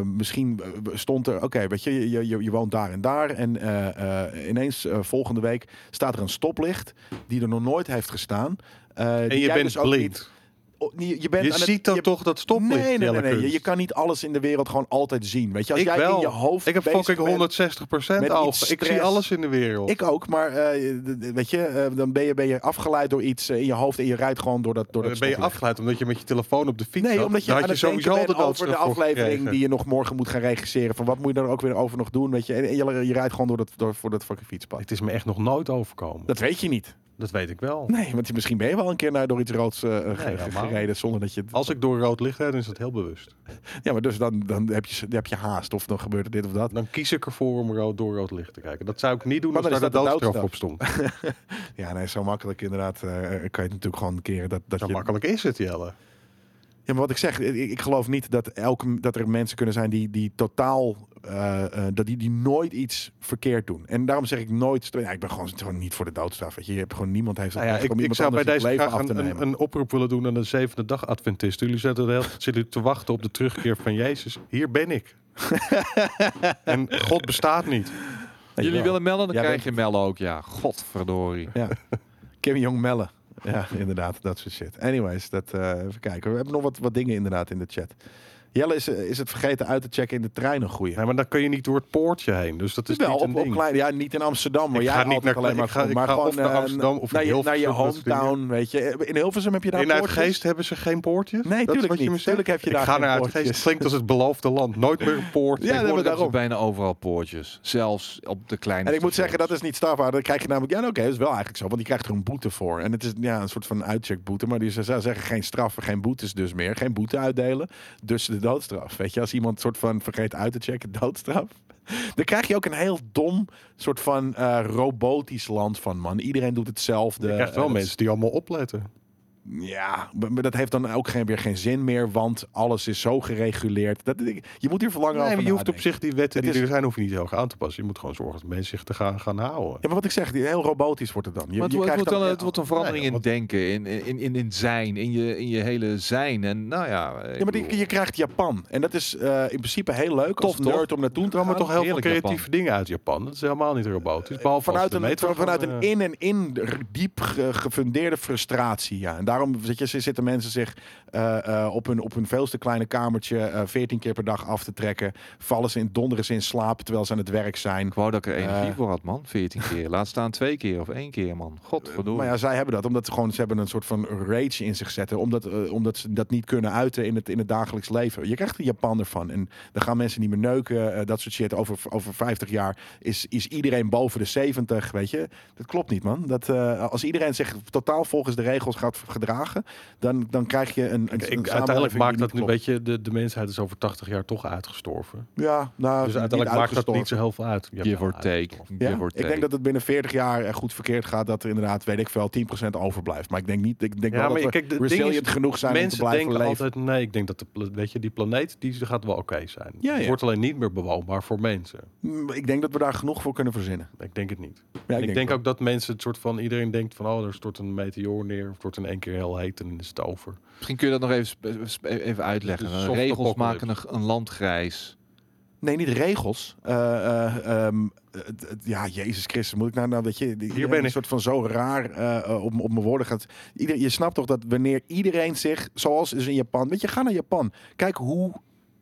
S1: misschien eh, stond er, oké, weet je, je, je, je woont daar en daar en eh, eh, ineens eh, volgende week staat er een stoplicht die er nog nooit heeft gestaan. Eh, die
S2: En je
S1: jij
S2: bent
S1: dus ook niet-
S2: blind.
S1: o- niet- je bent
S2: je
S1: aan het-
S2: ziet dan
S1: je-
S2: toch dat stoplicht.
S1: Nee, nee, nee, nee,
S2: Jelle
S1: nee. Je,
S2: Kunst.
S1: je kan niet alles in de wereld gewoon altijd zien. Weet je, als
S2: ik
S1: jij
S2: wel.
S1: in je hoofd.
S2: ik heb
S1: bezig
S2: fucking
S1: bent-
S2: 160
S1: met
S2: procent
S1: iets
S2: ogen. Ik zie
S1: stress.
S2: alles in de wereld.
S1: Ik ook, maar eh, d- d- weet je, eh, dan ben je, ben je afgeleid door iets eh, in je hoofd en je rijdt gewoon door dat door
S2: Dan
S1: dat
S2: Eh, ben je
S1: stoplicht.
S2: afgeleid omdat je met je telefoon op de fiets
S1: Nee,
S2: zat.
S1: omdat je
S2: Dan
S1: aan
S2: had je
S1: het denken
S2: sowieso al
S1: bent
S2: de
S1: over de
S2: doodstraf voor
S1: aflevering
S2: gekregen.
S1: die je nog morgen moet gaan regisseren. Van wat moet je daar ook weer over nog doen, weet je. En, en je, je rijdt gewoon door dat, door, voor dat fucking fietspad.
S2: Het is me echt nog nooit overkomen. Dat,
S1: Dat weet je niet.
S2: weet ik wel.
S1: Nee, want je- misschien ben je wel een keer naar door iets roods eh, ge-
S2: Nee, helemaal
S1: gereden zonder dat je... het-
S2: Als ik door rood licht rijd, dan is dat heel bewust.
S1: Ja, maar dus dan, dan, heb je, dan heb je haast of dan gebeurt er dit of dat.
S2: Dan kies ik ervoor om rood door rood licht te kijken. Dat zou ik niet doen
S1: Maar
S2: als daar
S1: dan
S2: de
S1: is dat de
S2: doodstraf op
S1: doodstraf.
S2: stond.
S1: Ja, nee, zo makkelijk inderdaad eh, kan je het natuurlijk gewoon keren dat, dat
S2: Zo
S1: je...
S2: makkelijk is het, Jelle.
S1: Ja, maar wat ik zeg, ik, ik geloof niet dat, elke, dat er mensen kunnen zijn die, die totaal, eh, eh, dat die, die nooit iets verkeerd doen. En daarom zeg ik nooit, stre- ja, ik ben gewoon, gewoon niet voor de doodstraf. Weet je. je hebt gewoon niemand heeft het
S2: Nou ja,
S1: recht
S2: ik,
S1: om
S2: ik
S1: iemand
S2: zou bij
S1: anders
S2: deze
S1: het leven
S2: graag
S1: af te
S2: een,
S1: nemen.
S2: een, een oproep willen doen aan de zevende dag Adventisten. Jullie zitten, de hele, tijd- zitten te wachten op de terugkeer van Jezus. Hier ben ik. en God bestaat niet.
S1: Weet je
S3: Jullie
S1: wel.
S3: willen melden, dan
S1: Jij
S3: krijg je melden ook. Ja, godverdorie.
S1: Ja. Kim Jong Melle. Ja, inderdaad, dat soort shit. Anyways, dat, eh, even kijken. We hebben nog wat, wat dingen inderdaad in de chat. Jelle is, eh, is het vergeten uit te checken in de trein een goeie.
S2: Ja, maar dan kun je niet door het poortje heen. Dus dat is
S1: wel
S2: niet een
S1: op, op
S2: ding.
S1: klein, ja, niet in Amsterdam, maar
S2: Ik
S1: jij
S2: ga niet
S1: altijd
S2: naar-
S1: alleen maar,
S2: ik ga- ik
S1: maar
S2: ga
S1: gewoon
S2: of naar
S1: eh,
S2: Amsterdam of
S1: naar
S2: in
S1: je, naar je
S2: Hilversum, dat soort
S1: hometown, weet je. Eh, In Hilversum heb je daar
S2: In
S1: poortjes?
S2: Uitgeest hebben ze geen poortjes?
S1: Nee,
S2: Dat is
S1: tuurlijk
S2: wat je
S1: niet.
S2: me zegt?
S1: Tuurlijk heb je
S2: ik
S1: daar
S2: ga
S1: geen
S2: naar
S1: poortjes.
S2: Uitgeest. Het klinkt als het beloofde land. Nooit meer een poort.
S1: Ja,
S2: Tegenwoordig
S1: nee, maar
S3: Daar
S1: daarom.
S3: is bijna overal poortjes. Zelfs op de kleine
S1: En ik moet zeggen, dat
S3: stations.
S1: is niet strafbaar. Dan krijg je namelijk, ja, nou, oké, dat is wel eigenlijk zo, want die krijgt er een boete voor. En het is ja, een soort van uitcheckboete, maar die ze zou zeggen geen straffen, geen boetes dus meer. Geen boete uitdelen, dus de doodstraf. Weet je, als iemand soort van vergeet uit te checken, doodstraf. Dan krijg je ook een heel dom soort van eh, robotisch land van, man. Iedereen doet hetzelfde.
S2: Je krijgt wel
S1: Eh, dat is-
S2: mensen die allemaal opletten.
S1: Ja, maar maar dat heeft dan ook geen, weer geen zin meer, want alles is zo gereguleerd. Dat, ik- je moet hier verlangen
S2: Nee,
S1: over
S2: maar je hoeft op
S1: nadenken.
S2: zich die wetten
S1: Het
S2: die
S1: is-
S2: er zijn, hoef je niet heel erg aan te passen. Je moet gewoon zorgen dat mensen zich te gaan, gaan houden.
S1: Ja, maar wat ik zeg, die- heel robotisch wordt het dan. Je,
S3: Maar het,
S1: je
S3: wordt-
S1: krijgt
S3: het wordt
S1: dan,
S3: wel, het wordt een verandering
S2: ja,
S3: in denken, in, in, in, in zijn, in je, in je hele zijn. En nou ja, ik
S1: Ja, maar die,
S3: bedoel,
S1: je krijgt Japan. En dat is eh, in principe heel leuk
S3: Tof,
S1: als nerd om naartoe te
S2: Er komen
S1: gaan.
S2: toch heel veel
S3: heerlijk Japan.
S2: creatieve dingen uit Japan. Dat is helemaal niet robotisch. Behalve als
S1: Eh, Vanuit
S2: de
S1: een,
S2: metro
S1: van- vanuit
S2: gewoon,
S1: een
S2: eh,
S1: in en in r- diep ge- gefundeerde frustratie. Ja. En daarom weet je, zitten mensen zich eh, eh, op, hun, op hun veelste kleine kamertje eh 14 keer per dag af te trekken. Vallen ze in donderen ze in slaap terwijl ze aan het werk zijn.
S3: ik wou dat ik er energie
S1: Eh.
S3: voor had, man. 14 keer. Laat staan twee keer of één keer, man. Godverdomme.
S1: Maar ja, zij hebben dat omdat ze gewoon ze hebben een soort van rage in zich zetten. Omdat, eh, omdat ze dat niet kunnen uiten in het, in het dagelijks leven. Je krijgt de Japan ervan. En dan gaan mensen niet meer neuken. eh, dat soort shit. Over, over 50 jaar is, is iedereen boven de 70. Weet je, dat klopt niet, man. Dat, eh, als iedereen zich totaal volgens de regels gaat gedragen, dan, dan krijg je een. een,
S2: ik-
S1: een samenleving
S2: uiteindelijk
S1: die
S2: maakt
S1: niet
S2: dat nu,
S1: klopt.
S2: weet je, de, de mensheid is over 80 jaar toch uitgestorven.
S1: Ja, nou,
S2: Dus
S1: niet
S2: uiteindelijk maakt dat niet
S1: uitgestorven.
S2: zo heel veel uit. Ja,
S3: Give or
S2: ja,
S3: take.
S2: uitgestorven.
S1: Ja,
S3: Give or
S1: ik
S3: take.
S2: eh,
S1: denk dat het binnen 40 jaar eh, goed verkeerd gaat. Dat er inderdaad, weet ik veel, 10% overblijft. Maar ik denk niet. Ik denk
S2: Ja,
S1: wel
S2: maar
S1: dat we
S2: kijk, de ding is,
S1: resilient genoeg zijn om te
S2: Mensen
S1: blijven
S2: denken
S1: leven.
S2: altijd, nee, ik denk dat de, pla- weet je, die planeet die gaat wel oké zijn.
S1: Ja,
S2: Het
S1: ja.
S2: wordt alleen niet meer bewoonbaar voor mensen.
S1: Mm, Ik denk dat we daar genoeg voor kunnen verzinnen.
S2: Ik denk het niet.
S1: Ja,
S2: ik denk,
S1: wel.
S2: ook dat mensen het soort van, iedereen denkt van, oh, er stort een meteoor neer. Of het wordt in één keer heel heet en dan is het over.
S3: Misschien kun je dat nog even, sp- sp- even uitleggen.
S2: Dus een soft
S3: Regels
S2: apocalypse.
S3: maken een, een land grijs.
S1: Nee, niet regels. Eh, eh, ehm, het- het- ja, Jezus Christus, moet ik nou, nou dat je... die- iedereen
S2: ben
S1: Een
S2: ik.
S1: soort van zo raar eh, eh, op, m- op mijn woorden gaat. Ieder, je snapt toch dat wanneer iedereen zich, zoals is in Japan... Weet je, ga naar Japan. Kijk hoe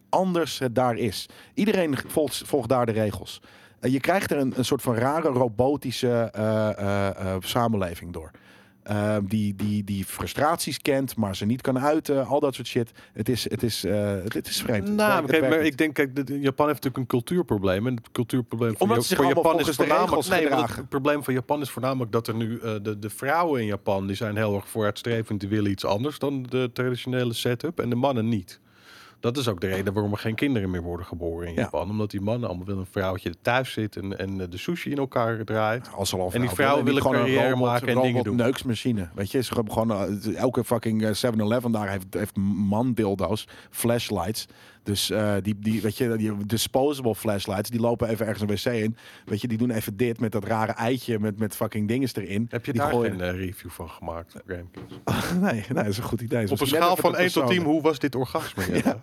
S1: anders het daar is. Iedereen volgt, volgt daar de regels. Eh, je krijgt er een, een soort van rare robotische eh, eh, eh, samenleving door. Eh, die, die, die frustraties kent, maar ze niet kan uiten. Al dat soort shit. Het is, het is, eh, het, het is vreemd. Het werkt-
S2: Nou,
S1: het
S2: kijk,
S1: werkt
S2: maar
S1: niet.
S2: ik denk, kijk, dit- Japan heeft natuurlijk een cultuurprobleem. En het cultuurprobleem van,
S1: Omdat
S2: Ja-
S1: ze zich
S2: voor
S1: allemaal
S2: Japan is
S1: volgens de
S2: voornamelijk...
S1: regels
S2: nee, want
S1: gedragen.
S2: het probleem van Japan is voornamelijk dat er nu... eh, de, de vrouwen in Japan, die zijn heel erg vooruitstrevend. Die willen iets anders dan de traditionele setup. En de mannen niet. Dat is ook de reden waarom er geen kinderen meer worden geboren in
S1: Ja.
S2: Japan. Omdat die mannen allemaal willen een vrouwtje thuis zit en, en eh, de sushi in elkaar draait.
S1: Als ze al een
S2: En die
S1: vrouw
S2: vrouwen
S1: willen,
S2: willen
S1: gewoon een
S2: carrière
S1: robot-
S2: maken en dingen
S1: robot
S2: doen.
S1: Neuksmachine. Weet je, is gewoon- gewoon eh, elke fucking eh, 7-Eleven daar heeft, heeft man dildo's, flashlights. Dus eh, die, die, weet je, die disposable flashlights, die lopen even ergens een wc in. Weet je, die doen even dit met dat rare eitje met, met fucking dinges erin.
S2: Heb je
S1: die
S2: daar
S1: gooien-
S2: geen eh, review van gemaakt? Dus op GameKings?
S1: nee, nee, dat is een goed idee.
S2: Op een
S1: Misschien
S2: schaal
S1: net even
S2: van
S1: de
S2: 1 tot 10,
S1: persoon.
S2: hoe was dit orgasme? Jelle?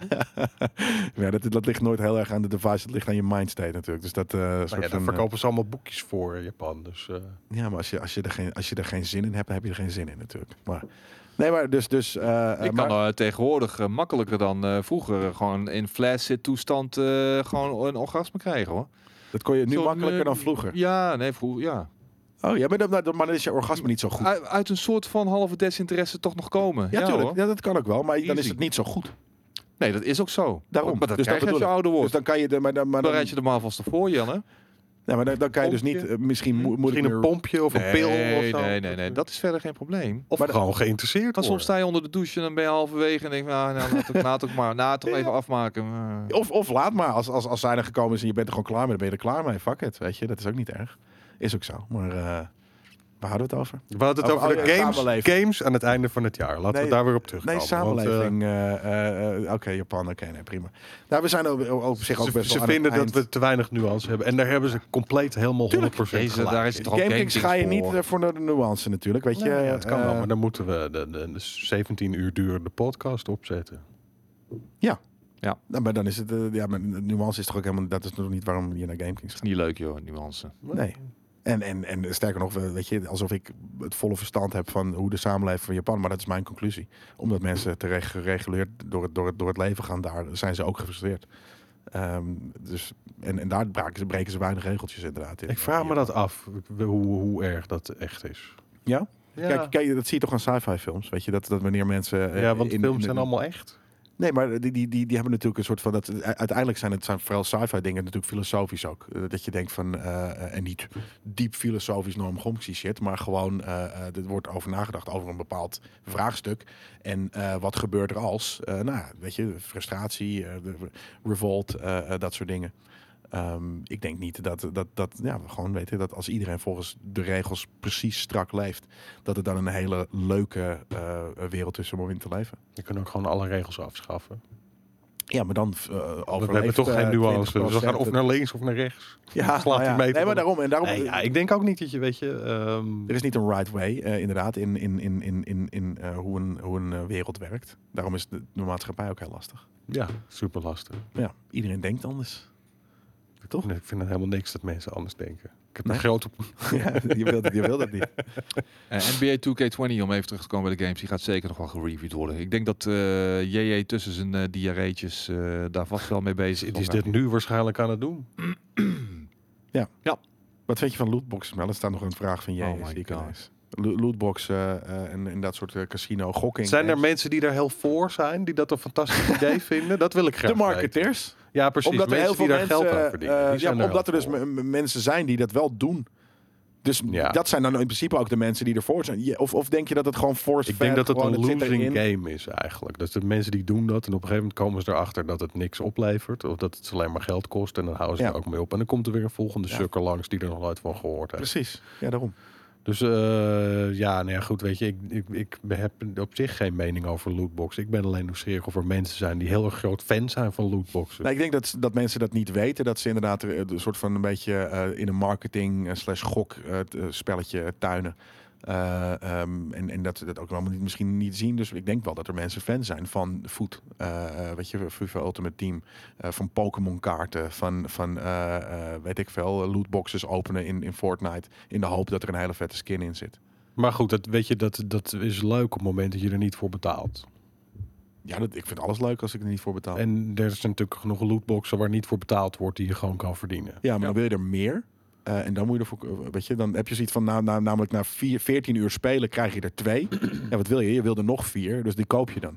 S1: Ja, dat, dat ligt nooit heel erg aan de device, dat ligt aan je mindstate natuurlijk. Dus dat, eh, soort
S2: Nou ja,
S1: van,
S2: daar
S1: eh,
S2: verkopen ze allemaal boekjes voor in Japan. Dus... eh,
S1: Ja, maar als je, als, je er geen, als je er geen zin in hebt, dan heb je er geen zin in natuurlijk. Maar Nee, maar dus... dus eh,
S3: Ik
S1: maar-
S3: kan eh, tegenwoordig eh, makkelijker dan eh, vroeger gewoon in flaccid toestand eh, gewoon een orgasme krijgen hoor.
S1: Dat kon je nu
S3: Zo'n,
S1: makkelijker
S3: eh,
S1: dan vroeger.
S3: Ja, nee, vroeger, ja.
S1: Oh ja, maar dan, maar dan is je orgasme niet zo goed.
S3: Uit, uit een soort van halve desinteresse toch nog komen.
S1: ja,
S3: hoor.
S1: tuurlijk. Ja, dat kan ook wel, maar dan is
S3: Easy.
S1: het niet zo goed.
S3: Nee, dat is ook zo.
S1: Daarom.
S3: Maar
S1: Dus
S3: dat
S1: dat
S3: krijg je als je
S1: bedoel
S3: ouder
S1: Dus
S3: wordt.
S1: dan kan je, de, maar dan, maar
S3: dan
S1: dan,
S3: rijd je er maar alvast ervoor, Jelle.
S1: ja, maar dan, dan kan je dus niet,
S2: Pompje. Hm?
S1: eh, misschien mo- moet ik
S2: Misschien een
S1: meer-
S2: pompje of een pil of
S3: Nee,
S2: zo.
S3: nee, nee, nee. Dat is verder geen probleem.
S2: Of
S1: Maar dat-
S2: gewoon geïnteresseerd
S3: Maar soms
S2: worden.
S3: sta je onder de douche en dan ben je halverwege en denk van, ah, nou, laat het laat het maar, na toch even afmaken. Eh, Maar-
S1: Of, of laat maar, als, als, als zij er gekomen is en je bent er gewoon klaar mee, dan ben je er klaar mee. Fuck it, weet je, dat is ook niet erg. Is ook zo, maar eh waar hadden we het over?
S2: We hadden het
S1: Oh,
S2: over
S1: oh,
S2: de
S1: ja,
S2: games,
S1: samenleving.
S2: games aan het einde van het jaar. Laten
S1: Nee,
S2: we daar weer op terugkomen.
S1: Nee,
S2: want, eh,
S1: samenleving. eh, eh, eh, Oké, Japan, oké, nee, prima. Nou, we zijn op, op- op zich ook
S2: ze
S1: best wel
S2: ze
S1: aan
S2: vinden
S1: het
S2: dat we te weinig nuance hebben. En daar hebben ze compleet helemaal 100%
S3: Jezus,
S2: gelijk.
S3: daar is het toch ook
S1: Gamekings ga je
S3: voor.
S1: niet eh, voor naar de nuance natuurlijk, weet je.
S2: Nee, ja, het kan wel,
S1: eh,
S2: maar dan moeten we de, de, de 17 uur durende podcast opzetten.
S1: nou, maar dan is het, eh, ja, maar nuance is toch ook helemaal, dat is nog niet waarom je naar Gamekings gaat.
S3: Niet leuk joh, nuance.
S1: Nee. En, en, en sterker nog, we- weet je, alsof ik het volle verstand heb van hoe de samenleving van Japan, maar dat is mijn conclusie. Omdat mensen terecht gereguleerd door het, door het, door het leven gaan, daar zijn ze ook gefrustreerd. Ehm, dus, en, en daar breken ze, breken ze weinig regeltjes inderdaad in.
S2: Ik vraag me dat af, hoe, hoe erg dat echt is.
S1: Ja?
S2: Ja,
S1: Kijk, kijk, dat zie je toch aan sci-fi films, weet je, dat, dat wanneer mensen... eh,
S2: ja want
S1: in-
S2: films
S1: in-
S2: zijn allemaal echt.
S1: Nee, maar die, die, die, die hebben natuurlijk een soort van... Dat, u- uiteindelijk zijn het zijn vooral sci-fi dingen natuurlijk filosofisch ook. Eh, Dat je denkt van... eh, en niet diep filosofisch Noam Chomsky shit... maar gewoon, eh, eh, er wordt over nagedacht over een bepaald vraagstuk. En eh, wat gebeurt er als? Eh, nou, ja, weet je, frustratie, eh, de- revolt, eh, eh, dat soort dingen. Ehm, ik denk niet dat, dat, dat ja, we gewoon weten dat als iedereen volgens de regels precies strak leeft, dat het dan een hele leuke eh, wereld is om in te leven.
S2: Je kunt ook gewoon alle regels afschaffen.
S1: Ja, maar dan eh overleeft...
S2: we hebben toch
S1: eh,
S2: geen nuance. Dus we
S1: 20%
S2: gaan of
S1: het.
S2: naar links of naar rechts.
S1: Ja,
S2: slaat
S1: nou ja.
S2: die meter
S1: Nee, maar
S2: om.
S1: daarom. En daarom
S2: Nee, ja, ik denk ook niet dat je, weet je... ehm,
S1: Er is niet een right way, eh, inderdaad, in, in, in, in, in, in eh, hoe een, hoe een eh, wereld werkt. Daarom is de, de maatschappij ook heel lastig.
S2: ja, super lastig.
S1: Maar ja, iedereen denkt anders. Toch?
S2: Nee, ik vind het helemaal niks dat mensen anders denken. Ik heb
S1: Nee?
S2: een grote...
S1: ja, je wil dat, je wil dat niet.
S3: Eh, NBA 2K20, om even terug te komen bij de games, die gaat zeker nog wel gereviewd worden. Ik denk dat eh, JJ tussen zijn eh diarreetjes eh, daar vast wel mee bezig eh,
S2: Is,
S3: zal
S2: is
S3: zijn.
S2: dit nu waarschijnlijk aan het doen?
S1: Wat vind je van lootboxen? Wel, er staat nog een vraag van jij.
S3: Oh my
S1: zie ik
S3: God.
S1: ineens. Lo- Lootboxen eh, en, en dat soort eh, casino gokking.
S2: Zijn er
S1: apps.
S2: mensen die daar heel voor zijn? Die dat een fantastisch idee vinden? Dat wil ik graag
S1: de marketeers?
S2: weten. Ja, precies.
S1: omdat er
S2: mensen
S1: heel veel
S2: die daar
S1: mensen,
S2: geld aan verdienen.
S1: eh,
S2: Die
S1: ja,
S2: zijn
S1: maar omdat er
S2: heel
S1: dus
S2: voor.
S1: m- m- mensen zijn die dat wel doen. Dus
S2: Ja.
S1: dat zijn dan in principe ook de mensen die ervoor zijn. Je- Of, of denk je dat het gewoon force
S2: Ik denk dat het
S1: gewoon,
S2: een
S1: zit erin.
S2: losing game is eigenlijk. Dat de mensen die doen dat en op een gegeven moment komen ze erachter dat het niks oplevert. Of dat het ze alleen maar geld kost en dan houden ze
S1: Ja.
S2: er ook mee op. En dan komt er weer een volgende
S1: Ja.
S2: sukker langs die er nog nooit van gehoord heeft.
S1: Precies, ja daarom.
S2: Dus eh, ja, nou ja, goed, weet je, ik, ik, ik heb op zich geen mening over lootbox. Ik ben alleen nieuwsgierig of er mensen zijn die heel erg groot fan zijn van lootboxen.
S1: Nou, ik denk dat, dat mensen dat niet weten. Dat ze inderdaad er, eh, een soort van een beetje eh, in een marketing eh, slash gok eh, t- eh, spelletje tuinen. Eh, ehm, en, en dat ze dat ook allemaal niet, misschien niet zien. Dus ik denk wel dat er mensen fan zijn van Foot. eh, eh, weet je, FIFA Ultimate Team. eh, van Pokémon kaarten. Van, van eh, eh, weet ik veel, lootboxes openen in, in Fortnite. In de hoop dat er een hele vette skin in zit.
S2: Maar goed, dat, weet je, dat, dat is leuk op het moment dat je er niet voor betaalt.
S1: Ja, dat, ik vind alles leuk als ik er niet voor betaal.
S2: En er zijn natuurlijk genoeg lootboxen waar niet voor betaald wordt die je gewoon kan verdienen.
S1: Ja, maar dan wil je er meer. Eh, en dan moet je ervoor, eh, weet je, dan heb je zoiets van, nou, nou, namelijk na vier, 14 uur spelen krijg je er twee. ja, wat wil je? Je wil er nog vier, dus die koop je dan.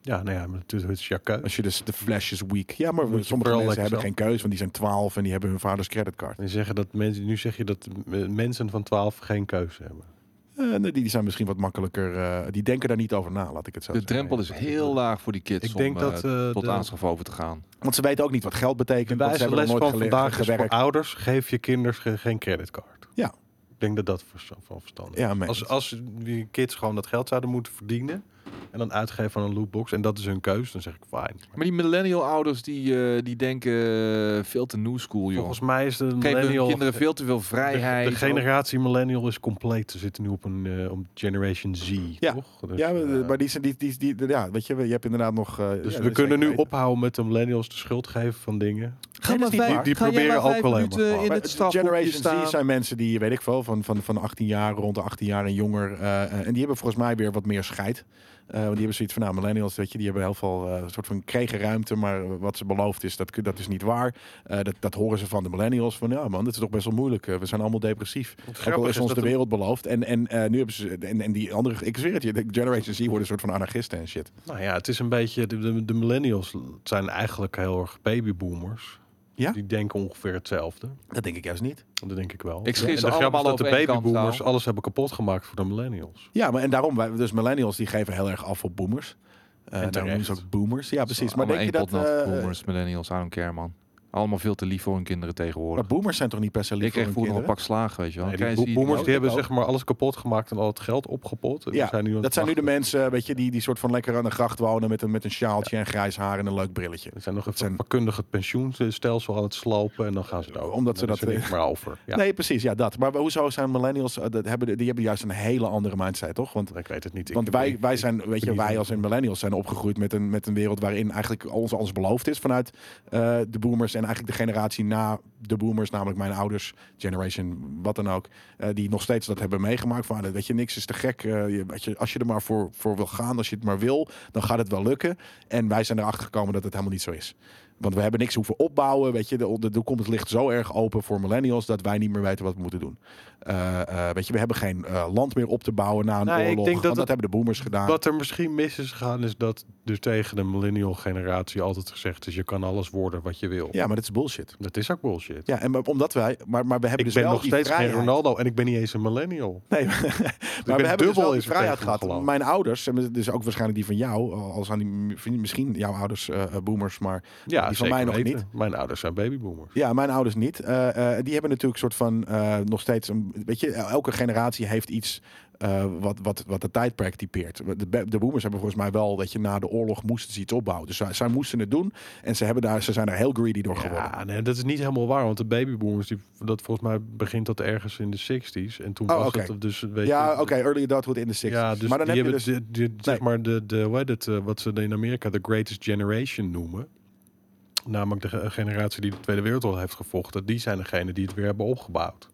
S2: Ja, nou ja, maar het is, het is jouw keuze.
S1: Als je dus de flash is weak. Ja, maar
S2: Moet je
S1: sommige mensen
S2: vooral lekker
S1: hebben
S2: zelf.
S1: geen keuze, want die zijn 12 en die hebben hun vaders creditcard.
S2: En zeggen dat mensen, nu zeg je dat eh, mensen van 12 geen keuze hebben.
S1: Eh, nee, die, die zijn misschien wat makkelijker, eh, die denken daar niet over na, laat ik het zo
S3: De
S1: zeggen.
S3: drempel is heel laag voor die kids
S2: Ik denk
S3: om
S2: dat
S3: eh,
S2: eh,
S3: tot
S2: de,
S3: aanschaf over te gaan.
S1: Want ze weten ook niet wat geld
S2: de
S1: betekent, want ze
S2: wijze
S1: hebben nog
S2: les
S1: nooit
S2: van
S1: gele-
S2: vandaag is voor
S1: gewerkt.
S2: ouders, geef je kinderen ge- geen creditcard.
S1: Ja.
S2: Ik denk dat dat vers- van verstandig is.
S1: Ja, meen
S2: als,
S1: het.
S2: als die kids gewoon dat geld zouden moeten verdienen en dan uitgeven aan een lootbox en dat is hun keuze, dan zeg ik fijn.
S3: Maar die millennial ouders die, eh, die denken eh, veel te new school joh.
S2: Volgens mij is de
S3: Geven hun
S2: millennial...
S3: kinderen veel te veel
S2: de,
S3: vrijheid.
S2: de generatie millennial is compleet. Ze zitten nu op een eh, op Generation Z,
S1: Ja.
S2: toch? Dus,
S1: Ja,
S2: eh,
S1: maar die zijn, die, die, die, ja, weet je, je hebt inderdaad nog... eh, ja,
S2: Dus
S1: dat
S2: we
S1: is
S2: kunnen
S1: zeker
S2: nu
S1: weten.
S2: ophouden met de millennials de schuld geven van dingen.
S3: Ga maar
S2: niet
S3: vijf,
S2: waar. Die
S3: ga jij
S2: proberen
S3: maar
S2: ook
S3: vijf
S2: wel helemaal
S3: minuten
S2: gewoon.
S3: in
S1: Maar
S3: het
S1: de
S3: strafhokje
S1: Generation Z
S3: staan.
S1: zijn mensen die, weet ik veel, van, van, van 18 jaar, rond de 18 jaar en jonger. eh, en die hebben volgens mij weer wat meer scheid. Eh, want die hebben zoiets van, nou, millennials, weet je, die hebben heel veel eh, soort van kregen ruimte. Maar wat ze beloofd is, dat, kun- dat is niet waar. Eh, dat, dat horen ze van de millennials. Van, ja man, dat is toch best wel moeilijk. Eh, we zijn allemaal depressief. Ook al
S2: grappige
S1: is
S2: is
S1: ons
S2: dat
S1: de
S2: de-
S1: wereld beloofd. En, en eh, nu hebben ze, en, en die andere, ik zweer het je, de Generation Z worden een soort van anarchisten en shit.
S2: Nou ja, het is een beetje. De, de, de millennials zijn eigenlijk heel erg babyboomers.
S1: Ja?
S2: Die denken ongeveer hetzelfde.
S1: Dat denk ik juist niet.
S2: Dat denk ik wel.
S3: Ik schis
S2: En de grap is
S3: allemaal
S2: dat
S3: op
S2: de
S3: één kant,
S2: babyboomers
S3: nou.
S2: alles hebben kapot gemaakt voor de millennials.
S1: Ja, maar en daarom, wij, dus millennials die geven heel erg af op boomers. Eh daarom noemen ze
S2: terecht.
S1: ook boomers. Ja, precies. Maar denk je dat... eh,
S5: boomers, millennials, I don't care, man. Allemaal veel te lief voor hun kinderen
S1: Maar
S5: tegenwoordig.
S1: boomers zijn toch niet per se lief
S5: Ik kreeg
S1: voor hun
S5: vroeger nog een
S1: kinderen?
S5: pak slagen, weet je wel.
S2: Nee,
S5: Krijg
S2: die
S5: je
S2: bo-
S5: die-
S2: boomers die
S1: dat
S2: hebben
S1: ook.
S2: zeg maar alles kapot gemaakt en al het geld opgepot. En die
S1: Ja,
S2: zijn nu aan het
S1: dat zijn nu de
S2: wachten.
S1: mensen, weet je, die, die soort van lekker aan de gracht wonen met een, met een sjaaltje en grijs haar en een leuk brilletje.
S2: Er zijn nog even
S1: zijn-
S2: vakkundig het pensioenstelsel aan het slopen en dan gaan ze daar
S1: Omdat ze dat- eh,
S2: er niks meer over. Ja,
S1: Nee, precies, ja, dat. Maar hoezo zijn millennials, eh, dat hebben, de- die hebben juist een hele andere mindset, toch? Want,
S2: ik weet het niet. Ik
S1: want
S2: heb-
S1: wij,
S2: ik-
S1: wij zijn, weet je,
S2: niet
S1: wij
S2: zo.
S1: als in millennials zijn opgegroeid met een, met een wereld waarin eigenlijk ons alles beloofd is vanuit eh, de boomers en eigenlijk de generatie na de boomers, namelijk mijn ouders, generation, wat dan ook, eh, die nog steeds dat hebben meegemaakt. Van, ah, weet je, niks is te gek. eh, je, weet je, als je er maar voor, voor wil gaan, als je het maar wil, dan gaat het wel lukken. En wij zijn erachter gekomen dat het helemaal niet zo is. Want we hebben niks hoeven opbouwen. Weet je, de, de toekomst ligt zo erg open voor millennials dat wij niet meer weten wat we moeten doen. Eh, eh, weet je, we hebben geen eh, land meer op te bouwen na een
S2: Nee, Nou, ik
S1: oorlog.
S2: denk dat
S1: want dat,
S2: het-
S1: hebben de boomers gedaan.
S2: Wat er misschien mis is gegaan is dat er tegen de millennial generatie altijd gezegd is je kan alles worden wat je wil.
S1: Ja, maar dat is bullshit.
S2: Dat is ook bullshit.
S1: Ja, en maar, omdat wij, maar, maar we hebben
S2: ik
S1: dus
S2: ben
S1: wel
S2: nog
S1: die
S2: steeds geen
S1: vrijheid.
S2: Ronaldo en ik ben niet eens een millennial.
S1: Nee, maar
S2: ben
S1: we hebben dus
S2: dubbel
S1: wel die
S2: in vertegenwoordigd
S1: vrijheid gehad.
S2: geloof.
S1: Mijn ouders, en dus ook waarschijnlijk die van jou, al zijn die mi- misschien jouw ouders eh, boomers, maar
S2: Ja,
S1: die van
S2: zeker
S1: mij nog
S2: weten.
S1: niet.
S2: Mijn ouders zijn babyboomers.
S1: Ja, mijn ouders niet. Eh, eh, die hebben natuurlijk soort van eh, nog steeds een. Weet je, elke generatie heeft iets eh, wat, wat, wat de tijdperk typeert. De, be- de boomers hebben volgens mij wel dat je na de oorlog moesten ze iets opbouwen. Dus zij, zij moesten het doen. En ze, hebben daar, ze zijn daar heel greedy door geworden.
S2: Ja, nee, dat is niet helemaal waar, want de babyboomers, die, dat volgens mij begint dat ergens in de 60s. En toen
S1: Oh,
S2: was
S1: oké.
S2: het dus, weet
S1: Ja,
S2: je,
S1: oké, early adulthood in de 60s.
S2: Ja, dus
S1: maar dan
S2: die
S1: heb je
S2: hebben
S1: dus.
S2: de, de- zeg maar de, de, hoe heet het, eh, wat ze in Amerika de Greatest Generation noemen. Namelijk de ge- generatie die de Tweede Wereldoorlog heeft gevochten. Die zijn degene die het weer hebben opgebouwd.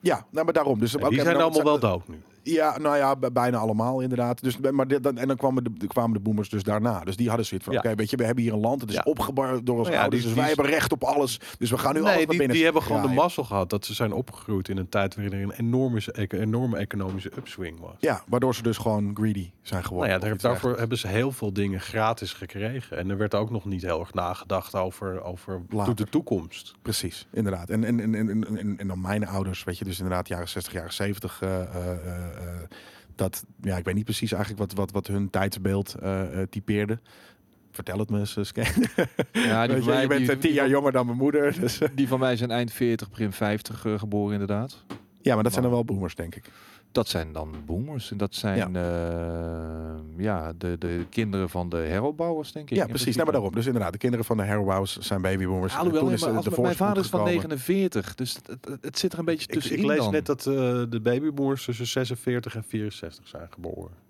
S1: Ja, nou, maar daarom. Dus,
S2: En
S1: oké,
S2: die
S1: maar
S2: zijn
S1: dan-
S2: allemaal wel dood nu.
S1: Ja, nou ja, b- bijna allemaal inderdaad. Dus, maar dit, dan, en dan kwamen de, kwamen de boomers dus daarna. Dus die hadden zoiets van,
S2: Ja.
S1: oké, weet je, we hebben hier een land. Het is
S2: Ja.
S1: opgebouwd door ons
S2: Nou ja,
S1: ouders, dus
S2: die- die-
S1: wij hebben recht op alles. Dus we gaan nu alles
S2: Nee,
S1: naar
S2: die,
S1: binnen
S2: die hebben gewoon de
S1: draaien.
S2: mazzel gehad. Dat ze zijn opgegroeid in een tijd waarin er een enorme, eco- enorme economische upswing was.
S1: Ja, waardoor ze dus gewoon greedy zijn
S2: Nou
S1: geworden.
S2: ja,
S1: Of
S2: daar,
S1: iets dergelijks.
S2: daarvoor hebben ze heel veel dingen gratis gekregen. En er werd ook nog niet heel erg nagedacht over, over
S1: Later.
S2: de toekomst.
S1: Precies, inderdaad. En, en, en, en, en, en, en dan mijn ouders, weet je, dus inderdaad jaren 60, jaren 70. eh, eh, eh, eh, dat, ja, ik weet niet precies eigenlijk wat, wat, wat hun tijdsbeeld eh, eh, typeerde. Vertel het me eens, eh, Ske.
S3: Ja, die
S1: Weet
S3: van
S1: je, je
S3: mij-
S1: bent eh,
S3: die-
S1: tien jaar jonger dan mijn moeder. Dus, eh.
S3: Die van mij zijn eind 40, begin 50 eh, geboren inderdaad.
S1: ja, maar dat zijn dan wel boomers, denk ik.
S5: Dat zijn dan boomers. En dat zijn ja. ja, de, de kinderen van de heropbouwers, denk ik.
S1: Ja,
S5: in
S1: precies.
S5: principe.
S1: Nou, maar daarom. Dus inderdaad, de kinderen van de Harrowhouse zijn babyboomers.
S3: Alhoewel,
S1: Toen
S3: maar,
S1: is de- de
S3: als- mijn
S1: voorspoed
S3: vader is van
S1: gekomen.
S3: 49, dus het, het- het zit er een beetje
S2: Ik,
S3: tussenin
S2: ik lees
S3: dan.
S2: net dat eh, de babyboomers tussen 46 en 64 zijn geboren.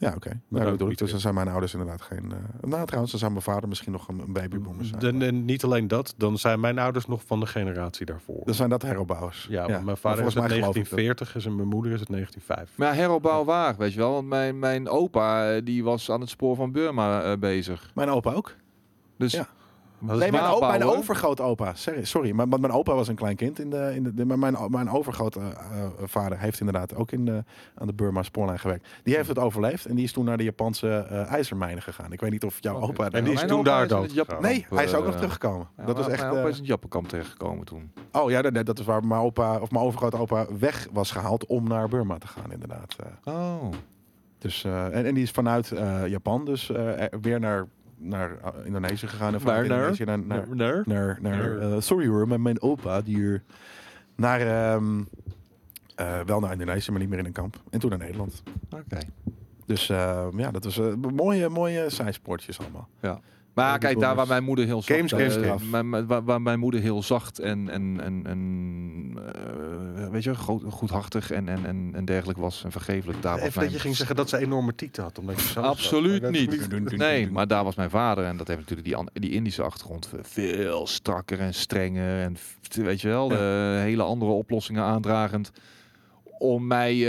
S1: Ja, oké.
S3: Oh,
S2: Maar
S1: Nou, dat
S2: ook
S1: bedoel ik. Dus dan
S2: niet weer.
S1: zijn mijn ouders inderdaad geen... eh nou, trouwens, dan zou mijn vader misschien nog een, een babyboomer zijn.
S2: Dan, en niet alleen dat, dan zijn mijn ouders nog van de generatie daarvoor.
S1: Dan zijn dat heropbouwers.
S2: ja, want mijn vader is
S1: volgens
S2: het
S1: mij geloof ik dat.
S2: 1940 is en mijn moeder is het 1950.
S3: Maar ja, heropbouw waar, weet je wel. Want mijn, mijn opa eh, die was aan het spoor van Burma eh, bezig.
S1: Mijn opa ook.
S3: Dus
S1: Ja.
S2: Maar dat is
S1: Nee, mijn, o- mijn
S3: nabouwen.
S1: overgrootopa. Sorry, sorry maar, want mijn opa was een klein kind. In de, in de, de- maar mijn, o- mijn overgrootvader heeft inderdaad ook in de, aan de Burma-spoorlijn gewerkt. Die heeft het overleefd en die is toen naar de Japanse eh, ijzermijnen gegaan. Ik weet niet of jouw
S3: Oké.
S1: opa... daar
S2: en die is
S1: ook-
S3: Mijn
S2: toen
S3: opa
S2: daar
S3: is in
S2: dood.
S3: het Japan-
S2: gegaan.
S1: Nee, hij is ook nog
S5: eh,
S1: teruggekomen.
S3: Ja,
S1: dat was
S3: maar
S1: echt...
S3: Mijn opa
S1: eh,
S3: is in het Jappenkamp terechtgekomen toen.
S1: Oh ja, nee, dat is waar mijn opa of mijn overgrootopa weg was gehaald om naar Burma te gaan, inderdaad. Eh,
S5: Oh.
S1: Dus, eh, en, en die is vanuit eh, Japan dus eh, er- weer naar, naar eh, Indonesië gegaan. En vanuit
S3: Waar naar?
S1: Indonesië naar, naar,
S2: Nee.
S1: naar, naar,
S2: Naar-
S1: eh, sorry hoor, maar mijn opa die hier naar, ehm, eh, wel naar Indonesië, maar niet meer in een kamp. En toen naar Nederland.
S5: Oké.
S1: Dus eh, ja, dat was eh, mooie, mooie zijspoortjes allemaal.
S6: Maar
S1: Ja,
S6: kijk,
S1: die
S6: daar waar
S1: bonus.
S6: mijn moeder heel zacht...
S2: Games,
S6: eh,
S2: games, games.
S6: mijn- mijn- waar, waar mijn moeder heel zacht en, en, en, en eh, weet je, groot, goedhartig en, en, en, en dergelijk was en vergeeflijk. Daar was
S2: Even dat je
S6: mijn...
S2: ging zeggen dat ze enorme tieten had. Omdat je zo
S6: Absoluut
S2: zat.
S6: niet. Nee,
S1: doen.
S6: maar
S3: Maar daar was mijn vader en dat heeft natuurlijk die, an- die Indische achtergrond ve- veel strakker en strenger en f- weet je wel, eh, hele andere oplossingen aandragend om mij eh,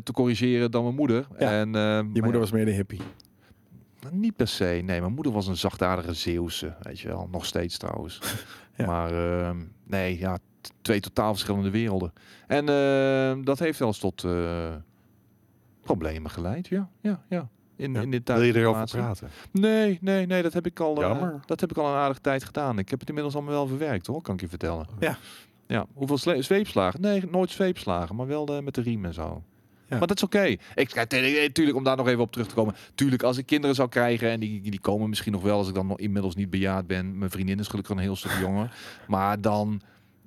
S3: te corrigeren dan mijn moeder.
S1: Ja.
S3: En, eh, maar
S1: Je
S3: ja,
S1: moeder was meer de hippie.
S3: Nou, Niet per se. Nee, mijn moeder was een zachtaardige Zeeuwse, weet je wel. Nog steeds trouwens.
S1: Ja.
S3: Maar ehm, nee, ja, t- twee totaal verschillende werelden. En ehm, dat heeft wel eens tot eh, problemen geleid, ja. ja, ja. In,
S1: Ja.
S3: in dit
S2: Wil je erover
S3: thuisplaatsen.
S2: praten?
S3: Nee, nee, nee, dat heb ik al, eh,
S2: Jammer.
S3: dat heb ik al een aardige tijd gedaan. Ik heb het inmiddels allemaal wel verwerkt hoor, kan ik je vertellen.
S1: Ja.
S3: Ja, hoeveel sle- zweepslagen? Nee, nooit zweepslagen, maar wel eh, met de riem en zo.
S1: Ja.
S3: Maar dat is oké. Ik, kijk, nee, nee, tuurlijk, om daar nog even op terug te komen. Tuurlijk, als ik kinderen zou krijgen, en die, die komen misschien nog wel als ik dan nog inmiddels niet bejaard ben. Mijn vriendin is gelukkig een heel stuk jonger. Maar dan,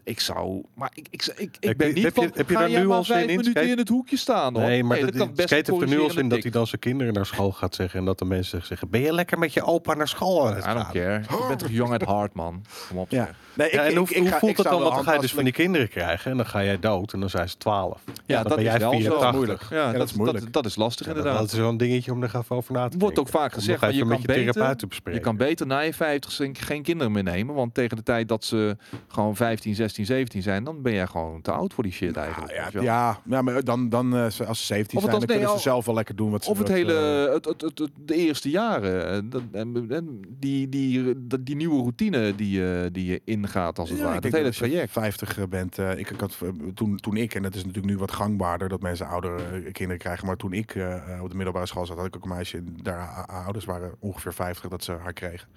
S3: ik zou... Maar ik, ik, ik, ik
S2: Heb
S3: ben
S2: je-
S3: niet
S2: heb je-
S3: van,
S2: heb je
S3: ga
S2: daar
S3: jij maar
S2: nuance in
S3: vijf
S2: in,
S3: minuten
S2: Skate?
S3: in het hoekje staan hoor.
S2: Nee, maar dat,
S3: kan best
S2: Skate heeft er nu al in
S3: corrigerende
S2: dat hij
S3: tik.
S2: dan zijn kinderen naar school gaat zeggen. En dat de mensen zeggen, ben je lekker met je opa naar school aan het
S3: I don't
S2: gaan?
S3: care. Je bent toch jong at heart, man. Kom op.
S1: Ja.
S3: zeg.
S1: Nee,
S2: Ja, en hoe, hoe
S1: ga-
S2: voelt dat
S1: zou
S2: dan?
S1: wel
S2: Want dan ga je dus van
S1: handtastelijk-
S2: die kinderen krijgen en dan ga jij dood en dan zijn ze 12. Ja, dan
S3: dat
S2: ben
S3: is
S2: jij
S3: wel zo.
S2: 84.
S1: moeilijk.
S3: Ja, dat, is moeilijk. Dat, is lastig
S2: Ja, dat-
S3: inderdaad.
S2: Dat is wel een dingetje om er even over na te denken.
S3: Wordt ook vaak
S2: Om
S3: gezegd, maar
S2: nog
S3: je
S2: even met
S3: kan
S2: je therapeut
S3: beter...
S2: te
S3: Je
S2: bespreken.
S3: kan beter na je 50 geen- geen kinderen meer nemen. Want tegen de tijd dat ze gewoon 15, 16, 17 zijn, dan ben jij gewoon te oud voor die shit eigenlijk.
S1: Ja,
S3: weet je
S1: ja,
S3: wel.
S1: Ah, ja, maar dan, dan eh, ze- als ze 17 zijn,
S3: Of het als-
S1: dan
S3: nee,
S1: kunnen ze
S3: al-
S1: zelf wel lekker doen wat ze eh,
S3: Of het
S1: wat ze-
S3: hele, het, het, het, het- de eerste jaren, eh, dat, en- en die, die, die, die nieuwe routine die, je- die je ingaat als het
S1: Ja,
S3: ware.
S1: ik
S3: Dat
S1: denk
S3: hele
S1: als je
S3: traject.
S1: 50 bent. eh, ik, ik had, eh, toen, toen ik, en dat is natuurlijk nu wat gangbaarder dat mensen oudere eh, kinderen krijgen. Maar toen ik eh, eh, op de middelbare school zat, had ik ook een meisje. en Daar haar haar ouders waren ongeveer 50 dat ze haar kregen.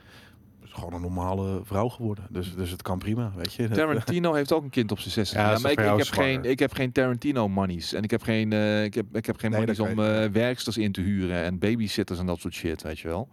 S1: Dus gewoon een normale vrouw geworden. Dus, dus het kan prima, weet je. Dat-
S3: Tarantino heeft ook een kind op zijn 16.
S2: Ja,
S3: Ja,
S2: zijn
S3: maar ik,
S2: vrouw
S3: ik, heb
S2: is zwanger.
S3: geen, ik heb geen Tarantino monies. En ik heb geen, eh, ik heb, ik heb geen
S1: Nee,
S3: monies
S1: dat
S3: om
S1: weet
S3: eh, werksters in te huren en babysitters en dat soort shit, weet je wel.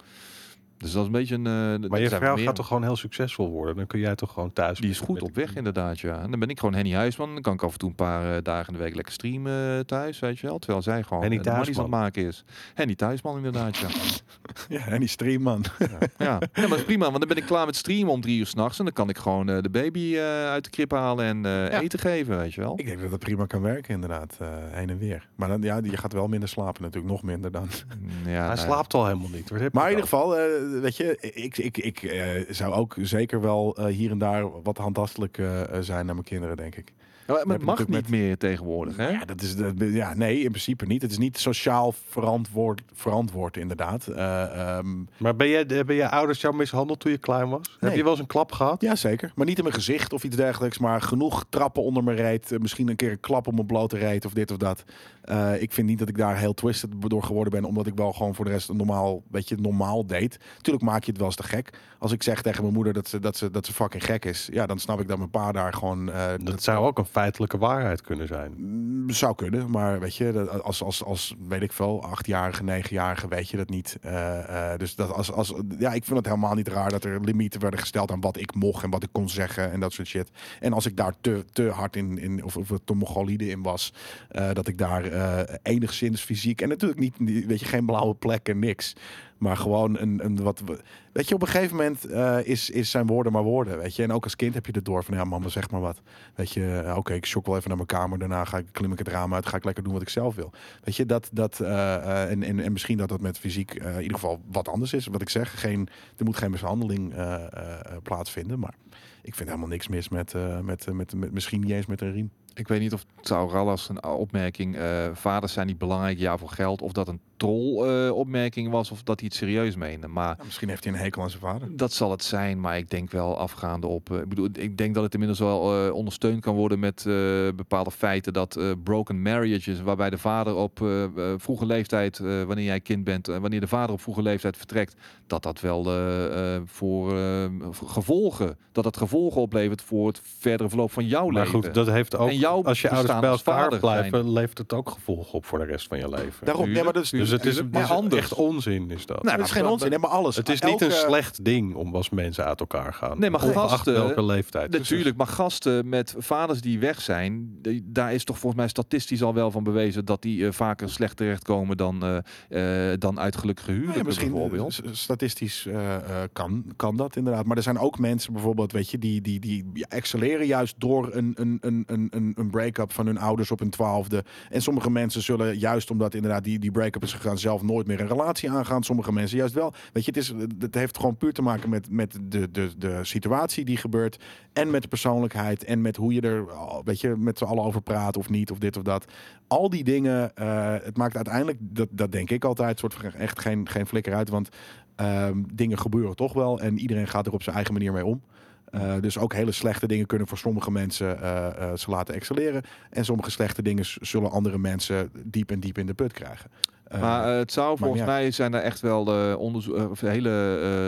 S3: Dus dat is een beetje een... eh, dat
S2: Maar je
S3: zijn
S2: vrouw
S3: meer-
S2: gaat toch gewoon heel succesvol worden? Dan kun jij toch gewoon thuis...
S3: Die is goed op weg inderdaad, ja. En dan ben ik gewoon Henny Huisman. Dan kan ik af en toe een paar eh, dagen in de week lekker streamen eh, thuis, weet je wel. Terwijl zij gewoon
S2: Henny
S3: eh, de monies aan
S2: Thuisman.
S3: het maken is. Henny Thuisman inderdaad, ja.
S1: ja, en die stream, man.
S3: Ja, ja maar dat is prima, want dan ben ik klaar met streamen om drie uur s'nachts. En dan kan ik gewoon eh, de baby eh, uit de krib halen en eh,
S1: Ja.
S3: eten geven, weet je wel.
S1: Ik denk dat dat prima kan werken, inderdaad. eh, heen en weer. Maar dan, ja, je gaat wel minder slapen natuurlijk. Nog minder dan.
S3: Ja,
S2: Hij
S3: nou ja.
S2: slaapt al helemaal niet. Waar heb je
S1: Maar in
S2: het
S1: ieder geval, eh, weet je, ik, ik, ik eh, zou ook zeker wel eh, hier en daar wat handtastelijk eh, eh, zijn naar mijn kinderen, denk ik.
S3: Ja, maar
S1: heb
S3: het
S1: je
S3: mag niet
S1: natuurlijk
S3: meer tegenwoordig, hè?
S1: Ja, dat is de, ja, nee, in principe niet. Het is niet sociaal verantwoord, verantwoord inderdaad. Eh, ehm,
S2: Maar ben jij, hebben je ouders jou mishandeld toen je klein was? Heb
S1: Nee.
S2: je wel eens een klap gehad?
S1: ja, zeker. Maar niet in mijn gezicht of iets dergelijks. Maar genoeg trappen onder mijn reet. Eh, misschien een keer een klap op mijn blote reet of dit of dat. Eh, ik vind niet dat ik daar heel twisted door geworden ben. Omdat ik wel gewoon voor de rest een normaal, weet je, normaal deed. Tuurlijk maak je het wel eens te gek. Als ik zeg tegen mijn moeder dat ze, dat ze, dat ze fucking gek is. Ja, dan snap ik dat mijn pa daar gewoon... eh, dat-
S2: Dat zou ook een feitelijke waarheid kunnen zijn.
S1: Mm, Zou kunnen, maar weet je, dat als, als, als weet ik veel, achtjarige, negenjarige weet je dat niet. Eh, eh, dus dat als, als, ja, ik vind het helemaal niet raar dat er limieten werden gesteld aan wat ik mocht en wat ik kon zeggen en dat soort shit. En als ik daar te, te hard in, in of, of te mongolide in was, eh, dat ik daar eh, enigszins fysiek en natuurlijk niet, niet- weet je, geen blauwe plekken, niks. Maar gewoon een, een wat. Weet je, op een gegeven moment eh, is, is zijn woorden maar woorden. Weet je, en ook als kind heb je het door van ja, mama, zeg maar wat. Weet je, eh, oké, ik shock wel even naar mijn kamer. Daarna ga ik, klim ik het raam uit. Ga ik lekker doen wat ik zelf wil. Weet je, dat. dat eh, eh, en, en, en misschien dat dat met fysiek eh, in ieder geval wat anders is. Wat ik zeg, geen, er moet geen mishandeling eh, eh, eh, plaatsvinden. Maar ik vind helemaal niks mis met, eh, met, eh, met, met. Misschien niet eens met een riem.
S3: Ik weet niet of Taurallas een opmerking, eh, vaders zijn niet belangrijk, ja voor geld, of dat een troll eh, opmerking was, of dat hij het serieus meende. Maar
S1: Ja, Nou, misschien heeft hij een hekel aan zijn vader.
S3: dat zal het zijn, maar ik denk wel afgaande op. eh, ik bedoel, ik denk dat het inmiddels wel eh, ondersteund kan worden met eh, bepaalde feiten dat eh, broken marriages, waarbij de vader op eh, eh, vroege leeftijd, eh, wanneer jij kind bent, en wanneer de vader op vroege leeftijd vertrekt, dat dat wel eh, eh, voor eh, gevolgen, dat dat gevolgen oplevert voor het verdere verloop van jouw
S2: Maar
S3: leven.
S2: goed, dat heeft ook
S3: en
S5: jouw
S2: als je ouders
S5: bestaan
S2: bij
S5: als
S2: elkaar
S5: vader
S2: blijven, levert het ook gevolgen op voor de rest van je leven.
S1: Daarom, nee, maar dat is,
S2: Dus het is, het is
S5: anders. Nou,
S2: echt onzin, is Nou, dat.
S1: dat is geen onzin. Nee, maar alles.
S2: het is niet een
S1: Elke-
S2: slecht ding om als mensen uit elkaar gaan.
S5: Nee, maar
S2: Ongeacht
S5: gasten-
S2: welke
S1: Eh,
S2: leeftijd.
S5: Natuurlijk, maar gasten met vaders die weg zijn, die- daar is toch volgens mij statistisch al wel van bewezen dat die eh, vaker slecht terechtkomen dan, eh, eh, dan uit gelukkige
S1: Nou ja,
S5: huwelijken
S1: misschien
S5: bijvoorbeeld.
S1: s- statistisch eh, eh, kan, kan dat inderdaad. Maar er zijn ook mensen bijvoorbeeld, weet je, die, die, die ja, excelleren juist door een, een, een, een- een, een break-up van hun ouders op hun twaalfde. En sommige mensen zullen juist omdat inderdaad die, die break-up is gegaan, zelf nooit meer een relatie aangaan. Sommige mensen juist wel. Weet je, het, is, het heeft gewoon puur te maken met, met de, de, de situatie die gebeurt. En met de persoonlijkheid. En met hoe je er, oh, weet je, met z'n allen over praat of niet, of dit of dat. Al die dingen, eh, het maakt uiteindelijk, dat, dat denk ik altijd, soort van echt geen, geen flikker uit. Want ehm, dingen gebeuren toch wel en iedereen gaat er op zijn eigen manier mee om. Eh, dus ook hele slechte dingen kunnen voor sommige mensen eh, eh, ze laten excelleren. En sommige slechte dingen s- zullen andere mensen diep en diep in de put krijgen. Eh,
S5: Maar eh, het zou volgens
S1: niet
S5: mij zijn er echt wel eh, onderzo- eh, of hele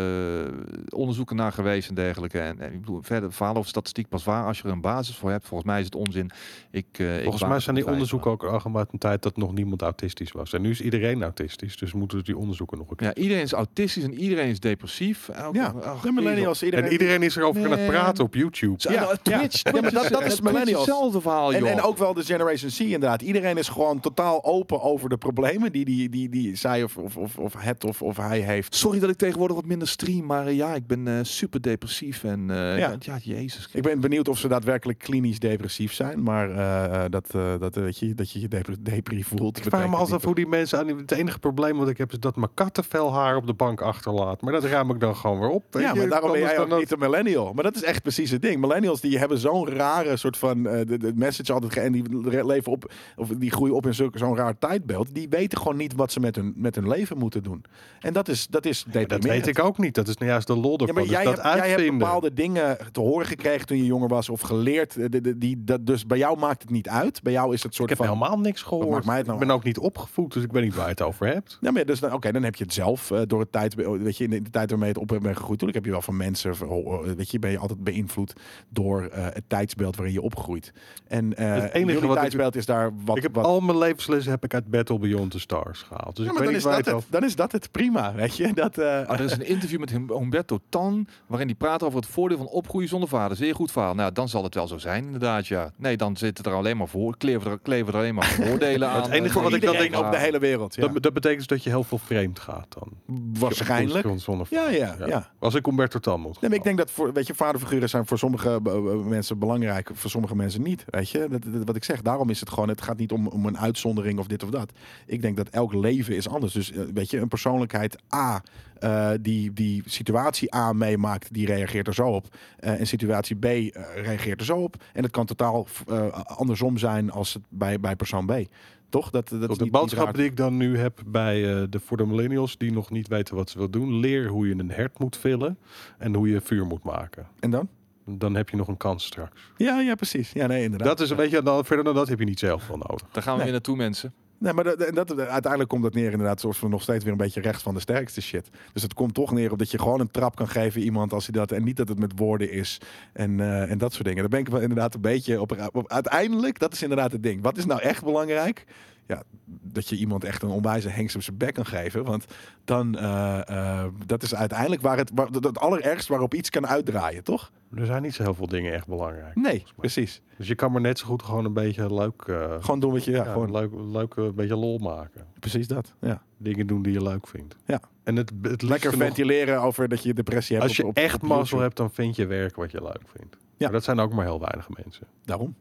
S5: eh, onderzoeken naar geweest en dergelijke. En, en ik bedoel, verder verhalen of statistiek pas waar als je er een basis voor hebt. Volgens mij is het onzin. Ik, eh, ik
S2: Volgens
S5: waag
S2: mij
S5: het
S2: zijn die
S5: te
S2: onderzoeken ook al uit een tijd dat nog niemand autistisch was. En nu is iedereen autistisch, dus moeten we die onderzoeken nog een keer.
S5: Ja, iedereen is autistisch en iedereen is depressief. Elke-
S1: ja,
S5: ach,
S1: de millennials, iedereen...
S2: En iedereen is erover aan het
S5: Nee.
S2: praten op YouTube.
S5: Ja, nou, Twitch,
S1: Ja, maar
S5: Twitch
S1: dat- dat is
S5: Twitch
S1: millennials.
S5: hetzelfde verhaal, joh.
S1: En, en ook wel de Generation C inderdaad. Iedereen is gewoon totaal open over de problemen die, die, die, die zij of, of, of, of het of, of hij heeft.
S5: Sorry dat ik tegenwoordig wat minder stream, maar eh, ja, ik ben eh, super depressief en eh,
S1: Ja.
S5: ja. jezus.
S1: Ik ben benieuwd of ze daadwerkelijk klinisch depressief zijn. Maar eh, dat, eh, dat, eh, weet je, dat je je depri, depri voelt.
S2: Ik vraag me
S1: betekent
S2: altijd af
S1: niet
S2: hoe die mensen aan die- Het enige probleem wat ik heb is dat mijn kattenvel haar op de bank achterlaat. Maar dat ruim ik dan gewoon weer op.
S1: dat-
S2: weet
S1: Ja,
S2: je.
S1: maar daarom ben
S2: Anders
S1: jij
S2: dan
S1: ook
S2: dat-
S1: niet een millennial. Maar dat is echt precies het ding. Millennials die hebben zo'n rare soort van eh, de, de message altijd ge- en die re- leven op of die groeien op in zulke- zo'n raar tijdbeeld. Die weten gewoon niet wat ze met hun, met hun leven moeten doen. En dat is dat is
S2: Dat weet ik ook niet. Dat is nou juist de lol ervan.
S1: Ja, maar
S2: Dus
S1: jij,
S2: dat
S1: hebt, jij hebt
S2: uitvinden.
S1: bepaalde dingen te horen gekregen toen je jonger was of geleerd. eh, de- de- die, dat, dus bij jou maakt het niet uit. Bij jou is het soort
S2: Ik heb
S1: van.
S2: helemaal niks
S1: maakt
S2: gehoord.
S1: mij het nou
S2: ik ben ook niet opgevoed, dus ik weet niet waar je het over hebt.
S1: Ja, maar dus, dan- oké, dan heb je het zelf eh, door het tijd, weet je, in de, de tijd waarmee je het op bent gegroeid. Tuurlijk heb je wel van mensen, van, oh, oh, weet je, ben je altijd beïnvloed door eh, het tijdsbeeld waarin je opgroeit. En eh
S2: Het enige
S1: jullie
S2: wat ik-
S1: tijdsbeeld is daar wat.
S2: ik heb
S1: wat
S2: al mijn levenslessen heb ik uit Battle Beyond the Stars gehaald. Dus
S1: ja,
S2: ik
S1: maar
S2: weet
S1: dan
S2: niet
S1: is,
S2: waar je
S1: dat het,
S2: het over
S1: dan is dat het prima, weet je. Dat, eh,
S5: Ah, er is een interview met Hum- Humberto Tan, waarin hij praat over het voordeel van opgroeien zonder vader. Zeer goed verhaal. Nou, dan zal het wel zo zijn, inderdaad, ja. Nee, dan zitten er alleen maar voor, kleven er, kleven er alleen maar voordelen aan.
S1: oh,
S2: Het enige
S5: eh,
S2: wat
S5: voor
S2: ik dan
S5: iedereen.
S2: denk
S1: op de hele wereld. Ja.
S2: dat, dat betekent dat je heel veel vreemd gaat dan.
S1: Waarschijnlijk.
S2: Zonder
S1: Ja, ja, ja.
S2: Als ik Humberto Tan moet.
S1: Nee, maar ik denk dat voor, weet je, vaderfiguren zijn voor sommige eh, eh, mensen belangrijk, voor sommige mensen niet. Weet je, dat, dat- wat ik zeg, daarom is het gewoon, het gaat niet om, om een uitzondering of dit of dat. Ik denk dat elk leven is anders. Dus eh, weet je, een persoonlijkheid A, eh, die, die situatie A meemaakt, die reageert er zo op. Eh, en situatie B eh, reageert er zo op. En het kan totaal eh, andersom zijn als het bij, bij persoon B. Toch? Dat, dat is
S2: de
S1: niet-
S2: boodschap
S1: niet raar.
S2: die ik dan nu heb bij eh, de voor de millennials die nog niet weten wat ze wil doen, leer hoe je een hert moet vullen en hoe je vuur moet maken.
S1: En dan?
S2: Dan heb je nog een kans straks.
S1: Ja, ja, precies. Ja, nee, inderdaad.
S2: Dat is, weet je, dan, verder dan dat heb je niet zelf wel nodig.
S5: Daar gaan we weer naartoe, mensen.
S1: Nee, maar dat, dat, dat- uiteindelijk komt dat neer inderdaad, zoals we nog steeds weer een beetje rechts van de sterkste shit. Dus het komt toch neer op dat je gewoon een trap kan geven iemand als hij dat en niet dat het met woorden is en, eh, en dat soort dingen. Daar ben ik wel inderdaad een beetje op, op. Uiteindelijk, dat is inderdaad het ding. Wat is nou echt belangrijk? Ja, dat je iemand echt een onwijze hengst op zijn bek kan geven. Want dan, eh, eh, dat is uiteindelijk waar het, waar, dat, dat allerergst waarop iets kan uitdraaien, toch?
S2: Er zijn niet zo heel veel dingen echt belangrijk.
S1: Nee, precies.
S2: Dus je kan maar net zo goed gewoon een beetje leuk, eh,
S1: Gewoon doen wat je, ja,
S2: ja,
S1: gewoon
S2: leuk, leuk eh, een beetje lol maken.
S1: precies dat. Ja.
S2: Dingen doen die je leuk vindt.
S1: Ja.
S2: En het, het liefste
S1: Lekker
S2: nog-
S1: ventileren over dat je depressie hebt.
S2: Als je
S1: op- op-
S2: echt
S1: op
S2: mazzel
S1: YouTube.
S2: hebt, dan vind je werk wat je leuk vindt. Maar dat zijn ook maar heel weinig mensen.
S1: Daarom.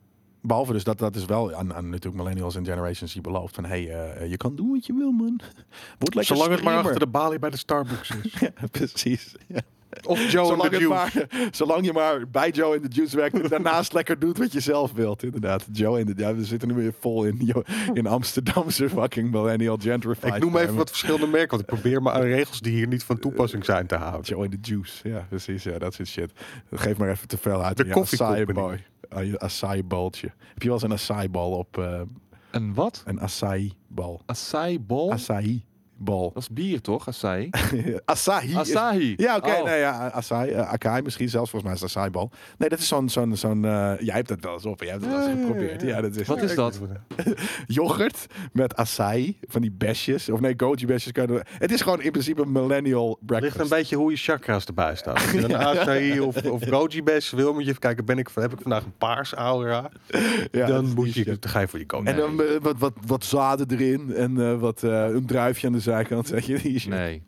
S1: Behalve dus dat dat is wel aan, aan natuurlijk millennials en Generation C beloofd. Van hey, eh, je kan doen wat je wil, man. Word lekker
S2: Zolang het maar
S1: streamer.
S2: achter de balie bij de Starbucks is.
S1: Ja, precies. Ja.
S2: Of Joe en
S1: Zolang,
S2: de
S1: het
S2: Juice.
S1: maar, zolang je maar bij Joe en de Juice werkt en daarnaast lekker doet wat je zelf wilt. Inderdaad. Joe en de ja, we zitten nu weer vol in, jo- in Amsterdamse fucking millennial gentrified.
S2: Ik noem even
S1: time.
S2: wat verschillende merken, want ik probeer maar aan regels die hier niet van toepassing zijn te houden.
S1: Joe en de Juice. Ja, precies. Ja, dat soort shit. Geef maar even te veel uit.
S2: De
S1: aan je
S2: Coffee
S1: acai
S2: Company.
S1: boy. Aan je acai baltje. Heb je wel eens een acai bal op eh,
S5: Een wat?
S1: een acai bal?
S5: Acai bol?
S1: Acai.
S2: bal.
S3: Dat is bier toch, Asahi?
S1: Asahi. is-
S3: Asahi.
S1: Ja, oké.
S3: Oh.
S1: Nee, ja, Asahi. eh, Akai misschien zelfs. Volgens mij is het Acai-bal. Nee, dat is zo'n... zo'n zo'n eh, jij hebt dat wel eens op. Jij hebt dat wel eens geprobeerd. Ja, dat is...
S3: Wat is dat?
S1: Yoghurt met acai. Van die besjes. Of nee, goji besjes. Kan je, het is gewoon in principe een millennial breakfast.
S2: Ligt een beetje hoe je chakras erbij staan. Als je een acai of, of goji best wil, moet je even kijken, ben ik, heb ik vandaag een paars aura?
S1: Ja, dat
S2: dan,
S1: is
S2: moet
S1: niet
S2: je,
S1: shit.
S2: dan ga je voor die goji.
S1: En dan eh, wat, wat, wat zaden erin. En eh, wat, eh, een druifje aan de zijkant. Zeg je. Die is-
S3: Nee.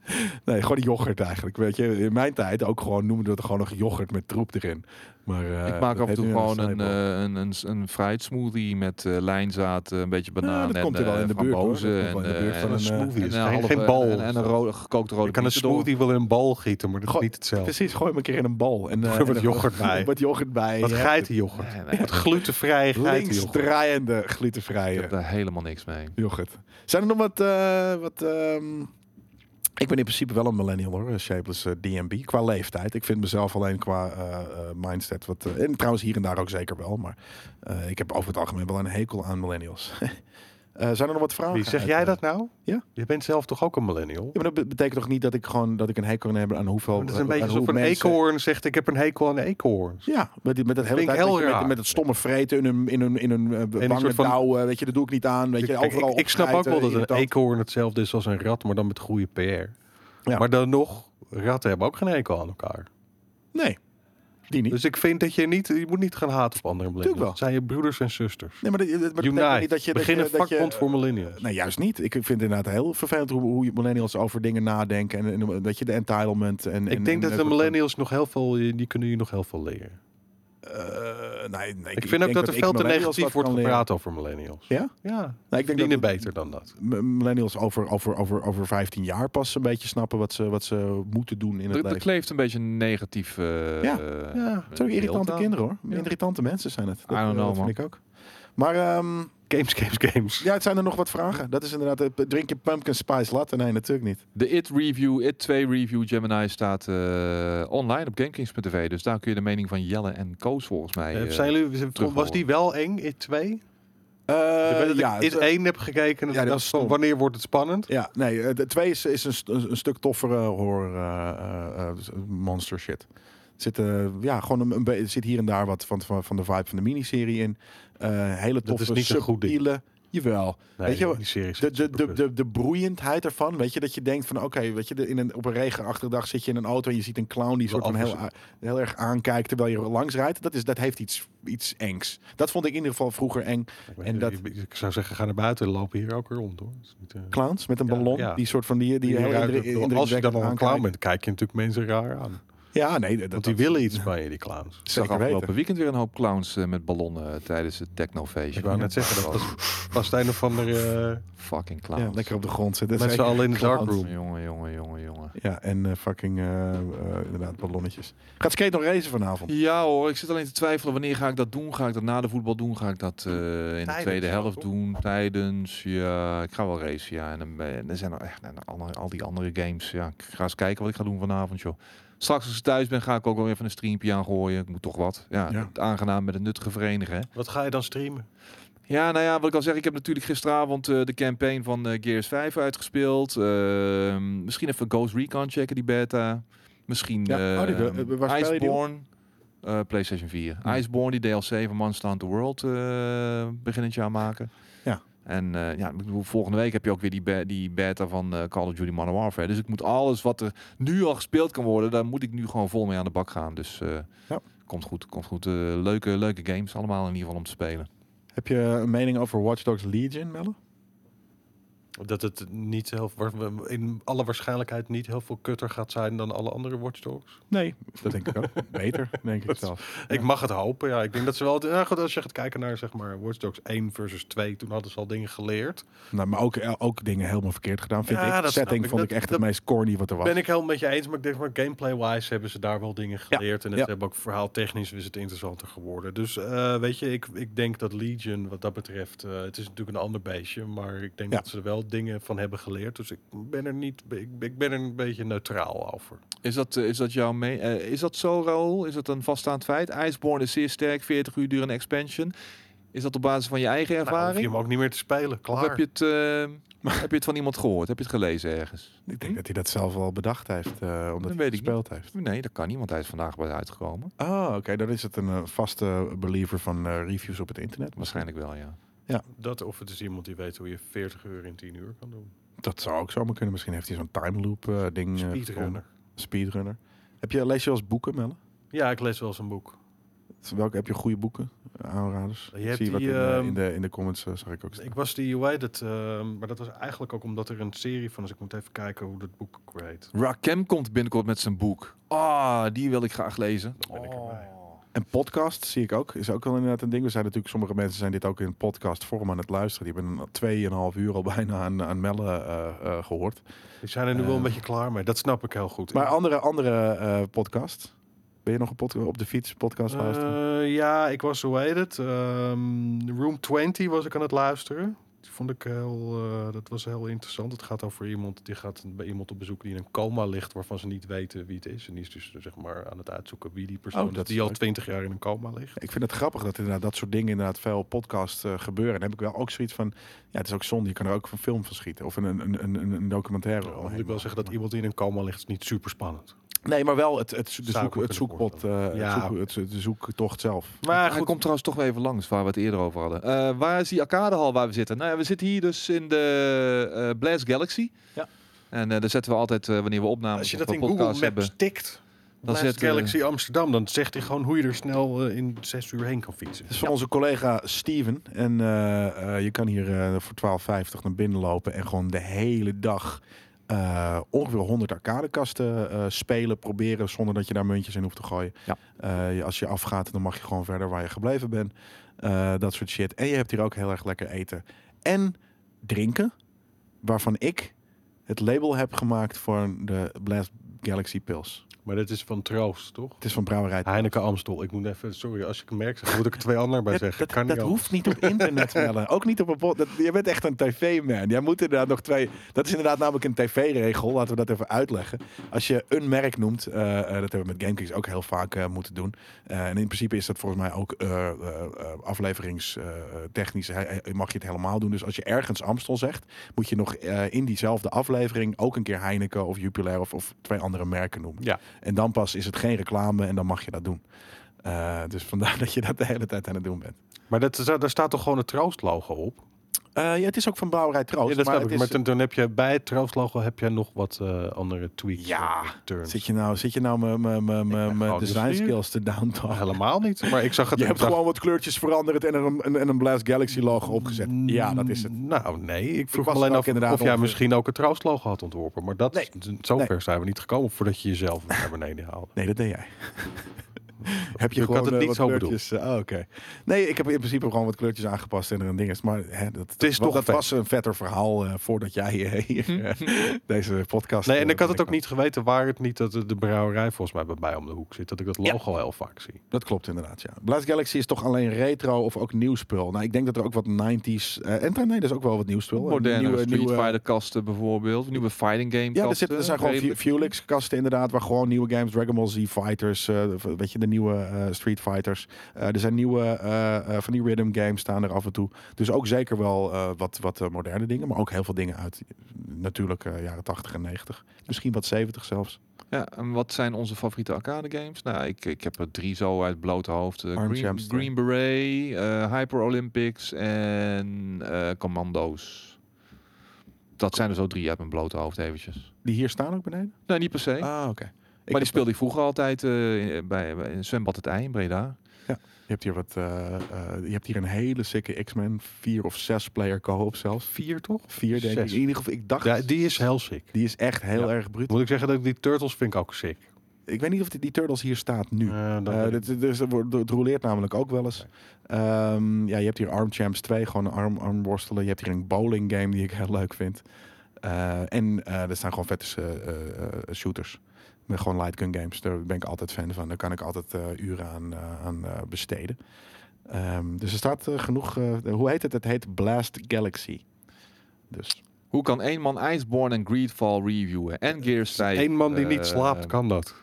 S1: Nee, gewoon yoghurt eigenlijk. Weet je, in mijn tijd ook gewoon noemden we dat gewoon nog yoghurt met troep erin. Maar, eh,
S3: Ik maak
S1: dat
S3: af en
S1: heet
S3: toe
S1: nu een
S3: gewoon een,
S1: acai-bal.
S3: eh, een, een, een fruitsmoothie met eh, lijnzaad, eh, een beetje banaan
S1: dat
S3: en
S1: komt er wel
S3: eh,
S1: in de buurt, hoor. Dat
S3: frambozen
S1: komt wel in de
S3: en,
S1: buurt
S3: eh,
S1: van
S3: en
S1: een, eh,
S2: smoothie.
S3: en
S2: is
S3: een
S2: geen,
S3: halve-
S2: geen bal.
S3: En, en een rode, gekookte rode
S2: je kan een
S3: bieten door.
S2: smoothie wel in een bal gieten, maar dat is
S1: Goh,
S2: niet hetzelfde.
S1: Precies, gooi hem een keer in een bal. En, eh,
S2: Gooi wat
S1: en-
S2: yoghurt bij.
S1: Wat yoghurt bij.
S2: Wat
S1: Ja.
S2: geitenjoghurt.
S3: Nee, nee,
S2: Wat glutenvrije geitenjoghurt.
S1: Linksdraaiende
S3: ik
S1: glutenvrije
S3: heb daar helemaal niks mee.
S1: yoghurt. Zijn er nog wat... eh, wat ehm, ik ben in principe wel een millennial hoor, eh, shapeless eh, DMB. Qua leeftijd. Ik vind mezelf alleen qua eh, eh, mindset wat... eh, en trouwens hier en daar ook zeker wel. Maar eh, ik heb over het algemeen wel een hekel aan millennials. Eh, zijn er nog wat vragen?
S2: Wie, zeg
S1: uit,
S2: jij
S1: eh,
S2: dat nou?
S1: ja.
S2: Je bent zelf toch ook een millennial?
S1: Ja, maar dat be- betekent toch niet dat ik gewoon dat ik een hekel kan hebben aan hoeveel.
S2: Dat is een
S1: aan
S2: beetje
S1: hoe
S2: alsof een
S1: mensen-
S2: eekhoorn zegt, ik heb een hekel aan eekhoorns.
S1: Ja, met, die- met dat hele
S2: Vind ik
S1: tijd,
S2: heel
S1: weet je, met,
S2: raar.
S1: met het stomme vreten in hun, in hun, in hun eh,
S2: een
S1: wangen
S2: soort van-
S1: douwen. Weet je, dat doe ik niet aan. Weet je,
S2: Kijk,
S1: overal
S2: ik, ik snap ook
S1: opschijten,
S2: wel dat een
S1: irritant.
S2: eekhoorn hetzelfde is als een rat, maar dan met goede PR.
S1: Ja.
S2: Maar dan nog, ratten hebben ook geen ekel aan elkaar.
S1: Nee, die niet.
S2: Dus ik vind dat je niet, je moet niet gaan haten op andere millennials.
S1: wel.
S2: Het zijn je broeders en zusters.
S1: nee, maar dat, dat dat betekent
S2: Unite.
S1: niet dat je...
S2: Begin
S1: dat
S2: een
S1: je, dat je-
S2: vakbond voor millennials.
S1: Nee, juist niet. Ik vind het inderdaad heel vervelend hoe, hoe millennials over dingen nadenken. En, en dat je de entitlement... En,
S2: ik denk dat de
S1: millennials
S2: millennials nog heel veel, die kunnen hier nog heel veel leren.
S1: Eh, nee, nee,
S2: Ik, vind ook
S1: denk
S2: dat er
S1: ik
S2: veel te
S1: millennials
S2: negatief
S1: wat
S2: wordt
S1: kan leren.
S2: gepraat over millennials.
S1: Ja?
S2: Ja, Nou,
S1: Nee, ik denk dat
S2: verdienen
S1: het-
S2: beter dan dat.
S1: M- millennials over, over, over, over 15 jaar pas een beetje snappen wat ze, wat ze moeten doen in het
S3: Er, er
S1: leven.
S3: kleeft een beetje een negatief. eh,
S1: Ja,
S3: eh,
S2: ja.
S1: Het zijn ook irritante
S3: beeld aan.
S1: kinderen hoor. Irritante mensen zijn het.
S3: I don't
S1: eh,
S3: know,
S1: dat
S3: man.
S1: vind ik ook. Maar ehm,
S2: Games, games, games.
S1: ja, het zijn er nog wat vragen. Dat is inderdaad, eh, drink je pumpkin spice latte? Nee, natuurlijk niet.
S3: De It Review, It 2 Review, Gemini staat eh, online op GameKings.tv. Dus daar kun je de mening van Jelle en Koos volgens mij.
S2: Eh,
S3: eh,
S2: zijn jullie, was
S3: terughoren.
S2: die wel eng in 2?
S1: Eh,
S2: ik weet dat
S1: ja,
S2: ik in
S1: het-
S2: 1 heb gekeken en
S1: Ja, dat
S2: ik dacht
S1: was
S2: van
S1: stom.
S2: wanneer wordt het spannend?
S1: ja, nee, eh, de twee is, is een, st- een stuk toffere horror eh, eh, eh, monster shit. Er Zit, eh, ja, gewoon een, een be- er zit hier en daar wat van, van, van de vibe van de miniserie in. Eh, hele
S2: Dat is
S1: toffe,
S2: niet een goed ding.
S1: subtiele... Jawel.
S2: Nee,
S1: Weet je wel,
S2: die serie is
S1: de,
S2: echt
S1: de, de,
S2: superkut.
S1: de, de broeiendheid ervan, weet je, dat je denkt van oké, weet je, de- in een, op een regenachtige dag zit je in een auto en je ziet een clown die soort van heel, a- heel erg aankijkt terwijl je langs rijdt. Dat, is, dat heeft iets, iets engs. Dat vond ik in ieder geval vroeger eng.
S2: Ik weet
S1: en
S2: niet,
S1: dat-
S2: ik- Ik zou zeggen, ga naar buiten en lopen hier ook weer rond hoor. Dat is niet, eh,
S1: Clowns met een
S2: Ja,
S1: ballon,
S2: ja.
S1: die soort van die, die,
S2: je
S1: heel
S2: ruikt
S1: indru-
S2: het wel. als je
S1: indrukwekkend
S2: dan al een clown
S1: aankijkt.
S2: bent, kijk je natuurlijk mensen raar aan.
S1: Ja, nee, dat,
S2: Want
S1: dat-
S2: die willen iets van je, die clowns.
S3: Ik zag
S1: Zeker
S3: afgelopen
S1: weten.
S3: weekend weer een hoop clowns eh, met ballonnen tijdens het technofeestje.
S2: Ik wou net zeggen, dat was, was het een of andere
S3: Fucking clowns.
S1: ja, lekker op de grond zitten.
S2: eh met z'n
S1: Zeker.
S2: allen in de dark
S1: Clowns.
S2: room.
S3: Jongen, jongen, jongen, jongen.
S1: Ja, en eh, fucking eh, eh, inderdaad ballonnetjes. Gaat skate nog racen vanavond?
S3: Ja hoor, ik zit alleen te twijfelen wanneer ga ik dat doen. Ga ik dat na de voetbal doen? Ga ik dat eh, in de
S2: Tijdens
S3: tweede
S2: wel,
S3: helft
S2: toch?
S3: doen? Tijdens, ja, ik ga wel racen, ja. En dan, ben- en dan zijn er echt en dan alle- al die andere games. Ja, ik ga eens kijken wat ik ga doen vanavond, joh. Straks als ik thuis ben, ga ik ook wel even een streampje aangooien. Ik moet toch wat. Ja,
S1: Ja.
S3: het aangenaam met het nuttige verenigen, hè.
S2: Wat ga je dan streamen?
S3: Ja, nou ja, wat ik al zeg, ik heb natuurlijk gisteravond eh, de campaign van eh, Gears 5 uitgespeeld. Ehm, misschien even Ghost Recon checken, die beta. Misschien
S1: Ja,
S3: eh,
S1: oh, die be- eh, waar speel je die op?
S3: Iceborne. eh, PlayStation 4.
S1: Hmm.
S3: Iceborne, die DLC van Monster Hunter World eh begin het jaar maken.
S1: Ja.
S3: En eh, ja, ik bedoel, volgende week heb je ook weer die, be- die beta van eh, Call of Duty Modern Warfare. Dus ik moet alles wat er nu al gespeeld kan worden, daar moet ik nu gewoon vol mee aan de bak gaan. Dus eh,
S1: Ja.
S3: komt goed, komt goed. Eh, leuke, leuke games allemaal in ieder geval om te spelen.
S1: Heb je een mening over Watch Dogs Legion, Melle?
S2: Dat het niet heel, in alle waarschijnlijkheid niet heel veel kutter gaat zijn dan alle andere Watch Dogs.
S1: Nee, dat denk ik ook. Beter, denk ik
S2: Dat-
S1: zelf.
S2: Ik mag het hopen, ja. Ik denk dat ze wel... Ja, goed, als je gaat kijken naar, zeg maar, Watch Dogs 1 versus 2... toen hadden ze al dingen geleerd.
S1: Nou, maar ook, ook dingen helemaal verkeerd gedaan, vind
S2: Ja,
S1: ik.
S2: dat
S1: De
S2: snap
S1: setting
S2: ik.
S1: vond
S2: Dat-
S1: ik echt
S2: dat-
S1: het meest corny wat er was.
S2: Ben ik helemaal met je eens, maar ik denk maar gameplay-wise... hebben ze daar wel dingen geleerd. En het
S1: ja.
S2: hebben ook verhaaltechnisch is het interessanter geworden. Dus, eh, weet je, ik, ik denk dat Legion, wat dat betreft... eh, het is natuurlijk een ander beestje, maar ik denk
S1: Ja.
S2: dat ze er wel dingen van hebben geleerd. Dus ik ben er niet... Ik, ik ben er een beetje neutraal over.
S3: Is dat, eh, is dat jouw mee? eh, is dat zo, Raoul? Is dat een vaststaand feit? Iceborne is zeer sterk, 40 uur durende expansion.
S5: Is dat op basis van je eigen
S2: Nou, hoef je
S5: ervaring?
S2: hem ook niet meer te spelen. Klaar.
S5: of heb je, het, eh, heb je het van iemand gehoord? Heb je het gelezen ergens?
S1: Ik
S2: Hm?
S1: denk dat hij dat zelf wel bedacht heeft, eh, omdat hij
S5: weet
S1: het
S5: ik
S1: gespeeld heeft.
S5: Nee, dat kan niet, want hij is vandaag bij uitgekomen.
S1: Oh, oké. Dan is het een eh, vaste believer van eh, reviews op het internet.
S5: Waarschijnlijk wel, ja.
S2: Dat of het is iemand die weet hoe je 40 uur in 10 uur kan doen.
S1: Dat zou ook zomaar kunnen. Misschien heeft hij zo'n time loop eh, ding. eh, gevonden.
S2: Speedrunner.
S1: Speedrunner. Heb je, lees je wel eens boeken, Melle?
S2: Ja, ik lees wel eens een boek.
S1: Welke, heb je goede boeken, aanraders?
S2: Je
S1: Ik
S2: hebt
S1: zie wat
S2: die,
S1: in, eh,
S2: ehm,
S1: in, de, in de comments eh, zag ik ook staan.
S2: Dus Ik was die, hoe heet het? ehm, maar dat was eigenlijk ook omdat er een serie van is. Ik moet even kijken hoe dat boek ook heet.
S5: Rakem komt binnenkort met zijn boek. Ah, die wil ik graag lezen. Oh,
S2: Dan ben ik erbij.
S1: En podcast zie ik ook. Is ook wel inderdaad een ding. We zijn natuurlijk, sommige mensen zijn dit ook in podcastvorm aan het luisteren. Die hebben een tweeënhalf uur al bijna aan, aan Melle eh, eh, gehoord.
S2: Die zijn er nu wel
S1: Eh.
S2: een beetje klaar mee. Dat snap ik heel goed.
S1: Maar andere, andere eh podcast? Ben je nog een podcast op de fiets podcast luisteren?
S2: Eh, ja, ik was, hoe heet het? ehm, Room 20 was ik aan het luisteren. Die vond ik heel, eh, dat was heel interessant. Het gaat over iemand die gaat bij iemand op bezoek die in een coma ligt, waarvan ze niet weten wie het is. En die is dus zeg maar aan het uitzoeken wie die persoon
S1: Oh,
S2: is
S1: dat is
S2: die al
S1: leuk.
S2: 20 jaar in een coma ligt.
S1: Ik vind het grappig dat inderdaad dat soort dingen inderdaad veel op podcast eh, gebeuren. En dan heb ik wel ook zoiets van, ja, het is ook zonde. Je kan er ook een film van schieten of een, een, een, een, een documentaire.
S2: Dan moet
S1: omheen
S2: ik wel
S1: maken.
S2: zeggen dat iemand die in een coma ligt is niet super spannend.
S1: Nee, maar wel het, het, de
S2: Zou ik
S1: zoek,
S2: me
S1: het
S2: kunnen
S1: zoekpot, eh,
S2: Ja,
S1: het zoek- het, de zoektocht zelf.
S2: Maar
S5: Hij
S2: goed,
S5: komt trouwens toch wel even langs waar we het eerder over hadden. Eh, waar is die arcadehal waar we zitten? Nou ja, we zitten hier dus in de eh Blast Galaxy.
S2: Ja.
S5: En eh daar zetten we altijd, eh, wanneer we opnames
S2: als je
S5: of
S2: dat in
S5: podcasts
S2: Google Maps
S5: hebben...
S2: tikt,
S5: Dan
S2: dan
S5: zet, eh,
S2: Galaxy Amsterdam, dan zegt hij gewoon hoe je er snel eh, in 6 uur heen kan fietsen.
S1: Het is van onze collega Steven. En eh, eh, je kan hier eh, voor 12,50 naar binnen lopen en gewoon de hele dag eh, ongeveer 100 arcadekasten eh, spelen, proberen zonder dat je daar muntjes in hoeft te gooien.
S5: Ja.
S1: Eh, je- als je afgaat, dan mag je gewoon verder waar je gebleven bent. Eh, dat soort shit. En je hebt hier ook heel erg lekker eten en drinken, waarvan ik het label heb gemaakt voor de Blast Galaxy Pils.
S2: Maar dit is van troost, toch?
S1: Het is van Brouwerij.
S2: Heineken Amstel. Ik moet even, sorry, als ik hem merk, zeg, moet ik er twee anderen bij
S1: Dat-
S2: zeggen.
S1: Dat,
S2: kan
S1: dat
S2: niet
S1: hoeft niet op internet mellen. Ook niet op een pod- dat Je bent echt een tv-man. Jij moet inderdaad nog twee. Dat is inderdaad namelijk een tv-regel. Laten we dat even uitleggen. Als je een merk noemt, eh, eh, dat hebben we met GameKings ook heel vaak eh, moeten doen. Eh, en in principe is dat volgens mij ook eh, afleveringstechnisch. mag je het helemaal doen. Dus als je ergens Amstel zegt, moet je nog eh, in diezelfde aflevering ook een keer Heineken of Jupiler of, of twee andere merken noemen.
S2: Ja.
S1: En dan pas is het geen reclame en dan mag je dat doen. Eh, dus vandaar dat je dat de hele tijd aan het doen bent.
S2: Maar dat, is- daar staat toch gewoon het troostlogo op?
S1: Eh, ja, het is ook van Brouwerij Troost.
S2: ja, dat
S1: maar
S2: snap ik.
S1: het
S2: Maar
S1: is-
S2: toen, toen heb je bij het troostlogo heb je nog wat eh, andere tweaks.
S1: Ja,
S2: eh, turns.
S1: Zit je nou, zit je nou mijn- mijn- mijn- mijn mijn
S2: gewoon
S1: design
S2: nieuwsgierig.
S1: skills te
S2: Nou,
S1: downtown?
S2: helemaal niet. Maar ik zag het.
S1: Je
S2: en
S1: hebt
S2: dacht,
S1: gewoon wat kleurtjes veranderd en er een, en, en een Blast Galaxy logo opgezet.
S2: Mm.
S1: Ja, dat is het.
S2: Nou, nee. Ik vroeg
S1: was
S2: alleen
S1: er ook
S2: af
S1: inderdaad
S2: of jij
S1: over.
S2: misschien ook het troostlogo had ontworpen. Maar dat,
S1: Nee.
S2: d- zover
S1: Nee.
S2: zijn we niet gekomen voordat je jezelf naar beneden haalde.
S1: Nee, dat deed jij. heb je
S2: Ik
S1: gewoon
S2: had het
S1: eh, wat
S2: niet zo bedoeld.
S1: kleurtjes? eh, oh, Oké. Nee, ik heb in principe gewoon wat kleurtjes aangepast en er een ding is. Maar hè, dat, het
S2: is
S1: dat,
S2: toch
S1: dat
S2: vet.
S1: was een vetter verhaal eh, voordat jij eh, hier eh, deze podcast.
S2: Nee,
S1: eh,
S2: en ik had het ook
S1: binnenkwam.
S2: niet geweten waar het niet dat de de brouwerij volgens mij bij mij om de hoek zit. Dat ik dat logo heel vaak zie.
S1: Dat klopt inderdaad, ja. Blast Galaxy is toch alleen retro of ook nieuw spul? Nou, ik denk dat er ook wat 90s... eh en nee, dat is ook wel wat nieuw spul.
S5: Moderne
S1: Nieuwe-
S5: Street
S1: nieuwe-
S5: Fighter kasten bijvoorbeeld. Nieuwe fighting game
S1: Ja, er,
S5: kasten.
S1: zitten, er zijn gewoon
S5: Redelijk-
S1: Fuelix kasten inderdaad, waar gewoon nieuwe games, Dragon Ball Z Fighters, eh, v- weet je, de nieuwe eh, Street Fighters. Eh, er zijn nieuwe eh, eh, van die rhythm games staan er af en toe. Dus ook zeker wel eh, wat, wat eh, moderne dingen, maar ook heel veel dingen uit eh, natuurlijk eh, jaren 80 en 90. Misschien wat 70 zelfs.
S5: Ja, en wat zijn onze favoriete arcade games? Nou, ik, ik heb er drie zo uit blote hoofd. Eh,
S1: Arms
S5: Green,
S1: Hamster.
S5: Green Beret, eh, Hyper Olympics en eh, Commando's. Dat zijn er zo drie uit mijn blote hoofd eventjes.
S1: Die hier staan ook beneden?
S5: Nee, niet per se.
S1: Ah, oké. Ik
S5: maar die
S1: heb-
S5: speelde ik vroeger altijd eh, bij, bij in Zwembad het Ei in Breda.
S1: Je hebt hier, wat, eh, eh, je hebt hier een hele sikke X-Men, vier of zes player co-op zelfs.
S2: Vier toch?
S1: Vier denk
S2: Zes.
S1: ik. In ieder geval, ik dacht,
S2: Ja, die is heel sick.
S1: die is echt heel
S2: Ja.
S1: erg bruut.
S2: Moet ik zeggen dat ik die Turtles vind ik ook sick.
S1: Ik weet niet of die, die Turtles hier staat nu.
S2: Eh, dat
S1: Eh,
S2: weet ik
S1: dit- dit- dit wordt- het roleert namelijk ook wel eens. Ehm, ja, je hebt hier Arm Champs 2, gewoon arm, arm worstelen. Je hebt hier een bowling game die ik heel leuk vind. Eh, en eh, er staan gewoon vette eh, eh, eh, shooters. Met gewoon light gun games. Daar ben ik altijd fan van. Daar kan ik altijd eh, uren aan, eh, aan eh, besteden. Ehm, dus er staat eh, genoeg... eh, hoe heet het? Het heet Blast Galaxy. Dus
S5: Hoe kan één man Iceborne en Greedfall reviewen? En Gears 5.
S2: Eén man die niet
S5: eh,
S2: slaapt, kan dat.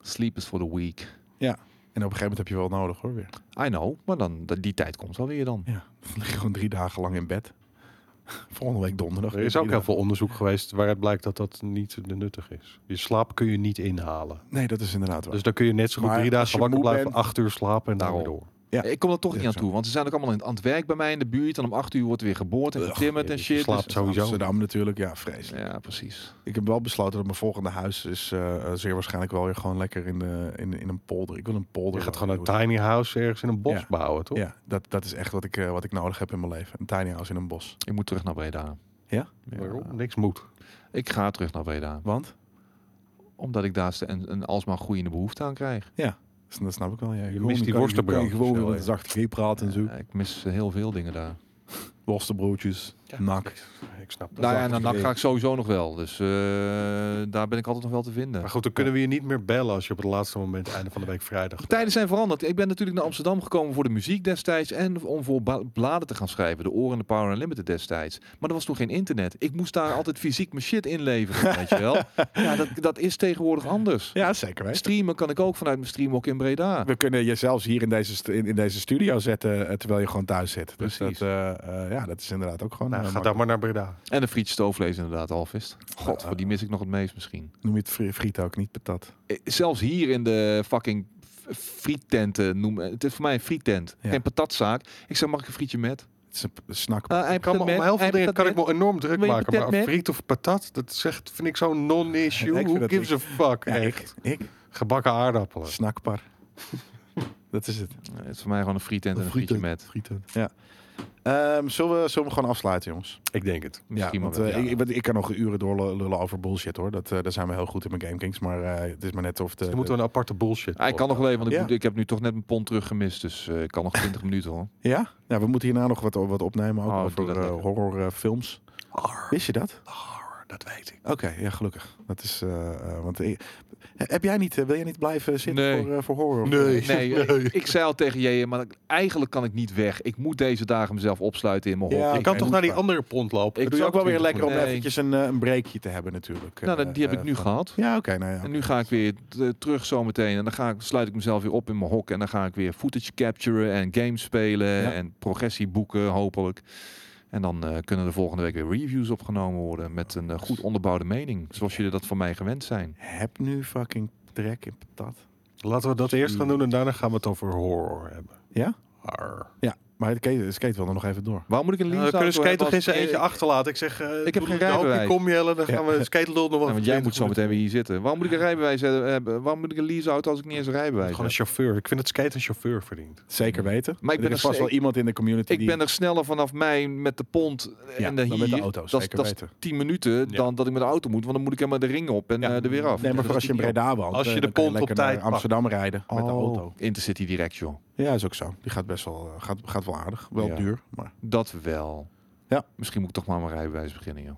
S5: Sleep is for the weak.
S1: ja, En op een gegeven moment heb je wel nodig hoor weer.
S3: I know, maar dan, dat- die tijd komt wel weer dan.
S1: Ja, dan lig je gewoon drie dagen lang in bed. Volgende week donderdag.
S2: Er is ook heel veel onderzoek geweest waaruit blijkt dat dat niet nuttig is. Je slaap kun je niet inhalen.
S1: Nee, dat is inderdaad waar.
S2: Dus dan kun je net zo goed
S1: Maar
S2: drie
S1: als je
S2: dagen wakker
S1: moe
S2: blijven,
S1: bent-
S2: acht uur slapen en daar weer
S3: Daarom.
S2: door.
S1: Ja.
S3: Ik kom er toch niet
S1: Ja,
S3: aan
S1: zo.
S3: toe, want ze zijn ook allemaal aan het werk bij mij in de buurt. En om acht uur wordt weer geboord en getimmerd
S2: ja,
S3: en
S2: je
S3: shit.
S2: slaapt
S3: dus-
S2: sowieso.
S1: Amsterdam natuurlijk, ja, vreselijk.
S3: Ja, precies.
S1: Ik heb wel besloten dat mijn volgende huis is eh, eh, zeer waarschijnlijk wel weer gewoon lekker in, de, in, in een polder. Ik wil een polder.
S2: Je gaat
S1: wonen.
S2: gewoon een tiny house ergens in een bos
S1: Ja.
S2: bouwen, toch?
S1: Ja, dat, dat is echt wat ik, eh, wat ik nodig heb in mijn leven. Een tiny house in een bos.
S3: Ik moet terug naar Breda.
S1: Ja?
S2: Waarom? Niks moet.
S3: Ik ga terug naar Breda.
S1: Want?
S3: Omdat ik daar st- een, een alsmaar groeiende behoefte aan krijg.
S1: Dus Dat snap ik wel. Ja.
S2: Je
S1: Gewoon,
S2: mist die
S1: kan-
S2: worstenbrood
S1: kan je Gewoon
S2: zo
S1: weer met een
S2: even.
S1: zacht G praten en zo.
S3: Ja, ik mis eh, heel veel dingen daar.
S1: Worstenbroodjes, nak.
S2: Ik snap dat.
S3: Nou ja, en
S1: zacht
S3: dan dan
S1: idee.
S3: ga ik sowieso nog wel. Dus eh, daar ben ik altijd nog wel te vinden.
S2: Maar goed, dan kunnen we je niet meer bellen als je op het laatste moment, einde van de week vrijdag.
S3: Tijden zijn veranderd. Ik ben natuurlijk naar Amsterdam gekomen voor de muziek destijds en om voor ba- bladen te gaan schrijven. De Oren en de Power Unlimited destijds. Maar er was toen geen internet. Ik moest daar altijd fysiek mijn shit inleveren, weet je wel. Ja, dat, dat is tegenwoordig anders.
S1: Ja, zeker weten.
S3: Streamen kan ik ook vanuit mijn streamhok in Breda.
S1: We kunnen je zelfs hier in deze, st- in, in deze studio zetten eh, terwijl je gewoon thuis zit. Dus dat,
S3: Precies.
S1: eh, eh, ja, dat is inderdaad ook gewoon...
S2: Nou,
S1: eh,
S2: ga
S1: mak-
S2: dan maar naar Breda.
S3: En de friet stoofvlees inderdaad, Alvist. God, die mis ik nog het meest misschien.
S1: Eh, Noem je het fri- friet ook, niet patat.
S3: Eh, Zelfs hier in de fucking f- friettenten noemen. Het is voor mij een frietent.
S1: Ja.
S3: Geen patatzaak. Ik zeg, mag ik een frietje met?
S1: Het is een p- snack.
S3: Ah, hij
S2: Ik kan me, om
S3: met,
S2: heel
S3: hij
S2: veel dingen kan ik
S3: met.
S2: me enorm druk
S3: Wil je
S2: maken. Maar
S3: patat met?
S2: friet of patat, dat zegt, vind ik zo'n
S1: Ik
S2: non-issue.
S1: vind
S2: Who
S1: dat
S2: gives a fuck?
S1: Ja, ik-
S2: Echt.
S1: Ik?
S2: Gebakken aardappelen.
S1: Snackbar. dat is het.
S3: Eh, Het is voor mij gewoon een frietent en een frietje met.
S1: Ja. Ehm, zullen, we, zullen we gewoon afsluiten, jongens?
S2: Ik denk het.
S1: Ja,
S3: Misschien
S1: want,
S3: wel.
S1: eh, ik, ik- want ik kan nog uren doorlullen over bullshit, hoor. Dat, eh, daar zijn we heel goed in mijn GameKings. Maar eh, het is maar net of de...
S2: Dan moeten we een aparte bullshit.
S3: Ah, ik kan nog wel even, want ik,
S1: Ja.
S3: moet- ik heb nu toch net mijn pond teruggemist. Dus eh, ik kan nog 20 minuten hoor.
S1: Ja? ja, we moeten hierna nog wat, wat opnemen ook
S3: Oh, doe
S1: over
S3: dat
S1: eh,
S3: lekker.
S1: horrorfilms. Wist je dat?
S2: Dat weet ik.
S1: Oké, ja, gelukkig. Dat is, eh, eh, want, eh, heb jij niet, eh, wil jij niet blijven zitten
S3: Nee.
S1: voor, eh, voor horror?
S3: Nee, Ik, ik zei al tegen je, maar ik- eigenlijk kan ik niet weg. Ik moet deze dagen mezelf opsluiten in mijn
S1: Ja,
S3: hok.
S2: Je
S1: oké,
S2: kan toch
S1: moet
S2: naar die
S1: maar.
S2: andere pond lopen?
S3: Ik
S1: Het
S2: Dat
S1: is ook wel weer
S2: 20
S1: lekker om
S3: minuten.
S1: eventjes een, eh, een breakje te hebben natuurlijk.
S3: Nou,
S1: Eh,
S3: dat- die heb
S1: eh,
S3: ik nu
S1: van-
S3: gehad.
S1: Ja, oké. nou ja,
S3: En nu ga ik weer eh, terug zometeen. En dan ga ik, sluit ik mezelf weer op in mijn hok. En dan ga ik weer footage capturen en games spelen.
S1: Ja.
S3: En progressie boeken, hopelijk. En dan eh, kunnen er volgende week weer reviews opgenomen worden. Met een eh, goed onderbouwde mening. Zoals jullie dat van mij gewend zijn.
S1: Heb nu fucking trek in patat.
S2: Laten we dat eerst gaan doen en daarna gaan we het over horror hebben.
S1: Ja?
S2: Arr.
S1: Ja, maar het skate, het skate wil er nog even door.
S3: Waarom moet ik een
S2: Nou,
S3: link
S2: dan kunnen skate toch eens eentje
S3: achter.
S2: achterlaten. Ik zeg, eh,
S3: heb
S2: doe
S3: geen
S2: de hoop,
S3: rijbewijs.
S2: Die kom je dan gaan we skate nog wel.
S3: Ja, want jij moet zo meteen weer hier zitten. Waarom moet ik een rijbewijs hebben- hebben? Waarom moet ik een leaseauto als ik niet eens een rijbewijs
S2: Gewoon een
S3: heb?
S2: chauffeur. Ik vind dat skate een chauffeur verdient.
S1: Zeker weten.
S3: Maar ik ben
S1: er is
S3: nog
S1: vast wel
S3: steeds-
S1: iemand in de community
S3: Ik
S1: die...
S3: ben er sneller vanaf mij met de pont
S1: Ja,
S3: en de
S1: dan
S3: hier.
S1: met de auto,
S3: dat, is-
S1: zeker
S3: dat is
S1: weten.
S3: 10 minuten
S2: Ja.
S3: dan dat ik met de auto moet. Want dan moet ik helemaal de ring op en
S1: Ja.
S3: eh, er weer af.
S1: Nee, maar voor als je in Breda woont,
S2: Als je
S1: eh,
S2: de
S1: dan kan
S2: pont op
S1: lekker naar
S2: tijd pakt.
S1: Amsterdam rijden
S3: Oh.
S1: met de auto.
S3: Intercity direct, joh.
S1: Ja, is ook zo. Die gaat best wel, eh, gaat, gaat wel aardig. Wel
S3: Ja.
S1: duur, maar...
S3: Dat wel.
S1: Ja.
S3: Misschien moet ik toch maar mijn rijbewijs beginnen, joh.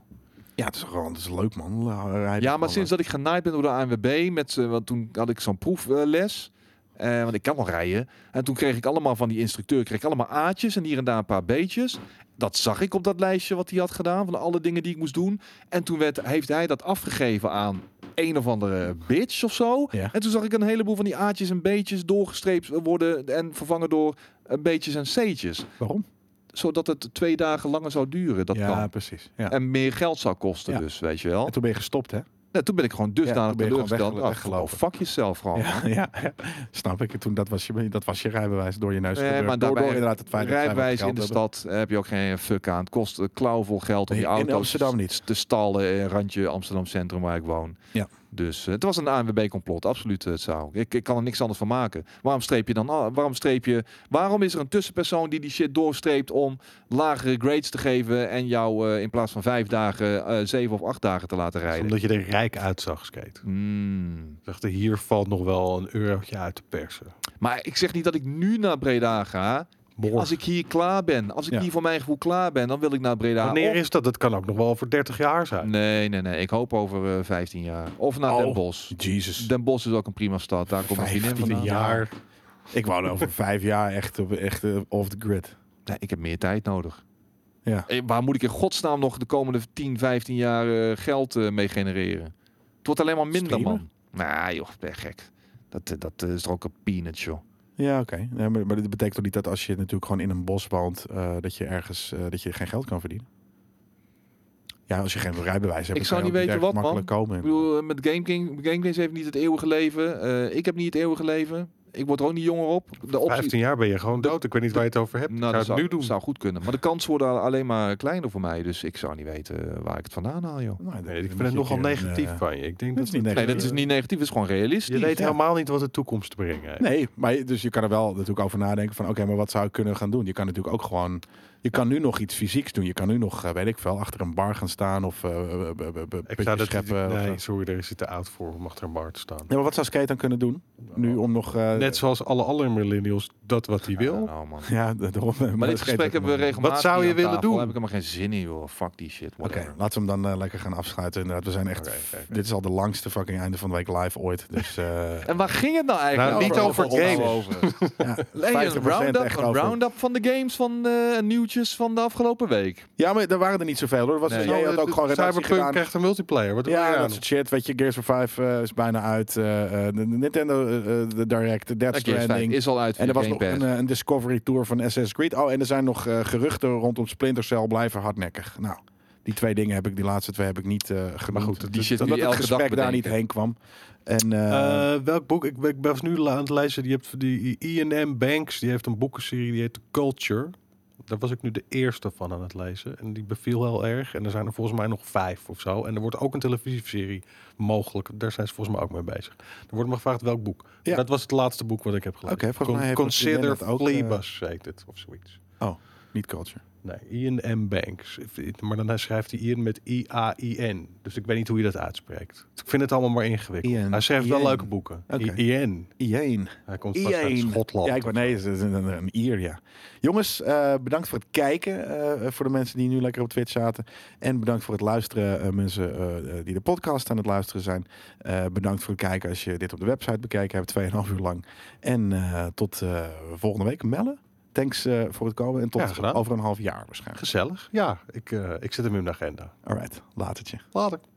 S1: Ja, het is gewoon het is leuk, man. Eh, Rijden
S3: Ja, maar
S1: gewoon
S3: sinds dat ik genaaid ben door de ANWB, met, z'n- want toen had ik zo'n proefles. eh, want ik kan wel rijden. En toen kreeg ik allemaal van die instructeur kreeg ik allemaal A'tjes en hier en daar een paar B'tjes. Dat zag ik op dat lijstje wat hij had gedaan van alle dingen die ik moest doen. En toen werd, heeft hij dat afgegeven aan een of andere bitch of zo.
S1: Ja.
S3: En toen zag ik een heleboel van die A'tjes en B'tjes doorgestreept worden en vervangen door eh, B'tjes en C'tjes.
S1: eh, Waarom?
S3: Zodat het twee dagen langer zou duren. Dat
S1: ja,
S3: kan.
S1: precies. Ja. En,
S3: En meer geld zou kosten
S1: Ja.
S3: dus, weet je wel.
S1: toen ben je gestopt, hè?
S3: Nou, toen ben ik gewoon
S1: Ja,
S3: dusdanig
S1: toen ben je gewoon
S3: teleurgesteld.
S1: wegge-
S3: Ach, gewoon
S1: weggelopen.
S3: fuck jezelf gewoon.
S1: Ja, ja, Snap ik. Toen, dat, was je, dat was je rijbewijs door je neus.
S3: Nee,
S1: gedrukt.
S3: maar
S1: door,
S3: daarbij-
S1: door inderdaad het feit dat zij wat
S3: Rijbewijs in
S1: geld
S3: de
S1: hebben.
S3: stad eh, heb je ook geen fuck aan. Het kost eh, klauwvol geld om
S1: Nee,
S3: je
S1: in
S3: auto's
S1: Amsterdam niet.
S3: te stallen. eh, randje Amsterdam Centrum waar ik woon.
S1: Ja.
S3: Dus eh, het was een ANWB-complot. Absoluut, eh, het zou. Ik, ik kan er niks anders van maken. Waarom streep je dan... al- Waarom streep je... Waarom is er een tussenpersoon die die shit doorstreept om lagere grades te geven en jou eh, in plaats van vijf dagen, eh, zeven of acht dagen te laten rijden?
S2: Omdat je er rijk uitzag, skate.
S3: Hmm.
S2: Zegt er, hier valt nog wel een eurotje uit te persen.
S3: Maar ik zeg niet dat ik nu naar Breda ga.
S2: Morgen.
S3: Als ik hier klaar ben, als ik
S1: Ja.
S3: hier voor mijn gevoel klaar ben, dan wil ik naar Breda.
S2: Wanneer
S3: Of-
S2: is dat? Dat kan ook nog wel over 30 jaar zijn.
S3: Nee, nee, nee. Ik hoop over eh, 15 jaar. Of naar
S1: Oh.
S3: Den Bosch.
S1: Jesus.
S3: Den Bosch is ook een prima stad. Daar komt mijn vriendin
S1: 15
S3: vandaan.
S2: Een jaar.
S1: Ik wou over vijf jaar echt, op- echt eh, off the grid.
S3: Nee, ik heb meer tijd nodig.
S1: Ja.
S3: Eh, Waar moet ik in godsnaam nog de komende 10, 15 jaar eh, geld eh, mee genereren? Het wordt alleen maar minder,
S1: Streamen?
S3: man. Nou, joh, ben je gek. Dat, eh, dat is toch ook een peanut, joh.
S1: Ja, oké. Nee, maar, maar dat betekent toch niet dat als je natuurlijk gewoon in een bos woont, eh, dat je ergens eh, dat je geen geld kan verdienen? Ja, als je geen rijbewijs hebt,
S3: Ik
S1: dan
S3: zou
S1: kan je
S3: niet
S1: ook
S3: weten
S1: erg
S3: wat, man.
S1: makkelijk komen.
S3: Ik bedoel, eh, met Game King, Game Kings heeft niet het eeuwige leven. Eh, ik heb niet het eeuwige leven. Ik word er ook niet jonger op. De optie,
S2: 15 jaar ben je gewoon dood. Ik weet niet waar je het over hebt.
S3: Nou,
S2: ik zou
S3: dat
S2: het
S3: zou,
S2: nu doen.
S3: zou goed kunnen. Maar de kans wordt al- alleen maar kleiner voor mij. Dus ik zou niet weten waar ik het vandaan haal, joh.
S1: Nou, dat-
S2: Nee, ik
S1: dan
S2: vind
S1: moet
S2: het
S1: je
S2: nogal
S1: een keer een,
S2: negatief
S1: eh,
S2: van je. Ik denk
S1: dat
S2: dat,
S1: is niet
S2: het-
S1: negatief.
S3: Nee, dat is niet negatief. Het is gewoon realistisch.
S2: Je weet
S1: ja.
S2: helemaal niet wat de toekomst te brengen heeft.
S1: Nee, maar dus je kan er wel natuurlijk over nadenken van oké, maar wat zou ik kunnen gaan doen? Je kan natuurlijk ook gewoon, je kan nu nog iets fysieks doen. Je kan nu nog, eh, weet ik veel, achter een bar gaan staan of eh, eh, eh, eh, eh,
S2: Ik
S1: putjes
S2: zou dat
S1: scheppen. of,
S2: nee,
S1: eh.
S2: sorry, daar is het te oud voor om achter een bar te staan.
S1: Ja, maar wat zou Skate dan kunnen doen? Nu om nog... eh,
S2: Net zoals alle andere millennials, dat wat hij wil.
S3: Nou, man.
S1: Ja, de- daarom.
S3: Maar dit
S1: Skate
S3: gesprek
S1: ook
S3: hebben we
S1: nog.
S3: regelmatig.
S2: Wat zou
S3: hier
S2: je
S3: aan
S2: willen
S3: tafel.
S2: doen?
S3: Daar heb ik helemaal geen zin in, joh. Fuck die shit.
S1: Oké,
S3: whatever.
S1: laten we hem dan eh, lekker gaan afsluiten. Inderdaad, we zijn echt...
S2: Oké, oké, oké.
S1: Dit is al de langste fucking einde van de week live ooit. Dus eh
S3: En waar ging het nou eigenlijk?
S2: Nou, niet over
S3: Ophouden
S2: games.
S3: over.
S1: ja,
S3: Nee,
S1: 50%
S3: een round-up
S1: echt
S3: een
S1: over.
S3: round-up van de games van eh nieuwtjes van de afgelopen week.
S1: Ja, maar er waren er niet zoveel hoor. Er Was
S3: Nee. Oh,
S1: dus,
S2: Ja,
S1: jij had
S2: het-
S1: ook gewoon redactie
S2: eh, Cyberpunk
S1: gedaan.
S2: krijgt een multiplayer. Wat doe
S1: Ja,
S2: je
S1: dat
S2: aan?
S1: soort shit. Weet je, Gears of 5 is bijna uit. eh, eh, de de Nintendo eh, eh, de Direct, de Death
S3: Oké, is fijn.
S1: Stranding.
S3: Is al uit.
S1: en
S3: via
S1: er was
S3: Game
S1: nog
S3: Pass.
S1: een, eh, een Discovery Tour van Assassin's Creed. Oh, en er zijn nog eh, geruchten rondom Splinter Cell blijven hardnekkig. Nou, die twee dingen heb ik, die laatste twee heb ik niet eh genoemd.
S2: Maar goed,
S3: die
S2: die
S3: shit
S2: shit.
S1: Omdat
S3: nu
S1: het
S3: elke dag
S1: gesprek daar niet
S3: bedenken.
S1: heen kwam. En, eh,
S2: welk boek? Ik ben, ik ben nu aan het lezen. Die hebt die INM Banks. Die heeft een boekenserie die heet Culture. Daar was ik nu de eerste van aan het lezen. En die beviel heel erg. En er zijn er volgens mij nog vijf of zo. En er wordt ook een televisieserie mogelijk. Daar zijn ze volgens mij ook mee bezig. Er wordt me gevraagd welk boek.
S1: Ja.
S2: Dat was het laatste boek wat ik heb gelezen.
S1: Oké, volgens mij heeft
S2: Consider
S1: Martin dat ook, eh,
S2: Plebus heet het. Of zoiets.
S1: niet culture.
S2: Nee, Ian M. Banks. Maar dan schrijft hij Ian met I-A-I-N. Dus ik weet niet hoe je dat uitspreekt. Ik vind het allemaal maar ingewikkeld.
S1: Ian.
S2: Hij schrijft wel
S1: Ian.
S2: leuke boeken.
S1: Oké.
S2: I- Ian.
S1: Ieen.
S2: Hij komt vast uit
S1: Ian.
S2: Schotland.
S1: Ja, ik ben, nee, het is een, een, een Ier, ja. Jongens, eh, bedankt voor het kijken. eh, voor de mensen die nu lekker op Twitch zaten. En bedankt voor het luisteren, eh, mensen eh, eh, die de podcast aan het luisteren zijn. Eh, bedankt voor het kijken als je dit op de website bekeken hebt, 2,5 uur lang. En eh, tot eh, volgende week. Melle, thanks eh, voor het komen. En
S2: Ja,
S1: tot
S2: gedaan.
S1: over een half jaar waarschijnlijk.
S2: Gezellig. Ja, ik, eh, ik zet hem in de agenda.
S1: All right, latertje.
S2: Later.